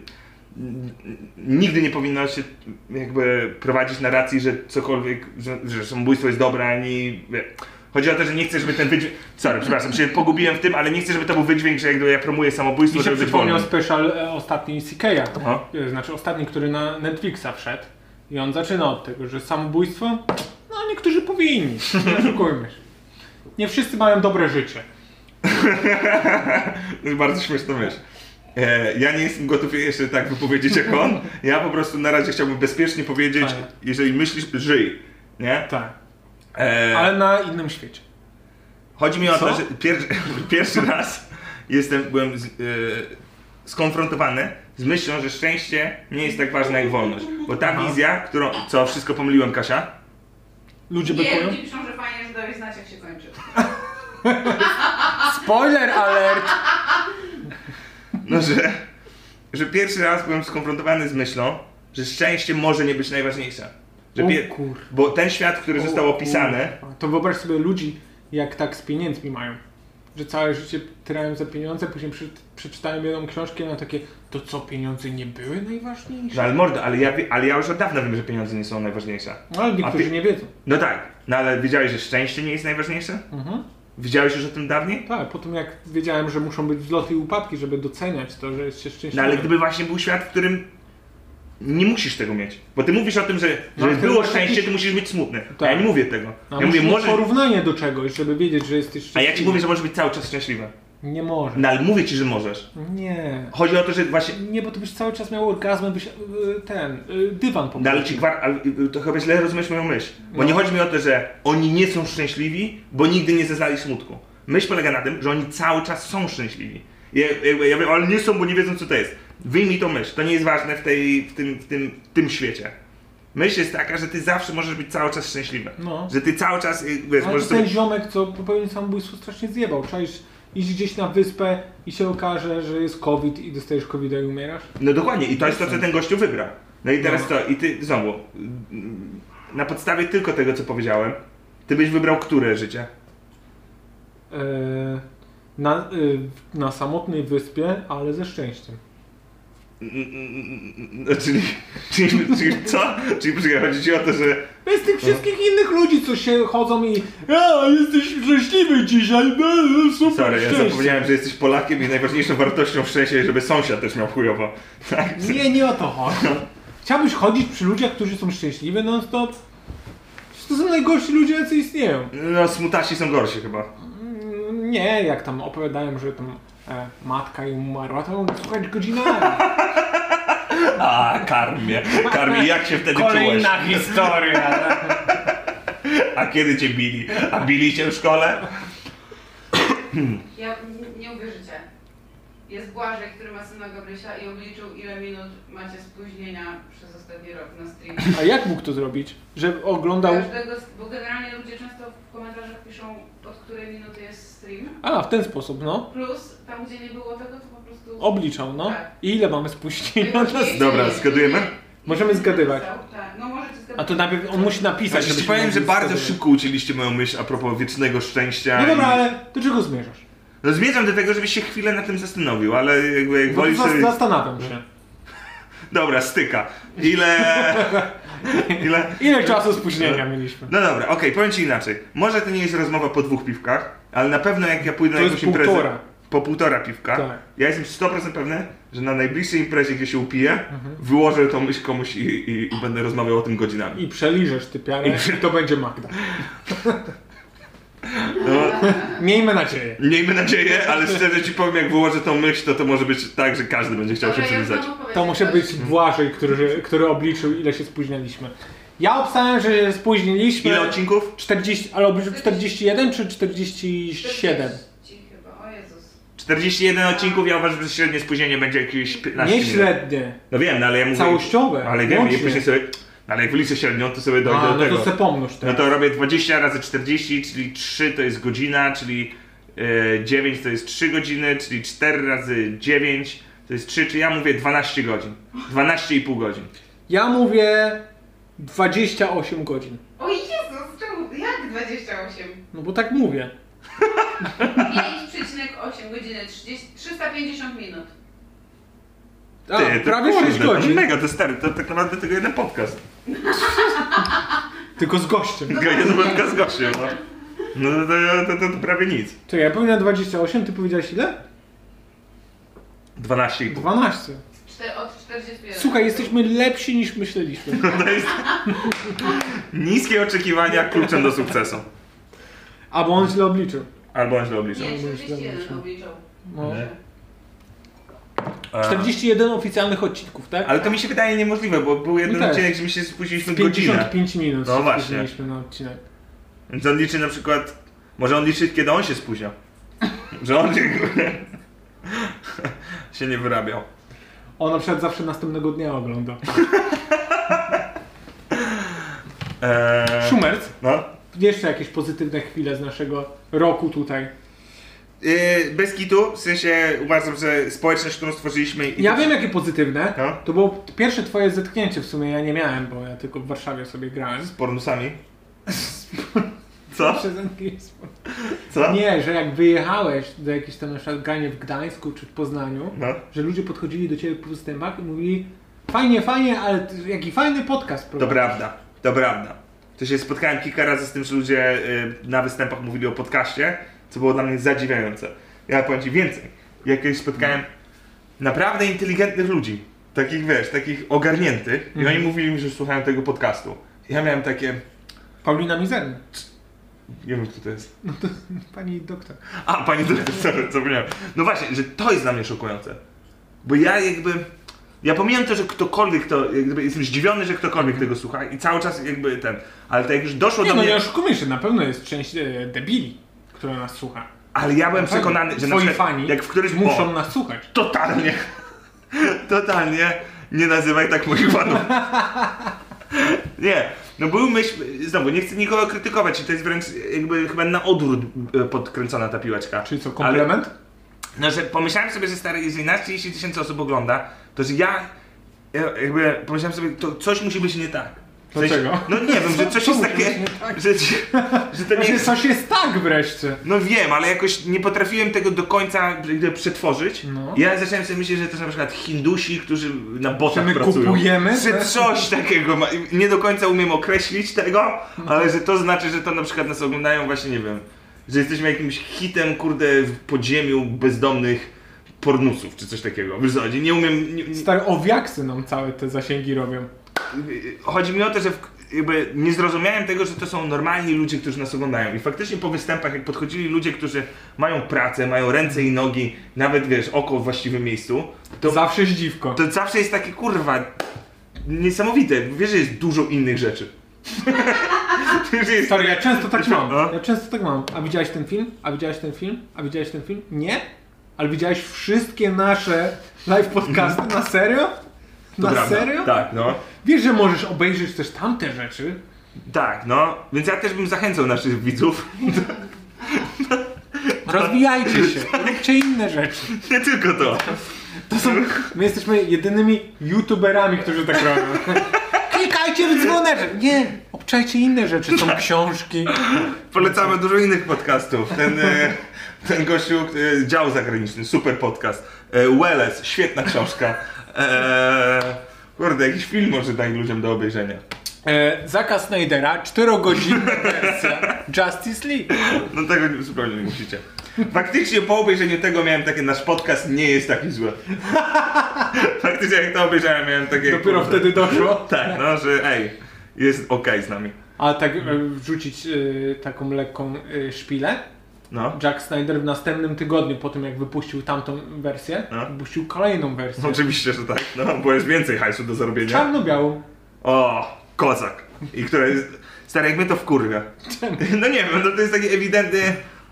Speaker 2: n- nigdy nie powinno się jakby prowadzić narracji, że cokolwiek, że, że samobójstwo jest dobre, ani, wie. Chodzi o to, że nie chcę, żeby ten wydźwięk, sorry, przepraszam, się pogubiłem w tym, ale nie chcę, żeby to był wydźwięk, że jakby ja promuję samobójstwo,
Speaker 4: Mi się
Speaker 2: żeby być
Speaker 4: przypomniał
Speaker 2: wolnym.
Speaker 4: special e, ostatni CK'a.
Speaker 2: Aha.
Speaker 4: E, Znaczy ostatni, który na Netflixa wszedł. I on zaczyna od tego, że samobójstwo, no niektórzy powinni, nie oszukujmy się. Nie wszyscy mają dobre życie.
Speaker 2: To jest bardzo śmieszna myśl. E, ja nie jestem gotów jeszcze tak wypowiedzieć jak on. Ja po prostu na razie chciałbym bezpiecznie powiedzieć,
Speaker 4: Fajnie.
Speaker 2: jeżeli myślisz, żyj. Nie?
Speaker 4: Tak,
Speaker 2: E,
Speaker 4: ale na innym świecie.
Speaker 2: Chodzi mi o to,
Speaker 4: Co?
Speaker 2: że pier, pierwszy raz jestem, byłem z, e, skonfrontowany z myślą, że szczęście nie jest tak ważne jak wolność. Bo ta wizja, którą. Co, wszystko pomyliłem, Kasia?
Speaker 4: Ludzie
Speaker 5: Nie,
Speaker 4: bekują.
Speaker 5: ludzie piszą, że fajnie, że dalej znać jak się kończy.
Speaker 4: Spoiler alert!
Speaker 2: No, że, że pierwszy raz byłem skonfrontowany z myślą, że szczęście może nie być najważniejsze. Że
Speaker 4: O
Speaker 2: pier-
Speaker 4: kur-
Speaker 2: bo ten świat, który został opisany,
Speaker 4: kurwa. To wyobraź sobie ludzi, jak tak z pieniędzmi mają. Że całe życie tyrają za pieniądze, później przy, przeczytałem jedną książkę na takie, to co, pieniądze nie były najważniejsze?
Speaker 2: No ale mordo, ale ja, wie- ale ja już od dawna wiem, że pieniądze nie są najważniejsze.
Speaker 4: No ale niektórzy
Speaker 2: A ty-
Speaker 4: nie wiedzą.
Speaker 2: No tak, no ale wiedziałeś, że szczęście nie jest najważniejsze?
Speaker 4: Mhm.
Speaker 2: Widziałeś już o tym dawniej?
Speaker 4: Tak, po tym jak wiedziałem, że muszą być wzloty i upadki, żeby doceniać to, że jest się szczęśliwy.
Speaker 2: No ale gdyby właśnie był świat, w którym nie musisz tego mieć. Bo ty mówisz o tym, że
Speaker 4: No,
Speaker 2: żeby
Speaker 4: ale to
Speaker 2: było
Speaker 4: jest
Speaker 2: szczęście,
Speaker 4: jakiś-
Speaker 2: ty musisz być smutny. A
Speaker 4: Tak.
Speaker 2: ja nie mówię tego.
Speaker 4: A
Speaker 2: ja mówię,
Speaker 4: musisz mieć
Speaker 2: może...
Speaker 4: porównanie do czegoś, żeby wiedzieć, że jesteś
Speaker 2: A
Speaker 4: szczęśliwy.
Speaker 2: ja ci mówię, że możesz być cały czas szczęśliwy.
Speaker 4: Nie może.
Speaker 2: No ale mówię ci, że możesz.
Speaker 4: Nie.
Speaker 2: Chodzi o to, że właśnie...
Speaker 4: Nie, bo ty byś cały czas miał orgazm, byś y, ten, y, dywan po
Speaker 2: No ale ci gwar... ale, y, to chyba źle rozumiesz moją myśl. Bo
Speaker 4: No.
Speaker 2: nie chodzi mi o to, że oni nie są szczęśliwi, bo nigdy nie zeznali smutku. Myśl polega na tym, że oni cały czas są szczęśliwi. Ja, ja, ja wiem, ale nie są, bo nie wiedzą co to jest. Wyjmij tą myśl, to nie jest ważne w, tej, w, tym, w, tym, w tym świecie. Myśl jest taka, że ty zawsze możesz być cały czas szczęśliwy.
Speaker 4: No.
Speaker 2: Że ty cały czas, y, wiesz,
Speaker 4: Ale
Speaker 2: możesz
Speaker 4: to
Speaker 2: sobie...
Speaker 4: ten ziomek, co popełnił samobójstwo, strasznie zjebał. Czaisz iść gdzieś na wyspę i się okaże, że jest COVID i dostajesz COVID i umierasz?
Speaker 2: No dokładnie, i to jest to, co ten gościu wybrał. No i teraz to, i ty znowu, y, y, na podstawie tylko tego, co powiedziałem, ty byś wybrał które życie?
Speaker 4: Eee, e, na, y, na samotnej wyspie, ale ze szczęściem.
Speaker 2: Mm, mm, mm, mm, Czyli, czyli, czyli co? Czyli poczekaj, chodzi ci o to, że
Speaker 4: Bez tych wszystkich innych ludzi, co się chodzą i a, jesteś szczęśliwy dzisiaj, będę super
Speaker 2: Sorry, ja
Speaker 4: szczęśliwy.
Speaker 2: zapomniałem, że jesteś Polakiem i najważniejszą wartością w szczęścia jest, żeby sąsiad też miał chujowo. Tak?
Speaker 4: Nie, nie o to chodzi. Chciałbyś chodzić przy ludziach, którzy są szczęśliwi non stop? Przecież To są najgorsi ludzie, jacy istnieją.
Speaker 2: No, smutasi są gorsi chyba.
Speaker 4: Mm, Nie, jak tam opowiadałem, że tam e, matka im umarła, to ją słuchać godzinami.
Speaker 2: A, karmie. Karmie, jak się wtedy czułeś?
Speaker 4: Kolejna historia.
Speaker 2: A kiedy cię bili? A bili cię w szkole?
Speaker 5: Ja n- nie uwierzycie. Jest Błażej, który ma syna Gabrysia i obliczył ile minut macie spóźnienia przez ostatni rok na streamie.
Speaker 4: A jak mógł to zrobić? Że oglądał...
Speaker 5: Każdego, z- bo generalnie ludzie często w komentarzach piszą od której minuty jest stream.
Speaker 4: A, w ten sposób, no.
Speaker 5: Plus tam gdzie nie było tego to po prostu...
Speaker 4: Obliczał, no. I ile mamy spóźnienia?
Speaker 5: Najważniejsze
Speaker 2: Dobra,
Speaker 5: jest-
Speaker 2: zgadujemy?
Speaker 4: Możemy zgadywać.
Speaker 5: Tak, no możecie zgadywać.
Speaker 4: A to najpierw on musi napisać,
Speaker 2: Znaczy, ci
Speaker 4: żebyśmy
Speaker 2: powiem, że
Speaker 4: mogli
Speaker 2: bardzo
Speaker 4: zgadywać.
Speaker 2: szybko ucięliście moją myśl a propos wiecznego szczęścia.
Speaker 4: No dobra,
Speaker 2: i-
Speaker 4: ale do czego zmierzasz?
Speaker 2: No zmierzam do tego, żebyś się chwilę na tym zastanowił, ale jakby jak
Speaker 4: Bo
Speaker 2: wolisz...
Speaker 4: No zas-
Speaker 2: Sobie...
Speaker 4: Zastanawiam się.
Speaker 2: Dobra, styka. Ile... Ile...
Speaker 4: Ile czasu spóźnienia mieliśmy?
Speaker 2: No dobra, okej, powiem ci inaczej. Może to nie jest rozmowa po dwóch piwkach, ale na pewno jak ja pójdę
Speaker 4: To
Speaker 2: na
Speaker 4: jest
Speaker 2: jakąś imprezę...
Speaker 4: półtora.
Speaker 2: Po półtora piwka.
Speaker 4: Tak.
Speaker 2: Ja jestem 100% pewny, że na najbliższej imprezie, gdzie się upiję, wyłożę tą myśl komuś i, i, i będę rozmawiał o tym godzinami.
Speaker 4: I przeliżesz ty piarę i to będzie Magda.
Speaker 2: No,
Speaker 4: Miejmy nadzieję.
Speaker 2: miejmy nadzieję, ale szczerze ci powiem, jak wyłożę tą myśl, to to może być tak, że każdy będzie chciał się
Speaker 5: Dobra, ja
Speaker 2: przypisać.
Speaker 5: znowu powiem
Speaker 4: To musi
Speaker 5: coś.
Speaker 4: być Błażej, który, który obliczył ile się spóźnialiśmy. Ja obstawiam, że się spóźniliśmy...
Speaker 2: Ile odcinków?
Speaker 4: 40, ale obliczył 41 czy 47?
Speaker 5: 40 chyba, o Jezus.
Speaker 2: 41 odcinków, ja uważam, że średnie spóźnienie będzie jakieś 15
Speaker 4: Nie
Speaker 2: minut.
Speaker 4: średnie.
Speaker 2: No wiem, no ale ja mówię...
Speaker 4: Całościowe,
Speaker 2: Ale wiem,
Speaker 4: łącznie.
Speaker 2: i później sobie... No ale jak wyliczę średnią, to sobie dojdę
Speaker 4: A,
Speaker 2: do
Speaker 4: no
Speaker 2: tego.
Speaker 4: to se pomnóż
Speaker 2: No
Speaker 4: teraz.
Speaker 2: to robię 20 razy 40, czyli 3 to jest godzina, czyli e, 9 to jest 3 godziny, czyli 4 razy 9 to jest 3, czyli ja mówię 12 godzin. 12,5 godzin.
Speaker 4: Ja mówię 28 godzin.
Speaker 5: O Jezus, czemu? Jak 28?
Speaker 4: No bo tak mówię.
Speaker 5: 5,8 godziny 30, 350 minut.
Speaker 4: A,
Speaker 2: Ty, to
Speaker 4: prawie
Speaker 2: kurde,
Speaker 4: 6
Speaker 2: To
Speaker 4: godzin.
Speaker 2: mega, to stary, to tak naprawdę tylko jeden podcast.
Speaker 4: Tylko z gościem.
Speaker 2: Jeden podcast z gościem, no. No to, to, to, to, to prawie nic.
Speaker 4: Czekaj, ja powiedziałem 28, ty powiedziałeś ile?
Speaker 2: 12,5.
Speaker 4: 12.
Speaker 5: Czte- od 41.
Speaker 4: Słuchaj, jesteśmy lepsi niż myśleliśmy.
Speaker 2: To jest niskie oczekiwania kluczem do sukcesu.
Speaker 4: Albo on źle obliczył.
Speaker 2: Albo on źle obliczył.
Speaker 5: Nie, 41 obliczał.
Speaker 4: No.
Speaker 2: A.
Speaker 4: 41 oficjalnych odcinków, tak?
Speaker 2: Ale to mi się wydaje niemożliwe, bo był jeden
Speaker 4: też.
Speaker 2: odcinek, że my się spóźniliśmy godzinę.
Speaker 4: 55 minut
Speaker 2: No
Speaker 4: się
Speaker 2: właśnie.
Speaker 4: spóźniliśmy na odcinek.
Speaker 2: Więc on liczy na przykład... Może on liczy, kiedy on się spóźniał. Że on się... się nie wyrabiał.
Speaker 4: On na przykład zawsze następnego dnia ogląda.
Speaker 2: Eee,
Speaker 4: Schumerc,
Speaker 2: no.
Speaker 4: jeszcze jakieś pozytywne chwile z naszego roku tutaj.
Speaker 2: Yy, bez kitu, w sensie uważam, że społeczność, którą stworzyliśmy i...
Speaker 4: Ja wiem jakie pozytywne.
Speaker 2: No.
Speaker 4: To było pierwsze twoje zetknięcie w sumie, ja nie miałem, bo ja tylko w Warszawie sobie grałem.
Speaker 2: Z pornusami. Co?
Speaker 4: Przez angielską.
Speaker 2: Co?
Speaker 4: Nie, że jak wyjechałeś do jakiejś tam na przykład granie w Gdańsku czy w Poznaniu,
Speaker 2: No.
Speaker 4: że ludzie podchodzili do ciebie po występach i mówili fajnie, fajnie, ale ty- jaki fajny podcast
Speaker 2: To
Speaker 4: prowadzisz.
Speaker 2: prawda, to prawda. To się spotkałem kilka razy z tym, że ludzie y, na występach mówili o podcaście, co było dla mnie zadziwiające. Ja powiem ci więcej. Ja kiedyś spotkałem naprawdę inteligentnych ludzi, takich wiesz, takich ogarniętych, i
Speaker 4: Mhm.
Speaker 2: oni mówili mi, że słuchają tego podcastu. Ja miałem takie,
Speaker 4: Paulina Mizerny,
Speaker 2: nie wiem, co to jest.
Speaker 4: pani doktor.
Speaker 2: A, pani dyrektor, sorry, co miałem. No właśnie, że to jest dla mnie szokujące. Bo ja jakby. Ja pomijam to, że ktokolwiek to. Jakby jestem zdziwiony, że ktokolwiek tego słucha i cały czas jakby ten. Ale to jak już doszło
Speaker 4: Mhm. Nie
Speaker 2: do
Speaker 4: no,
Speaker 2: mnie.
Speaker 4: nie oszukujmy się, na pewno jest część e, debili, która nas słucha.
Speaker 2: Ale ja byłem
Speaker 4: Na pewno.
Speaker 2: przekonany, że na
Speaker 4: Twoi
Speaker 2: przykład,
Speaker 4: fani
Speaker 2: jak w którymś
Speaker 4: muszą
Speaker 2: o,
Speaker 4: nas słuchać.
Speaker 2: totalnie, totalnie nie nazywaj tak moich fanów. nie, no był myśl, znowu nie chcę nikogo krytykować i to jest wręcz jakby chyba na odwrót e, podkręcona ta piłeczka.
Speaker 4: Czyli co,
Speaker 2: Ale-
Speaker 4: komplement?
Speaker 2: no, że pomyślałem sobie, że stary, jeżeli nas 30 tysięcy osób ogląda, to że ja, ja jakby pomyślałem sobie, to coś musi być nie tak. W sensie-
Speaker 4: Dlaczego?
Speaker 2: No nie wiem, że coś jest takie, że, że to nie
Speaker 4: Że
Speaker 2: jest...
Speaker 4: coś tak? jest tak wreszcie.
Speaker 2: No wiem, ale jakoś nie potrafiłem tego do końca jakby przetworzyć.
Speaker 4: No.
Speaker 2: Ja zacząłem sobie myśleć, że to są na przykład Hindusi, którzy na
Speaker 4: Czy
Speaker 2: botach
Speaker 4: my
Speaker 2: pracują.
Speaker 4: kupujemy?
Speaker 2: Że coś takiego ma. Nie do końca umiem określić tego,
Speaker 4: No.
Speaker 2: ale że to znaczy, że to na przykład nas oglądają właśnie, nie wiem, że jesteśmy jakimś hitem, kurde, w podziemiu bezdomnych pornusów, czy coś takiego. Wiesz co, chodzi? nie umiem... Nie, nie,
Speaker 4: Stary, owiaksy nam całe te zasięgi robią.
Speaker 2: chodzi mi o to, że w, jakby nie zrozumiałem tego, że to są normalni ludzie, którzy nas oglądają. I faktycznie po występach, jak podchodzili ludzie, którzy mają pracę, mają ręce i nogi, nawet wiesz, oko w właściwym miejscu, to,
Speaker 4: Zawsze zdziwko.
Speaker 2: to zawsze jest takie kurwa niesamowite. Wiesz, że jest dużo innych rzeczy. Wiesz, że jest
Speaker 4: Stary, ja często tak mam.
Speaker 2: No.
Speaker 4: Ja często tak mam. A widziałeś ten film? A widziałeś ten film? A widziałeś ten film? Nie? Ale widziałeś wszystkie nasze live podcasty? Na serio?
Speaker 2: Mhm. to
Speaker 4: Na
Speaker 2: prawda.
Speaker 4: serio?
Speaker 2: Tak, no.
Speaker 4: Wiesz, że możesz obejrzeć też tamte rzeczy?
Speaker 2: Tak, no. Więc ja też bym zachęcał naszych widzów,
Speaker 4: Rozwijajcie się, róbcie inne rzeczy.
Speaker 2: nie tylko to.
Speaker 4: To są, my jesteśmy jedynymi youtuberami, którzy tak robią. Klikajcie w dzwoneczek. Nie, obczajcie inne rzeczy. Są książki.
Speaker 2: Polecamy dużo innych podcastów. Ten, e, ten gościu, e, dział zagraniczny, super podcast. E, Welles, świetna książka. E, kurde, jakiś film może daj ludziom do obejrzenia.
Speaker 4: E, Zaka Snydera, 4-godzinna wersja Justice League.
Speaker 2: No tego nie- zupełnie nie musicie. Faktycznie po obejrzeniu tego miałem takie, nasz podcast nie jest taki zły. Faktycznie jak to obejrzałem miałem takie...
Speaker 4: Dopiero
Speaker 2: kurde,
Speaker 4: wtedy doszło.
Speaker 2: Tak, no, że ej, jest okej z nami.
Speaker 4: A tak e, wrzucić e, taką lekką e, szpilę.
Speaker 2: No.
Speaker 4: Jack Snyder w następnym tygodniu, po tym jak wypuścił tamtą wersję,
Speaker 2: No.
Speaker 4: wypuścił kolejną wersję.
Speaker 2: Oczywiście, że tak, no, bo jest więcej hajsu do zarobienia.
Speaker 4: Czarno-białą.
Speaker 2: O, kozak. I która jest... Stary, jak mnie to wkurwia. No nie wiem, no to jest taki ewidentny...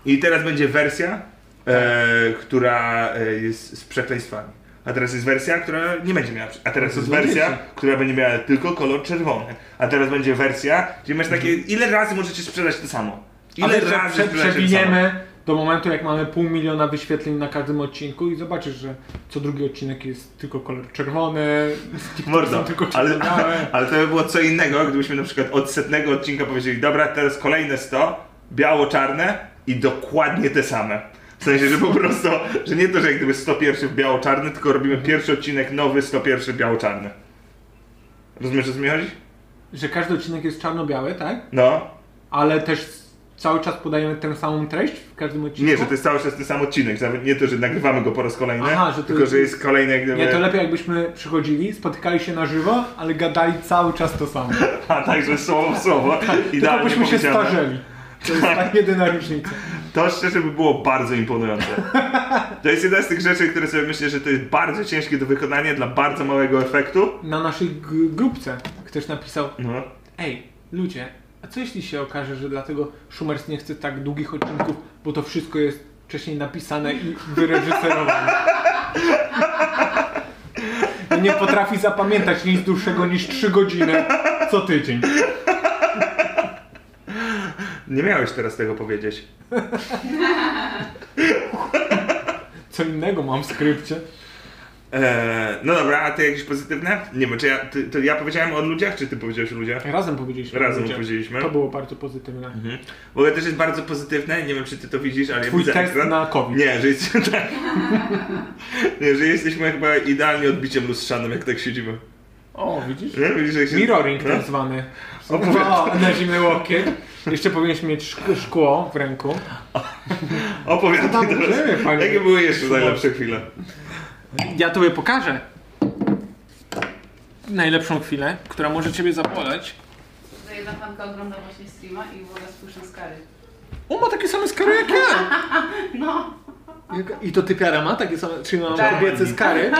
Speaker 2: I teraz będzie wersja, e, która e, jest z przekleństwami. A teraz jest wersja, która nie będzie miała... A teraz jest wersja, która będzie miała tylko kolor czerwony. A teraz będzie wersja, gdzie masz takie... Ile razy możecie sprzedać to samo? Ile
Speaker 4: Mhm. Ale prze-
Speaker 2: razy
Speaker 4: prze-
Speaker 2: sprzedać to samo?
Speaker 4: przewiniemy do momentu, jak mamy pół miliona wyświetleń na każdym odcinku i zobaczysz, że co drugi odcinek jest tylko kolor czerwony,
Speaker 2: Mordo,
Speaker 4: są tylko
Speaker 2: ale,
Speaker 4: czerwone.
Speaker 2: ale to by było co innego, gdybyśmy na przykład od setnego odcinka powiedzieli, dobra, teraz kolejne 100, biało-czarne i dokładnie te same. W sensie, że po prostu, że nie to, że jak gdyby 101 w biało-czarny, tylko robimy pierwszy odcinek nowy, 101 biało-czarny. Rozumiesz, o co mi chodzi?
Speaker 4: że każdy odcinek jest czarno-biały, tak?
Speaker 2: No.
Speaker 4: Ale też cały czas podajemy tę samą treść w każdym odcinku?
Speaker 2: Nie, że to jest cały czas ten sam odcinek, nawet nie to, że nagrywamy go po raz kolejny,
Speaker 4: Aha, że to
Speaker 2: tylko,
Speaker 4: jest-
Speaker 2: że jest kolejny jak gdyby...
Speaker 4: Nie, to lepiej jakbyśmy przychodzili, spotykali się na żywo, ale gadali cały czas to samo.
Speaker 2: A także słowo w słowo,
Speaker 4: Tylko
Speaker 2: idealnie
Speaker 4: byśmy się
Speaker 2: powiedziane.
Speaker 4: starzeli. To jest ta jedyna różnica.
Speaker 2: To szczerze by było bardzo imponujące. To jest jedna z tych rzeczy, które sobie myślę, że to jest bardzo ciężkie do wykonania dla bardzo małego efektu.
Speaker 4: Na naszej g- grupce ktoś napisał,
Speaker 2: No.
Speaker 4: Ej, ludzie, a co jeśli się okaże, że dlatego Schumers nie chce tak długich odcinków, bo to wszystko jest wcześniej napisane i wyreżyserowane. I nie potrafi zapamiętać nic dłuższego niż 3 godziny co tydzień.
Speaker 2: Nie miałeś teraz tego powiedzieć.
Speaker 4: Co innego mam w skrypcie.
Speaker 2: Eee, no dobra, a ty jakieś pozytywne? Nie wiem, czy ja, ty, to ja powiedziałem o ludziach, czy ty powiedziałeś o ludziach?
Speaker 4: Razem powiedzieliśmy.
Speaker 2: Razem
Speaker 4: ludzie.
Speaker 2: powiedzieliśmy.
Speaker 4: To było bardzo pozytywne.
Speaker 2: W ogóle też jest bardzo pozytywne, nie wiem czy ty to widzisz, ale
Speaker 4: Twój
Speaker 2: ja widzę
Speaker 4: test
Speaker 2: ekran.
Speaker 4: na COVID.
Speaker 2: Nie, że jest tak. nie, że jesteśmy chyba idealnie odbiciem lustrzanym, jak tak siedzimy.
Speaker 4: O, widzisz?
Speaker 2: Nie? Widzisz, jak się...
Speaker 4: Mirroring
Speaker 2: No.
Speaker 4: tak zwany.
Speaker 2: Opowiadaj.
Speaker 4: O, na zimny łokieć. Jeszcze powinieneś mieć szk- szkło w ręku.
Speaker 2: Opowiadaj
Speaker 4: Tam
Speaker 2: teraz.
Speaker 4: żyje, panie.
Speaker 2: Jakie były jeszcze najlepsze chwile?
Speaker 4: Ja tobie pokażę najlepszą chwilę, która może ciebie zapoleć.
Speaker 5: Tutaj jedna fanka ogląda właśnie streama i w ogóle słyszę skary.
Speaker 4: O, ma takie same skary jak ja!
Speaker 5: No,
Speaker 4: I to typiara ma takie same, czyli ma
Speaker 5: Tak.
Speaker 4: kobiece skary.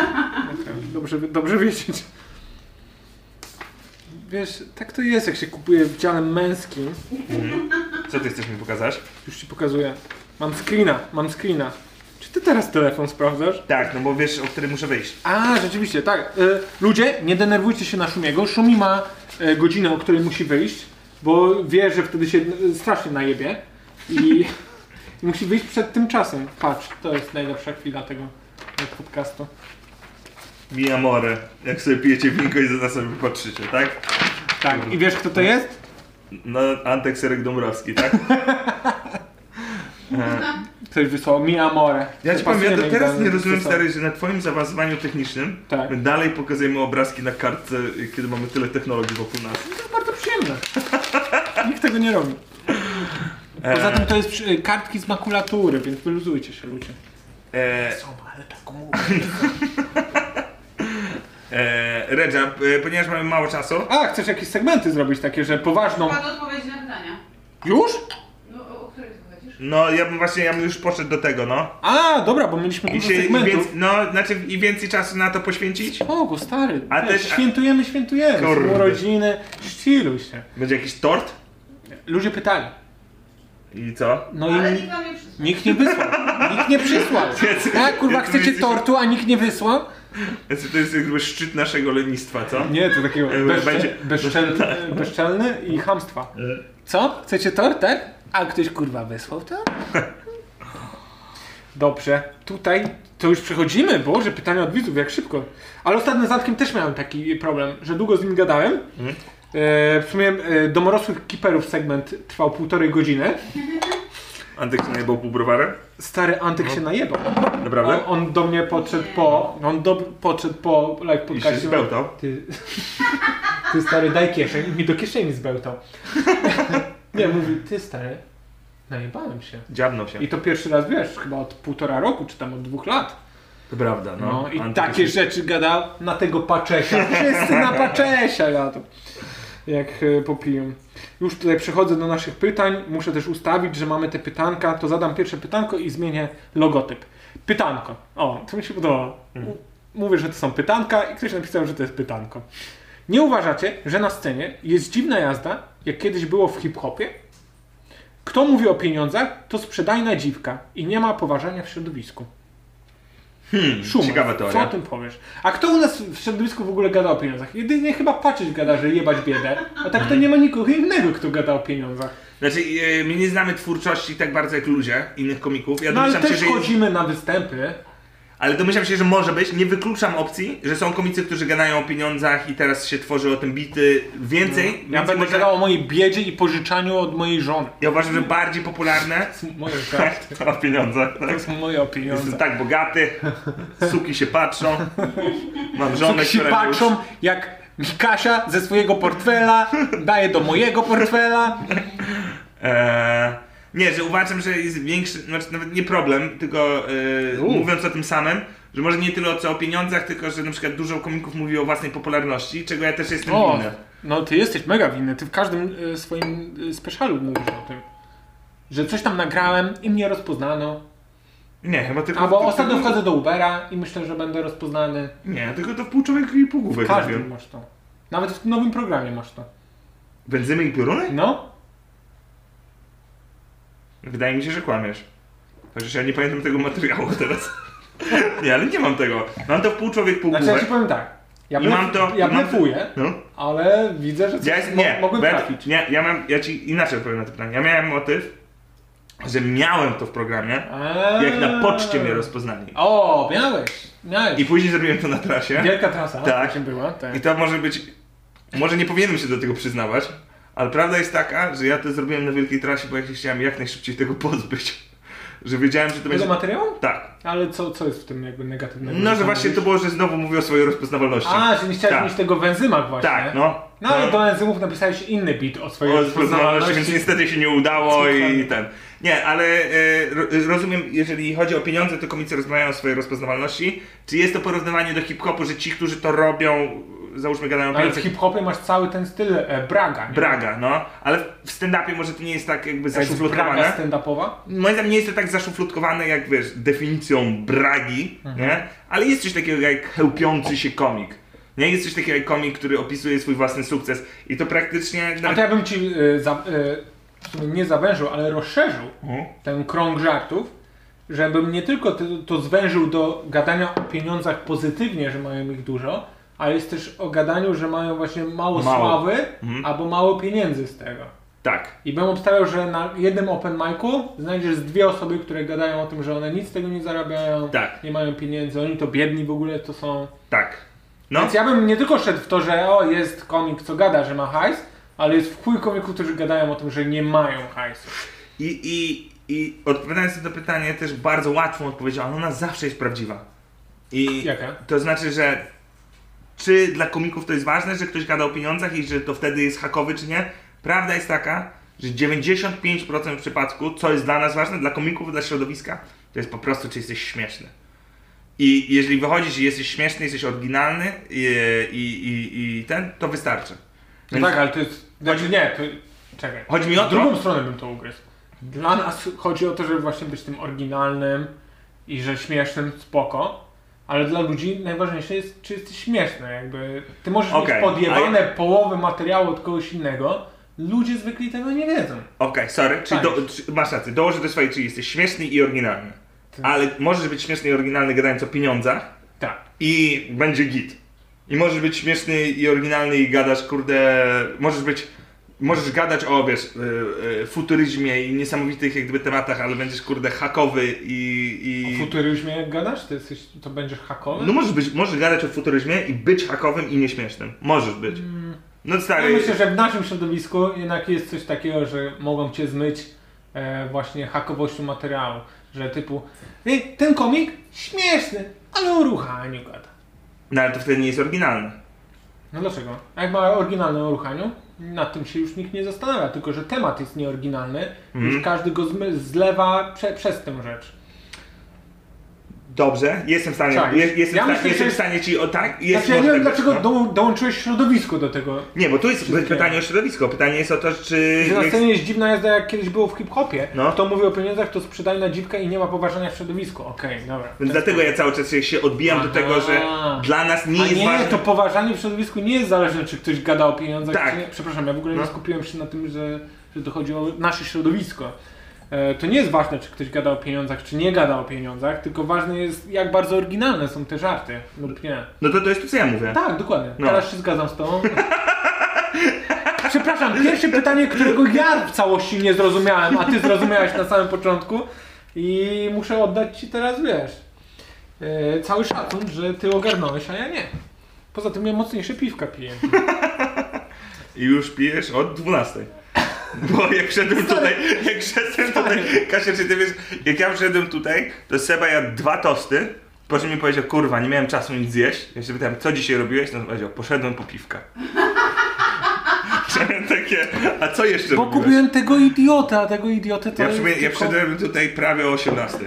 Speaker 4: Dobrze, dobrze wiedzieć. Wiesz, tak to jest, jak się kupuje w dziale męskim.
Speaker 2: Co ty chcesz mi pokazać?
Speaker 4: Już ci pokazuję. Mam screena, mam screena. Czy ty teraz telefon sprawdzasz?
Speaker 2: Tak, no bo wiesz, o którym muszę wyjść.
Speaker 4: A, rzeczywiście, tak. Y, ludzie, nie denerwujcie się na Szumiego. Szumi ma y, godzinę, o której musi wyjść, bo wie, że wtedy się y, strasznie najebie i, i musi wyjść przed tym czasem. Patrz, to jest najlepsza chwila tego tego podcastu.
Speaker 2: Mi amore, jak sobie pijecie winko i za nas sobie patrzycie, tak?
Speaker 4: Tak, i wiesz kto to jest?
Speaker 2: No, Antek Serek Dąbrowski, tak?
Speaker 4: Ktoś wysłał mi amore.
Speaker 2: Ja ci powiem, ja do
Speaker 4: Pasujemy
Speaker 2: teraz
Speaker 4: idealnie
Speaker 2: nie
Speaker 4: do
Speaker 2: rozumiem
Speaker 4: stosowania.
Speaker 2: stary, że na twoim zaawansowaniu technicznym
Speaker 4: Tak.
Speaker 2: my dalej pokazujemy obrazki na kartce, kiedy mamy tyle technologii wokół nas.
Speaker 4: To jest bardzo przyjemne. Nikt tego nie robi. Poza tym to jest przy- e, kartki z makulatury, więc wyluzujcie się ludzie.
Speaker 2: E,
Speaker 4: Są, ale tak mówię.
Speaker 2: e, Redża, e, ponieważ mamy mało czasu,
Speaker 4: A, chcesz jakieś segmenty zrobić takie, że poważną...
Speaker 5: Padły odpowiedzi na pytania.
Speaker 4: Już?
Speaker 5: No, o, o której wychodzisz?
Speaker 2: no ja bym właśnie, ja bym już poszedł do tego, no.
Speaker 4: A, dobra, bo mieliśmy
Speaker 2: I,
Speaker 4: dużo
Speaker 2: się, i, więc,
Speaker 4: segmentów.
Speaker 2: no, znaczy, I więcej czasu na to poświęcić?
Speaker 4: Bogu, stary,
Speaker 2: A
Speaker 4: a
Speaker 2: też- a-
Speaker 4: świętujemy, świętujemy.
Speaker 2: Kurde.
Speaker 4: Są urodziny, chilluj się.
Speaker 2: Będzie jakiś tort?
Speaker 4: Ludzie pytali.
Speaker 2: I co?
Speaker 4: No
Speaker 5: Ale
Speaker 4: i
Speaker 5: nikt wam nie przysłał.
Speaker 4: nikt nie wysłał. Nikt nie przysłał. A, kurwa,
Speaker 2: jest-
Speaker 4: chcecie
Speaker 2: jest-
Speaker 4: tortu, a nikt nie wysłał?
Speaker 2: Znaczy, to jest jakby szczyt naszego lenistwa, co?
Speaker 4: Nie, to takiego bezcze-
Speaker 2: będzie- Tak. Y.
Speaker 4: bezczelny, bezczelny i hamstwa. Co? Chcecie tort, tak? A ktoś kurwa wysłał to? Dobrze, tutaj to już przechodzimy, Boże, pytania od widzów, jak szybko. Ale ostatnio z Antkiem też miałem taki problem, że długo z nim gadałem.
Speaker 2: Mm.
Speaker 4: E, w sumie e, domorosłych kiperów segment trwał półtorej godziny.
Speaker 2: Antek się najebał pół browarem?
Speaker 4: Stary Antek
Speaker 2: No.
Speaker 4: się najebał. On,
Speaker 2: Naprawdę?
Speaker 4: on do mnie podszedł po. On do, podszedł po live
Speaker 2: I
Speaker 4: podcastie.
Speaker 2: się zbełtał?
Speaker 4: Ty, ty stary, daj kieszeń. I mi do kieszeni zbełtał. Nie, mówi, ty stary, najebałem się.
Speaker 2: Dziabnął się.
Speaker 4: I to pierwszy raz, wiesz, chyba od półtora roku, czy tam od dwóch lat.
Speaker 2: To prawda, no.
Speaker 4: No, i
Speaker 2: Antek
Speaker 4: takie
Speaker 2: jest-
Speaker 4: rzeczy gadał na tego Paczesia. Wszyscy na Paczesia jadą. Jak e, popiją. Już tutaj przechodzę do naszych pytań. Muszę też ustawić, że mamy te pytanka. To zadam pierwsze pytanko i zmienię logotyp. Pytanko. O, to mi się podobało. M- Mówię, że to są pytanka i ktoś napisał, że to jest pytanko. Nie uważacie, że na scenie jest dziwna jazda, jak kiedyś było w hip-hopie? Kto mówi o pieniądzach, to sprzedajna dziwka i nie ma poważania w środowisku.
Speaker 2: Hmm,
Speaker 4: Szuman.
Speaker 2: ciekawa
Speaker 4: Co o
Speaker 2: teoria.
Speaker 4: tym powiesz? A kto u nas w środowisku w ogóle gada o pieniądzach? Jedynie chyba patrzeć gada, że jebać biedę, a tak to nie ma nikogo innego, kto gada o pieniądzach.
Speaker 2: Znaczy, e, my nie znamy twórczości tak bardzo jak ludzie, innych komików. Ja
Speaker 4: No ale
Speaker 2: domyślam się,
Speaker 4: też
Speaker 2: że jest,
Speaker 4: chodzimy na występy.
Speaker 2: ale domyślam się, że może być. Nie wykluczam opcji, że są komicy, którzy gadają o pieniądzach i teraz się tworzy o tym bity więcej. więc
Speaker 4: No. Ja będę
Speaker 2: może-
Speaker 4: gadał o mojej biedzie i pożyczaniu od mojej żony.
Speaker 2: Ja uważam, że bardziej popularne
Speaker 4: Moje żarty,
Speaker 2: tak, to o pieniądzach.
Speaker 4: to
Speaker 2: Tak?
Speaker 4: są moje
Speaker 2: Jestem
Speaker 4: pieniądze.
Speaker 2: tak bogaty, suki się patrzą, mam żonę,
Speaker 4: Tak się
Speaker 2: która mnie uczy.
Speaker 4: patrzą, jak mi Kasia ze swojego portfela daje do mojego portfela.
Speaker 2: Eee, nie, że uważam, że jest większy, znaczy nawet nie problem, tylko e, mówiąc o tym samym, że może nie tyle o co o pieniądzach, tylko że na przykład dużo komików mówi o własnej popularności, czego ja też jestem
Speaker 4: O,
Speaker 2: winny.
Speaker 4: no ty jesteś mega winny, ty w każdym y, swoim y, specialu mówisz o tym. Że coś tam nagrałem i mnie rozpoznano.
Speaker 2: Nie, chyba tylko...
Speaker 4: Albo
Speaker 2: tylko-
Speaker 4: ostatnio wchodzę do Ubera i myślę, że będę rozpoznany.
Speaker 2: Nie, tylko to w pół człowieka i pół
Speaker 4: W
Speaker 2: główek
Speaker 4: każdym
Speaker 2: robią.
Speaker 4: masz to. Nawet w nowym programie masz to.
Speaker 2: Benzymy i pioruny?
Speaker 4: No?
Speaker 2: Wydaje mi się, że kłamiesz. Chociaż ja nie pamiętam tego materiału teraz. nie, ale nie mam tego. Mam to w pół człowiek, pół
Speaker 4: Znaczy ja ci
Speaker 2: główek.
Speaker 4: powiem tak. Ja,
Speaker 2: I
Speaker 4: blef,
Speaker 2: mam to-
Speaker 4: ja
Speaker 2: i mam to-
Speaker 4: blefuję,
Speaker 2: No.
Speaker 4: ale widzę, że coś
Speaker 2: Ja jest,
Speaker 4: mo-
Speaker 2: nie,
Speaker 4: mogłem
Speaker 2: bo ja,
Speaker 4: trafić.
Speaker 2: nie, ja mam, ja ci inaczej odpowiem na to pytanie. Ja miałem motyw, że miałem to w programie,
Speaker 4: Eee.
Speaker 2: jak na poczcie mnie rozpoznali.
Speaker 4: O, miałeś, miałeś.
Speaker 2: I później zrobiłem to na trasie.
Speaker 4: Wielka trasa,
Speaker 2: Tak.
Speaker 4: tak. była. Tak.
Speaker 2: I to może być, może nie powinienem się do tego przyznawać, ale prawda jest taka, że ja to zrobiłem na wielkiej trasie, bo ja się chciałem jak najszybciej tego pozbyć. Że wiedziałem, że to
Speaker 4: Tego
Speaker 2: będzie...
Speaker 4: materiału?
Speaker 2: Tak.
Speaker 4: Ale co, co jest w tym jakby negatywnego?
Speaker 2: No, że
Speaker 4: Co
Speaker 2: właśnie to
Speaker 4: mówisz?
Speaker 2: było, że znowu mówię o swojej rozpoznawalności.
Speaker 4: A, że nie chciałeś
Speaker 2: Tak.
Speaker 4: mieć tego w enzymach właśnie.
Speaker 2: Tak, no.
Speaker 4: No ale do enzymów napisałeś inny bit o swojej
Speaker 2: O rozpoznawalności, więc
Speaker 4: rozpoznawalności.
Speaker 2: niestety się nie udało i
Speaker 4: Słucham.
Speaker 2: ten. Nie, ale e, ro- rozumiem, jeżeli chodzi o pieniądze, to komicy rozmawiają o swojej rozpoznawalności. Czy jest to porównywanie do hip-hopu, że ci, którzy to robią, załóżmy gadają o
Speaker 4: Ale w
Speaker 2: pieniądzach,
Speaker 4: hip-hopie masz cały ten styl e, Braga. nie?
Speaker 2: Braga, no. Ale w stand-upie może to nie jest tak jakby
Speaker 4: To jest Braga
Speaker 2: zaszufladkowane.
Speaker 4: stand-upowa?
Speaker 2: Moim zdaniem nie jest to tak zaszufladkowane jak, wiesz, definicją bragi,
Speaker 4: Mhm.
Speaker 2: nie? Ale jest coś takiego jak chełpiący się komik. Nie jest coś takiego jak komik, który opisuje swój własny sukces i to praktycznie...
Speaker 4: A to ja bym ci y, za, y, w sumie nie zawężył, ale rozszerzył
Speaker 2: Mhm.
Speaker 4: ten krąg żartów, żebym nie tylko to, to zwężył do gadania o pieniądzach pozytywnie, że mają ich dużo, ale jest też o gadaniu, że mają właśnie
Speaker 2: Mało.
Speaker 4: mało, sławy
Speaker 2: Mhm.
Speaker 4: albo mało pieniędzy z tego.
Speaker 2: Tak.
Speaker 4: I bym obstawiał, że na jednym open micu znajdziesz z dwie osoby, które gadają o tym, że one nic z tego nie zarabiają,
Speaker 2: Tak.
Speaker 4: nie mają pieniędzy, oni to biedni w ogóle to są.
Speaker 2: Tak. No,
Speaker 4: Więc ja bym nie tylko szedł w to, że o, jest komik, co gada, że ma hajs, ale jest w chuj komików, którzy gadają o tym, że nie mają hajsu. No
Speaker 2: i, i, i odpowiadając na to pytanie, też bardzo łatwą odpowiedzią, ale ona zawsze jest prawdziwa. I
Speaker 4: Jaka?
Speaker 2: to znaczy, że czy dla komików to jest ważne, że ktoś gada o pieniądzach i że to wtedy jest hakowy, czy nie? Prawda jest taka, że 95% w przypadku, co jest dla nas ważne, dla komików, dla środowiska, to jest po prostu, czy jesteś śmieszny. I jeżeli wychodzisz i jesteś śmieszny, jesteś oryginalny i, i, i, i ten, to wystarczy.
Speaker 4: No
Speaker 2: Więc-
Speaker 4: tak, ale to jest... Znaczy nie, to... Czekaj.
Speaker 2: Chodzi mi o
Speaker 4: Z
Speaker 2: to-
Speaker 4: drugą stronę bym to ugryzł. Dla nas chodzi o to, żeby właśnie być tym oryginalnym i że śmiesznym, spoko. Ale dla ludzi najważniejsze jest, czy jesteś śmieszny, jakby... Ty możesz
Speaker 2: Okej,
Speaker 4: mieć podjebane
Speaker 2: a ja-
Speaker 4: połowę materiału od kogoś innego, ludzie zwykli tego nie wiedzą.
Speaker 2: Okej, sorry, czyli
Speaker 4: Fajnie.
Speaker 2: do, czy, masz rację, dołożę do swojej, czyli jesteś śmieszny i oryginalny. Ale możesz być śmieszny i oryginalny gadając o pieniądzach
Speaker 4: Tak.
Speaker 2: i będzie git. I możesz być śmieszny i oryginalny i gadasz, kurde, możesz być, możesz gadać o, wiesz, y, y, futuryzmie i niesamowitych jak gdyby tematach, ale będziesz, kurde, hakowy i... i...
Speaker 4: O futuryzmie jak gadasz, to, jesteś, to będziesz hakowy?
Speaker 2: No możesz być, możesz gadać o futuryzmie i być hakowym i nieśmiesznym. Możesz być. No
Speaker 4: Ja
Speaker 2: stary,
Speaker 4: Mm. myślę, że w naszym środowisku jednak jest coś takiego, że mogą cię zmyć e, właśnie hakowością materiału. Że typu, "Ej, ten komik śmieszny, ale o ruchaniu gada.
Speaker 2: no ale to wtedy nie jest oryginalne.
Speaker 4: No dlaczego? A jak ma oryginalne o ruchaniu, nad tym się już nikt nie zastanawia, tylko że temat jest nieoryginalny,
Speaker 2: Mhm.
Speaker 4: już każdy go zmy, zlewa prze, przez tę rzecz.
Speaker 2: Dobrze, jestem w stanie,
Speaker 4: Tak.
Speaker 2: je, jestem,
Speaker 4: Ja
Speaker 2: w sta-
Speaker 4: myślę, że
Speaker 2: jestem w
Speaker 4: jest-
Speaker 2: stanie ci o tak. Jest
Speaker 4: Znaczy, ja nie
Speaker 2: może
Speaker 4: wiem
Speaker 2: tak być,
Speaker 4: dlaczego
Speaker 2: no.
Speaker 4: do, dołączyłeś środowisko do tego.
Speaker 2: Nie, bo tu jest
Speaker 4: Wszystkie.
Speaker 2: pytanie o środowisko. Pytanie jest o to, czy.
Speaker 4: Że na
Speaker 2: jest-
Speaker 4: scenie jest dziwna jazda, jak kiedyś było w hip-hopie.
Speaker 2: No.
Speaker 4: Kto mówi o pieniądzach, to sprzedaj na dziwkę i nie ma poważania w środowisku. Okej, dobra.
Speaker 2: Więc dlatego ja cały czas się odbijam do
Speaker 4: Aha.
Speaker 2: tego, że dla nas nie
Speaker 4: A
Speaker 2: jest
Speaker 4: nie,
Speaker 2: ważne.
Speaker 4: to poważanie w środowisku nie jest zależne, czy ktoś gada o pieniądzach,
Speaker 2: Tak.
Speaker 4: czy nie. Przepraszam, ja w ogóle
Speaker 2: No.
Speaker 4: nie skupiłem się na tym, że, że to chodzi o nasze środowisko. E, To nie jest ważne, czy ktoś gada o pieniądzach, czy nie gada o pieniądzach, tylko ważne jest, jak bardzo oryginalne są te żarty lub nie.
Speaker 2: No to, to jest to, co ja mówię.
Speaker 4: Tak, dokładnie.
Speaker 2: No.
Speaker 4: Teraz się zgadzam z tobą. Przepraszam, pierwsze pytanie, którego ja w całości nie zrozumiałem, a ty zrozumiałeś na samym początku i muszę oddać ci teraz, wiesz, e, cały szacun, że ty ogarnąłeś, a ja nie. Poza tym ja mocniejsze piwka piję.
Speaker 2: I już pijesz od 12. Bo jak szedłem tutaj, jak szedłem tutaj, Kasia, czy ty wiesz, jak ja wszedłem tutaj, to Seba jadł dwa tosty, po czym mi powiedział, kurwa, nie miałem czasu nic zjeść. Ja się pytałem, co dzisiaj robiłeś? No to powiedział, poszedłem po piwka. Miałem takie, a co jeszcze
Speaker 4: Bo
Speaker 2: robiłeś?
Speaker 4: kupiłem tego idiota, a tego idiotę to
Speaker 2: Ja,
Speaker 4: jest
Speaker 2: przyjmę, ja
Speaker 4: tylko-
Speaker 2: przyszedłem tutaj prawie o 18.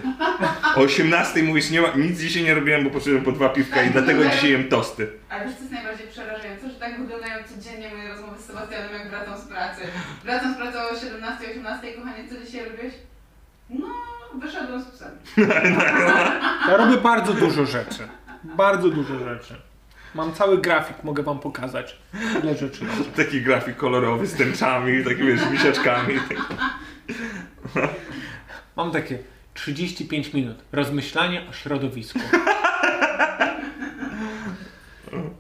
Speaker 2: O 18 mówisz, nie ma, nic dzisiaj nie robiłem, bo poszedłem po dwa piwka i dlatego dzisiaj jem tosty.
Speaker 5: Ale wiesz, co jest najbardziej przerażające, że tak wyglądają codziennie moje rozmowy z Sebastianem, jak wracam z pracy. Wracam z pracy o 17-18, kochanie, co dzisiaj robiłeś? No, wyszedłem z psem.
Speaker 4: Ja robię bardzo dużo rzeczy. Bardzo dużo rzeczy. Mam cały grafik, mogę wam pokazać, ile rzeczy robię.
Speaker 2: Taki grafik kolorowy z tęczami, takimi wiesz, misiaczkami.
Speaker 4: Mam takie 35 minut. Rozmyślanie o środowisku.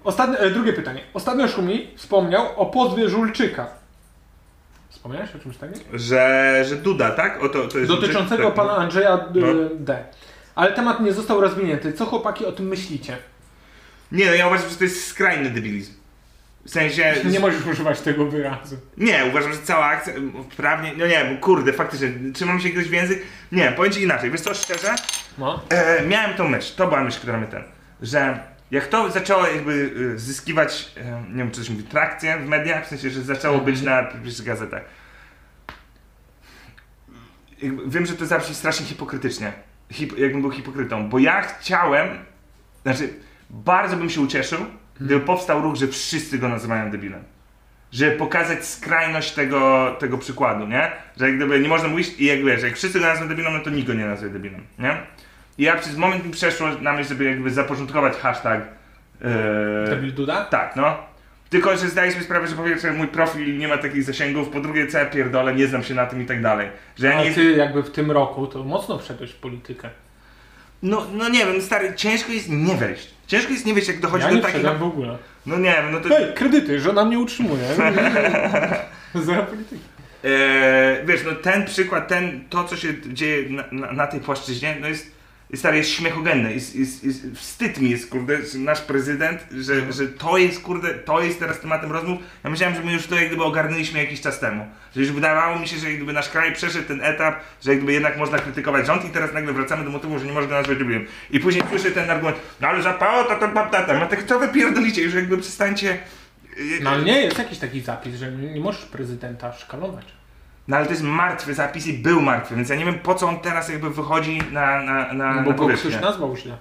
Speaker 4: Ostatnie, e, drugie pytanie. Ostatnio Szumi wspomniał o pozwie Żulczyka. Wspomniałeś o czymś takim?
Speaker 2: Że, że Duda, tak? O, to, to jest
Speaker 4: Dotyczącego
Speaker 2: tak,
Speaker 4: pana
Speaker 2: no.
Speaker 4: Andrzeja e,
Speaker 2: No.
Speaker 4: D. Ale temat nie został rozwinięty. Co chłopaki o tym myślicie?
Speaker 2: Nie, no ja uważam, że to jest skrajny debilizm. W sensie...
Speaker 4: Nie możesz używać tego wyrazu.
Speaker 2: Nie, uważam, że cała akcja m, prawnie... No nie, bo kurde, faktycznie, trzymam się jakiegoś w język. Nie, powiem ci inaczej. Wiesz co, szczerze,
Speaker 4: No.
Speaker 2: E, miałem tą myśl, to była myśl, która mnie ten, że jak to zaczęło jakby y, zyskiwać, e, nie wiem czy to się mówi, trakcję w mediach, w sensie, że zaczęło
Speaker 4: Mhm.
Speaker 2: być na pierwszych gazetach. Jakby, wiem, że to zawsze strasznie hipokrytycznie, Hip, jakbym był hipokrytą, bo ja chciałem, znaczy bardzo bym się ucieszył, gdyby
Speaker 4: Hmm.
Speaker 2: powstał ruch, że wszyscy go nazywają debilem. Żeby pokazać skrajność tego, tego przykładu, nie? Że jak gdyby nie można mówić i jak wiesz, jak wszyscy go nazwą debilem, no to nikt go nie nazwie debilem, nie? I ja przez moment mi przeszło na myśl, żeby jakby zaporządkować hashtag. Yy,
Speaker 4: Debil Duda?
Speaker 2: tak, no. Tylko, że zdaję sobie sprawę, że po pierwsze mój profil nie ma takich zasięgów, po drugie co ja pierdolę, nie znam się na tym i tak dalej. Że ja
Speaker 4: Ale
Speaker 2: nie...
Speaker 4: ty jakby w tym roku to mocno wszedłeś w politykę.
Speaker 2: No, no nie wiem, stary, ciężko jest nie wejść. Ciężko jest nie wejść, jak dochodzi
Speaker 4: Ja
Speaker 2: do
Speaker 4: nie
Speaker 2: takich...
Speaker 4: wszedłem w ogóle.
Speaker 2: No nie wiem, no to...
Speaker 4: Hej, kredyty, żona mnie utrzymuje. Zero polityki.
Speaker 2: E, Eee, wiesz, no ten przykład, ten, to co się dzieje na, na, na tej płaszczyźnie, no jest I stary, jest śmiechogenne, jest, jest, jest, wstyd mi jest, kurde, że nasz prezydent, że, że to jest, kurde, to jest teraz tematem rozmów. Ja myślałem, że my już to jak gdyby ogarnęliśmy jakiś czas temu. Że już wydawało mi się, że jak gdyby nasz kraj przeszedł ten etap, że jak gdyby jednak można krytykować rząd i teraz nagle wracamy do motywu, że nie można go nazwać lubiłem. I później słyszę ten argument, no ale za PO, to to tam, tam, a tak to wy pierdolicie, już jakby przestańcie... yy,
Speaker 4: No ale nie, jest jakiś taki zapis, że nie możesz prezydenta szkalować.
Speaker 2: No ale to jest martwy zapis i był martwy, więc ja nie wiem po co on teraz jakby wychodzi na, na, na,
Speaker 4: No
Speaker 2: na
Speaker 4: bo go
Speaker 2: powierzchnię.
Speaker 4: ktoś nazwał źle.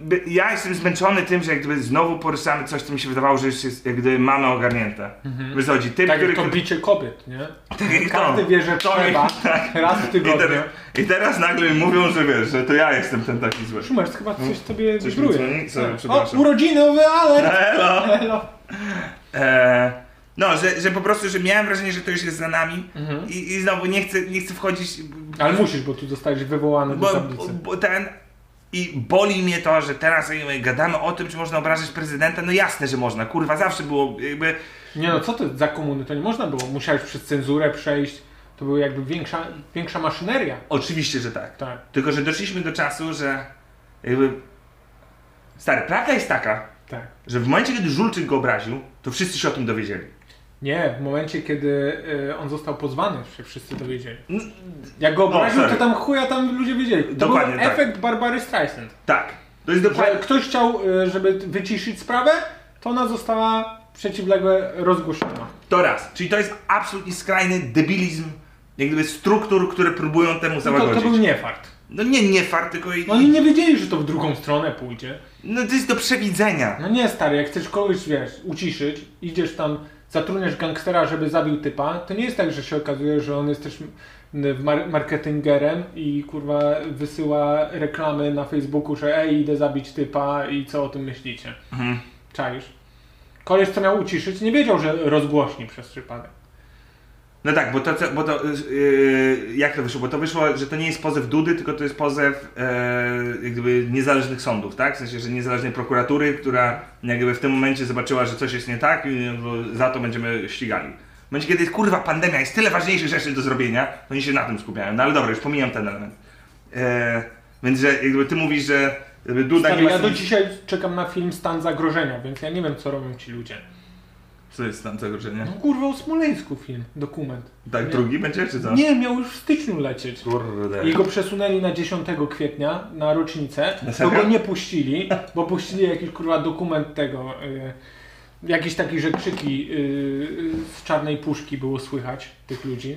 Speaker 2: By- Ja jestem zmęczony tym, że jak gdyby znowu poruszamy coś, co mi się wydawało, że już jest jak gdyby mamy ogarnięte. Wychodzi typ,
Speaker 4: Tak
Speaker 2: który...
Speaker 4: jak to bicie kobiet, nie?
Speaker 2: tak jak
Speaker 8: Każdy
Speaker 2: to.
Speaker 8: wie, że
Speaker 2: To-
Speaker 8: trzeba.
Speaker 2: tak.
Speaker 8: Raz w
Speaker 2: I
Speaker 8: tygodniu.
Speaker 2: teraz, I teraz nagle mi mówią, że wiesz, że to ja jestem ten taki zły.
Speaker 4: Szumer, chyba coś tobie
Speaker 2: No, Coś mi
Speaker 4: wibruje.
Speaker 2: dzwoni? Sorry,
Speaker 4: Tak.
Speaker 2: przepraszam.
Speaker 4: O, urodzinowy alert!
Speaker 2: Elo!
Speaker 4: Elo.
Speaker 2: E, no, że, że po prostu, że miałem wrażenie, że to już jest za nami i, i znowu nie chcę, nie chcę wchodzić,
Speaker 4: Mhm. Ale musisz, bo tu zostałeś wywołany do
Speaker 2: bo,
Speaker 4: tablicy.
Speaker 2: bo ten... I boli mnie to, że teraz jakby gadamy o tym, czy można obrażać prezydenta. No jasne, że można, kurwa, zawsze było jakby...
Speaker 4: Nie no, co to za komuny? To nie można było. Musiałeś przez cenzurę przejść. To była jakby większa, większa maszyneria.
Speaker 2: Oczywiście, że tak.
Speaker 4: Tak.
Speaker 2: Tylko, że doszliśmy do czasu, że jakby... Stary, prawda jest taka,
Speaker 4: Tak.
Speaker 2: że w momencie, kiedy Żulczyk go obraził, to wszyscy się o tym dowiedzieli.
Speaker 4: Nie, w momencie kiedy y, on został pozwany, się wszyscy dowiedzieli.
Speaker 2: N- no,
Speaker 4: Jak go obraził,
Speaker 2: sorry.
Speaker 4: to tam chuja tam ludzie wiedzieli. To
Speaker 2: Dokładnie
Speaker 4: był
Speaker 2: tak.
Speaker 4: efekt Barbary Streisand.
Speaker 2: tak. To jest
Speaker 4: Że
Speaker 2: dokładnie...
Speaker 4: ktoś chciał, y, żeby wyciszyć sprawę, to ona została przeciwlegle rozgłoszona.
Speaker 2: To raz. Czyli to jest absolutnie skrajny debilizm jak gdyby struktur, które próbują temu
Speaker 4: No to, to
Speaker 2: załagodzić.
Speaker 4: był niefart.
Speaker 2: No nie, nie fart, tylko... I...
Speaker 4: No oni nie wiedzieli, że to w drugą stronę pójdzie.
Speaker 2: No to jest do przewidzenia.
Speaker 4: No nie stary, jak chcesz kogoś, wiesz, uciszyć, idziesz tam, zatrudniasz gangstera, żeby zabił typa, to nie jest tak, że się okazuje, że on jest też m- mar- marketingerem i kurwa wysyła reklamy na Facebooku, że ej, idę zabić typa i co o tym myślicie.
Speaker 2: Mhm.
Speaker 4: Czaisz? Koleś, co miał uciszyć, nie wiedział, że rozgłośni przez przypadek.
Speaker 2: No tak, bo to, co- bo to yy, jak to wyszło? Bo to wyszło, że to nie jest pozew Dudy, tylko to jest pozew e, jak gdyby niezależnych sądów, tak? W sensie, że niezależnej prokuratury, która jak gdyby w tym momencie zobaczyła, że coś jest nie tak i e, za to będziemy ścigali. W momencie, kiedy jest kurwa pandemia, jest tyle ważniejszych rzeczy do zrobienia, to oni się na tym skupiają. No ale dobra, już pomijam ten element. E, więc, że jak gdyby ty mówisz, że jakby Duda
Speaker 4: Stary,
Speaker 2: nie ma...
Speaker 4: ja do
Speaker 2: nic-
Speaker 4: dzisiaj czekam na film Stan Zagrożenia, więc ja nie wiem, co robią ci ludzie.
Speaker 2: Co jest tam zagrożenie?
Speaker 4: No kurwa, o Smoleńsku film, dokument.
Speaker 2: Tak,
Speaker 4: Nie.
Speaker 2: drugi będzie, czy co?
Speaker 4: Nie, miał już w styczniu lecieć.
Speaker 2: Kurde.
Speaker 4: I go przesunęli na 10 kwietnia, na rocznicę, bo
Speaker 2: serio?
Speaker 4: go nie puścili, bo puścili jakiś kurwa dokument tego, y, jakiś taki, że krzyki y, y, z czarnej puszki było słychać tych ludzi.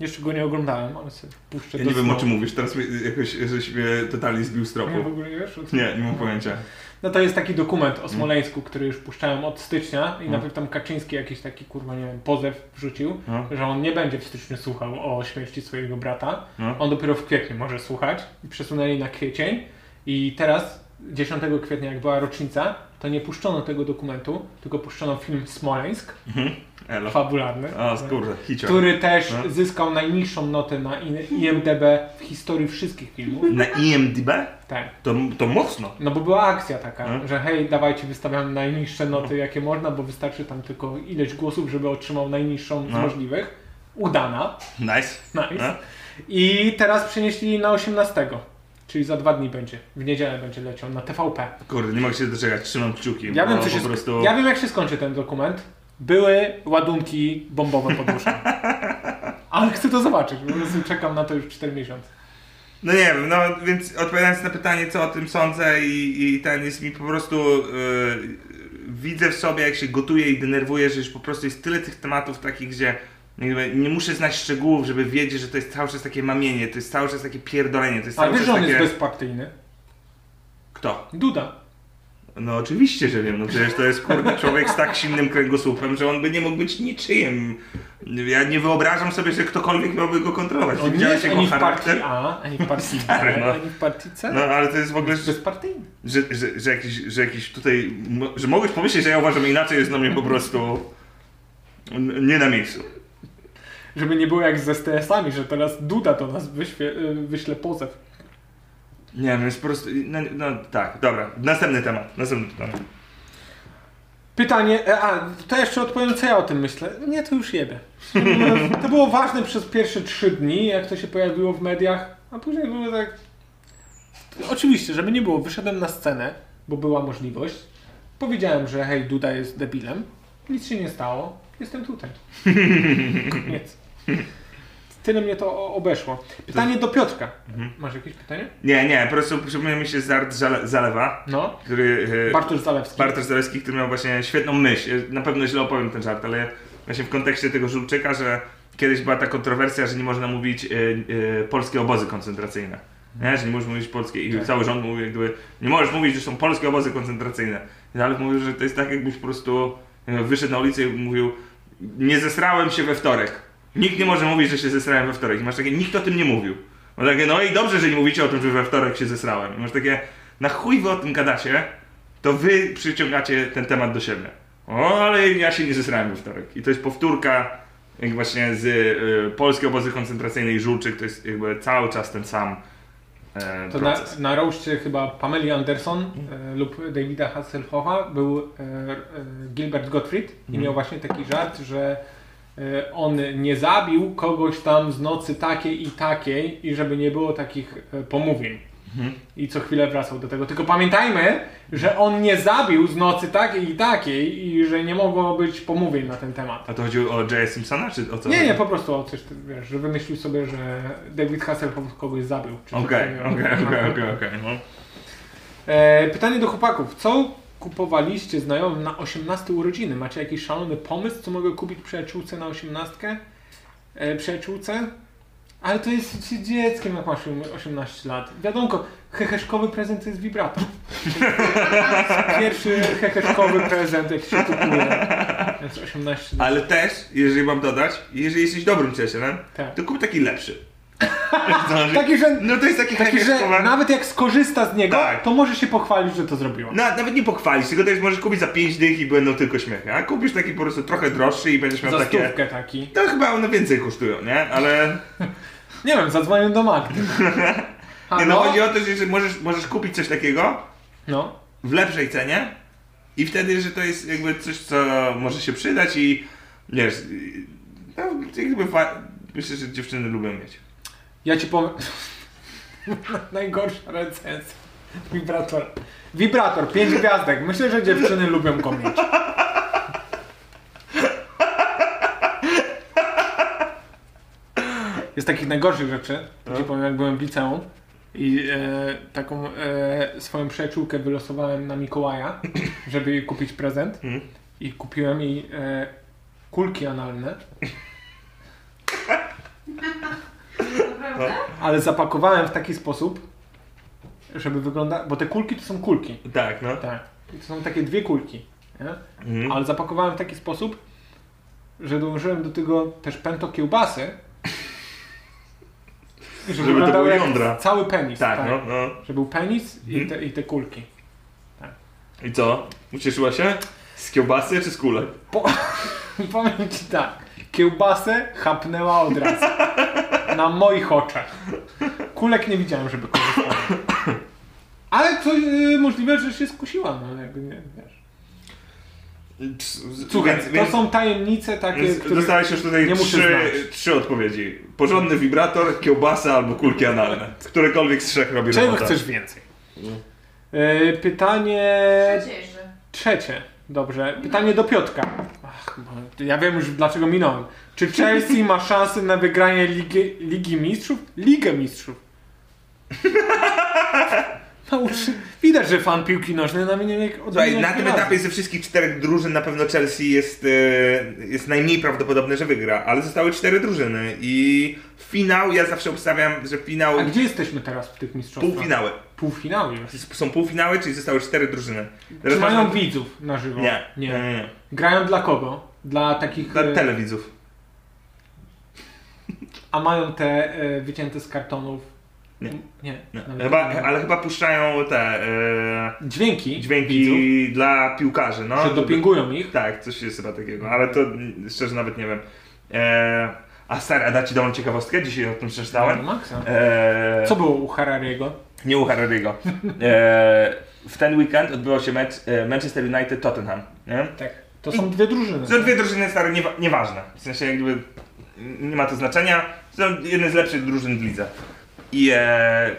Speaker 4: Jeszcze go nie oglądałem, ale sobie puszczę
Speaker 2: Ja
Speaker 4: do
Speaker 2: nie wiem, o
Speaker 4: snu.
Speaker 2: czym mówisz, teraz mnie- jakoś żeś mnie totalnie zbił z
Speaker 4: Nie, w
Speaker 2: tropu.
Speaker 4: ogóle nie wiesz? o co-
Speaker 2: Nie, nie mam pojęcia.
Speaker 4: No to jest taki dokument
Speaker 2: Mm.
Speaker 4: o Smoleńsku, który już puszczałem od stycznia i najpierw tam Kaczyński jakiś taki, kurwa, nie wiem, pozew wrzucił,
Speaker 2: No.
Speaker 4: że on nie będzie w styczniu słuchał o śmierci swojego brata.
Speaker 2: No.
Speaker 4: On dopiero w kwietniu może słuchać. I Przesunęli na kwiecień i teraz, 10 kwietnia, jak była rocznica, to nie puszczono tego dokumentu, tylko puszczono film Smoleńsk,
Speaker 2: Elo.
Speaker 4: fabularny,
Speaker 2: O, kurde, hicior.
Speaker 4: który też
Speaker 2: No.
Speaker 4: zyskał najniższą notę na I- IMDB w historii wszystkich filmów.
Speaker 2: Na E IMDB?
Speaker 4: Tak.
Speaker 2: To, to mocno.
Speaker 4: No bo była akcja taka,
Speaker 2: Mhm.
Speaker 4: że hej, dawajcie, wystawiamy najniższe noty, jakie można, bo wystarczy tam tylko ileś głosów, żeby otrzymał najniższą z
Speaker 2: No.
Speaker 4: możliwych. Udana.
Speaker 2: Nice.
Speaker 4: Nice.
Speaker 2: No.
Speaker 4: I teraz przenieśli na 18, czyli za dwa dni będzie. W niedzielę będzie leciał na TVP.
Speaker 2: Kurde, nie mogę się doczekać, trzymam kciuki.
Speaker 4: Ja wiem,
Speaker 2: bo
Speaker 4: co się
Speaker 2: No, po
Speaker 4: sk-
Speaker 2: prostu...
Speaker 4: ja wiem jak się skończy ten dokument. Były ładunki bombowe pod łóżką. Ale chcę to zobaczyć, po prostu czekam na to już 4 miesiące.
Speaker 2: No nie wiem, no więc odpowiadając na pytanie, co o tym sądzę i, i ten jest mi po prostu... Yy, widzę w sobie, jak się gotuje i denerwuje, że już po prostu jest tyle tych tematów takich, gdzie no jakby nie muszę znać szczegółów, żeby wiedzieć, że to jest cały czas takie mamienie, to jest cały czas takie pierdolenie, to jest
Speaker 4: A
Speaker 2: cały
Speaker 4: wiesz, że
Speaker 2: czas
Speaker 4: on
Speaker 2: takie...
Speaker 4: jest bezpartyjny?
Speaker 2: Kto?
Speaker 4: Duda.
Speaker 2: No oczywiście, że wiem, no przecież to jest kurde człowiek z tak silnym kręgosłupem, że on by nie mógł być niczyjem. Ja nie wyobrażam sobie, że ktokolwiek miałby go kontrolować.
Speaker 4: On nie
Speaker 2: Widziałeś
Speaker 4: jest
Speaker 2: jego
Speaker 4: ani w partii
Speaker 2: charakter?
Speaker 4: A, ani w partii
Speaker 2: Stary,
Speaker 4: B,
Speaker 2: no.
Speaker 4: ani w partii C.
Speaker 2: No ale to jest w ogóle,
Speaker 4: Jest
Speaker 2: że,
Speaker 4: bezpartyjny.
Speaker 2: że, że, że, jakiś, że jakiś tutaj, mo- że mogłeś pomyśleć, że ja uważam inaczej, jest na mnie po prostu n- nie na miejscu.
Speaker 4: Żeby nie było jak ze STS-ami, że teraz Duda do nas wyświe, y, wyśle pozew.
Speaker 2: Nie wiem, jest po prostu, no, no tak, dobra, następny temat, następny temat.
Speaker 4: Pytanie, e, a to jeszcze odpowiem, co ja o tym myślę. Nie, to już jebie. To było ważne przez pierwsze trzy dni, jak to się pojawiło w mediach, a później było tak, oczywiście, żeby nie było, wyszedłem na scenę, bo była możliwość. Powiedziałem, że hej, Duda jest debilem. Nic się nie stało. Jestem tutaj. Koniec. Tyle mnie to Mhm. o- obeszło. Pytanie do Piotrka. Masz jakieś pytanie?
Speaker 2: Nie, nie, po prostu przypomniał mi się Zart Żale- Zalewa,
Speaker 4: No.
Speaker 2: który... e,
Speaker 4: Bartosz Zalewski.
Speaker 2: Bartosz Zalewski, który miał właśnie świetną myśl. Na pewno źle opowiem ten żart, ale właśnie w kontekście tego Żółczyka, że kiedyś była ta kontrowersja, że nie można mówić e, e, polskie obozy koncentracyjne. Nie, że nie możesz mówić polskie i cały rząd mówił jak gdyby, nie możesz mówić, że są polskie obozy koncentracyjne. Ale mówił, że to jest tak jakbyś po prostu e, wyszedł na ulicę i mówił nie zesrałem się we wtorek. Nikt nie może mówić, że się zesrałem we wtorek. I masz takie, nikt o tym nie mówił. Masz takie, no i dobrze, że nie mówicie o tym, że we wtorek się zesrałem. I masz takie, na chuj wy o tym gadacie, to wy przyciągacie ten temat do siebie. O, ale ja się nie zesrałem we wtorek. I to jest powtórka jak właśnie z y, polskiej obozy koncentracyjnej Żółczyk, to jest jakby cały czas ten sam e,
Speaker 4: To na,
Speaker 2: proces.
Speaker 4: na roście chyba Pameli Anderson e, lub Davida Hasselhoffa był e, e, Gilbert Gottfried i miał właśnie taki żart, że e, on nie zabił kogoś tam z nocy takiej i takiej i żeby nie było takich e, pomówień. I co chwilę wracał do tego. Tylko pamiętajmy, że on nie zabił z nocy takiej i takiej i że nie mogło być pomówień na ten temat.
Speaker 2: A to chodziło o J.S. Simpsona, czy o co?
Speaker 4: Nie,
Speaker 2: chodzi?
Speaker 4: nie, po prostu o coś, ty- wiesz, że wymyślił sobie, że David Hasselhoff kogoś zabił. czy coś
Speaker 2: Okej,
Speaker 4: takiego.
Speaker 2: okej, okej, okej, okej. no.
Speaker 4: E, pytanie do chłopaków. Co kupowaliście znajomym na 18 urodziny? Macie jakiś szalony pomysł, co mogę kupić przyjaciółce na 18? E, przyjaciółce? Ale to jest się dzieckiem, jak masz 18 lat. Wiadomko, heheszkowy prezent to jest wibrator. Pierwszy heheszkowy prezent, jak się kupuje. Więc 18 lat.
Speaker 2: Ale też, jeżeli mam dodać, jeżeli jesteś dobrym ciesielem,
Speaker 4: Tak.
Speaker 2: to kup taki lepszy.
Speaker 4: Taki, że,
Speaker 2: No to jest taki,
Speaker 4: taki, że nawet jak skorzysta z niego,
Speaker 2: Tak.
Speaker 4: to może się pochwalić, że to zrobiła.
Speaker 2: Na, nawet nie pochwalić, tylko też możesz kupić za 5 dych i będą tylko śmiechy. A kupisz taki po prostu trochę droższy i będziesz miał
Speaker 4: Za
Speaker 2: No, takie...
Speaker 4: stówkę taki.
Speaker 2: To chyba one więcej kosztują, nie? Ale
Speaker 4: Nie wiem, zadzwonię do Magdy.
Speaker 2: nie,
Speaker 4: Halo?
Speaker 2: no chodzi o to, że możesz, możesz kupić coś takiego
Speaker 4: No.
Speaker 2: w lepszej cenie i wtedy, że to jest jakby coś, co może się przydać i wiesz, i- no, jakby fa- myślę, że dziewczyny lubią mieć.
Speaker 4: Ja ci powiem. Najgorsza recenzja. Wibrator. Wibrator, 5 gwiazdek. Myślę, że dziewczyny lubią go mieć. Jest takich najgorszych rzeczy. To ci powiem, jak byłem w liceum i e, taką e, swoją przyjaciółkę wylosowałem na Mikołaja, żeby jej kupić prezent. I kupiłem jej e, kulki analne.
Speaker 5: Naprawdę?
Speaker 4: ale zapakowałem w taki sposób, żeby wygląda, bo te kulki to są kulki.
Speaker 2: Tak, no.
Speaker 4: Tak. I to są takie dwie kulki, nie?
Speaker 2: Mhm.
Speaker 4: ale zapakowałem w taki sposób, że dołożyłem do tego też pęto kiełbasy. Żeby,
Speaker 2: to
Speaker 4: wyglądało
Speaker 2: były
Speaker 4: jak
Speaker 2: jądra.
Speaker 4: Cały penis.
Speaker 2: Tak, no, no.
Speaker 4: Że był penis i,
Speaker 2: Mhm.
Speaker 4: te, i te kulki.
Speaker 2: I co? Ucieszyła się? Z kiełbasy czy z kulek?
Speaker 4: Po, powiem ci tak. Kiełbasę chapnęła od razu. Na moich oczach. Kulek nie widziałem, żeby korzystała. Ale coś yy, możliwe, że się skusiła, no jakby nie, wiesz. Słuchaj,
Speaker 2: Więc-
Speaker 4: to
Speaker 2: więc-
Speaker 4: są tajemnice takie,
Speaker 2: więc
Speaker 4: które...
Speaker 2: Dostałeś już tutaj
Speaker 4: nie muszę
Speaker 2: trzy,
Speaker 4: znać.
Speaker 2: trzy odpowiedzi. Porządny wibrator, kiełbasa albo kulki analne. Którekolwiek z trzech robi
Speaker 4: Czego
Speaker 2: robotę.
Speaker 4: chcesz więcej? Yy,
Speaker 5: E,
Speaker 4: pytanie...
Speaker 5: Przecież.
Speaker 4: Trzecie. Dobrze. Pytanie do Piotka. Ach, bo ja wiem już dlaczego minąłem. Czy Chelsea ma szansę na wygranie Ligi, Ligi Mistrzów? Ligę Mistrzów. Nauczy... Widać, że fan piłki nożnej na mnie jak
Speaker 2: Słuchaj, na tym etapie ze wszystkich czterech drużyn na pewno Chelsea jest, e, jest najmniej prawdopodobne, że wygra, ale zostały cztery drużyny i finał, ja zawsze obstawiam, że finał,
Speaker 4: A gdzie jesteśmy teraz w tych mistrzostwach?
Speaker 2: półfinały.
Speaker 4: Półfinały już.
Speaker 2: Są półfinały, czyli zostały cztery drużyny.
Speaker 4: Czy
Speaker 2: Teraz
Speaker 4: mają
Speaker 2: masz-
Speaker 4: widzów na żywo?
Speaker 2: Nie, nie,
Speaker 4: Nie.
Speaker 2: nie. nie.
Speaker 4: Grają dla kogo? Dla takich...
Speaker 2: Dla
Speaker 4: e,
Speaker 2: telewidzów.
Speaker 4: A mają te e, wycięte z kartonów?
Speaker 2: Nie.
Speaker 4: Nie.
Speaker 2: Nie.
Speaker 4: Nawet
Speaker 2: Chyba,
Speaker 4: nie.
Speaker 2: ale chyba puszczają te e,
Speaker 4: Dźwięki.
Speaker 2: dźwięki
Speaker 4: widzów,
Speaker 2: dla piłkarzy, no.
Speaker 4: Że dopingują ich.
Speaker 2: Tak, coś jest chyba takiego, ale to mm, szczerze nawet nie wiem. E, a stary, a da ci dobrą ciekawostkę? Dzisiaj o tym przeczytałem.
Speaker 4: Maxa.
Speaker 2: E,
Speaker 4: Co było u Harariego?
Speaker 2: Nie u Harariego. E, w ten weekend odbywał się mecz e, Manchester United-Tottenham. nie?
Speaker 4: Tak. To są dwie drużyny.
Speaker 2: Są dwie drużyny stare, niewa- nieważne. W sensie jakby nie ma to znaczenia. Są jedne z lepszych drużyn w lidze. I e, e,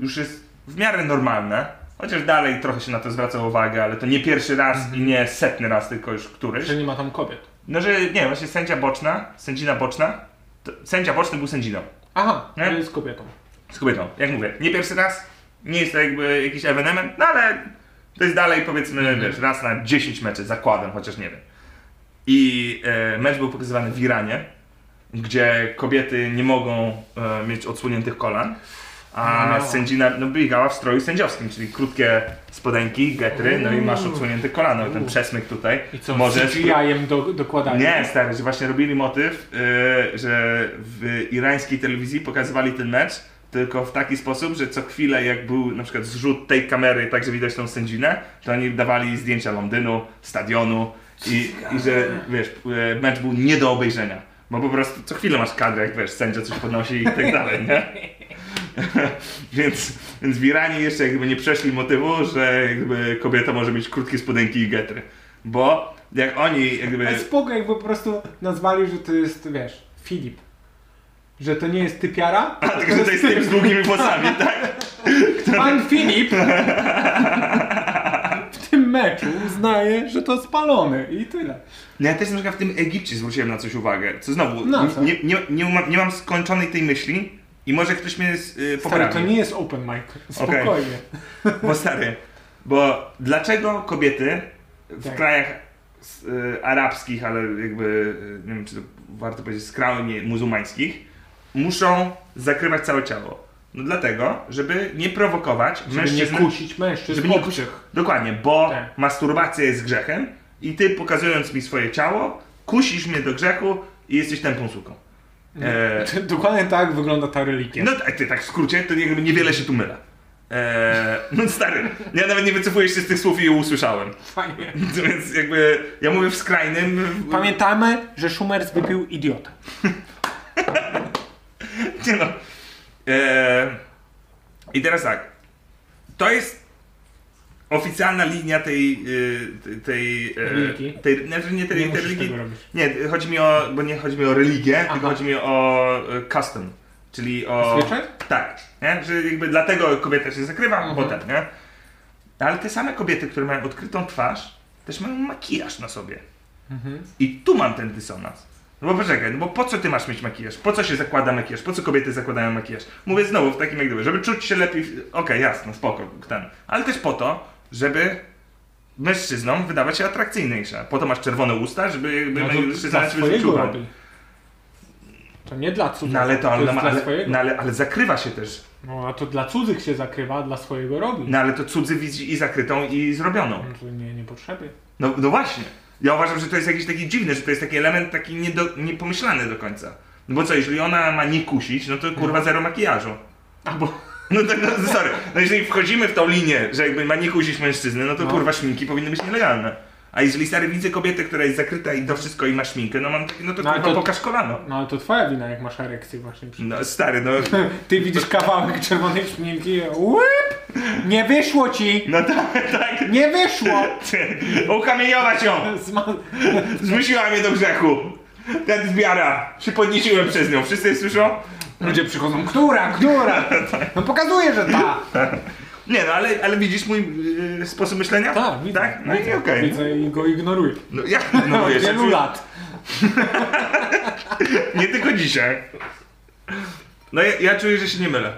Speaker 2: już jest w miarę normalne, chociaż dalej trochę się na to zwraca uwagę, ale to nie pierwszy raz i nie setny raz, tylko już któryś.
Speaker 4: Że nie ma tam kobiet.
Speaker 2: No, że nie wiem, właśnie sędzia boczna, sędzina boczna, to, sędzia boczny był sędziną.
Speaker 4: Aha,
Speaker 2: Nie?
Speaker 4: to jest kobietą.
Speaker 2: z kobietą. Jak mówię, nie pierwszy raz, nie jest to jakby jakiś ewenement, no ale to jest dalej powiedzmy,
Speaker 4: Mhm.
Speaker 2: wiesz, raz na 10 meczów, zakładam, chociaż nie wiem. I e, mecz był pokazywany w Iranie, gdzie kobiety nie mogą e, mieć odsłoniętych kolan, a sędzina no, biegała w stroju sędziowskim, czyli krótkie spodenki, getry, no i masz odsłonięte kolano, ten przesmyk tutaj.
Speaker 4: I co,
Speaker 2: Może
Speaker 4: Może CGI-em do, dokładali?
Speaker 2: nie, stary, że właśnie robili motyw, yy, że w irańskiej telewizji pokazywali ten mecz, tylko w taki sposób, że co chwilę jak był na przykład zrzut tej kamery, tak że widać tą sędzinę, to oni dawali zdjęcia Londynu, stadionu i, i że wiesz, yy, mecz był nie do obejrzenia. Bo po prostu co chwilę masz kadrę, jak wiesz, sędzia coś podnosi i tak dalej, nie? więc, więc w Iranie jeszcze jakby nie przeszli motywu, że jakby kobieta może mieć krótkie spodenki i getry. Bo jak oni jakby...
Speaker 9: Ale spoko, jakby po prostu nazwali, że to jest, wiesz, Filip. Że to nie jest typiara,
Speaker 2: A, tylko Tak, że to jest typ z długimi włosami, tak?
Speaker 9: Pan Filip w tym meczu uznaje, że to spalony i tyle.
Speaker 2: No ja też na przykład w tym Egipcie zwróciłem na coś uwagę, co znowu,
Speaker 9: Na No, co?
Speaker 2: nie, nie, nie, mam, nie mam skończonej tej myśli i może ktoś mnie yy,
Speaker 9: Stary,
Speaker 2: poprawi.
Speaker 9: to nie jest open mic,
Speaker 2: Okej.
Speaker 9: spokojnie.
Speaker 2: Bo stary, bo dlaczego kobiety w
Speaker 9: Tak.
Speaker 2: krajach s- y, arabskich, ale jakby, y, nie wiem czy to warto powiedzieć, skrajnie muzułmańskich, muszą zakrywać całe ciało? No dlatego, żeby nie prowokować
Speaker 4: Żeby nie
Speaker 2: mężczyzn
Speaker 4: kusić mężczyzn
Speaker 2: Żeby nie
Speaker 4: obcych.
Speaker 2: Dokładnie, bo
Speaker 4: Tak.
Speaker 2: masturbacja jest grzechem i ty pokazując mi swoje ciało, kusisz mnie do grzechu i jesteś tępą suką. E,
Speaker 9: Dokładnie tak wygląda ta religia.
Speaker 2: no tak, ty tak w skrócie, to jakby niewiele się tu mylę. E, no stary, ja nawet nie wycofuję się z tych słów i je usłyszałem.
Speaker 4: Fajnie.
Speaker 2: Więc jakby, ja mówię w skrajnym... w-
Speaker 4: Pamiętamy, że Schumers wypił idiota.
Speaker 2: Nie no. E, I teraz tak. To jest oficjalna linia tej... y, tej, e,
Speaker 4: Religii?
Speaker 2: tej znaczy nie tej,
Speaker 4: Nie
Speaker 2: tej
Speaker 4: musisz
Speaker 2: religii,
Speaker 4: tego robić.
Speaker 2: Nie, chodzi mi o, bo nie chodzi mi o religię, tylko
Speaker 4: Aha.
Speaker 2: chodzi mi o e, custom, czyli o...
Speaker 4: Zwyczaj?
Speaker 2: Tak, nie? że jakby dlatego kobieta się zakrywa, bo
Speaker 4: Mhm.
Speaker 2: tak, nie? Ale te same kobiety, które mają odkrytą twarz, też mają makijaż na sobie.
Speaker 4: Mhm.
Speaker 2: I tu mam ten dysonans. No bo poczekaj, no bo po co ty masz mieć makijaż? Po co się zakłada makijaż? Po co kobiety zakładają makijaż? Mówię znowu w takim jak gdyby, żeby czuć się lepiej. w- Okej, jasno, spoko, ten. Ale też po to, żeby mężczyznom wydawać się atrakcyjniejsza. Po to masz czerwone usta, żeby jakby
Speaker 4: No to
Speaker 2: mężczyzna
Speaker 4: dla
Speaker 2: ciebie wyczuwał.
Speaker 4: swojego robi. To nie dla cudzych.
Speaker 2: No ale to, ale,
Speaker 4: jest
Speaker 2: no,
Speaker 4: dla
Speaker 2: ale,
Speaker 4: swojego.
Speaker 2: no, ale, ale zakrywa się też.
Speaker 4: No a to dla cudzych się zakrywa, a dla swojego robi.
Speaker 2: No ale to cudzy widzi i zakrytą, i zrobioną.
Speaker 4: No to nie, nie potrzebuje.
Speaker 2: No, no właśnie. Ja uważam, że to jest jakiś taki dziwny, że to jest taki element taki niedo, niepomyślany do końca. No bo co, jeżeli ona ma nie kusić, no to kurwa zero makijażu. Albo... No tak, no, sorry. No jeżeli wchodzimy w tą linię, że jakby ma nie kusić mężczyzny, no to kurwa szminki powinny być nielegalne. A jeżeli stary widzę kobietę, która jest zakryta i to wszystko i ma szminkę, no mam takie, no to
Speaker 4: No, ale
Speaker 2: kurwa
Speaker 4: to-
Speaker 2: pokaż kolano.
Speaker 4: No ale to twoja wina, jak masz erekcję właśnie. Przy...
Speaker 2: No stary, no,
Speaker 4: Ty widzisz kawałek czerwonej szminki, łyp! Nie wyszło ci!
Speaker 2: no tak, tak.
Speaker 4: Nie wyszło!
Speaker 2: Ukamieniować ją!
Speaker 4: Zma-
Speaker 2: Zmusiła mnie do grzechu! Ten zbiara! Się podnieciłem przez nią. Wszyscy słyszą?
Speaker 4: Ludzie przychodzą, która, która? No pokazuje, że ta!
Speaker 2: Nie no, ale, ale widzisz mój y, sposób myślenia?
Speaker 4: Tak, widzę.
Speaker 2: Tak? No i
Speaker 4: widzę,
Speaker 2: okej.
Speaker 4: Widzę i go ignoruję.
Speaker 2: No jak no,
Speaker 4: Od
Speaker 2: jeszcze,
Speaker 4: wielu lat.
Speaker 2: Nie tylko dzisiaj. No ja, ja czuję, że się nie mylę.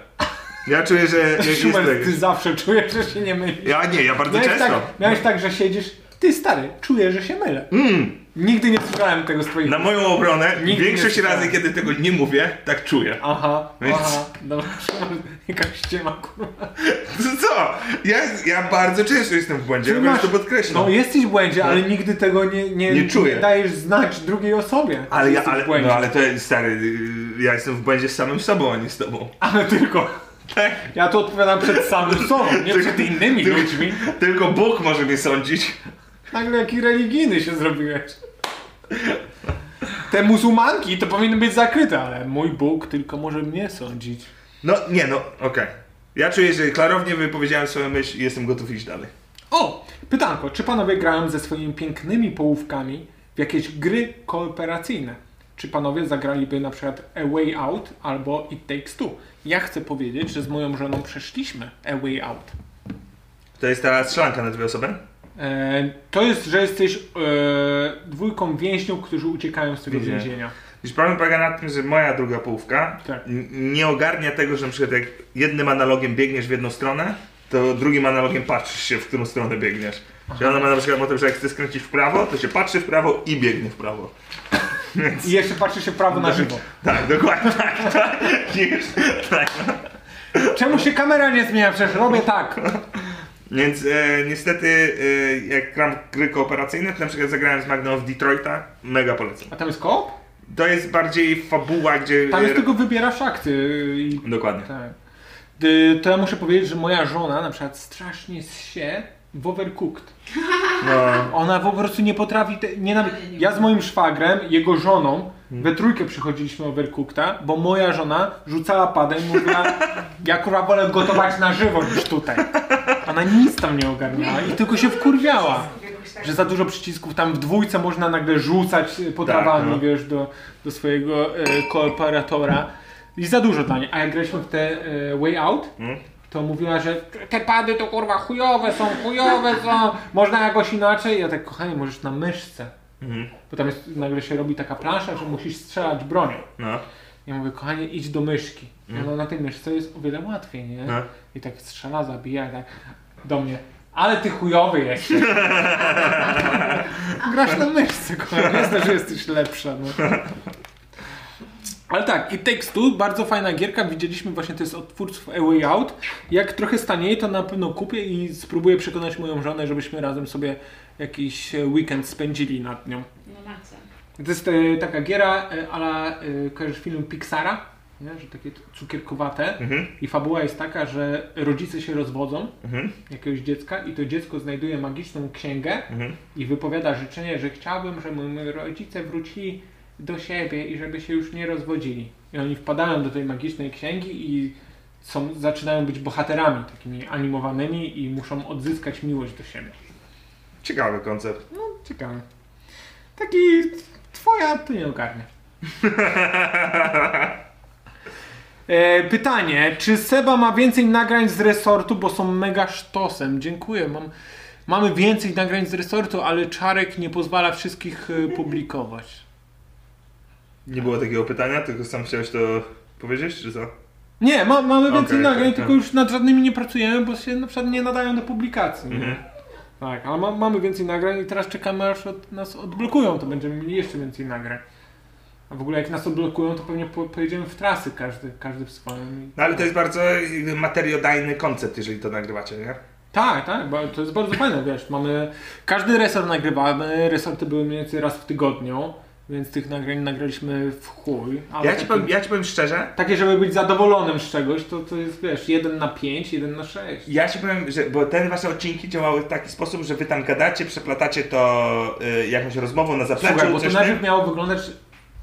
Speaker 2: Ja czuję, że jak jest
Speaker 4: Szumer,
Speaker 2: tak.
Speaker 4: ty zawsze czujesz, że się nie mylisz.
Speaker 2: Ja nie, ja bardzo
Speaker 4: Miałeś
Speaker 2: często. No.
Speaker 4: tak, miałeś tak, że siedzisz, ty stary, czuję, że się mylę.
Speaker 2: Mm,
Speaker 4: Nigdy nie słyszałem tego z twoich...
Speaker 2: na moją obronę
Speaker 4: Nigdy
Speaker 2: większość
Speaker 4: nie
Speaker 2: razy,
Speaker 4: słyszałem.
Speaker 2: kiedy tego nie mówię, tak czuję.
Speaker 4: Aha,
Speaker 2: Więc- No.
Speaker 4: aha, dobra, Szumer, jakaś ściema, kurwa.
Speaker 2: To co? Ja, ja bardzo często jestem w błędzie, ja bym to podkreślam.
Speaker 4: No jesteś w błędzie, ale nigdy tego nie, nie,
Speaker 2: Nie czuję.
Speaker 4: dajesz znać drugiej osobie. że
Speaker 2: Ale ja,
Speaker 4: jesteś
Speaker 2: ale,
Speaker 4: w błędzie.
Speaker 2: no ale to jest, stary, y, ja jestem w błędzie z samym sobą, a nie z tobą.
Speaker 4: ale tylko.
Speaker 2: Tak?
Speaker 4: Ja tu odpowiadam przed samym sobą, nie
Speaker 2: Tylko-
Speaker 4: przed innymi
Speaker 2: tylko-
Speaker 4: ludźmi.
Speaker 2: Tylko Bóg może mnie sądzić.
Speaker 4: Nagle jaki religijny się zrobiłeś. Te muzułmanki to powinny być zakryte, ale mój Bóg tylko może mnie sądzić.
Speaker 2: No nie, no okej. Ja czuję, że klarownie wypowiedziałem swoją myśl i jestem gotów iść dalej.
Speaker 4: O! Pytanko, czy panowie grają ze swoimi pięknymi połówkami w jakieś gry kooperacyjne? czy panowie zagraliby na przykład A Way Out albo It Takes Two. Ja chcę powiedzieć, że z moją żoną przeszliśmy A Way Out.
Speaker 2: To jest ta strzelanka na dwie osoby?
Speaker 4: E, to jest, że jesteś e, dwójką więźniów, którzy uciekają z tego
Speaker 2: Więzienia.
Speaker 4: więzienia.
Speaker 2: Wiesz, problem polega na tym, że moja druga połówka
Speaker 4: Tak.
Speaker 2: n- nie ogarnia tego, że na przykład jak jednym analogiem biegniesz w jedną stronę, to drugim analogiem patrzysz się, w którą stronę biegniesz. Czyli ona ma na przykład motyw, że jak chce skręcić w prawo, to się patrzy w prawo i biegnie w prawo.
Speaker 4: I jeszcze patrzy się prawo na żywo.
Speaker 2: Tak, dokładnie, tak, tak. Wiesz, tak.
Speaker 4: Czemu się kamera nie zmienia? Przecież robię tak.
Speaker 2: Więc e, niestety, e, jak gram gry kooperacyjne, to na przykład zagrałem z Magną w Detroita, mega polecam.
Speaker 4: A tam jest koop?
Speaker 2: To jest bardziej fabuła, gdzie...
Speaker 4: Tam jest tylko wybierasz akty i
Speaker 2: Dokładnie.
Speaker 4: Tak. Y, To ja muszę powiedzieć, że moja żona na przykład strasznie się w Overcooked.
Speaker 2: No.
Speaker 4: Ona po prostu nie potrafi. Te, nie nawi- ja z moim szwagrem, jego żoną, we trójkę przychodziliśmy Overcookta, bo moja żona rzucała padem i mówiła: Ja kurwa wolę gotować na żywo niż tutaj. Ona nic tam nie ogarniała i tylko się wkurwiała.
Speaker 5: tak-
Speaker 4: Że za dużo przycisków, tam w dwójce można nagle rzucać y, potrawami,
Speaker 2: Tak, no.
Speaker 4: wiesz, do, do swojego e, kooperatora. I za dużo dla niej. A jak graliśmy w te e, Way Out,
Speaker 2: Mm.
Speaker 4: to mówiła, że te pady to kurwa chujowe są, chujowe są, można jakoś inaczej. Ja tak, kochanie, możesz na myszce.
Speaker 2: Mhm.
Speaker 4: Bo tam jest, nagle się robi taka plansza, że musisz strzelać bronią.
Speaker 2: No.
Speaker 4: Ja mówię, kochanie, idź do myszki. No na tej myszce jest o wiele łatwiej, nie?
Speaker 2: No.
Speaker 4: I tak strzela, zabija i tak do mnie. Ale ty chujowy jesteś. Grasz na myszce, kochanie. Jest że jesteś lepsza. No. Ale tak, i Takes Two, bardzo fajna gierka. Widzieliśmy właśnie, to jest od twórców A Way Out. Jak trochę stanieje, to na pewno kupię i spróbuję przekonać moją żonę, żebyśmy razem sobie jakiś e, weekend spędzili nad nią.
Speaker 10: No na co?
Speaker 4: To jest e, taka giera e, ala e, kojarzysz film Pixara, nie? że takie t- cukierkowate
Speaker 2: Mhm.
Speaker 4: i fabuła jest taka, że rodzice się rozwodzą
Speaker 2: Mhm.
Speaker 4: jakiegoś dziecka i to dziecko znajduje magiczną księgę
Speaker 2: Mhm.
Speaker 4: i wypowiada życzenie, że chciałbym, żeby moi rodzice wrócili do siebie i żeby się już nie rozwodzili. I oni wpadają do tej magicznej księgi i są, zaczynają być bohaterami takimi animowanymi i muszą odzyskać miłość do siebie.
Speaker 2: Ciekawy koncept.
Speaker 4: No, ciekawe. Taki twoja, ty nie ogarnia. E, pytanie, czy Seba ma więcej nagrań z resortu, bo są mega sztosem? Dziękuję, mam, mamy więcej nagrań z resortu, ale Czarek nie pozwala wszystkich e, publikować.
Speaker 2: Nie było takiego pytania, tylko sam chciałeś to powiedzieć, czy co?
Speaker 4: Nie, ma, mamy
Speaker 2: Okej,
Speaker 4: więcej nagrań,
Speaker 2: okej,
Speaker 4: tylko
Speaker 2: tak.
Speaker 4: już nad żadnymi nie pracujemy, bo się na przykład nie nadają do publikacji. nie?
Speaker 2: Mhm.
Speaker 4: Tak, ale ma, mamy więcej nagrań i teraz czekamy aż od, nas odblokują, to będziemy mieli jeszcze więcej nagrań. A w ogóle jak nas odblokują, to pewnie po, pojedziemy w trasy każdy, każdy w swoim.
Speaker 2: No ale to jest bardzo jakby, materiodajny koncept, jeżeli to nagrywacie, nie?
Speaker 4: Tak, tak, bo to jest bardzo fajne, wiesz, mamy... Każdy resort nagrywamy, resorty były mniej więcej raz w tygodniu, więc tych nagrań nagraliśmy w chuj. ale
Speaker 2: Ja ci,
Speaker 4: takie-
Speaker 2: powiem, ja ci powiem szczerze,
Speaker 4: Takie, żeby być zadowolonym z czegoś, to to jest, wiesz, 1 na 5, 1 na 6.
Speaker 2: ja ci powiem, że, bo te wasze odcinki działały w taki sposób, że wy tam gadacie, przeplatacie to y, jakąś rozmową na zapleczu,
Speaker 4: Słuchaj, bo to
Speaker 2: coś
Speaker 4: najpierw
Speaker 2: tym,
Speaker 4: miało wyglądać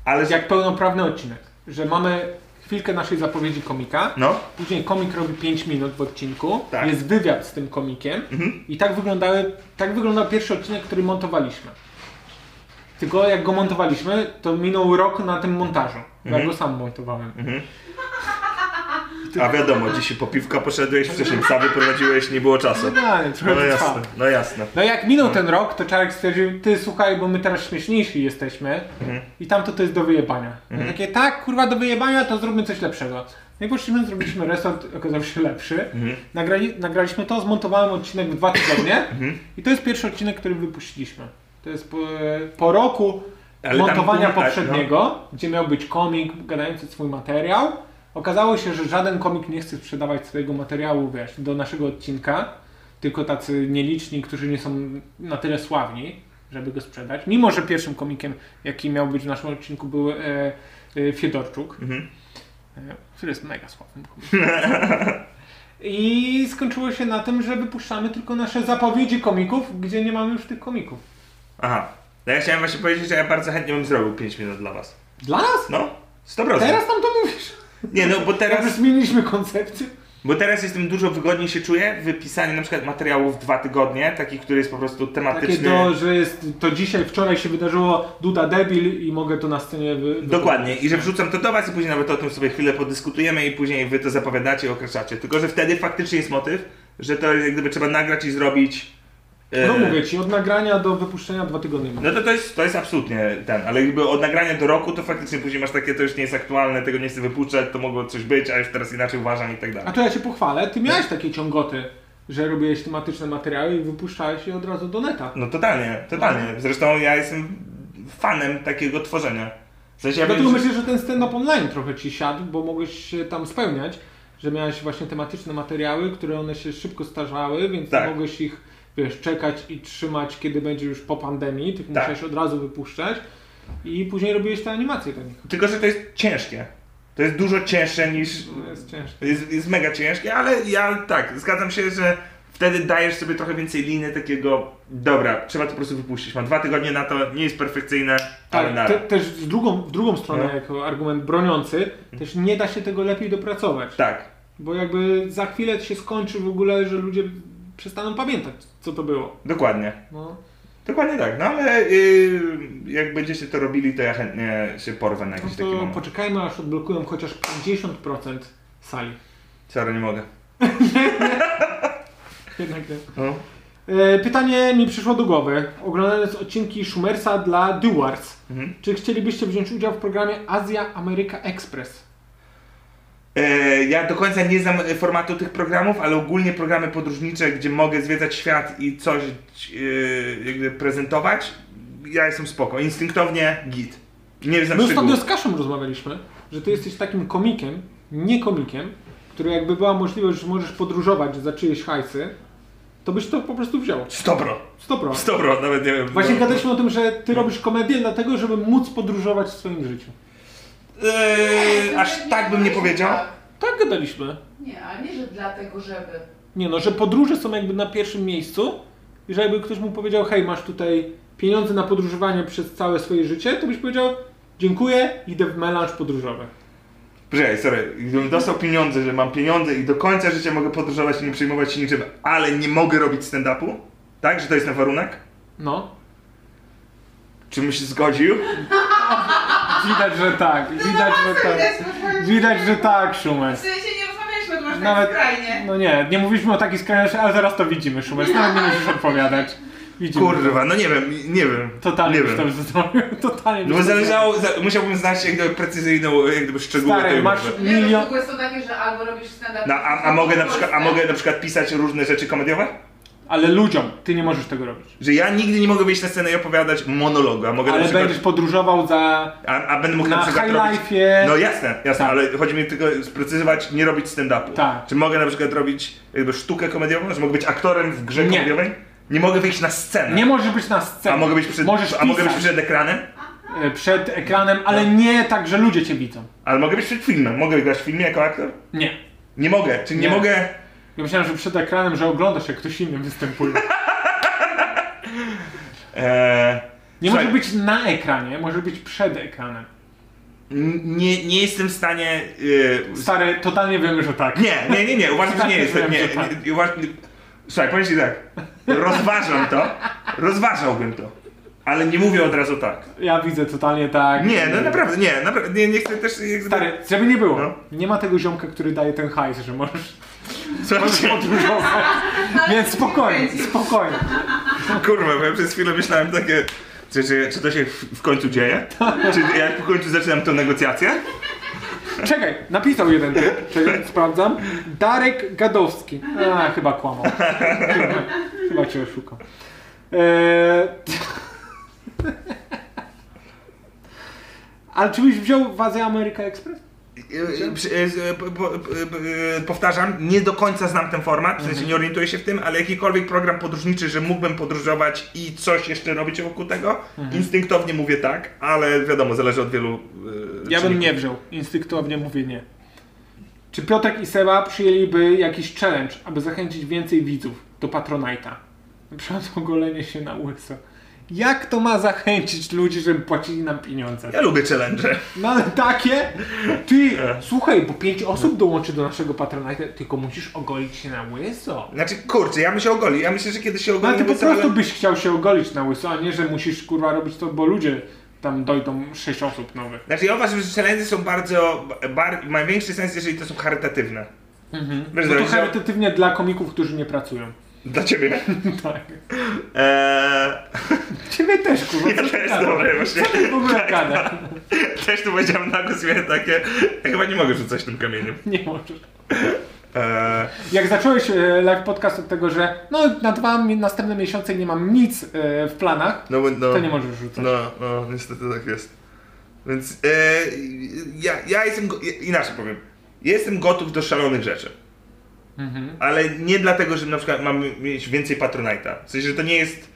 Speaker 2: ale...
Speaker 4: jak pełnoprawny odcinek, że mamy chwilkę naszej zapowiedzi komika,
Speaker 2: No,
Speaker 4: Później komik robi 5 minut w odcinku,
Speaker 2: Tak.
Speaker 4: jest wywiad z tym komikiem i tak, wyglądały, tak wyglądał pierwszy odcinek, który montowaliśmy. Tylko jak go montowaliśmy, to minął rok na tym montażu. bo Ja go sam montowałem.
Speaker 2: a wiadomo, dzisiaj po piwka poszedłeś, wcześniej psa wyprowadziłeś, nie było czasu.
Speaker 4: Generalnie,
Speaker 2: No
Speaker 4: trochę to trwało.
Speaker 2: jasne, no jasne.
Speaker 4: No jak minął ten rok, to Czarek stwierdził, ty słuchaj, bo my teraz śmieszniejsi jesteśmy i tamto to jest do wyjebania. Ja takie, tak, kurwa, do wyjebania, to zróbmy coś lepszego. No i poszliśmy, zrobiliśmy resort, okazał się lepszy. Nagrali, nagraliśmy to, zmontowałem odcinek w dwa tygodnie
Speaker 2: Mhm.
Speaker 4: i to jest pierwszy odcinek, który wypuściliśmy. To jest po, po roku
Speaker 2: Ale tam
Speaker 4: montowania
Speaker 2: było- tak,
Speaker 4: poprzedniego, gdzie miał być komik gadający swój materiał. Okazało się, że żaden komik nie chce sprzedawać swojego materiału, wiesz, do naszego odcinka, tylko tacy nieliczni, którzy nie są na tyle sławni, żeby go sprzedać. Mimo, że pierwszym komikiem, jaki miał być w naszym odcinku, był e, e, Fiedorczuk,
Speaker 2: Mhm.
Speaker 4: e, który jest mega sławnym komikiem. I skończyło się na tym, że wypuszczamy tylko nasze zapowiedzi komików, gdzie nie mamy już tych komików.
Speaker 2: Aha, no ja chciałem właśnie powiedzieć, że ja bardzo chętnie bym zrobił 5 minut dla was.
Speaker 4: Dla nas?
Speaker 2: No, 100%.
Speaker 4: Teraz nam to mówisz.
Speaker 2: Nie, no bo
Speaker 4: Teraz
Speaker 2: teraz...
Speaker 4: zmieniliśmy koncepcję.
Speaker 2: Bo teraz jestem dużo wygodniej się czuję w pisaniu na przykład materiałów dwa tygodnie, takich, który jest po prostu
Speaker 6: Takie
Speaker 2: tematyczny.
Speaker 6: to, że jest, to dzisiaj, wczoraj się wydarzyło Duda debil i mogę to na scenie wy...
Speaker 2: Dokładnie. I że wrzucam to do was i później nawet o tym sobie chwilę podyskutujemy i później wy to zapowiadacie i określacie. Tylko, że wtedy faktycznie jest motyw, że to jak gdyby trzeba nagrać i zrobić... e,
Speaker 6: No mówię ci, od nagrania do wypuszczenia dwa tygodnie.
Speaker 2: No to, to, jest, to jest absolutnie ten, ale jakby od nagrania do roku to faktycznie później masz takie, to już nie jest aktualne, tego nie chcę wypuszczać, to mogło coś być, a już teraz inaczej uważam i tak
Speaker 6: A
Speaker 2: dalej.
Speaker 6: to ja cię pochwalę, ty miałeś takie ciągoty, że robiłeś tematyczne materiały i wypuszczałeś je od razu do neta.
Speaker 2: No totalnie,
Speaker 6: No.
Speaker 2: totalnie. Zresztą ja jestem fanem takiego tworzenia. W sensie ja
Speaker 6: Dlatego
Speaker 2: wiem, że...
Speaker 6: No myślę, że ten stand-up online trochę ci siadł, bo mogłeś się tam spełniać, że miałeś właśnie tematyczne materiały, które one się szybko starzały, więc
Speaker 2: Tak.
Speaker 6: nie mogłeś ich wiesz, czekać i trzymać, kiedy będzie już po pandemii, tych
Speaker 2: Tak.
Speaker 6: musiałeś od razu wypuszczać i później robiłeś te animacje do nich.
Speaker 2: Tylko, że to jest ciężkie. To jest dużo cięższe niż...
Speaker 6: To jest ciężkie.
Speaker 2: Jest, jest mega ciężkie, ale ja tak, zgadzam się, że wtedy dajesz sobie trochę więcej liny takiego, dobra, trzeba to po prostu wypuścić. Mam dwa tygodnie na to, nie jest perfekcyjne, ale
Speaker 6: Tak,
Speaker 2: nara.
Speaker 6: te, też z drugą, w drugą stronę,
Speaker 2: No.
Speaker 6: jako argument broniący, też nie da się tego lepiej dopracować.
Speaker 2: Tak.
Speaker 6: Bo jakby za chwilę się skończy w ogóle, że ludzie przestaną pamiętać, co to było.
Speaker 2: Dokładnie.
Speaker 6: No.
Speaker 2: Dokładnie tak, no ale yy, jak będziecie to robili, to ja chętnie się porwę na
Speaker 6: No
Speaker 2: jakiś taki
Speaker 6: to
Speaker 2: moment.
Speaker 6: poczekajmy, aż odblokują chociaż 50% sali.
Speaker 2: Sorry, nie mogę.
Speaker 6: Jednak nie.
Speaker 2: No.
Speaker 6: E, pytanie mi przyszło do głowy. Oglądając odcinki Schumersa dla Duarts,
Speaker 2: Mhm.
Speaker 6: czy chcielibyście wziąć udział w programie Azja Ameryka Express?
Speaker 2: E, ja do końca nie znam e, formatu tych programów, ale ogólnie programy podróżnicze, gdzie mogę zwiedzać świat i coś yy, jakby prezentować, ja jestem spoko. Instynktownie git. Nie znam
Speaker 6: My ostatnio
Speaker 2: szczegółów.
Speaker 6: z Kaszem rozmawialiśmy, że ty jesteś takim komikiem, nie komikiem, który jakby była możliwość, że możesz podróżować za czyjeś hajsy, to byś to po prostu wziął.
Speaker 2: Stopro.
Speaker 6: 100%.
Speaker 2: Stopro, nawet nie wiem.
Speaker 6: Właśnie
Speaker 2: no.
Speaker 6: gadaliśmy o tym, że ty robisz komedię dlatego, żeby móc podróżować w swoim życiu.
Speaker 2: E, aż tak bym nie powiedział.
Speaker 6: Tak gadaliśmy.
Speaker 5: Nie, ale nie, że dlatego, żeby.
Speaker 6: Nie no, że podróże są jakby na pierwszym miejscu i że jakby ktoś mu powiedział, hej, masz tutaj pieniądze na podróżowanie przez całe swoje życie, to byś powiedział, dziękuję, idę w melanż podróżowy.
Speaker 2: Poczekaj, sorry, gdybym dostał pieniądze, że mam pieniądze i do końca życia mogę podróżować i nie przejmować się niczym, ale nie mogę robić stand-upu? Tak? Że to jest na warunek?
Speaker 6: No.
Speaker 2: Czy bym się zgodził?
Speaker 4: Widać, że tak, widać, że tak. Widać, że tak, Szumer.
Speaker 5: W sensie nie rozmawialiśmy, to masz
Speaker 4: Nawet-
Speaker 5: Nawet... tak skrajnie.
Speaker 4: No nie, nie mówiliśmy o takich skrajności, ale zaraz to widzimy, Szumer. Nawet nie musisz odpowiadać. Widzimy.
Speaker 2: Kurwa, no nie wiem, nie wiem.
Speaker 4: Totalnie
Speaker 2: nie
Speaker 4: byś to
Speaker 2: wiem.
Speaker 4: zrobił. Totalnie
Speaker 2: No bo
Speaker 4: byś to zrobił.
Speaker 2: zależało, za, musiałbym znać jak gdyby precyzyjną, jak gdyby szczegóły
Speaker 4: Stary,
Speaker 2: tej
Speaker 4: masz-
Speaker 2: umowy.
Speaker 5: Nie,
Speaker 4: Milion-
Speaker 5: no, reguły są takie, że albo robisz stand-up.
Speaker 2: No, a, a, mogę na przykład, a mogę na przykład pisać różne rzeczy komediowe?
Speaker 4: Ale ludziom, ty nie możesz tego robić.
Speaker 2: Że ja nigdy nie mogę wyjść na scenę i opowiadać monologu, a mogę na
Speaker 4: Ale
Speaker 2: przykład...
Speaker 4: będziesz podróżował za...
Speaker 2: A, a będę mógł na,
Speaker 4: Na
Speaker 2: przykład
Speaker 4: High
Speaker 2: robić...
Speaker 4: Life'ie.
Speaker 2: No jasne, jasne,
Speaker 4: Tak.
Speaker 2: ale chodzi mi tylko sprecyzować, nie robić stand-upu.
Speaker 4: Tak.
Speaker 2: Czy mogę na przykład robić jakby sztukę komediową, że mogę być aktorem w grze
Speaker 4: Nie.
Speaker 2: komediowej? Nie mogę wyjść na scenę.
Speaker 4: Nie możesz być na scenie.
Speaker 2: a mogę być przed,
Speaker 4: możesz
Speaker 2: a mogę być
Speaker 4: pisać,
Speaker 2: przed ekranem?
Speaker 4: e, przed ekranem,
Speaker 2: No.
Speaker 4: ale nie tak, że ludzie cię widzą.
Speaker 2: Ale mogę być przed filmem. Mogę grać w filmie jako aktor?
Speaker 4: Nie.
Speaker 2: Nie mogę. Czy nie,
Speaker 4: Nie.
Speaker 2: mogę?
Speaker 4: Ja myślałem, że przed ekranem, że oglądasz, jak ktoś inny występuje.
Speaker 2: Eee,
Speaker 4: Nie
Speaker 2: Słuchaj.
Speaker 4: może być na ekranie, może być przed ekranem.
Speaker 2: n- nie, nie jestem w stanie... Yy,
Speaker 4: Stary, totalnie wiemy, że tak.
Speaker 2: nie, nie, nie, nie. Uważam, że nie
Speaker 4: Tak,
Speaker 2: jestem.
Speaker 4: wiem,
Speaker 2: Nie,
Speaker 4: że tak.
Speaker 2: nie, uważ, nie. Słuchaj, powiem ci tak. Rozważam to. Rozważałbym to. Ale nie mówię od razu tak.
Speaker 4: Ja widzę totalnie tak.
Speaker 2: Nie, no naprawdę, nie, naprawdę, nie, nie chcę też... jakby-
Speaker 4: Stary, żeby nie było.
Speaker 2: No.
Speaker 4: Nie ma tego ziomka, który daje ten hajs, że możesz
Speaker 2: Słuchajcie,
Speaker 4: podróżować. Więc spokojnie, spokojnie.
Speaker 2: kurwa, bo ja przez chwilę myślałem takie, czy, czy, czy to się w, w końcu dzieje? Czy jak w końcu zaczynam tą negocjację?
Speaker 4: Czekaj, napisał jeden typ, czekaj, sprawdzam. Darek Gadowski. A, chyba kłamał. Chyba, chyba cię oszukał. Eee... Ale czy byś wziął w Azję America Express?
Speaker 2: E, przy- e, po- po- e, Powtarzam, nie do końca znam ten format, w
Speaker 4: Mhm.
Speaker 2: sensie nie orientuję się w tym, ale jakikolwiek program podróżniczy, że mógłbym podróżować i coś jeszcze robić wokół tego,
Speaker 4: Mhm.
Speaker 2: instynktownie mówię tak, ale wiadomo, zależy od wielu. e,
Speaker 6: Ja bym
Speaker 2: czynników.
Speaker 6: nie wziął. Instynktownie mówię nie.
Speaker 4: Czy Piotrek i Seba przyjęliby jakiś challenge, aby zachęcić więcej widzów do Patronite'a? Na przykład ogolenie się na łyso Jak to ma zachęcić ludzi, żeby płacili nam pieniądze?
Speaker 2: Ja lubię challenge.
Speaker 4: No ale takie? Ty,
Speaker 2: E.
Speaker 4: słuchaj, bo pięć osób dołączy do naszego Patronite, tylko musisz ogolić się na łyso.
Speaker 2: Znaczy, kurczę, ja bym się ogolił. Ja myślę, że kiedy się
Speaker 4: No ale
Speaker 2: ogolimy,
Speaker 4: ty po
Speaker 2: to- ale-
Speaker 4: prostu byś chciał się ogolić na łyso, a nie, że musisz kurwa robić to, bo ludzie tam dojdą sześć osób nowych.
Speaker 2: Znaczy ja uważam, że challenge są bardzo, bar, mają większy sens, jeżeli to są charytatywne. Wiesz,
Speaker 4: No to
Speaker 2: że-
Speaker 4: charytatywnie dla komików, którzy nie pracują.
Speaker 2: Dla ciebie.
Speaker 4: Tak.
Speaker 2: Eee,
Speaker 4: Ciebie też, kurwa.
Speaker 2: ja
Speaker 4: co ty
Speaker 2: też, Tak,
Speaker 4: gadasz?
Speaker 2: dobre, właśnie.
Speaker 4: Co ty w ogóle gadasz?
Speaker 2: Też tu powiedziałem na głos miałem takie, ja chyba nie mogę rzucać tym kamieniem.
Speaker 4: Nie możesz.
Speaker 2: Eee,
Speaker 4: Jak zacząłeś e, live podcast od tego, że no na dwa mi- następne miesiące nie mam nic e, w planach,
Speaker 2: no, bo- no,
Speaker 4: to nie możesz rzucać.
Speaker 2: No, no, niestety tak jest. Więc eee, ja, ja jestem, go- inaczej powiem, jestem gotów do szalonych rzeczy.
Speaker 4: Mhm.
Speaker 2: Ale nie dlatego, że na przykład mam mieć więcej Patronite'a. W sensie, że to nie jest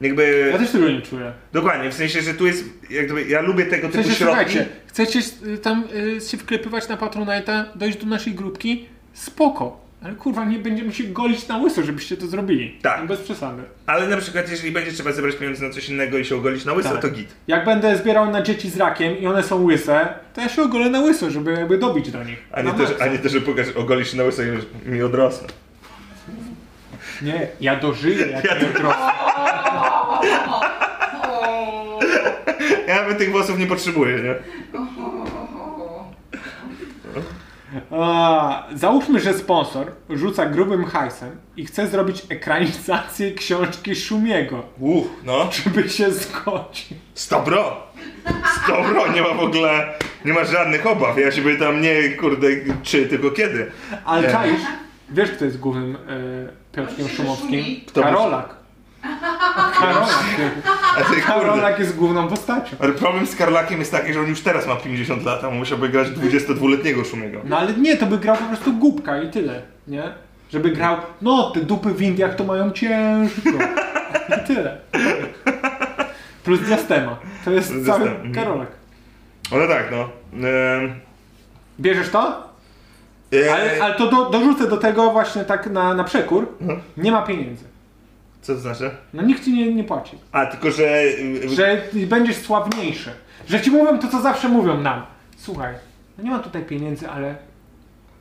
Speaker 2: jakby...
Speaker 4: Ja też tego nie czuję.
Speaker 2: Dokładnie, w sensie, że tu jest, jak gdyby, ja lubię tego
Speaker 4: W sensie,
Speaker 2: typu środki.
Speaker 4: słuchajcie, chcecie y, tam y, się wklepywać na Patronite'a, dojść do naszej grupki, spoko. Ale kurwa, nie będziemy się golić na łyso, żebyście to zrobili.
Speaker 2: Tak.
Speaker 4: No Bez przesady.
Speaker 2: Ale na przykład, jeżeli będzie trzeba zebrać pieniądze na coś innego i się ogolić na łyso,
Speaker 4: Tak.
Speaker 2: to git.
Speaker 4: Jak będę zbierał na dzieci z rakiem i one są łyse, to ja się ogolę na łyso, żeby jakby dobić do nich.
Speaker 2: A nie,
Speaker 4: Na
Speaker 2: to, że,
Speaker 4: maksa.
Speaker 2: a nie to, że pokaż, ogolisz się na łyso i już mi odrosną.
Speaker 4: Nie, ja dożyję, jak ja jutro.
Speaker 2: Ja bym tych włosów nie potrzebuję, nie?
Speaker 4: A, Załóżmy, że sponsor rzuca grubym hajsem i chce zrobić ekranizację książki Szumiego,
Speaker 2: Uff, no.
Speaker 4: żeby się zgodził.
Speaker 2: Stobro! Stobro, nie ma w ogóle, nie ma żadnych obaw. Ja się pytam nie, kurde, czy, tylko kiedy.
Speaker 4: Ale
Speaker 2: Nie.
Speaker 4: czaisz, wiesz kto jest głównym e, Piotrkiem
Speaker 5: Oczywiście
Speaker 4: Szumowskim?
Speaker 5: Szumi.
Speaker 2: Kto
Speaker 4: Karolak. Karolak.
Speaker 2: A ty, kurde.
Speaker 4: Karolak jest główną postacią.
Speaker 2: Ale problem z Karlakiem jest taki, że on już teraz ma 50 lat, a musiałby grać 22-letniego Szumiego.
Speaker 4: No ale nie, to by grał po prostu głupka i tyle, nie? Żeby grał, no te dupy w Indiach to mają ciężko. I tyle. Plus diastema. To jest
Speaker 2: Plus
Speaker 4: cały
Speaker 2: diastema, mhm.
Speaker 4: Karolak.
Speaker 2: No, no tak, no. Ehm,
Speaker 4: Bierzesz to?
Speaker 2: e,
Speaker 4: Ale, ale to do, dorzucę do tego właśnie tak na, na przekór.
Speaker 2: No.
Speaker 4: Nie ma pieniędzy.
Speaker 2: Co to znaczy?
Speaker 4: No nikt ci nie, nie płaci.
Speaker 2: A, tylko że... y, y,
Speaker 4: Że będziesz sławniejszy. Że ci mówią to, co zawsze mówią nam. Słuchaj, no nie ma tutaj pieniędzy, ale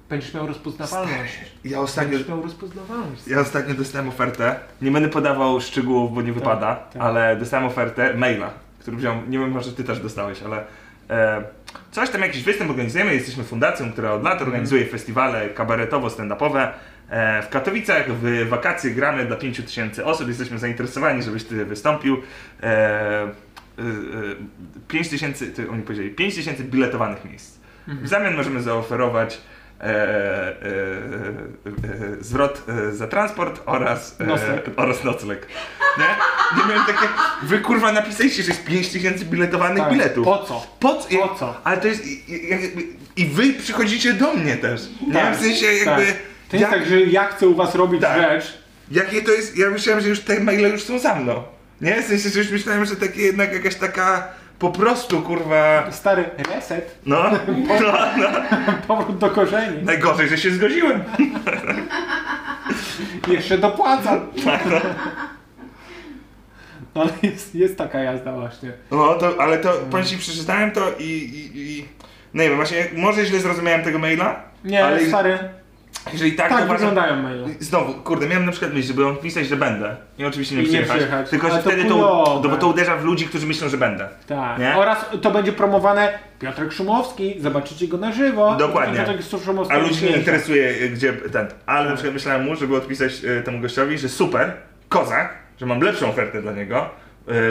Speaker 4: będziesz miał rozpoznawalność.
Speaker 2: Ja ostatnio,
Speaker 4: Będziesz miał rozpoznawalność.
Speaker 2: ja ostatnio dostałem ofertę. Nie będę podawał szczegółów, bo nie wypada,
Speaker 4: tak.
Speaker 2: ale dostałem ofertę maila, który wziąłem. Nie wiem, może ty też dostałeś, ale e, coś tam jakiś występ organizujemy. Jesteśmy fundacją, która od
Speaker 4: Mhm.
Speaker 2: lat organizuje festiwale kabaretowo-stand-upowe. E, w Katowicach w wakacje gramy dla 5000 osób. Jesteśmy zainteresowani, żebyś ty wystąpił. E, 5 tysięcy, to oni powiedzieli, 5 tysięcy biletowanych miejsc. W zamian możemy zaoferować e, e, e, e, zwrot e, za transport oraz, e,
Speaker 4: Nocleg.
Speaker 2: oraz nocleg. Nie? Nie miałem takie, wy kurwa napisaliście, że jest 5 tysięcy biletowanych
Speaker 4: Tak.
Speaker 2: biletów.
Speaker 4: Po co?
Speaker 2: Po co?
Speaker 4: Po co?
Speaker 2: Ale to jest, i- i- jakby, i wy przychodzicie do mnie też. Nie
Speaker 4: Tak,
Speaker 2: w sensie jakby,
Speaker 4: tak. To nie
Speaker 2: jak,
Speaker 4: jest tak, że ja chcę u was robić
Speaker 2: Tak.
Speaker 4: rzecz.
Speaker 2: jakie to jest, ja myślałem, że już te maile już są za mną. Nie? W sensie, że już myślałem, że takie jednak jakaś taka po prostu kurwa...
Speaker 4: Stary reset,
Speaker 2: No, no, no.
Speaker 4: powrót do korzeni.
Speaker 2: Najgorzej, że się zgodziłem.
Speaker 4: Jeszcze dopłacam.
Speaker 2: Tak,
Speaker 4: No ale jest, jest taka jazda właśnie.
Speaker 2: No, to, ale to, powiem ci, przeczytałem to i, i, i... No nie wiem, właśnie, może źle zrozumiałem tego maila,
Speaker 4: Nie,
Speaker 2: ale
Speaker 4: stary,
Speaker 2: jeżeli tak,
Speaker 4: tak
Speaker 2: to uważam...
Speaker 4: wyglądają maile.
Speaker 2: Znowu, kurde, miałem na przykład myśl, żeby on pisać, że będę. I oczywiście nie
Speaker 4: I nie
Speaker 2: przyjechać.
Speaker 4: przyjechać.
Speaker 2: Tylko,
Speaker 4: Ale
Speaker 2: że
Speaker 4: to
Speaker 2: wtedy to,
Speaker 4: chujowe.
Speaker 2: to, bo to uderza w ludzi, którzy myślą, że będę.
Speaker 4: Tak.
Speaker 2: Nie?
Speaker 4: Oraz to będzie promowane Piotrek Szumowski, zobaczycie go na żywo.
Speaker 2: Dokładnie.
Speaker 4: Piotrek Szumowski
Speaker 2: A ludzi nie
Speaker 4: jest.
Speaker 2: interesuje, y, gdzie ten. Ale na przykład myślałem mu, żeby odpisać y, temu gościowi, że super, kozak, że mam lepszą ofertę dla niego.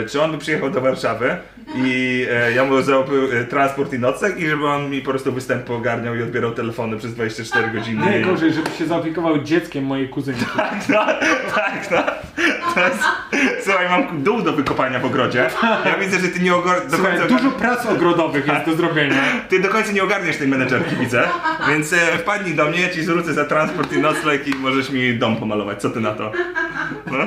Speaker 2: y, Czy on by przyjechał do Warszawy i e, ja mu zrobił e, transport i nocleg i żeby on mi po prostu występ ogarniał i odbierał telefony przez 24 godziny.
Speaker 4: Nie
Speaker 2: i...
Speaker 4: gorzej, żeby się zaopiekował dzieckiem mojej kuzynki.
Speaker 2: Tak, no, tak, no. To jest... Słuchaj, mam dół do wykopania w ogrodzie. Ja widzę, że ty nie ogor... do końca... tak-
Speaker 4: Słuchaj, dużo prac ogrodowych jest do zrobienia.
Speaker 2: Ty do końca nie ogarniesz tej menedżerki, widzę. Więc e, wpadnij do mnie, ja ci zwrócę za transport i nocleg i możesz mi dom pomalować. Co ty na to? No?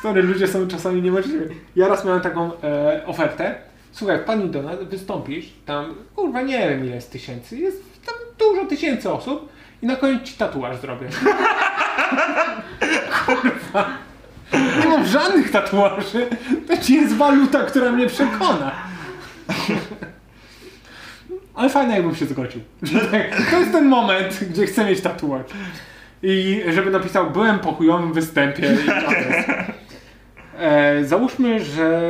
Speaker 4: Stary, ludzie są czasami niemożliwi. Ja raz miałem taką e, ofertę. Słuchaj, pani do nas wystąpisz, tam kurwa nie wiem ile jest tysięcy, jest tam dużo tysięcy osób i na koniec ci tatuaż zrobię. kurwa. Nie mam żadnych tych tatuaży, to ci jest waluta, która mnie przekona. Ale fajnie, jakbym się zgodził. To jest ten moment, gdzie chcę mieć tatuaż. I żeby napisał, byłem po chujowym występie. I adres. E, załóżmy, że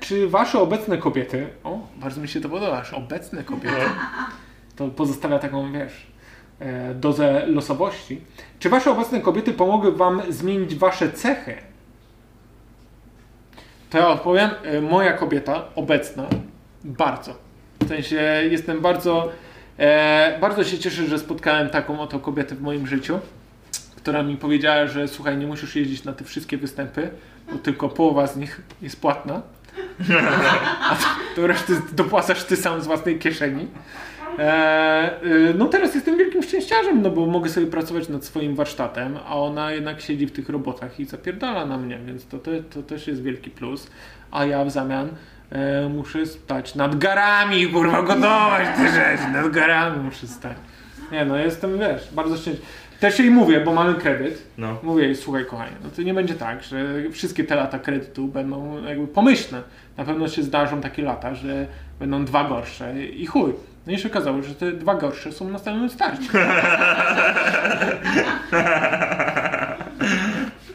Speaker 4: czy wasze obecne kobiety, o, bardzo mi się to podoba, że obecne kobiety, to pozostawia taką, wiesz, e, dozę losowości. Czy wasze obecne kobiety pomogły wam zmienić wasze cechy? To ja odpowiem, e, moja kobieta obecna, bardzo. W sensie jestem bardzo, e, bardzo się cieszę, że spotkałem taką oto kobietę w moim życiu, która mi powiedziała, że słuchaj, nie musisz jeździć na te wszystkie występy, bo tylko połowa z nich jest płatna. A to resztę dopłacasz ty sam z własnej kieszeni. E, y, no teraz jestem wielkim szczęściarzem, no bo mogę sobie pracować nad swoim warsztatem, a ona jednak siedzi w tych robotach i zapierdala na mnie, więc to, te, to też jest wielki plus. A ja w zamian e, muszę stać nad garami, kurwa, gotować te rzeczy, nad garami muszę stać. Nie no, jestem, wiesz, bardzo szczęśliwy. Też jej mówię, bo mamy kredyt.
Speaker 2: No.
Speaker 4: Mówię jej, słuchaj kochanie, no to nie będzie tak, że wszystkie te lata kredytu będą jakby pomyślne. Na pewno się zdarzą takie lata, że będą dwa gorsze i chuj. No i się okazało, że te dwa gorsze są na samym starcie.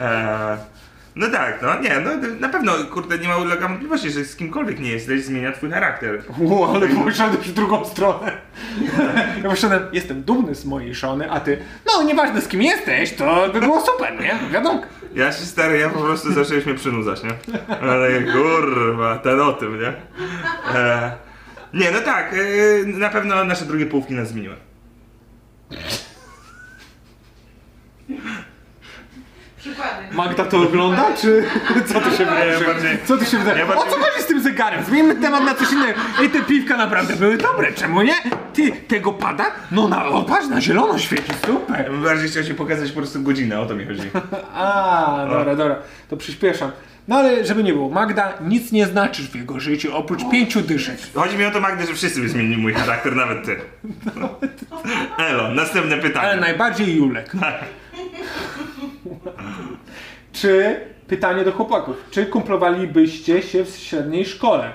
Speaker 2: Eee, no tak, no nie, no na pewno, kurde, nie ma ulega wątpliwości, że z kimkolwiek nie jesteś, zmienia twój charakter.
Speaker 4: Ło, ale poszedłem w drugą stronę. Ja poszedłem, jestem dumny z mojej żony, a ty, no nieważne z kim jesteś, to by było super, nie? Wiadomo.
Speaker 2: Ja się stary, ja po prostu zacząłeś mnie przynudzać, nie? Ale kurwa, ten o tym, nie? Eee, nie, no tak, eee, na pewno nasze drugie połówki nas zmieniły.
Speaker 5: Przykłady. No,
Speaker 4: Magda to ogląda, czy co tu się
Speaker 2: Ja
Speaker 4: wydarzy?
Speaker 2: bardziej,
Speaker 4: Co tu się wydarzy?
Speaker 2: Ja
Speaker 4: o
Speaker 2: bardziej-
Speaker 4: co chodzi z tym zegarem? Zmienimy temat na coś innego. Ej, te piwka naprawdę były dobre, czemu nie? Ty, tego pada? No na, o, patrz, na zielono świeci,
Speaker 2: ja
Speaker 4: super.
Speaker 2: bym bardziej chciał ci pokazać po prostu godzinę, o to mi chodzi.
Speaker 4: A, dobra, dobra, to przyspieszam. No ale żeby nie było, Magda, nic nie znaczysz w jego życiu, oprócz pięciu dyszek.
Speaker 2: Chodzi mi o to, Magdy, że wszyscy by zmienili mój charakter, nawet ty. Elo, następne
Speaker 4: Ale
Speaker 2: pytanie.
Speaker 4: najbardziej Julek. Czy, pytanie do chłopaków, czy kumplowalibyście się w średniej szkole?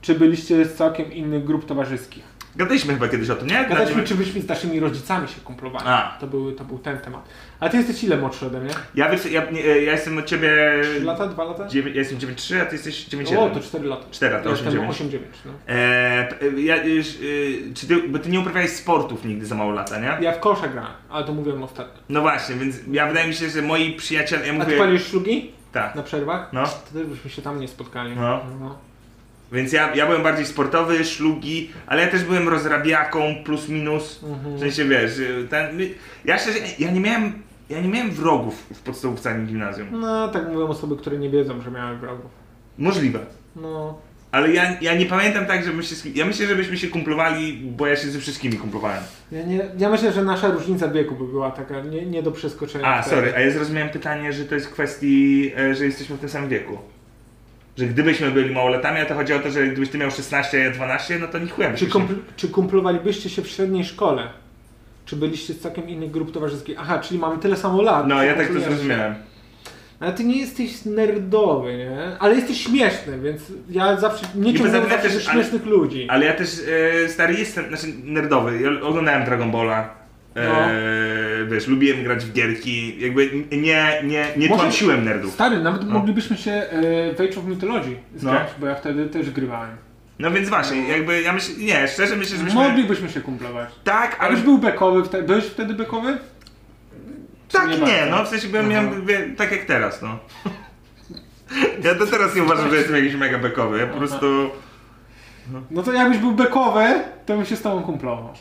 Speaker 4: Czy byliście z całkiem innych grup towarzyskich?
Speaker 2: Gadaliśmy chyba kiedyś o tym, nie?
Speaker 4: Gadaliśmy, czy byśmy z naszymi rodzicami się kumplowali.
Speaker 2: Tak, A.
Speaker 4: To, był, to był ten temat. A ty jesteś ile młodszy ode mnie?
Speaker 2: Ja, wiesz, ja, nie, e, ja jestem od ciebie...
Speaker 4: 3 lata, 2 lata?
Speaker 2: Dziewię- ja jestem 9,3, a ty jesteś
Speaker 4: O,
Speaker 2: 9,7.
Speaker 4: to 4 lata.
Speaker 2: Cztery lata,
Speaker 4: Ja
Speaker 2: osiem,
Speaker 4: Jestem
Speaker 2: dziewięć.
Speaker 4: 8-9. No.
Speaker 2: Eee, p- e, ja, już, e, czy ty, bo ty nie uprawiałeś sportów nigdy za mało lata, nie?
Speaker 4: Ja w kosza grałem, ale to mówiłem ostatnio.
Speaker 2: No właśnie, więc ja wydaje mi się, że moi przyjaciele, ja
Speaker 4: A ty
Speaker 2: mówię...
Speaker 4: palisz szlugi
Speaker 2: Tak,
Speaker 4: na przerwach?
Speaker 2: no.
Speaker 4: To też byśmy się tam nie spotkali.
Speaker 2: No. Więc ja, ja byłem bardziej sportowy, szlugi, ale ja też byłem rozrabiaką, plus minus. W sensie wiesz, y, ten, my- ja szczerze, ja nie miałem, ja nie miałem wrogów w podstawówce ani gimnazjum.
Speaker 4: No, tak mówią osoby, które nie wiedzą, że miałem wrogów.
Speaker 2: Możliwe.
Speaker 4: No.
Speaker 2: Ale ja, ja nie pamiętam tak, żebym się z kim, ja myślę, żebyśmy się kumplowali, bo ja się ze wszystkimi kumplowałem.
Speaker 4: Ja, nie, ja myślę, że nasza różnica wieku by była taka nie, nie do przeskoczenia.
Speaker 2: A,
Speaker 4: wtedy.
Speaker 2: sorry, a ja zrozumiałem pytanie, że to jest kwestii, e, że jesteśmy w tym samym wieku. Że gdybyśmy byli małoletami, a to chodzi o to, że gdybyś ty miał 16, a ja 12, no to nie chujem.
Speaker 4: Czy, kumpl, czy kumplowalibyście się w średniej szkole? Czy byliście z całkiem innych grup towarzyskich? Aha, czyli mamy tyle samo lat.
Speaker 2: No, ja tak to
Speaker 4: Kumplujemy się.
Speaker 2: zrozumiałem.
Speaker 4: Ale ty nie jesteś nerdowy, nie? Ale jesteś śmieszny, więc ja zawsze nie
Speaker 2: Niby
Speaker 4: ciągnę
Speaker 2: zapytacie,
Speaker 4: zawsze do
Speaker 2: że- ale-
Speaker 4: śmiesznych ludzi.
Speaker 2: Ale ja też e, stary jestem, znaczy nerdowy, ja oglądałem Dragon Balla. E,
Speaker 4: No.
Speaker 2: Wiesz, lubiłem grać w gierki, jakby nie, nie, nie
Speaker 4: Może-
Speaker 2: tłamsiłem nerdów.
Speaker 4: Stary, nawet
Speaker 2: No.
Speaker 4: moglibyśmy się e, w Age of Mythology zgrać, bo ja wtedy też grywałem.
Speaker 2: No więc właśnie, jakby ja myślę, nie, szczerze myślę, że myśmy...
Speaker 4: Moglibyśmy się kumplować.
Speaker 2: Tak,
Speaker 4: A
Speaker 2: ale
Speaker 4: byś był bekowy, wte- byłeś wtedy bekowy?
Speaker 2: tak
Speaker 4: nie
Speaker 2: nie,
Speaker 4: bardzo?
Speaker 2: no w sensie byłem,
Speaker 4: Aha.
Speaker 2: miałem, wie, tak jak teraz, no. ja to teraz nie uważam, że jestem jakiś mega bekowy, ja po prostu...
Speaker 4: No to jakbyś był bekowy, to bym się z tobą kumplował.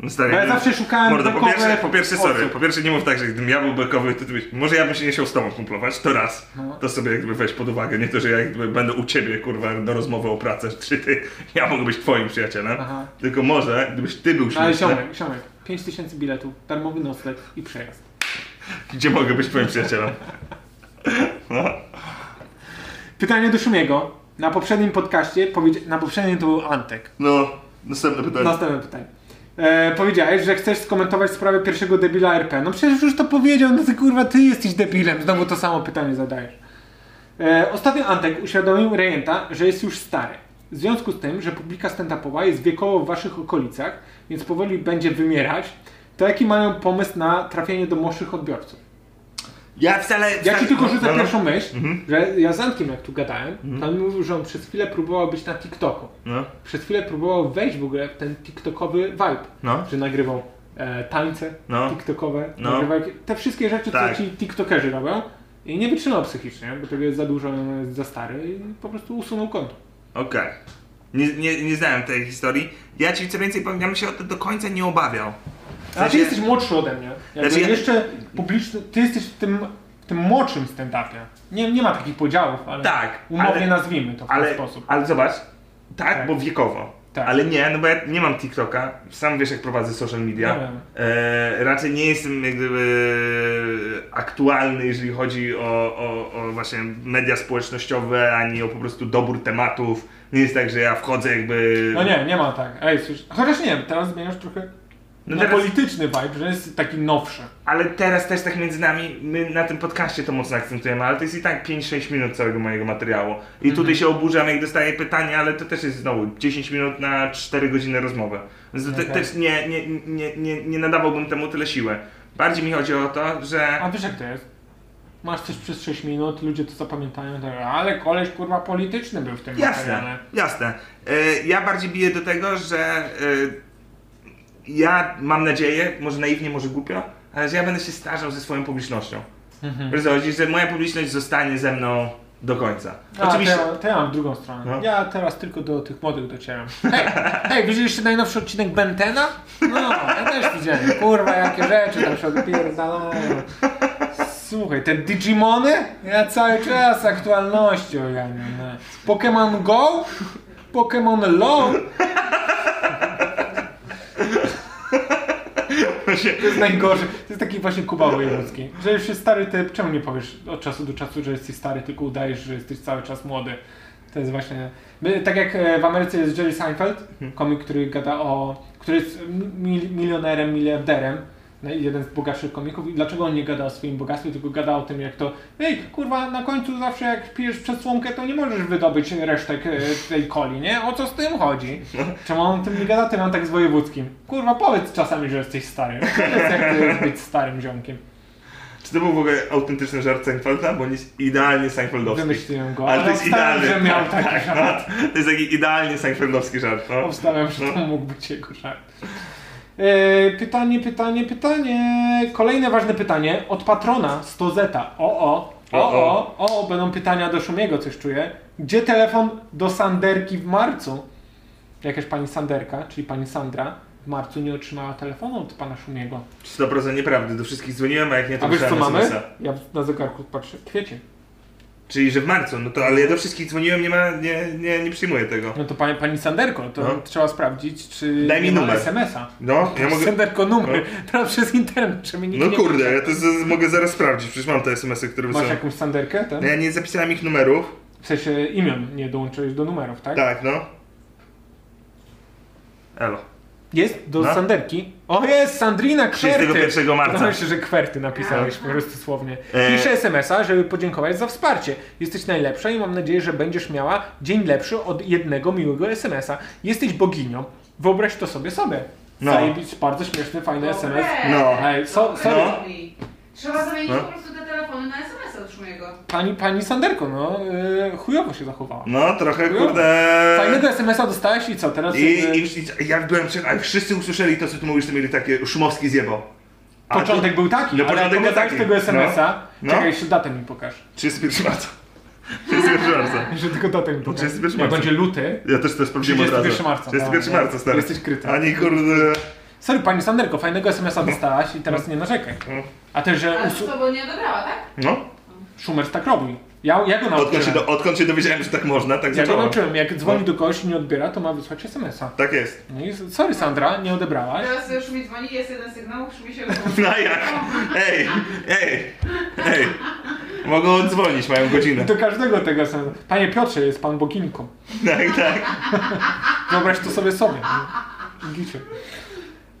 Speaker 2: No stary,
Speaker 4: Bo ja
Speaker 2: jakbym-
Speaker 4: zawsze szukałem
Speaker 2: Mordo, po
Speaker 4: bekowe
Speaker 2: pierwsze, po pierwsze, sorry,
Speaker 4: osób.
Speaker 2: po pierwsze nie mów tak, że gdybym ja był bekowy, to ty byś, może ja bym się nie chciał z tobą kumplować, to raz,
Speaker 4: No.
Speaker 2: to sobie jakby weź pod uwagę, nie to, że ja jakby będę u ciebie, kurwa, do rozmowy o pracę, czy ty, ja mogę być twoim przyjacielem,
Speaker 4: Aha.
Speaker 2: tylko może, gdybyś ty był
Speaker 4: No ale
Speaker 2: śmieszny,
Speaker 4: ziomek, ziomek. 5000 biletów, darmowy nocleg i przejazd.
Speaker 2: gdzie mogę być twoim przyjacielem? No.
Speaker 4: Pytanie do Szumiego. Na poprzednim podcaście, powiedzia- na poprzednim to był Antek.
Speaker 2: no, następne pytanie.
Speaker 4: Następne pytanie. E, powiedziałeś, że chcesz skomentować sprawę pierwszego debila RP. No przecież już to powiedział, no ty kurwa, ty jesteś debilem. Znowu to samo pytanie zadajesz. E, ostatnio Antek uświadomił Rejenta, że jest już stary. W związku z tym, że publika stand-upowa jest wiekowo w waszych okolicach, więc powoli będzie wymierać, to jaki mają pomysł na trafienie do młodszych odbiorców?
Speaker 2: Ja wcale...
Speaker 4: Ja ci
Speaker 2: wcale-
Speaker 4: tylko rzucę
Speaker 2: no, Mhm. no.
Speaker 4: pierwszą myśl, że ja z Antkiem jak tu gadałem, to on mówił, że on przez chwilę próbował być na TikToku.
Speaker 2: No.
Speaker 4: Przez chwilę próbował wejść w ogóle w ten TikTokowy vibe,
Speaker 2: No.
Speaker 4: że nagrywał e, tańce
Speaker 2: No.
Speaker 4: TikTokowe,
Speaker 2: No.
Speaker 4: nagrywał jakieś- te wszystkie rzeczy,
Speaker 2: Tak.
Speaker 4: co ci TikTokerzy robią i nie wytrzymał psychicznie, bo tego jest za dużo, on jest za stary i po prostu usunął konto.
Speaker 2: Okej. Nie, nie, nie znałem tej historii. Ja ci co więcej powiem, ja bym się o to do końca nie obawiał. W
Speaker 4: A ty
Speaker 2: sensie-
Speaker 4: jesteś młodszy ode mnie. Jakby
Speaker 2: Znaczy ja-
Speaker 4: jeszcze publiczny, ty jesteś w tym, w tym młodszym stand-upie. Nie, nie ma takich podziałów, ale
Speaker 2: Tak,
Speaker 4: umownie
Speaker 2: ale-
Speaker 4: nazwijmy to w ten
Speaker 2: ale,
Speaker 4: sposób.
Speaker 2: ale zobacz, tak,
Speaker 4: Tak.
Speaker 2: bo wiekowo.
Speaker 4: Tak.
Speaker 2: Ale nie, no bo ja nie mam TikToka, sam wiesz jak prowadzę social media.
Speaker 4: No wiem.
Speaker 2: E, raczej nie jestem jak gdyby aktualny, jeżeli chodzi o, o, o właśnie media społecznościowe, ani o po prostu dobór tematów. Nie jest tak, że ja wchodzę jakby...
Speaker 4: No nie, nie ma tak. Ej, słysz... Chociaż nie, teraz zmieniasz trochę
Speaker 2: No
Speaker 4: na
Speaker 2: teraz-
Speaker 4: polityczny vibe, że jest taki nowszy.
Speaker 2: Ale teraz też tak między nami, my na tym podcaście to mocno akcentujemy, ale to jest i tak 5-6 minut całego mojego materiału. I tutaj się oburzam, jak dostaję pytanie, ale to też jest znowu 10 minut na 4 godziny rozmowy. Więc to te,
Speaker 4: Okej.
Speaker 2: też nie, nie, nie, nie, nie nadawałbym temu tyle siły. Bardziej mi chodzi o to, że...
Speaker 4: A wiesz jak to jest? Masz coś przez 6 minut, ludzie to zapamiętają, tak, ale koleś kurwa polityczny był w tym
Speaker 2: Jasne,
Speaker 4: materiale.
Speaker 2: jasne. E, Ja bardziej biję do tego, że e, ja mam nadzieję, może naiwnie, może głupio, ale że ja będę się starzał ze swoją publicznością.
Speaker 4: Mhm.
Speaker 2: Wiesz, co chodzi, że moja publiczność zostanie ze mną do końca.
Speaker 4: A,
Speaker 2: Oczywiście.
Speaker 4: Oczywiście. No, To, ja, to ja mam drugą stronę.
Speaker 2: No.
Speaker 4: Ja teraz tylko do tych młodych docieram. Hej, hej widzieliście najnowszy odcinek Bentena? No, ja też widziałem. Kurwa, jakie rzeczy tam się odpierdalają. Słuchaj, te Digimony? Ja cały czas aktualnością, ja nie no. Pokémon Go? Pokémon LOL? To jest najgorsze. To jest taki właśnie Kuba Wojewódzki. Że już jest stary typ, czemu nie powiesz od czasu do czasu, że jesteś stary, tylko udajesz, że jesteś cały czas młody. To jest właśnie... My, tak jak e, w Ameryce jest Jerry Seinfeld,
Speaker 2: Mhm.
Speaker 4: komik, który gada o... który jest mil, milionerem, miliarderem. no i Jeden z bogatszych komików. I dlaczego on nie gada o swoim bogactwie, tylko gada o tym, jak to ej, kurwa, na końcu zawsze jak pijesz przesłonkę, to nie możesz wydobyć resztek e, tej coli, nie? O co z tym chodzi? Czemu on o tym nie gada? Ty mam tak z wojewódzkim. Kurwa, powiedz czasami, że jesteś stary. Powiedz, jak to jest być starym ziomkiem.
Speaker 2: Czy to był w ogóle autentyczny żart Seinfelda? Bo on jest idealnie Seinfeldowski.
Speaker 4: Wymyśliłem go,
Speaker 2: Ale
Speaker 4: ale
Speaker 2: to jest
Speaker 4: obstawiam,
Speaker 2: idealny.
Speaker 4: że miał taki
Speaker 2: tak,
Speaker 4: żart.
Speaker 2: No, to jest taki idealnie Seinfeldowski żart. No.
Speaker 4: Obstawiam, że to mógł być jego żart. E, pytanie, pytanie, pytanie. Kolejne ważne pytanie od patrona 100 zeta. O o, o o, o o, będą pytania do Szumiego, coś czuję. Gdzie telefon do Sanderki w marcu? Jakaś pani Sanderka, czyli pani Sandra, w marcu nie otrzymała telefonu od pana Szumiego.
Speaker 2: 100% nieprawdy, do wszystkich dzwoniłem, a jak nie to
Speaker 4: A wiesz co
Speaker 2: pisałem
Speaker 4: mamy?
Speaker 2: SMS-a.
Speaker 4: Ja na zegarku patrzę. Kwiecień.
Speaker 2: Czyli, że w marcu, no to ale ja do wszystkich dzwoniłem, nie ma, nie, nie, nie przyjmuję tego.
Speaker 4: No to pani, pani Sanderko, to
Speaker 2: No.
Speaker 4: trzeba sprawdzić, czy
Speaker 2: Daj mi
Speaker 4: nie ma
Speaker 2: numer.
Speaker 4: SMS-a.
Speaker 2: No, ja mogę...
Speaker 4: Sanderko numer.
Speaker 2: No.
Speaker 4: Teraz przez internet, czy mi nikt
Speaker 2: No
Speaker 4: nie
Speaker 2: kurde, ja to z, mogę zaraz sprawdzić, przecież mam te SMS-y, które
Speaker 4: Masz
Speaker 2: są.
Speaker 4: jakąś Sanderkę? Ten?
Speaker 2: No ja nie zapisałem ich numerów.
Speaker 4: W sensie imion nie dołączyłeś do numerów, tak?
Speaker 2: Tak, no. Elo.
Speaker 4: Jest do
Speaker 2: No.
Speaker 4: Sanderki. O, jest Sandrina Kwerty!
Speaker 2: 31 marca. Tak.
Speaker 4: Podoba mi się, że Kwerty napisałeś po prostu słownie.
Speaker 2: E.
Speaker 4: Piszę SMS-a, żeby podziękować za wsparcie. Jesteś najlepsza i mam nadzieję, że będziesz miała dzień lepszy od jednego miłego SMS-a. Jesteś boginią. Wyobraź to sobie sobie.
Speaker 2: No.
Speaker 4: No. Zajebić, bardzo śmieszny, fajny SMS.
Speaker 2: No.
Speaker 4: Ej, so, sorry.
Speaker 2: No.
Speaker 5: Trzeba zamienić
Speaker 2: No.
Speaker 5: po prostu te telefony na SMS-y od Szumiego.
Speaker 4: Pani, pani Sanderko, no, y, chujowo się zachowała.
Speaker 2: No, trochę
Speaker 4: No.
Speaker 2: kurde.
Speaker 4: Fajnego SMS-a dostałeś i co, teraz...
Speaker 2: I,
Speaker 4: jakby
Speaker 2: i, i ja byłem czeka, a wszyscy usłyszeli to, co ty mówisz, to mieli takie szumowski zjebo. A
Speaker 4: Początek
Speaker 2: tu-
Speaker 4: był taki,
Speaker 2: No,
Speaker 4: ale
Speaker 2: początek
Speaker 4: jak
Speaker 2: był
Speaker 4: oglądałeś
Speaker 2: taki.
Speaker 4: tego SMS-a,
Speaker 2: No. No.
Speaker 4: czekaj, jeszcze datę mi pokaż.
Speaker 2: 31 marca. 31 marca.
Speaker 4: Jeszcze tylko datę mi pokaż.
Speaker 2: 31
Speaker 4: Jak
Speaker 2: marca.
Speaker 4: będzie luty...
Speaker 2: Ja też to sprawdziłem od razu.
Speaker 4: 31 marca,
Speaker 2: 31
Speaker 4: tak,
Speaker 2: marca, stary.
Speaker 4: jesteś kryty.
Speaker 2: Ani kurde...
Speaker 4: Sorry, pani Sanderko, fajnego SMS-a dostałaś i teraz nie narzekaj.
Speaker 2: No.
Speaker 4: A też, że
Speaker 5: Ale
Speaker 4: usu...
Speaker 5: to bo nie odebrała, tak?
Speaker 2: No.
Speaker 4: Szumer tak robił. Ja, ja go nauczyłem.
Speaker 2: Odkąd się, do, odkąd się dowiedziałem, że tak można, tak
Speaker 4: Ja go
Speaker 2: zacząłem.
Speaker 4: nauczyłem, jak dzwoni do kogoś i nie odbiera, to ma wysłać SMS-a.
Speaker 2: Tak jest.
Speaker 4: No i sorry Sandra, nie odebrałaś.
Speaker 5: Teraz już mi dzwoni, jest jeden sygnał, Szumi się
Speaker 2: No jak? Ej, ej, ej. Mogą odzwonić, mają godzinę.
Speaker 4: Do każdego tego SMS-a. Panie Piotrze, jest pan boginką.
Speaker 2: Tak, tak.
Speaker 4: Wyobraź to sobie sobie. nie? Gicie.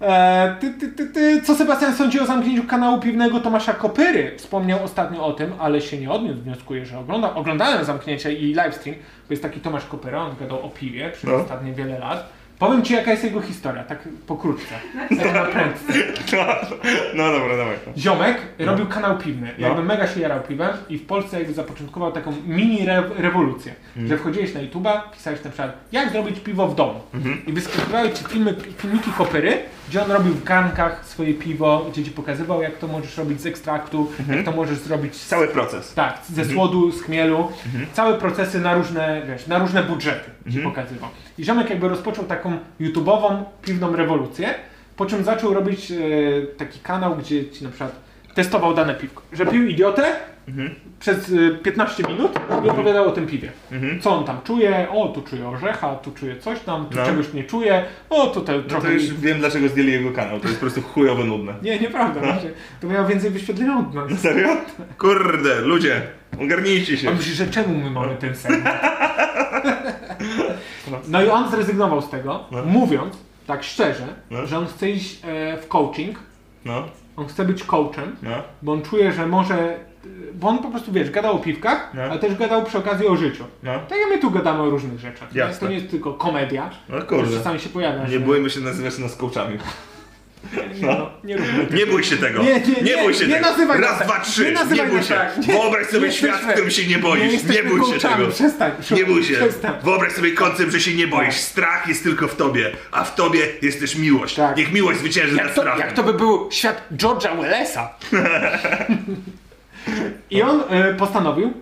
Speaker 4: E, no. E, ty, ty, ty, ty. Co Sebastian sądzi o zamknięciu kanału piwnego Tomasza Kopyry? Wspomniał ostatnio o tym, ale się nie odniósł. Wnioskuję, że ogląda, oglądałem zamknięcie i livestream, bo jest taki Tomasz Kopyra, on gadał o piwie przez
Speaker 2: No.
Speaker 4: ostatnie wiele lat. Powiem ci, jaka jest jego historia, tak pokrótce, tak na prędce.
Speaker 2: No, no dobra, dawaj. no.
Speaker 4: Ziomek robił kanał piwny,
Speaker 2: No.
Speaker 4: jakby mega się jarał piwem i w Polsce jakby zapoczątkował taką mini re rewolucję,
Speaker 2: Mm.
Speaker 4: że wchodziłeś na YouTube'a, pisałeś na przykład jak zrobić piwo w domu
Speaker 2: Mhm.
Speaker 4: i wyskakiwały ci filmy, filmiki Kopyry, gdzie on robił w garnkach swoje piwo, gdzie ci pokazywał jak to możesz robić z ekstraktu, jak to możesz zrobić z
Speaker 2: Mhm. Cały proces.
Speaker 4: tak, ze słodu, z chmielu.
Speaker 2: Mhm.
Speaker 4: Całe procesy na różne, wiesz, na różne budżety ci pokazywał. I Ziomek jakby rozpoczął taką YouTube'ową, piwną rewolucję, po czym zaczął robić e, taki kanał, gdzie ci na przykład testował dane piwko. Że pił idiotę
Speaker 2: Mhm.
Speaker 4: przez e, 15 minut i opowiadał o tym piwie.
Speaker 2: Mhm.
Speaker 4: Co on tam czuje, o tu czuję orzecha, tu czuję coś tam, tu
Speaker 2: No.
Speaker 4: czegoś nie czuję, o tutaj
Speaker 2: No to
Speaker 4: trochę...
Speaker 2: już wiem dlaczego zdjęli jego kanał, to jest po prostu chujowo nudne.
Speaker 4: Nie, nieprawda, właśnie. to miał więcej wyświetleń od nas.
Speaker 2: Serio? Kurde, ludzie, ogarnijcie
Speaker 4: A
Speaker 2: się.
Speaker 4: myślisz, że czemu my mamy ten segment? No i on zrezygnował z tego,
Speaker 2: No.
Speaker 4: mówiąc tak szczerze,
Speaker 2: No.
Speaker 4: że on chce iść e, w coaching,
Speaker 2: No,
Speaker 4: on chce być coachem,
Speaker 2: no.
Speaker 4: bo on czuje, że może. e, Bo on po prostu wiesz, gadał o piwkach,
Speaker 2: No.
Speaker 4: ale też gadał przy okazji o życiu.
Speaker 2: No.
Speaker 4: Tak jak my tu gadamy o różnych rzeczach. nie?
Speaker 2: Jasne.
Speaker 4: To nie jest tylko komedia.
Speaker 2: No
Speaker 4: Kurde.
Speaker 2: kurde.
Speaker 4: czasami się pojawia.
Speaker 2: Nie
Speaker 4: że-
Speaker 2: bójmy się nazywać nas kołczami.
Speaker 4: Nie, no, nie róbmy.
Speaker 2: Nie bój się tego!
Speaker 4: Nie, nie, nie,
Speaker 2: bój się
Speaker 4: nie
Speaker 2: tego!
Speaker 4: nazywaj nas
Speaker 2: Raz,
Speaker 4: tak.
Speaker 2: dwa, trzy!
Speaker 4: Nie nazywaj
Speaker 2: bój
Speaker 4: nas
Speaker 2: się!
Speaker 4: tak. Nie,
Speaker 2: Wyobraź sobie
Speaker 4: nie
Speaker 2: świat, w
Speaker 4: jesteśmy-
Speaker 2: którym się nie boisz! Nie,
Speaker 4: jesteśmy
Speaker 2: bój się
Speaker 4: coachami.
Speaker 2: tego!
Speaker 4: Przestań,
Speaker 2: nie bój się!
Speaker 4: Przestań.
Speaker 2: Wyobraź sobie koncept, że się nie boisz. Strach jest tylko w tobie, a w tobie jest też miłość.
Speaker 4: Tak.
Speaker 2: Niech miłość zwycięży nad
Speaker 4: Jak to,
Speaker 2: strachem.
Speaker 4: jak to by był świat George'a Wellesa? I on e, postanowił,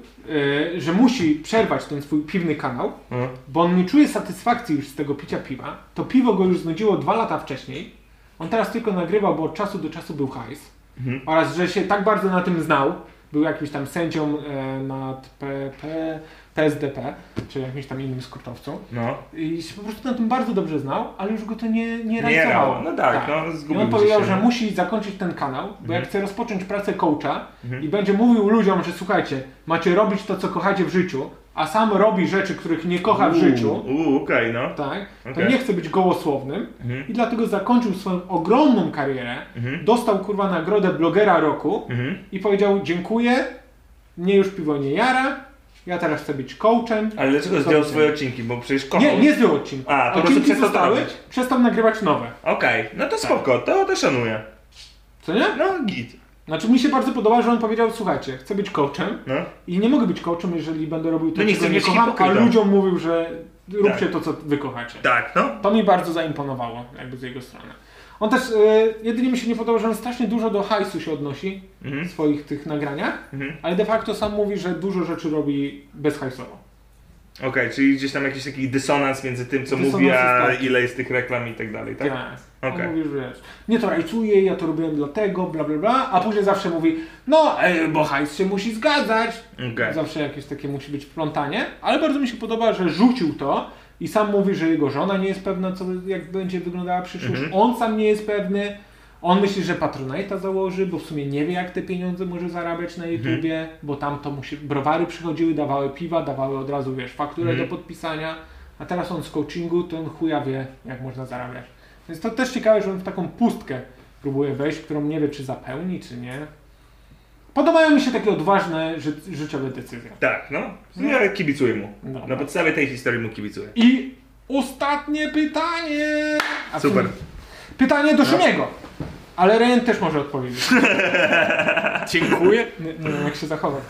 Speaker 4: e, że musi przerwać ten swój piwny kanał,
Speaker 2: Mhm.
Speaker 4: bo on nie czuje satysfakcji już z tego picia piwa. To piwo go już znudziło dwa lata wcześniej. On teraz tylko nagrywał, bo od czasu do czasu był hajs. Oraz, że się tak bardzo na tym znał, był jakimś tam sędzią e, nad P, P, PSDP, czy jakimś tam innym skurtowcą.
Speaker 2: No.
Speaker 4: I się po prostu na tym bardzo dobrze znał, ale już go to nie, nie
Speaker 2: Nie
Speaker 4: rajcowało.
Speaker 2: no tak, no zgubił
Speaker 4: I on powiedział,
Speaker 2: się. Mhm.
Speaker 4: że musi zakończyć ten kanał, bo jak chce rozpocząć pracę coacha i będzie mówił ludziom, że słuchajcie, macie robić to, co kochacie w życiu, a sam robi rzeczy, których nie kocha w życiu,
Speaker 2: Uuu, okej, no.
Speaker 4: tak, to
Speaker 2: Okej.
Speaker 4: nie chce być gołosłownym
Speaker 2: Mhm.
Speaker 4: i dlatego zakończył swoją ogromną karierę,
Speaker 2: Mhm.
Speaker 4: dostał kurwa nagrodę blogera roku
Speaker 2: Mhm.
Speaker 4: i powiedział dziękuję, mnie już piwo nie jara, ja teraz chcę być coachem.
Speaker 2: Ale dlaczego
Speaker 4: Co
Speaker 2: zdjął
Speaker 4: ty?
Speaker 2: swoje odcinki? Bo przecież kochał.
Speaker 4: Nie, nie zdjął odcinków.
Speaker 2: A, to po prostu
Speaker 4: Odcinki
Speaker 2: przestał to
Speaker 4: zostały,
Speaker 2: robić.
Speaker 4: przestał nagrywać nowe.
Speaker 2: Okej, no
Speaker 4: Tak.
Speaker 2: to spoko, to, to szanuję.
Speaker 4: Co nie?
Speaker 2: No git.
Speaker 4: Znaczy mi się bardzo podoba, że on powiedział, słuchajcie, chcę być coachem
Speaker 2: No.
Speaker 4: i nie mogę być coachem, jeżeli będę robił to,
Speaker 2: No nie
Speaker 4: czego
Speaker 2: chcę
Speaker 4: nie
Speaker 2: być
Speaker 4: kocham, a
Speaker 2: hipokrytą.
Speaker 4: ludziom mówił, że róbcie
Speaker 2: Tak.
Speaker 4: to, co wy kochacie.
Speaker 2: Tak, no.
Speaker 4: To mi bardzo zaimponowało, jakby z jego strony. On też, e, jedynie mi się nie podoba, że on strasznie dużo do hajsu się odnosi
Speaker 2: Mhm.
Speaker 4: w swoich tych nagraniach,
Speaker 2: Mhm.
Speaker 4: ale de facto sam mówi, że dużo rzeczy robi bezhajsowo.
Speaker 2: Okej, czyli gdzieś tam jakiś taki dysonans między tym, co
Speaker 4: Dysonans
Speaker 2: mówi, a
Speaker 4: jest taki.
Speaker 2: ile jest tych reklam i tak dalej, tak?
Speaker 4: Tak.
Speaker 2: Okej.
Speaker 4: On mówi, że wiesz, nie to rajcuje, ja to robiłem dlatego, bla bla bla, a później zawsze mówi, no, e, bo hajs się musi zgadzać,
Speaker 2: Okej.
Speaker 4: Zawsze jakieś takie musi być plątanie, ale bardzo mi się podoba, że rzucił to i sam mówi, że jego żona nie jest pewna, co, jak będzie wyglądała przyszłość. On sam nie jest pewny. On myśli, że Patronite'a założy, bo w sumie nie wie, jak te pieniądze może zarabiać na YouTubie, bo tam to musi, browary przychodziły, dawały piwa, dawały od razu, wiesz, fakturę do podpisania, a teraz on z coachingu, to on chuja wie, jak można zarabiać. Więc to też ciekawe, że on w taką pustkę próbuje wejść, którą nie wie, czy zapełni, czy nie. Podobają mi się takie odważne ży życiowe decyzje.
Speaker 2: Tak, no. Ja kibicuję mu.
Speaker 4: Dobra.
Speaker 2: Na podstawie tej historii mu kibicuję.
Speaker 4: I ostatnie pytanie. A w sumie-
Speaker 2: Super.
Speaker 4: Pytanie do Szymiego. Ale Ren też może odpowiedzieć. Dziękuję. Nie, nie wiem, jak się zachować.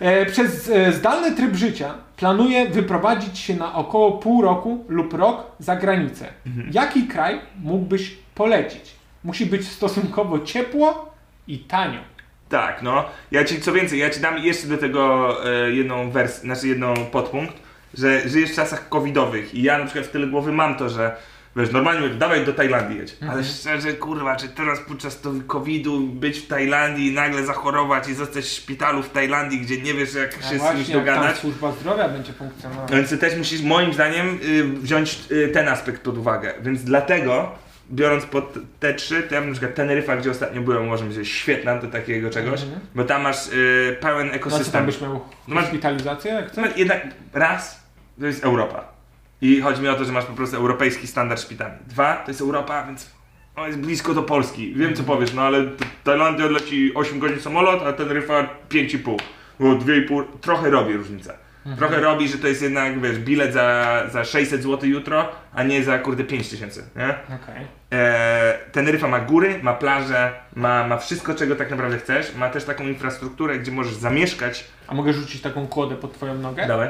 Speaker 4: E, przez e, zdalny tryb życia planuję wyprowadzić się na około pół roku lub rok za granicę.
Speaker 2: Mhm.
Speaker 4: Jaki kraj mógłbyś polecić? Musi być stosunkowo ciepło i tanio.
Speaker 2: Tak, no. Ja ci, co więcej, ja ci dam jeszcze do tego e, jedną wers, znaczy jedną podpunkt, że żyjesz w czasach covidowych i ja na przykład w tyle głowy mam to, że wiesz, normalnie mówię, dawaj do Tajlandii jedź.
Speaker 4: Mhm.
Speaker 2: Ale szczerze, kurwa, czy teraz podczas tego covidu być w Tajlandii i nagle zachorować i zostać w szpitalu w Tajlandii, gdzie nie wiesz jak
Speaker 4: A
Speaker 2: się z kimś
Speaker 4: No właśnie, jak tam
Speaker 2: dogadać.
Speaker 4: służba zdrowia będzie funkcjonowała.
Speaker 2: Więc ty też musisz, moim zdaniem, y, wziąć y, ten aspekt pod uwagę. Więc dlatego, biorąc pod te trzy, to ja bym na przykład Teneryfa, gdzie ostatnio byłem, uważam, że jest świetna do takiego czegoś,
Speaker 4: Mhm.
Speaker 2: bo tam masz y, pełen
Speaker 4: No co tam
Speaker 2: ekosystem.
Speaker 4: byś miał
Speaker 2: No masz-
Speaker 4: hospitalizację? Jak chcesz?
Speaker 2: No, jednak raz, to jest Europa. I chodzi mi o to, że masz po prostu europejski standard szpitali. Dwa, to jest Europa, więc O, jest blisko do Polski. Wiem co powiesz, no ale t- Tajlandia leci 8 godzin samolot, a ten ryfa 5,5. No 2,5. Trochę robi różnicę. Trochę robi, że to jest jednak, wiesz, bilet za, za 600 zł jutro, a nie za kurde 5 tysięcy, nie?
Speaker 4: Okej.
Speaker 2: E, Teneryfa ma góry, ma plaże, ma, ma wszystko, czego tak naprawdę chcesz. Ma też taką infrastrukturę, gdzie możesz zamieszkać.
Speaker 4: A mogę rzucić taką kłodę pod twoją nogę?
Speaker 2: Dawaj.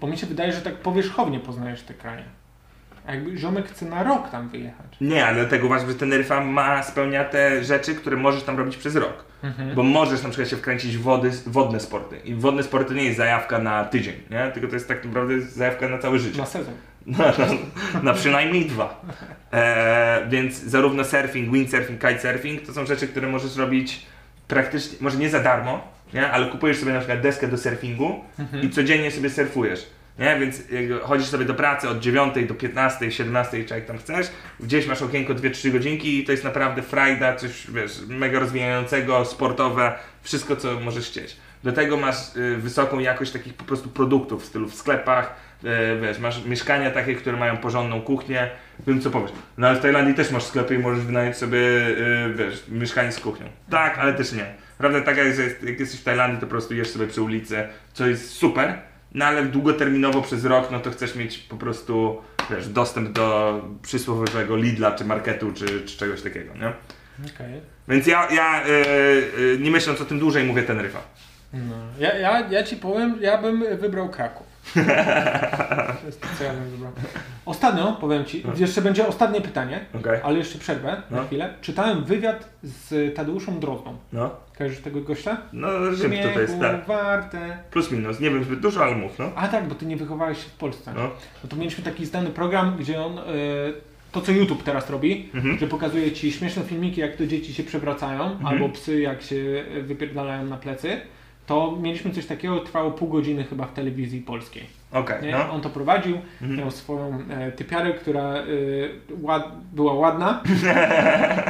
Speaker 4: Bo mi się wydaje, że tak powierzchownie poznajesz te kraje. A jakby ziomek chce na rok tam wyjechać.
Speaker 2: Nie, ale dlatego uważam, że Teneryfa ma, spełnia te rzeczy, które możesz tam robić przez rok. Bo możesz na przykład się wkręcić w wody, wodne sporty. I wodne sporty nie jest zajawka na tydzień, nie? tylko to jest tak naprawdę zajawka na całe życie.
Speaker 4: Na sezon.
Speaker 2: Na, na, na przynajmniej dwa. E, więc zarówno surfing, windsurfing, kitesurfing to są rzeczy, które możesz robić praktycznie, może nie za darmo, nie? ale kupujesz sobie na przykład deskę do surfingu i codziennie sobie surfujesz. Nie? Więc jakby chodzisz sobie do pracy od 9 do 15, 17 czy jak tam chcesz, gdzieś masz okienko 2-3 godzinki i to jest naprawdę frajda, coś wiesz, mega rozwijającego, sportowe, wszystko co możesz chcieć. Do tego masz y, wysoką jakość takich po prostu produktów w stylu w sklepach, e, wiesz, masz mieszkania takie, które mają porządną kuchnię, wiem co powiesz. No ale w Tajlandii też masz sklepy i możesz wynająć sobie, e, wiesz, mieszkanie z kuchnią. Tak, ale też nie. Prawda taka jest, że jest- jak jesteś w Tajlandii, to po prostu jesz sobie przy ulicy, co jest super, no ale długoterminowo przez rok, no to chcesz mieć po prostu, wiesz, dostęp do przysłowiowego Lidla, czy marketu, czy, czy czegoś takiego, nie?
Speaker 4: Okej.
Speaker 2: Więc ja, ja e, e, nie myśląc o tym dłużej, mówię Teneryfa.
Speaker 4: No. Ja, ja, ja ci powiem, ja bym wybrał Kraków. To jest to, co ja bym wybrał. Ostatnio, powiem ci, jeszcze będzie ostatnie pytanie,
Speaker 2: No. Okej.
Speaker 4: ale jeszcze przerwę
Speaker 2: No.
Speaker 4: na chwilę. Czytałem wywiad z Tadeuszą Drozdą.
Speaker 2: No,
Speaker 4: Kojarzysz tego gościa?
Speaker 2: no wiem kto to jest, tak.
Speaker 4: warte.
Speaker 2: Plus minus, nie wiem zbyt dużo, ale mów, no.
Speaker 4: A tak, bo ty nie wychowałeś się w Polsce.
Speaker 2: No.
Speaker 4: No, to mieliśmy taki znany program, gdzie on, e, to co YouTube teraz robi, że pokazuje ci śmieszne filmiki, jak to dzieci się przewracają, albo psy, jak się e, wypierdalają na plecy. To mieliśmy coś takiego, trwało pół godziny chyba w telewizji polskiej.
Speaker 2: Okej,
Speaker 4: Nie?
Speaker 2: no.
Speaker 4: On to prowadził, miał swoją e, typiarę, która e, ład, była ładna.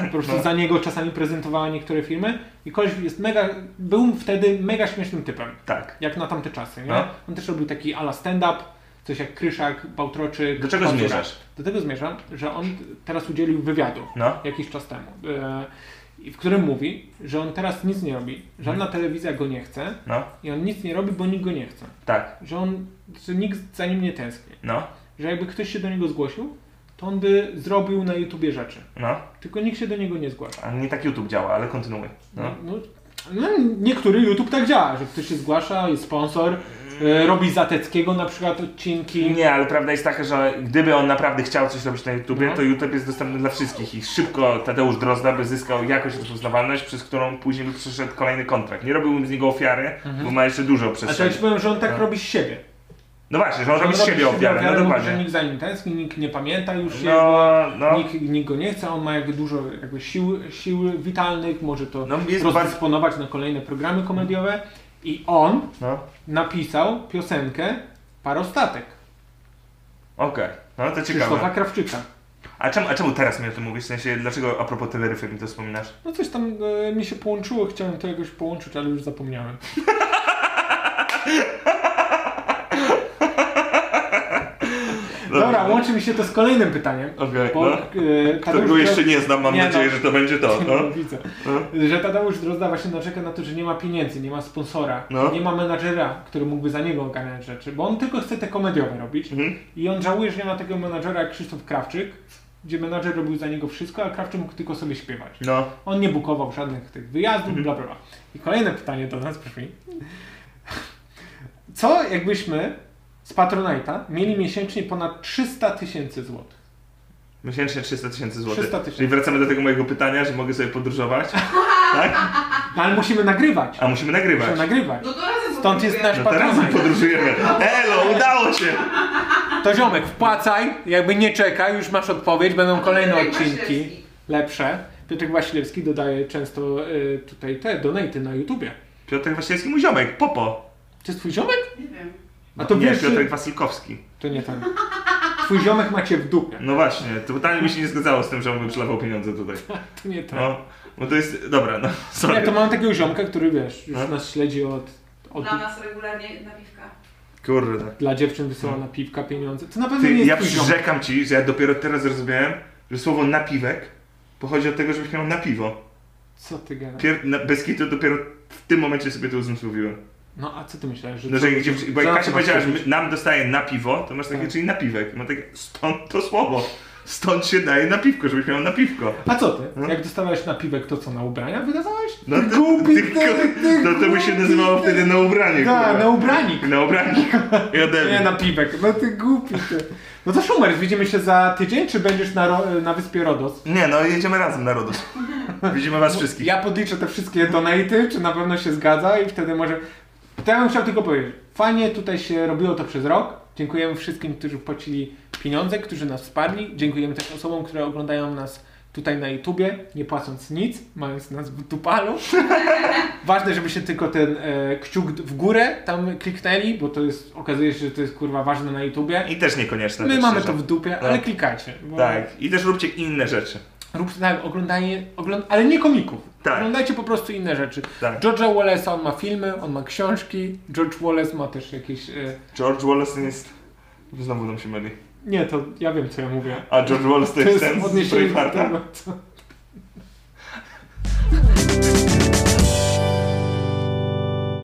Speaker 4: po prostu za niego czasami prezentowała niektóre filmy. I koleś jest mega, był wtedy mega śmiesznym typem
Speaker 2: Tak.
Speaker 4: jak na tamte czasy. Nie?
Speaker 2: No.
Speaker 4: On też robił taki ala stand-up, coś jak Kryszak, Bałtroczy.
Speaker 2: Do czego
Speaker 4: Bałtura.
Speaker 2: zmierzasz?
Speaker 4: Do tego zmierzam, że on teraz udzielił wywiadu
Speaker 2: No.
Speaker 4: jakiś czas temu, e, i w którym mówi, że on teraz nic nie robi, żadna telewizja go nie chce
Speaker 2: No,
Speaker 4: i on nic nie robi, bo nikt go nie chce.
Speaker 2: tak,
Speaker 4: Że on, że nikt za nim nie tęskni.
Speaker 2: no,
Speaker 4: Że jakby ktoś się do niego zgłosił, to on by zrobił na YouTubie rzeczy.
Speaker 2: no.
Speaker 4: Tylko nikt się do niego nie zgłasza.
Speaker 2: A nie tak YouTube działa, ale kontynuuj. No.
Speaker 4: No, no, niektóry YouTube tak działa, że ktoś się zgłasza, jest sponsor, e, robi Zateckiego na przykład odcinki.
Speaker 2: Nie, ale prawda jest taka, że gdyby on naprawdę chciał coś robić na YouTubie,
Speaker 4: No.
Speaker 2: to YouTube jest dostępny dla wszystkich i szybko Tadeusz Drozda by zyskał jakąś rozpoznawalność, przez którą później by przyszedł kolejny kontrakt. Nie robiłbym z niego ofiary, bo ma jeszcze dużo
Speaker 4: Mhm. A to ja
Speaker 2: przestrzeni.
Speaker 4: ci powiem, że on tak
Speaker 2: No.
Speaker 4: robi z siebie.
Speaker 2: No właśnie, że on robi
Speaker 4: On
Speaker 2: z siebie ofiarę, no
Speaker 4: mówi, że
Speaker 2: dokładnie.
Speaker 4: nikt za nim tęskni, nikt nie pamięta już jego,
Speaker 2: No, no.
Speaker 4: nikt, nikt go nie chce, on ma jakby dużo jakby sił, sił witalnych, może to
Speaker 2: No, jest
Speaker 4: rozdysponować na kolejne programy komediowe. I on
Speaker 2: no.
Speaker 4: napisał piosenkę Parostatek
Speaker 2: Okej, no to
Speaker 4: Krzysztofa
Speaker 2: ciekawe.
Speaker 4: Krawczyka.
Speaker 2: A czemu, a czemu teraz mi o tym mówisz? W sensie, dlaczego a propos Teneryfy mi to wspominasz?
Speaker 4: No coś tam e, mi się połączyło, chciałem to jakoś połączyć, ale już zapomniałem. Dobra, łączy mi się to z kolejnym pytaniem.
Speaker 2: Okej,
Speaker 4: Bo,
Speaker 2: no.
Speaker 4: e, Tadeusz
Speaker 2: Którego
Speaker 4: Dro-
Speaker 2: jeszcze nie znam, mam
Speaker 4: Nie, no.
Speaker 2: nadzieję, że to będzie to. No.
Speaker 4: Widzę.
Speaker 2: No.
Speaker 4: Że Tadeusz Drozda właśnie narzeka na to, że nie ma pieniędzy, nie ma sponsora,
Speaker 2: No.
Speaker 4: nie ma menadżera, który mógłby za niego ogarniać rzeczy, bo on tylko chce te komediowe robić
Speaker 2: Mhm.
Speaker 4: i on żałuje, że nie ma takiego menadżera jak Krzysztof Krawczyk, gdzie menadżer robił za niego wszystko, a Krawczyk mógł tylko sobie śpiewać.
Speaker 2: no.
Speaker 4: On nie bukował żadnych tych wyjazdów,
Speaker 2: Mhm.
Speaker 4: bla bla bla. I kolejne pytanie do nas brzmi. Co jakbyśmy z Patronite'a mieli miesięcznie ponad 300 tysięcy złotych?
Speaker 2: Miesięcznie 300 tysięcy złotych.
Speaker 4: 300 000.
Speaker 2: Czyli wracamy do tego mojego pytania, że mogę sobie podróżować. tak?
Speaker 4: No ale musimy nagrywać.
Speaker 2: A musimy
Speaker 4: Musimy
Speaker 2: nagrywać.
Speaker 4: nagrywać.
Speaker 5: No to razem
Speaker 4: Stąd jest
Speaker 5: podróżujemy.
Speaker 2: No
Speaker 4: nasz
Speaker 2: teraz
Speaker 4: patronat.
Speaker 2: podróżujemy. Elo, udało się!
Speaker 4: To ziomek, wpłacaj, jakby nie czekaj, już masz odpowiedź, będą kolejne
Speaker 5: Piotrek
Speaker 4: odcinki
Speaker 5: Wasilewski.
Speaker 4: lepsze. Piotrek Wasilewski dodaje często y, tutaj te donaty na YouTubie.
Speaker 2: Piotr Wasilewski, mój ziomek, Popo.
Speaker 4: To jest twój ziomek?
Speaker 5: Nie wiem.
Speaker 4: A to
Speaker 2: nie,
Speaker 4: wiesz,
Speaker 2: Piotr
Speaker 4: że...
Speaker 2: Wasilkowski.
Speaker 4: To nie ten. Twój ziomek macie w dupie.
Speaker 2: No właśnie, to pytanie mi się nie zgadzało z tym, że on by przelewał pieniądze tutaj.
Speaker 4: To nie ten.
Speaker 2: No, bo to jest... Dobra, no,
Speaker 4: Nie,
Speaker 2: sorry.
Speaker 4: to mam takiego ziomka, który wiesz, już
Speaker 2: No.
Speaker 4: nas śledzi od... od
Speaker 5: Dla nas regularnie napiwka.
Speaker 2: Kurde.
Speaker 4: dla dziewczyn wysyła na piwka pieniądze. To na pewno
Speaker 2: Hmm. Ty,
Speaker 4: nie jest
Speaker 2: ja
Speaker 4: twój ziomek.
Speaker 2: przyrzekam ci, że ja dopiero teraz zrozumiałem, że słowo napiwek pochodzi od tego, żebyś miał na piwo.
Speaker 4: Co ty gadasz?
Speaker 2: Pier- na, bez kitu dopiero w tym momencie sobie to uzmysłowiłem.
Speaker 4: No a co ty myślałeś, że...
Speaker 2: No,
Speaker 4: co-
Speaker 2: że gdzie, bo
Speaker 4: co
Speaker 2: jak
Speaker 4: na
Speaker 2: Kasia
Speaker 4: co
Speaker 2: powiedziała, że
Speaker 4: masz
Speaker 2: my- nam dostaje na piwo, to masz takie,
Speaker 4: Tak.
Speaker 2: czyli napiwek. Ma takie, stąd to słowo. Stąd się daje napiwko, żebyś miał napiwko.
Speaker 4: A co ty?
Speaker 2: No.
Speaker 4: Jak dostawałeś napiwek, to co, na ubrania wydawałeś?
Speaker 2: No to,
Speaker 4: Głupi
Speaker 2: tylko-
Speaker 4: ty, ty
Speaker 2: no to by się
Speaker 4: głupi
Speaker 2: nazywało
Speaker 4: ty.
Speaker 2: wtedy na ubranie.
Speaker 4: Tak,
Speaker 2: kurwa.
Speaker 4: na ubranik.
Speaker 2: na ubranie. I ode mnie.
Speaker 4: Nie, napiwek. No ty głupi ty. No to Szumer, widzimy się za tydzień, czy będziesz na, ro- na wyspie Rodos?
Speaker 2: Nie, no jedziemy razem na Rodos. Widzimy was wszystkich.
Speaker 4: Ja podliczę te wszystkie donaty, czy na pewno się zgadza i wtedy może... To ja bym chciał tylko powiedzieć. Fajnie tutaj się robiło to przez rok. Dziękujemy wszystkim, którzy płacili pieniądze, którzy nas wsparli. Dziękujemy też osobom, które oglądają nas tutaj na YouTubie, nie płacąc nic, mając nas w dupalu. Ważne, żeby się tylko ten e, kciuk w górę tam kliknęli, bo to jest, okazuje się, że to jest kurwa ważne na YouTubie.
Speaker 2: I też niekonieczne.
Speaker 4: My
Speaker 2: tak
Speaker 4: mamy to
Speaker 2: szczerze.
Speaker 4: w dupie, ale klikajcie. Bo
Speaker 2: Tak, i też róbcie inne rzeczy.
Speaker 4: Róbcie tak, oglądanie, ogląd... ale nie komików.
Speaker 2: Tak.
Speaker 4: Oglądajcie po prostu inne rzeczy.
Speaker 2: Tak.
Speaker 4: George'a Wallace'a, on ma filmy, on ma książki. George Wallace ma też jakieś... Y...
Speaker 2: George Wallace jest... Znowu nam się myli.
Speaker 4: Nie, to ja wiem, co ja mówię.
Speaker 2: A George Wallace to
Speaker 4: To
Speaker 2: jest
Speaker 4: jest
Speaker 2: ten z
Speaker 4: odniesienie do
Speaker 2: Bravehearta?
Speaker 4: tego, co...